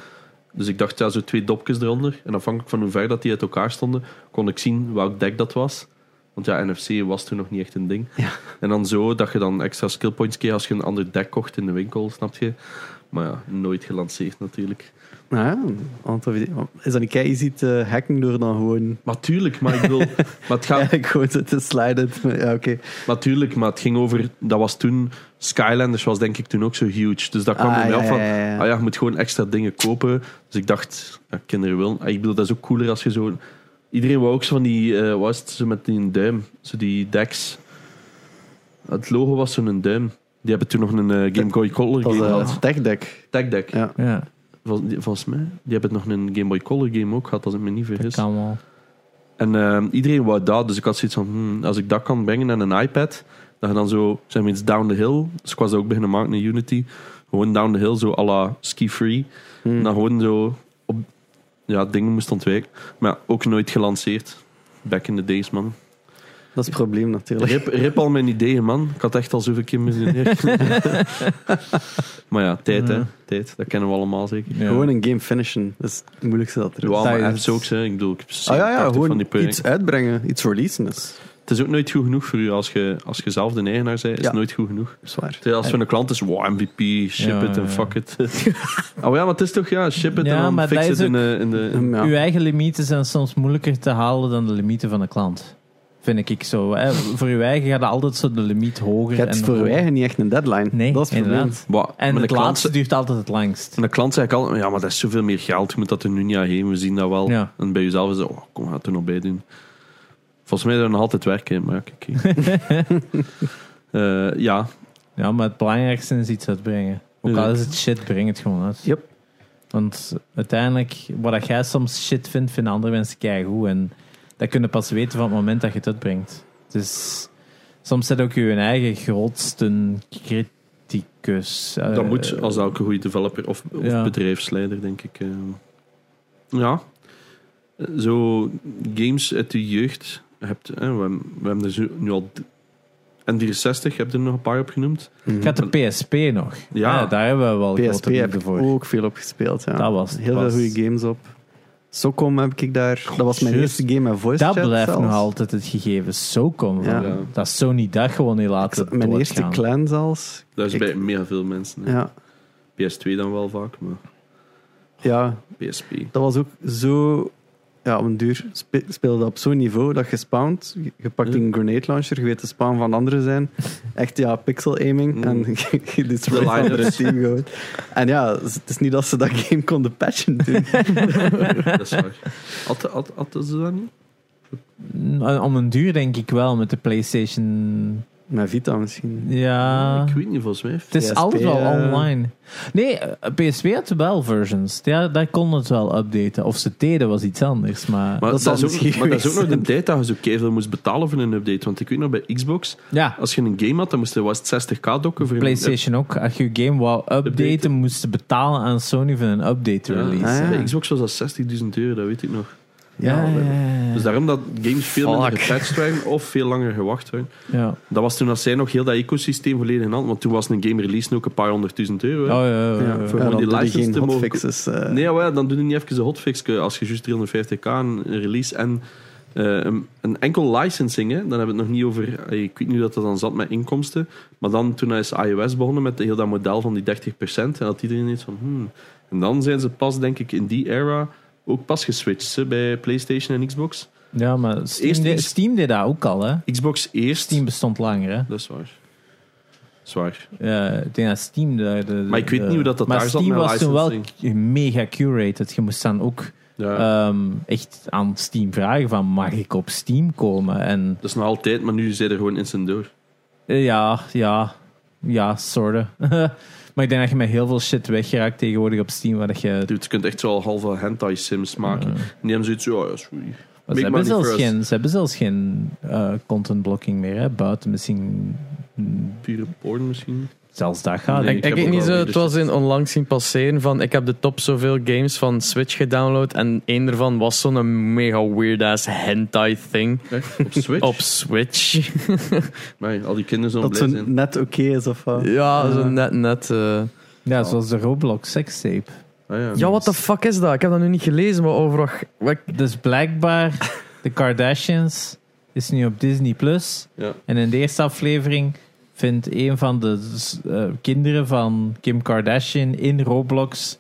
Speaker 3: Dus ik dacht, ja, zo twee dopjes eronder. En afhankelijk van hoe ver dat die uit elkaar stonden, kon ik zien welk dek dat was. Want ja, NFC was toen nog niet echt een ding.
Speaker 4: Ja.
Speaker 3: En dan zo dat je dan extra skillpoints kreeg als je een ander dek kocht in de winkel, snap je? Maar ja, nooit gelanceerd natuurlijk.
Speaker 4: Nou ja, aantal video- Is dat niet kei easy te hacken door dan gewoon...
Speaker 3: Maar tuurlijk, maar ik bedoel, maar het gaat,
Speaker 4: Eigenlijk gewoon te- te sliden. Ja, oké.
Speaker 3: maar tuurlijk, maar het ging over, dat was toen, Skylanders was denk ik toen ook zo huge. Dus dat kwam
Speaker 4: Ah,
Speaker 3: er mij
Speaker 4: ja,
Speaker 3: af van,
Speaker 4: ja, ja, ja.
Speaker 3: ah ja, je moet gewoon extra dingen kopen. Dus ik dacht, ja, kinderen willen, ah, ik bedoel, dat is ook cooler als je zo, iedereen wou ook zo van die, eh wat is het, zo met die duim, zo die decks. Het logo was zo'n duim. Die hebben toen nog een eh, Game Boy Color
Speaker 4: Dat
Speaker 3: game
Speaker 4: was
Speaker 3: gehad.
Speaker 4: een tech deck.
Speaker 3: Tech Deck.
Speaker 4: Ja.
Speaker 1: Ja,
Speaker 3: Vol- die- volgens mij. Die hebben nog een Game Boy Color game ook gehad, als ik me niet
Speaker 1: dat
Speaker 3: vergis.
Speaker 1: kan wel.
Speaker 3: En ehm, iedereen wou dat, dus ik had zoiets van, hmm, als ik dat kan brengen aan een iPad, dat je dan zo, zeg maar iets down the hill, dus ik was dat ook beginnen maken in Unity, gewoon down the hill, zo à la ski-free,
Speaker 4: Hmm.
Speaker 3: en dan gewoon zo op, ja, dingen moest ontwijken. Maar ja, ook nooit gelanceerd. Back in the days, man.
Speaker 4: Dat is het probleem natuurlijk.
Speaker 3: Rip, rip al mijn ideeën, man. Ik had echt al zoveel keer miljonair. maar ja, tijd, hè.
Speaker 1: Ja.
Speaker 3: Tijd, dat kennen we allemaal zeker.
Speaker 1: Ja.
Speaker 4: Gewoon een game finishen. Dat is het moeilijkste dat er is.
Speaker 3: Ja, maar
Speaker 1: is-
Speaker 3: apps ook, hè. Ik bedoel, ik heb
Speaker 4: Ah ja, ja
Speaker 3: 80 van
Speaker 4: gewoon
Speaker 3: die projecten.
Speaker 4: iets uitbrengen. Iets releasen is,
Speaker 3: Het is ook nooit goed genoeg voor u. Als je, als je zelf de eigenaar bent, is
Speaker 4: Ja.
Speaker 3: het nooit goed genoeg.
Speaker 4: is waar.
Speaker 3: Terwijl als zo'n klant is, wow, MVP, ship
Speaker 1: Ja,
Speaker 3: it
Speaker 1: ja.
Speaker 3: en fuck it. oh ja, maar het is toch, ja, ship it
Speaker 1: Ja,
Speaker 3: en
Speaker 1: maar
Speaker 3: dan
Speaker 1: dat
Speaker 3: fix it
Speaker 1: is Mm,
Speaker 3: in de... In de in-
Speaker 4: Ja.
Speaker 1: Uw eigen limieten zijn soms moeilijker te halen dan de limieten van de klant. Vind ik zo. Hè. Voor uw eigen gaat altijd zo de limiet hoger.
Speaker 4: Je hebt
Speaker 1: en
Speaker 4: voor je
Speaker 1: hoger.
Speaker 4: eigen niet echt een deadline.
Speaker 1: Nee,
Speaker 4: dat is het probleem.
Speaker 1: inderdaad.
Speaker 3: Wa-
Speaker 1: En
Speaker 3: met
Speaker 1: het
Speaker 3: een klant,
Speaker 1: laatste duurt altijd het langst.
Speaker 3: En de klant zei ik al, ja, maar dat is zoveel meer geld. Je moet dat er nu niet aan geven, we zien dat wel.
Speaker 1: Ja.
Speaker 3: En bij jezelf is dat, oh, kom, ga het er nog bij doen. Volgens mij is er nog altijd werk in, maar ja, kijk. Eh, ja,
Speaker 1: Ja, maar het belangrijkste is iets uitbrengen. Ook al is het shit, breng het gewoon uit.
Speaker 4: Yep.
Speaker 1: Want uiteindelijk, wat dat jij soms shit vindt, vinden andere mensen keigoed. En dat kunnen pas weten van het moment dat je het uitbrengt. Dus soms zet ook je eigen grootste criticus. eh,
Speaker 3: dat moet als elke goede developer of, of
Speaker 1: Ja.
Speaker 3: bedrijfsleider, denk ik. eh. Ja. Eh, Zo games uit de jeugd. Je Hebt, eh, we, hebben- we hebben er zo, nu al... d- N64, heb je er nog een paar op genoemd?
Speaker 4: Mhm.
Speaker 1: Ik had de PSP nog.
Speaker 3: Ja.
Speaker 1: daar hebben we wel
Speaker 4: PSP
Speaker 1: grote
Speaker 4: heb
Speaker 1: liefde
Speaker 4: ik
Speaker 1: voor.
Speaker 4: ook veel op gespeeld. Ja.
Speaker 1: Dat was het
Speaker 4: Heel
Speaker 1: pas.
Speaker 4: veel goede games op. Socom heb ik daar. Dat was mijn
Speaker 1: juist.
Speaker 4: eerste game met voice
Speaker 1: dat
Speaker 4: chat
Speaker 1: blijft
Speaker 4: zelfs.
Speaker 1: nog altijd het gegeven Socom.
Speaker 4: Ja.
Speaker 1: van
Speaker 3: Ja.
Speaker 1: Dat Sony dat gewoon niet laten
Speaker 4: Mijn eerste
Speaker 1: doodgaan.
Speaker 4: clan zelfs.
Speaker 3: Dat is
Speaker 4: Ik-
Speaker 3: bij meer veel mensen. hè.
Speaker 4: Ja.
Speaker 3: PS2 dan wel vaak, maar
Speaker 4: ja,
Speaker 3: PSP.
Speaker 4: dat was ook zo ja, op een duur spe- speelde dat op zo'n niveau dat je spawnt. Je- Je pakt een grenade launcher, je weet de spawn van anderen zijn. Echt ja, pixel aiming.
Speaker 3: Mm.
Speaker 4: En je, je destroyt
Speaker 3: De
Speaker 4: het andere
Speaker 3: liners.
Speaker 4: team gewoon. En ja, z- het is niet dat ze dat game konden patchen toen.
Speaker 3: dat is waar. Hadden had, hadden ze dat niet?
Speaker 1: Mm, Om een duur denk ik wel met de PlayStation.
Speaker 4: Met Vita misschien. Ah.
Speaker 1: Ja.
Speaker 3: Ik weet niet, volgens mij.
Speaker 1: Het is
Speaker 4: PSP,
Speaker 1: altijd wel
Speaker 4: eh.
Speaker 1: online. Nee, eh, PSP had wel versions. Ja, daar kon het wel updaten. Of ze deden was iets anders. Maar,
Speaker 3: Maar dat,
Speaker 4: zal
Speaker 3: is ook,
Speaker 4: misschien
Speaker 3: maar dat is ook nog
Speaker 4: geweest
Speaker 3: de tijd dat je zo keiveel moest betalen voor een update. Want ik weet nog, bij Xbox,
Speaker 1: ja,
Speaker 3: als je een game had, dan moest je was het 60k dokken voor een
Speaker 1: PlayStation ook. Als je je game wou
Speaker 3: Updaten.
Speaker 1: updaten, moest je betalen aan Sony voor een update te
Speaker 3: Ja.
Speaker 1: release.
Speaker 4: Ah, ja.
Speaker 3: Bij Xbox was dat 60.000 euro, dat weet ik nog.
Speaker 1: Ja, ja, ja.
Speaker 3: Dus daarom dat games veel minder
Speaker 2: Fuck.
Speaker 3: gepatcht werden of veel langer gewacht werden.
Speaker 1: ja.
Speaker 3: Dat was toen als zij nog heel dat ecosysteem volledig in hand. Want toen was een game release ook een paar honderdduizend euro.
Speaker 1: Oh,
Speaker 3: hè.
Speaker 1: ja, ja, ja,
Speaker 4: Ja,
Speaker 1: ja.
Speaker 3: die
Speaker 4: voor ja, dan doe je
Speaker 3: license
Speaker 4: geen
Speaker 3: te mogen
Speaker 4: hotfixes. eh.
Speaker 3: Nee, ja, wel, dan doe je niet even de hotfix. eh, Als je juist 350k een release en eh, een, een enkel licensing, hè, dan hebben we het nog niet over. eh, Ik weet niet hoe dat dat dan zat met inkomsten. Maar dan toen is iOS begonnen met heel dat model van die 30%. En had iedereen iets van. Hmm. En dan zijn ze pas, denk ik, in die era ook pas geswitcht hè, bij PlayStation en Xbox.
Speaker 1: Ja, maar Steam,
Speaker 3: Eerst
Speaker 1: deed,
Speaker 3: is-
Speaker 1: Steam deed dat ook al, hè?
Speaker 3: Xbox eerst.
Speaker 1: Steam bestond langer, hè?
Speaker 3: Dat is waar. Zwaar.
Speaker 1: Ja, ik denk dat Steam de, de-
Speaker 3: Maar ik weet
Speaker 1: de-
Speaker 3: niet hoe dat dat
Speaker 1: maar
Speaker 3: daar zat
Speaker 1: Steam
Speaker 3: met
Speaker 1: was toen wel
Speaker 3: licensing.
Speaker 1: mega curated. Je moest dan ook
Speaker 3: Ja.
Speaker 1: ehm, echt aan Steam vragen van mag ik op Steam komen? En
Speaker 3: dat is nog altijd, maar nu zijn er gewoon instant door.
Speaker 1: eh, ja, ja, ja, sorta. maar ik denk dat je met heel veel shit weggeraakt tegenwoordig op Steam. Waar dat je,
Speaker 3: Dude, je kunt echt zo al halve hentai sims maken. En die hebben zoiets zo, oh, ja, sorry.
Speaker 1: ze,
Speaker 3: Make money
Speaker 1: hebben zelfs
Speaker 3: first.
Speaker 1: geen, ze hebben zelfs geen eh, content blocking meer, hè? Buiten misschien... mm,
Speaker 3: Pure porn misschien.
Speaker 1: Zelfs dat gaat.
Speaker 3: Nee,
Speaker 1: niet.
Speaker 2: Ik,
Speaker 3: heb
Speaker 2: ik
Speaker 3: ook
Speaker 2: weet niet
Speaker 3: wel
Speaker 2: zo,
Speaker 3: weer,
Speaker 2: het
Speaker 3: dus
Speaker 2: was
Speaker 3: dat-
Speaker 2: in onlangs zien passeren van ik heb de top zoveel games van Switch gedownload en één daarvan was zo'n mega weird ass hentai thing
Speaker 3: Echt? Op Switch?
Speaker 2: op Switch.
Speaker 3: Nee, al die kinderen zullen
Speaker 4: Dat
Speaker 3: blij
Speaker 4: ze
Speaker 3: zijn.
Speaker 4: net oké is of wat.
Speaker 2: ja, zo net, net. eh.
Speaker 1: Ja, zoals de Roblox sekstape.
Speaker 3: Ah, ja.
Speaker 2: Ja, what the fuck is dat? Ik heb dat nu niet gelezen, maar overal. wat-
Speaker 1: Dus blijkbaar, de Kardashians is nu op Disney+. Plus.
Speaker 3: Ja.
Speaker 1: En in de eerste aflevering vindt een van de s- eh, kinderen van Kim Kardashian in Roblox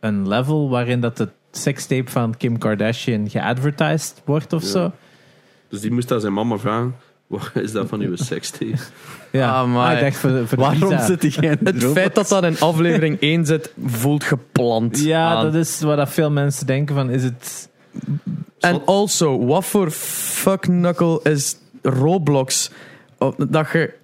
Speaker 1: een level waarin dat de sekstape van Kim Kardashian geadvertised wordt of
Speaker 3: Ja.
Speaker 1: zo.
Speaker 3: Dus die moest aan zijn mama vragen, wat is dat van uw sekstape?
Speaker 1: Ja,
Speaker 2: Amai.
Speaker 1: maar Ah, ik dacht voor, voor
Speaker 4: Waarom
Speaker 1: Lisa.
Speaker 4: zit die geen
Speaker 2: Het feit dat dat in aflevering 1 zit, voelt gepland.
Speaker 1: Ja,
Speaker 4: Ah.
Speaker 2: aan.
Speaker 1: dat is wat dat veel mensen denken van, is het...
Speaker 2: En also, wat voor fuck knuckle is Roblox? Oh, Dat je.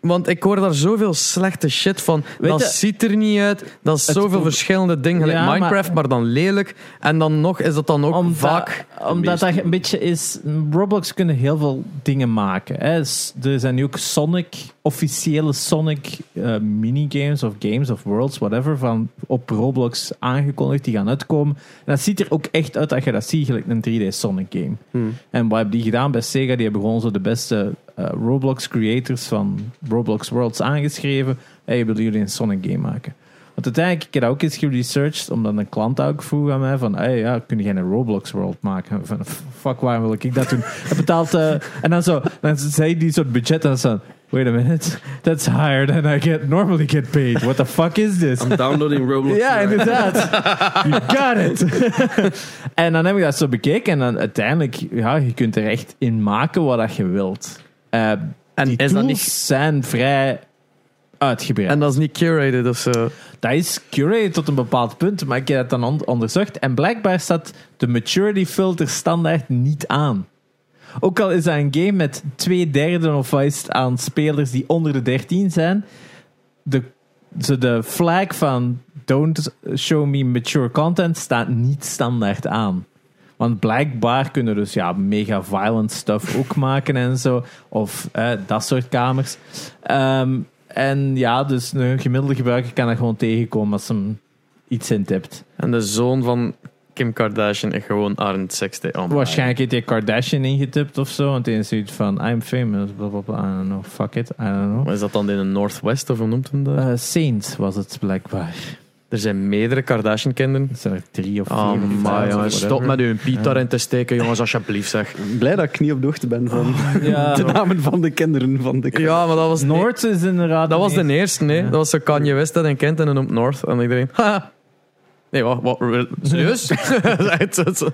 Speaker 2: Want ik hoor daar zoveel slechte shit van.
Speaker 1: Weet
Speaker 2: dat
Speaker 1: je-
Speaker 2: ziet er niet uit. Dat is zoveel
Speaker 1: voelt-
Speaker 2: verschillende dingen. gelijk
Speaker 1: Ja, maar-
Speaker 2: Minecraft, maar... dan lelijk. En dan nog is dat dan ook
Speaker 1: Omdat-
Speaker 2: vaak.
Speaker 1: Omdat
Speaker 3: meeste-
Speaker 1: dat een beetje is... Roblox kunnen heel veel dingen maken. Hè. S- Er zijn nu ook Sonic, officiële Sonic eh, minigames of games of worlds, whatever, van op Roblox aangekondigd. Die gaan uitkomen. En dat ziet er ook echt uit dat je dat ziet, gelijk een 3D Sonic game.
Speaker 4: Hm.
Speaker 1: En wat hebben die gedaan bij Sega? Die hebben gewoon zo de beste eh, Roblox creators van Roblox Worlds aangeschreven. Hey, willen jullie een Sonic game maken? Want uiteindelijk, ik heb dat ook eens geresearched, omdat een klant dat ook vroeg aan mij van, hey, ja, kun jij een Roblox World maken? Van, "F- fuck, waarom wil ik dat doen? Hij betaalt, eh, en dan zo, dan zei die soort budget en dan zo, wait a minute, that's higher than I get, normally get paid. What the fuck is this?
Speaker 3: I'm downloading Roblox.
Speaker 1: Ja, inderdaad. You got it. en dan heb ik dat zo bekeken. En dan uiteindelijk, ja, je kunt er echt in maken wat dat je wilt. Eh,
Speaker 2: En
Speaker 1: die
Speaker 2: is dat
Speaker 1: tools
Speaker 2: niet-
Speaker 1: zijn vrij uitgebreid.
Speaker 2: En dat is niet curated of zo.
Speaker 1: dat is curated tot een bepaald punt, maar ik heb dat dan on- onderzocht. En blijkbaar staat de maturity filter standaard niet aan. Ook al is dat een game met twee derden of wat is het aan spelers die onder de 13 zijn, de, zo de flag van don't show me mature content staat niet standaard aan. Want blijkbaar kunnen dus ja, mega violent stuff ook maken en zo. Of eh, dat soort kamers. Ehm, en ja, dus een gemiddelde gebruiker kan dat gewoon tegenkomen als hem iets intipt.
Speaker 2: En de zoon van Kim Kardashian is gewoon Arend Sexte. Oh my.
Speaker 1: Waarschijnlijk heeft hij Kardashian ingetipt of zo. Want hij is zoiets van, I'm famous, blah, blah, blah, I don't know, fuck it, I don't know.
Speaker 2: Maar Is dat dan in de Northwest of hoe noemt hem dat?
Speaker 1: Eh Saint was het blijkbaar.
Speaker 2: Er zijn meerdere Kardashian-kinderen.
Speaker 1: Er zijn er drie of vier.
Speaker 2: Oh
Speaker 1: of vijf
Speaker 2: my,
Speaker 1: of
Speaker 2: jongens.
Speaker 1: whatever.
Speaker 2: Stop met uw piet daarin te steken, jongens, alsjeblieft zeg.
Speaker 4: Blij dat ik niet op de hoogte ben van
Speaker 3: Ah.
Speaker 1: Ja.
Speaker 4: de namen van de kinderen van de
Speaker 2: Ja, maar dat was... e-
Speaker 1: Noord is inderdaad...
Speaker 2: Dat was
Speaker 1: een
Speaker 2: de eerste, nee.
Speaker 1: Ja.
Speaker 2: Dat was zo Kanye West dat een kent en dan op North. En iedereen, haha. Nee, wat? wat re- serieus? Het- het-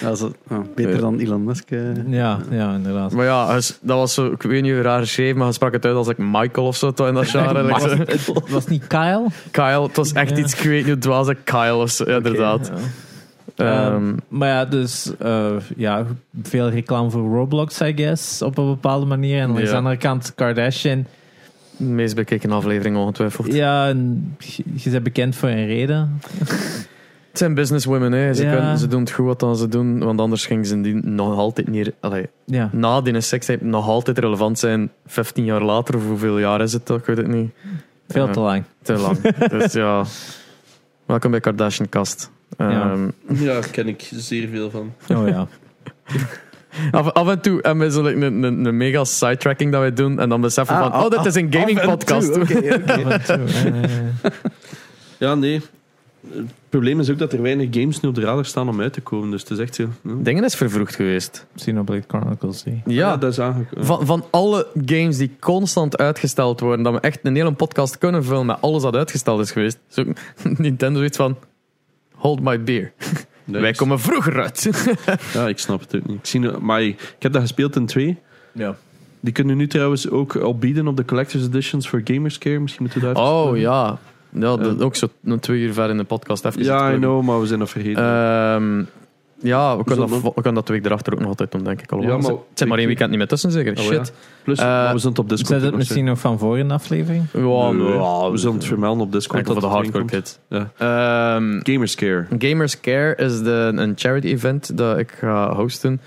Speaker 4: Dat is, ja, beter
Speaker 2: Ja.
Speaker 4: dan Elon Musk. eh.
Speaker 1: Ja, ja, inderdaad.
Speaker 2: maar ja, hij is- dat was zo, ik weet niet hoe raar geschreven, maar hij sprak het uit als ik Michael of zo, toch, in dat genre. Like zo.
Speaker 1: Was niet Kyle?
Speaker 2: Kyle, het was echt
Speaker 1: Ja.
Speaker 2: iets, ik weet niet, het was ik Kyle of zo, ja, inderdaad.
Speaker 1: Ja.
Speaker 2: Ehm,
Speaker 1: Ehm, maar ja, dus eh, ja, veel reclame voor Roblox, I guess, op een bepaalde manier. En langs
Speaker 2: Ja.
Speaker 1: de andere kant Kardashian.
Speaker 2: de meest bekeken aflevering ongetwijfeld.
Speaker 1: Ja, en je- je bent bekend voor een reden.
Speaker 2: Het zijn businesswomen, hè. Ze,
Speaker 1: Ja.
Speaker 2: kunnen, ze doen het goed wat dan ze doen, want anders gingen ze die nog altijd niet... Allee,
Speaker 1: Ja,
Speaker 2: na die sekstape nog altijd relevant zijn, 15 jaar later, of hoeveel jaar is het toch? Ik weet het niet.
Speaker 1: veel
Speaker 2: Ja.
Speaker 1: te lang.
Speaker 2: Te lang. dus ja, welkom bij Kardashian Kast.
Speaker 1: Ja.
Speaker 2: Ehm,
Speaker 3: Ja, daar ken ik zeer veel van.
Speaker 1: Oh ja.
Speaker 2: af, af en toe hebben we zo like een, een, een mega sidetracking dat wij doen en dan beseffen
Speaker 4: Ah,
Speaker 2: van,
Speaker 4: ah,
Speaker 2: oh, dit is een
Speaker 4: Af en
Speaker 2: gaming
Speaker 4: toe,
Speaker 2: podcast.
Speaker 4: oké, oké.
Speaker 1: Af en toe, eh,
Speaker 3: Ja, nee. Het probleem is ook dat er weinig games nu op de radar staan om uit te komen. Dus het is echt zo. hm.
Speaker 2: Dingen is vervroegd geweest.
Speaker 1: Xenoblade Chronicles 3.
Speaker 2: Ja,
Speaker 3: Ah, dat is aangekomen.
Speaker 2: van, van alle games die constant uitgesteld worden, dat we echt een hele podcast kunnen vullen met alles dat uitgesteld is geweest, is ook Nintendo iets van, hold my beer.
Speaker 3: Nee,
Speaker 2: Wij
Speaker 3: ik-
Speaker 2: komen vroeger uit.
Speaker 3: Ja, ik snap het ook niet. Ik, zie, nu- maar ik heb dat gespeeld in twee.
Speaker 1: Ja.
Speaker 3: Die kunnen nu trouwens ook al bieden op de Collector's Editions voor Gamerscare. Misschien moeten we daar even-
Speaker 2: Oh ja. Ja, dat,
Speaker 3: Ehm.
Speaker 2: ook zo een twee uur ver in de podcast. Even
Speaker 3: Ja, I
Speaker 2: iets terug.
Speaker 3: know, maar we zijn dat vergeten. Oh,
Speaker 2: Ehm, ja, we kunnen,
Speaker 3: Zullen
Speaker 2: dat,
Speaker 3: we-
Speaker 2: we kunnen dat de week erachter ook nog altijd doen, denk ik. Al
Speaker 3: Ja,
Speaker 2: wel.
Speaker 3: maar-
Speaker 2: Het zit maar één weekend niet meer tussen, zeker.
Speaker 3: Oh, ja.
Speaker 2: Shit.
Speaker 3: Plus,
Speaker 2: eh,
Speaker 3: maar we zijn het op Discord.
Speaker 1: Zijn
Speaker 3: ook
Speaker 1: dat
Speaker 3: nog
Speaker 1: misschien nog van voor in de aflevering?
Speaker 2: Ja,
Speaker 3: zeggen. Oh, Nee,
Speaker 2: ja,
Speaker 3: we zullen het vermelden op Discord.
Speaker 2: enkel Oh, voor de
Speaker 3: dat het
Speaker 2: hardcore kids.
Speaker 3: erin komt.
Speaker 2: Ehm,
Speaker 3: Ja. Gamerscare.
Speaker 2: Gamers Care is de, een charity event dat ik ga hosten.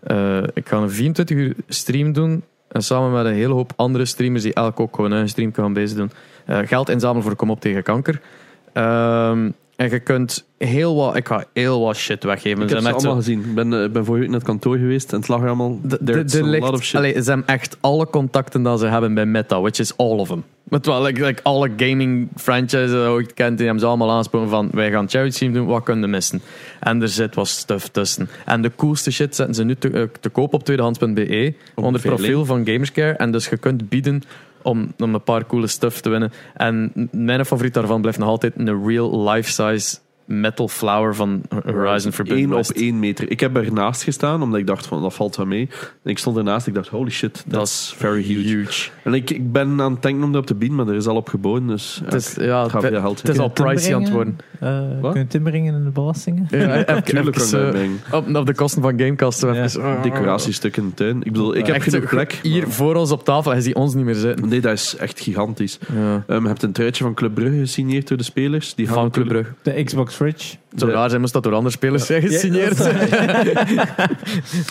Speaker 2: Eh, ik ga een 24 uur stream doen. En samen met een hele hoop andere streamers die elk ook gewoon een stream gaan bezig doen. eh, geld inzamelen voor Kom op tegen kanker. Ehm, en je kunt heel wat... Ik ga heel wat shit weggeven.
Speaker 3: Ik
Speaker 2: Ze
Speaker 3: heb ze
Speaker 2: zijn echt
Speaker 3: allemaal
Speaker 2: zo-
Speaker 3: gezien. Ik ben, eh, ben vorige week naar het kantoor geweest en het lag er allemaal...
Speaker 2: de- de-
Speaker 3: There's
Speaker 2: de
Speaker 3: a
Speaker 2: ligt-
Speaker 3: lot of shit.
Speaker 2: allee, ze hebben echt alle contacten dat ze hebben bij Meta, which is all of them. Met wel, like, like alle gaming franchises die je ooit kent, die hebben ze allemaal aangesproken van wij gaan charity stream doen, wat kunnen we missen? En er zit wat stuff tussen. En de coolste shit zetten ze nu te, eh, te koop op tweedehands.be E, onder
Speaker 3: veiling.
Speaker 2: profiel van Gamerscare. En dus je kunt bieden om, om een paar coole stuff te winnen. En m- mijn favoriet daarvan blijft nog altijd een real life-size metal flower van Horizon Forbidden
Speaker 3: Eén op
Speaker 2: West.
Speaker 3: één meter. Ik heb ernaast gestaan, omdat ik dacht van, dat valt wel mee. En ik stond ernaast ik dacht, holy shit,
Speaker 2: Dat
Speaker 3: that's
Speaker 2: is
Speaker 3: very huge.
Speaker 2: huge.
Speaker 3: En ik, ik ben aan het denken om dat op te bieden, maar er is al op geboden, dus... ja,
Speaker 2: Het is,
Speaker 3: ik-
Speaker 2: ja,
Speaker 3: ik ga
Speaker 2: het-
Speaker 3: veel geld
Speaker 2: het is al pricey aan het worden.
Speaker 1: Eh
Speaker 3: Wat?
Speaker 1: kun je timmeringen in de belastingen?
Speaker 2: Ja, even-
Speaker 3: Tuurlijk kan ik
Speaker 2: even,
Speaker 3: dat
Speaker 2: eh,
Speaker 3: brengen.
Speaker 2: op, op de kosten van Gamecast. zo
Speaker 1: Ja.
Speaker 2: even-
Speaker 3: Decoratiestukken in de tuin. Ik bedoel, ik heb
Speaker 2: Echt,
Speaker 3: genoeg
Speaker 2: zo,
Speaker 3: plek.
Speaker 2: Hier voor ons op tafel, hij ziet ons niet meer zitten.
Speaker 3: Nee, dat is echt gigantisch.
Speaker 2: Ja.
Speaker 3: Ehm, je hebt een truitje van Club Brugge gesigneerd door de spelers. Die gaan
Speaker 2: Van Club
Speaker 3: natuurlijk-
Speaker 2: Brugge.
Speaker 1: De Xbox Rich.
Speaker 2: Het zou
Speaker 3: De-
Speaker 2: raar zijn moest dat door andere spelers zijn gesigneerd.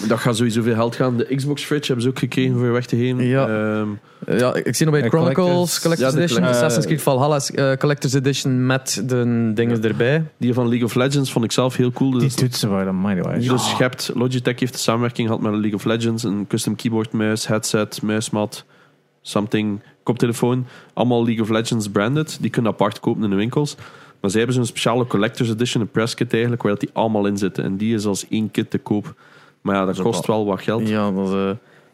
Speaker 3: Dat gaat sowieso veel geld gaan. De Xbox Fridge hebben ze ook gekregen voor weg te geven.
Speaker 2: Ja.
Speaker 3: Ehm,
Speaker 2: ja, ik zie nog bij
Speaker 1: Ja,
Speaker 2: Chronicles,
Speaker 1: Collectors.
Speaker 2: Collector's
Speaker 3: Ja, de
Speaker 2: Edition,
Speaker 1: collect-
Speaker 2: Assassin's
Speaker 1: eh,
Speaker 2: Creed Valhalla eh, Collector's Edition met de dingen erbij.
Speaker 3: die van League of Legends vond ik zelf heel cool. Dus
Speaker 1: Die toetsen waren mighty wise.
Speaker 3: Dus je hebt, Logitech heeft de samenwerking gehad met League of Legends. Een custom keyboard, muis, headset, muismat, something, koptelefoon. Allemaal League of Legends branded. Die kunnen apart kopen in de winkels. Maar zij hebben zo'n speciale collector's edition, een press kit eigenlijk, waar dat die allemaal in zitten. En die is als één kit te koop. Maar ja, dat
Speaker 2: is ook
Speaker 3: kost wel wat geld
Speaker 2: Ja, dat, eh,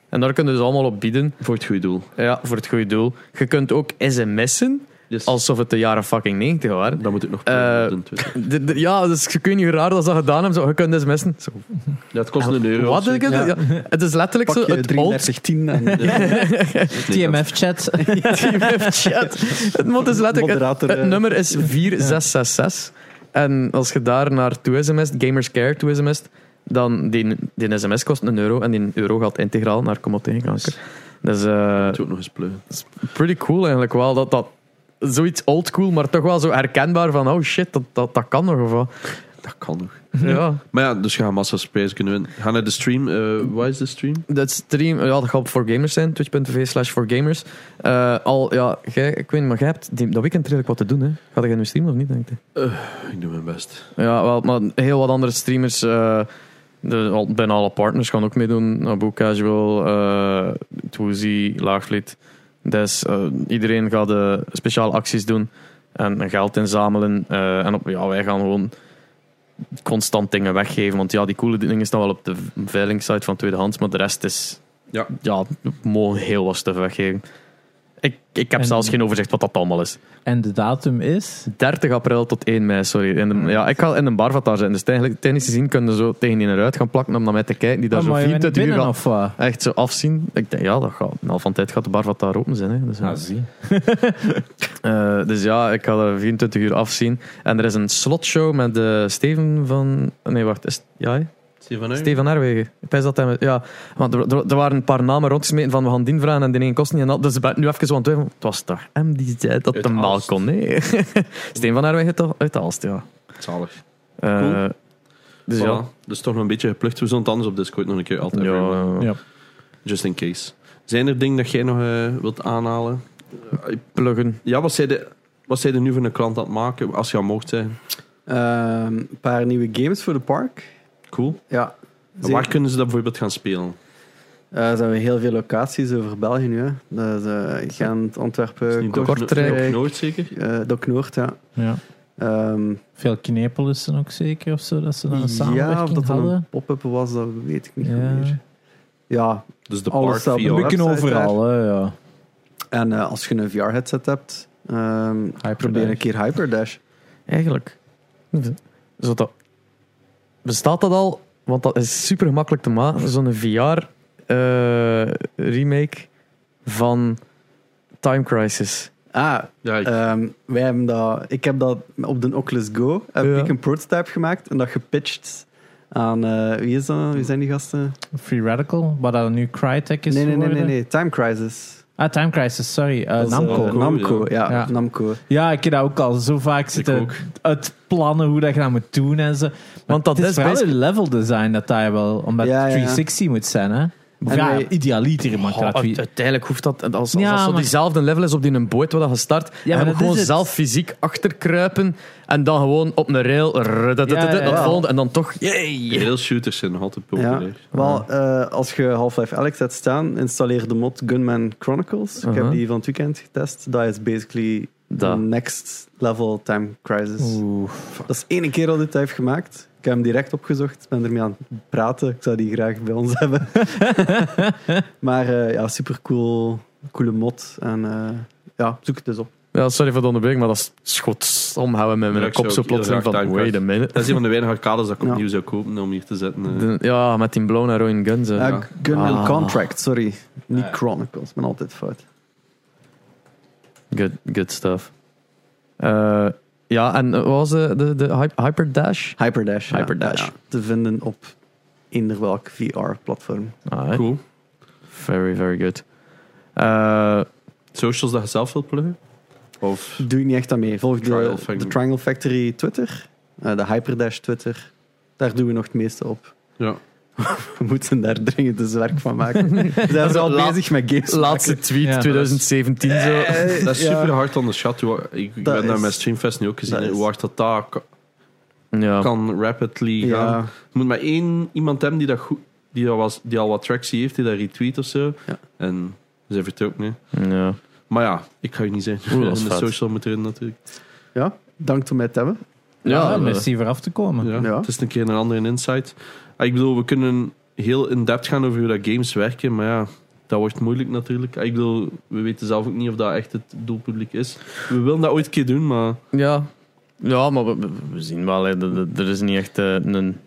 Speaker 2: en daar kunnen we dus allemaal op bieden.
Speaker 3: voor het goede doel.
Speaker 2: Ja, voor het goede doel. Je kunt ook sms'en,
Speaker 3: Dus
Speaker 2: alsof het de jaren fucking 90 waren.
Speaker 3: dat moet ik nog
Speaker 2: Eh,
Speaker 3: doen. Twitter.
Speaker 2: De- de- ja, dus ik weet niet hoe raar dat ze dat gedaan hebben. Zo, je kunt sms'en. Zo,
Speaker 3: Ja, het kost een euro.
Speaker 2: Wat?
Speaker 3: of zo.
Speaker 2: denk je?
Speaker 4: Ja.
Speaker 2: Ja. Het is letterlijk
Speaker 4: Pak
Speaker 2: zo
Speaker 4: je
Speaker 2: het old
Speaker 4: 3310 en eh,
Speaker 3: Nee, dat-
Speaker 1: TMF-chat.
Speaker 2: TMF-chat. het, mot is letterlijk- het,
Speaker 4: moderator.
Speaker 2: het
Speaker 4: eh,
Speaker 2: nummer is 4666. En als je daar naartoe sms't, Gamerscare toe sms't, dan die, die sms kost een euro en die euro gaat integraal naar Kom op tegen kanker. Dat is eh,
Speaker 3: Dat moet ik ook nog eens pleuren.
Speaker 2: pretty cool eigenlijk wel, dat dat zoiets old cool, maar toch wel zo herkenbaar van oh shit, dat, dat, dat kan nog of wat.
Speaker 3: Dat kan nog.
Speaker 4: Mhm.
Speaker 2: Ja.
Speaker 3: Maar ja, dus je gaat massa's prijzen kunnen winnen. Ga naar de stream. eh waar is de stream?
Speaker 2: Dat stream, ja, dat gaat op voor gamers zijn, twitch.tv slash voor gamers. Eh, al, ja, jij, ik weet niet, maar jij hebt die, dat weekend redelijk wat te doen, hè? Gaat jij nu streamen of niet, denk je?
Speaker 3: Ik doe mijn best.
Speaker 2: Ja, wel, maar heel wat andere streamers, eh de, al, bijna alle partners gaan ook meedoen. Abu Casual, eh Twozy, Laagvliet. Dus eh, iedereen gaat eh, speciale acties doen en geld inzamelen. eh, en op, ja, wij gaan gewoon constant dingen weggeven. Want ja, die coole dingen staan wel op de veilingsite van tweedehands, maar de rest is...
Speaker 3: Ja.
Speaker 2: Ja, we mogen heel wat stuff weggeven. Ik, ik heb
Speaker 1: En-
Speaker 2: zelfs geen overzicht wat dat allemaal is.
Speaker 1: En de datum is...
Speaker 2: 30 april tot 1 mei, sorry. In de, ja, ik ga in een barvatar zijn. Dus eigenlijk, technisch gezien kunnen ze zo tegen die eruit gaan plakken om naar mij te kijken. Die daar
Speaker 1: Ah,
Speaker 2: zo
Speaker 1: maar je bent
Speaker 2: 24 uur
Speaker 1: binnen,
Speaker 2: gaan
Speaker 1: of wat?
Speaker 2: echt zo afzien. Ik denk, ja, dat gaat. Na half van tijd gaat de barvatar open zijn. Hè. Dus, ja.
Speaker 1: Ah, zie.
Speaker 2: Eh, dus ja, ik ga er 24 uur afzien. En er is een slotshow met eh, Steven van... Nee, wacht. Is, ja, hè? Steven Herwegen. Ik pijs dat hij... met- Ja, want er, er- er waren een paar namen rondgesmeten van we gaan die vragen en de een kost niet. En dat, dus ik ben nu even zo aan het twijfelen. Het was toch hem die zei dat
Speaker 3: Uit
Speaker 2: de maal
Speaker 3: Aalst.
Speaker 2: kon. Nee. Steven van Herwegen toch? Uit Aalst, ja.
Speaker 3: Zalig.
Speaker 2: Eh,
Speaker 3: Cool.
Speaker 2: Dus
Speaker 3: Voilà.
Speaker 2: ja.
Speaker 3: Dus toch nog een beetje geplukt. We zullen het anders op Discord nog een keer altijd
Speaker 2: ja,
Speaker 3: doen.
Speaker 1: Ja.
Speaker 3: Just in case. Zijn er dingen dat jij nog eh, wilt aanhalen?
Speaker 2: pluggen.
Speaker 3: Eh, Ja, wat zij, de, wat zij er nu voor een klant aan het maken, als je aan mocht zijn?
Speaker 4: Ehm, een paar nieuwe games voor de park.
Speaker 3: Cool.
Speaker 4: Ja.
Speaker 3: En Waar kunnen ze dat bijvoorbeeld gaan spelen?
Speaker 4: Eh, er zijn we heel veel locaties over België nu. Hè. Dus, eh, Gent,
Speaker 3: Is
Speaker 4: Antwerpen,
Speaker 3: niet
Speaker 4: Kortrijk,
Speaker 3: Dok-
Speaker 2: Kortrijk.
Speaker 3: Dok Noord zeker?
Speaker 4: eh, Dok Noord. Ja.
Speaker 1: ja.
Speaker 4: Ehm,
Speaker 1: Veel knepelissen ook zeker, of zo, dat ze dan een samenwerking
Speaker 4: ja, of dat er een
Speaker 1: hadden.
Speaker 4: pop-up was, dat weet ik niet
Speaker 1: Ja.
Speaker 4: goed meer. Ja,
Speaker 3: Dus de
Speaker 4: Alles
Speaker 3: Park
Speaker 4: staat op
Speaker 1: Een
Speaker 4: de
Speaker 3: VR.
Speaker 1: beetje
Speaker 4: website
Speaker 1: overal, hè, ja.
Speaker 4: en eh, als je een VR-headset hebt, ehm, probeer een keer Hyperdash.
Speaker 2: Eigenlijk. Zo dat, bestaat dat al? Want dat is super gemakkelijk te maken. Zo'n VR-remake van Time Crisis.
Speaker 4: Ah,
Speaker 3: Ja, ik-
Speaker 4: Ehm, wij hebben dat, ik heb dat op de Oculus Go heb
Speaker 2: Ja.
Speaker 4: ik een prototype gemaakt en dat gepitcht aan eh, wie is dat? Wie zijn die gasten?
Speaker 1: Free Radical, wat dat nu Crytek is
Speaker 4: nee, nee, nee, nee,
Speaker 1: geworden.
Speaker 4: nee, Time Crisis.
Speaker 1: Ah, Time Crisis, sorry. eh,
Speaker 4: Dat is, eh,
Speaker 1: Namco.
Speaker 3: Namco,
Speaker 4: Namco, ja,
Speaker 1: Ja.
Speaker 4: Namco.
Speaker 1: Ja, ik heb dat ook al zo vaak zitten
Speaker 3: ook.
Speaker 1: uit plannen hoe dat je dat moet doen en zo.
Speaker 2: Want dat
Speaker 1: het
Speaker 2: is
Speaker 1: is wel
Speaker 2: basic-
Speaker 1: een level design dat daar wel, omdat
Speaker 4: Ja, ja,
Speaker 1: het
Speaker 4: ja.
Speaker 1: 360 moet zijn, hè. Of
Speaker 4: En
Speaker 1: ja,
Speaker 4: wij-
Speaker 1: idealiter mag
Speaker 2: Oh,
Speaker 1: dat.
Speaker 2: uite-
Speaker 1: wie-
Speaker 2: uiteindelijk hoeft dat, als, als
Speaker 1: Ja,
Speaker 2: dat zo
Speaker 1: maar-
Speaker 2: diezelfde level is op die een boot waar dat je start,
Speaker 1: maar
Speaker 2: en
Speaker 1: dat
Speaker 2: gewoon
Speaker 1: is het.
Speaker 2: zelf fysiek achterkruipen en dan gewoon op een rail rrr, dat- dat-
Speaker 1: Ja,
Speaker 2: dat-
Speaker 1: ja,
Speaker 2: dat
Speaker 1: ja.
Speaker 2: volgende en dan toch yay.
Speaker 3: Rail shooters zijn nog altijd
Speaker 4: Ja.
Speaker 3: populair.
Speaker 4: Wel, eh, als je Half-Life Alex hebt staan, installeer de mod Gunman Chronicles. Ik
Speaker 2: Uh-huh.
Speaker 4: heb die van het weekend getest. Dat is basically
Speaker 2: Da.
Speaker 4: the next level Time Crisis.
Speaker 1: Oeh.
Speaker 4: Dat is één keer al dit heeft gemaakt. Ik heb hem direct opgezocht. Ik ben ermee aan het praten. Ik zou die graag bij ons hebben. maar eh, ja, super cool. Coole mod. En eh, ja, zoek het dus op.
Speaker 2: Ja, sorry voor de onderbreking, maar dat schot omhouden met
Speaker 3: Ja,
Speaker 2: mijn
Speaker 3: ik
Speaker 2: kop
Speaker 3: zou
Speaker 2: zo
Speaker 3: ook heel
Speaker 2: plotseling
Speaker 3: graag
Speaker 2: van
Speaker 3: Time
Speaker 2: wait a
Speaker 3: Crisis-
Speaker 2: minute.
Speaker 3: Dat is een van de weinige arcades dat ik
Speaker 4: Ja.
Speaker 3: opnieuw zou kopen om hier te zetten. eh.
Speaker 2: De- ja, met die blown heroin guns. hè.
Speaker 4: Eh, Gunman
Speaker 2: Ah.
Speaker 4: Contract, sorry.
Speaker 1: Ah,
Speaker 4: Niet
Speaker 1: ja.
Speaker 4: Chronicles, ik ben altijd fout.
Speaker 2: Good, good stuff. Eh, ja, en eh, wat was de, de, de hy- Hyperdash?
Speaker 4: Hyperdash. ja.
Speaker 2: Hyperdash.
Speaker 4: Ja, ja. Te vinden op eender welk VR-platform.
Speaker 2: Ah, hè.
Speaker 3: Cool.
Speaker 2: Very, very good. Eh,
Speaker 3: Socials dat je zelf wilt pluggen? Of
Speaker 4: Doe je niet echt aan mee. Volg
Speaker 3: Triangle
Speaker 4: de,
Speaker 3: Factory.
Speaker 4: de Triangle Factory Twitter. eh, de Hyperdash Twitter. Daar doen we nog het meeste op.
Speaker 3: ja.
Speaker 4: We moeten daar dringend eens werk van maken. We zijn
Speaker 2: is
Speaker 4: al
Speaker 2: la-
Speaker 4: bezig met games.
Speaker 2: laatste tweet
Speaker 1: Ja.
Speaker 2: 2017 zo.
Speaker 4: Eh,
Speaker 3: Dat is
Speaker 4: ja.
Speaker 3: super hard onderschat. hoe- Ik, ik
Speaker 4: Dat
Speaker 3: ben daar
Speaker 4: is-
Speaker 3: met Streamfest nu ook gezien.
Speaker 4: dat
Speaker 3: hè,
Speaker 4: is-
Speaker 3: Hoe hard dat daar ka-
Speaker 2: Ja.
Speaker 3: kan rapidly gaan.
Speaker 4: Ja,
Speaker 3: Je moet maar één iemand hebben die, dat goed, die, dat was, die al wat tractie heeft, die dat retweet of zo.
Speaker 4: Ja.
Speaker 3: En ze heeft het ook niet.
Speaker 2: Ja.
Speaker 3: Maar ja, ik ga je niet zeggen.
Speaker 2: Oeh, dat
Speaker 3: en
Speaker 2: is
Speaker 3: de
Speaker 2: vet.
Speaker 3: social moet erin natuurlijk.
Speaker 4: ja. dank om mij te hebben.
Speaker 1: Ja,
Speaker 2: Ja, eh,
Speaker 1: merci voor af te komen.
Speaker 3: Ja.
Speaker 4: Ja.
Speaker 3: Het is een keer een andere insight. Ah, Ik bedoel, we kunnen heel in-depth gaan over hoe dat games werken, maar ja, dat wordt moeilijk natuurlijk. Ah, Ik bedoel, we weten zelf ook niet of dat echt het doelpubliek is. We willen dat ooit een keer doen, maar
Speaker 2: ja. Ja, maar we, we- we zien wel, hè, dat- dat- er is niet echt eh, een,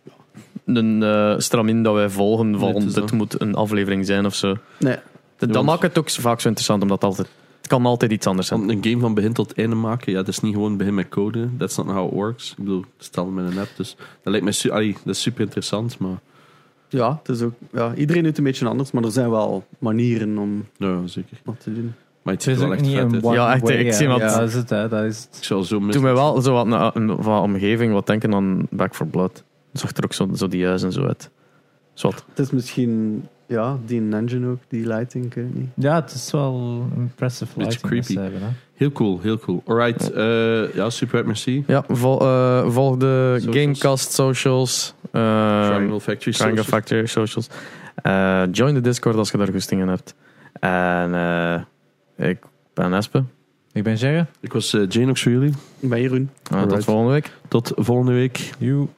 Speaker 2: een eh, stramin dat wij volgen van
Speaker 3: Nee, het is
Speaker 2: dit
Speaker 3: dat.
Speaker 2: moet een aflevering zijn of zo.
Speaker 4: Nee.
Speaker 2: Dat, dat
Speaker 3: want-
Speaker 2: maakt het ook zo- vaak zo interessant, omdat het altijd, het kan altijd iets anders zijn.
Speaker 3: Want een game van begin tot einde maken, ja, dat is niet gewoon begin met code. That's not how it works. Ik bedoel, stel met een app, dus dat lijkt mij su- allee, dat is super interessant, maar
Speaker 4: Ja, het is ook, ja, iedereen doet het een beetje anders, maar er zijn wel manieren om
Speaker 3: nou, zeker.
Speaker 4: dat te doen.
Speaker 3: Maar het
Speaker 1: Het is
Speaker 3: is wel
Speaker 1: ook
Speaker 3: echt
Speaker 1: niet
Speaker 3: vet.
Speaker 1: een
Speaker 3: uit.
Speaker 1: one
Speaker 2: Ja, echt,
Speaker 1: way,
Speaker 2: ik
Speaker 1: hè.
Speaker 2: zie wat-
Speaker 1: Ja, dat is het, hè. Dat is het.
Speaker 3: Ik zou zo mis.
Speaker 2: Toen mij wel zo wat na- een- van omgeving wat denken aan Back for Blood. Zag er ook zo, zo die huizen zo uit. Zwat.
Speaker 4: Het is misschien, ja, die engine ook, die lighting, ik weet het niet.
Speaker 1: Ja, het is wel impressive
Speaker 3: Beetje
Speaker 1: lighting. dat ze
Speaker 3: creepy.
Speaker 1: hebben, hè.
Speaker 3: Heel cool, heel cool. Alright, eh, ja, super, merci.
Speaker 2: Ja, vol, eh, volg de
Speaker 3: Socials.
Speaker 2: Gamecast socials. eh,
Speaker 3: Triangle Factory.
Speaker 2: Triangle
Speaker 3: Social.
Speaker 2: Factory socials. Eh, join de Discord als je daar goesting in hebt. En eh, ik ben Espe.
Speaker 1: Ik ben Jerry.
Speaker 3: Ik was eh, Janox voor jullie.
Speaker 4: Ik ben Jeroen.
Speaker 2: Eh, tot
Speaker 3: Alright.
Speaker 2: volgende week.
Speaker 3: Tot volgende week.
Speaker 1: You.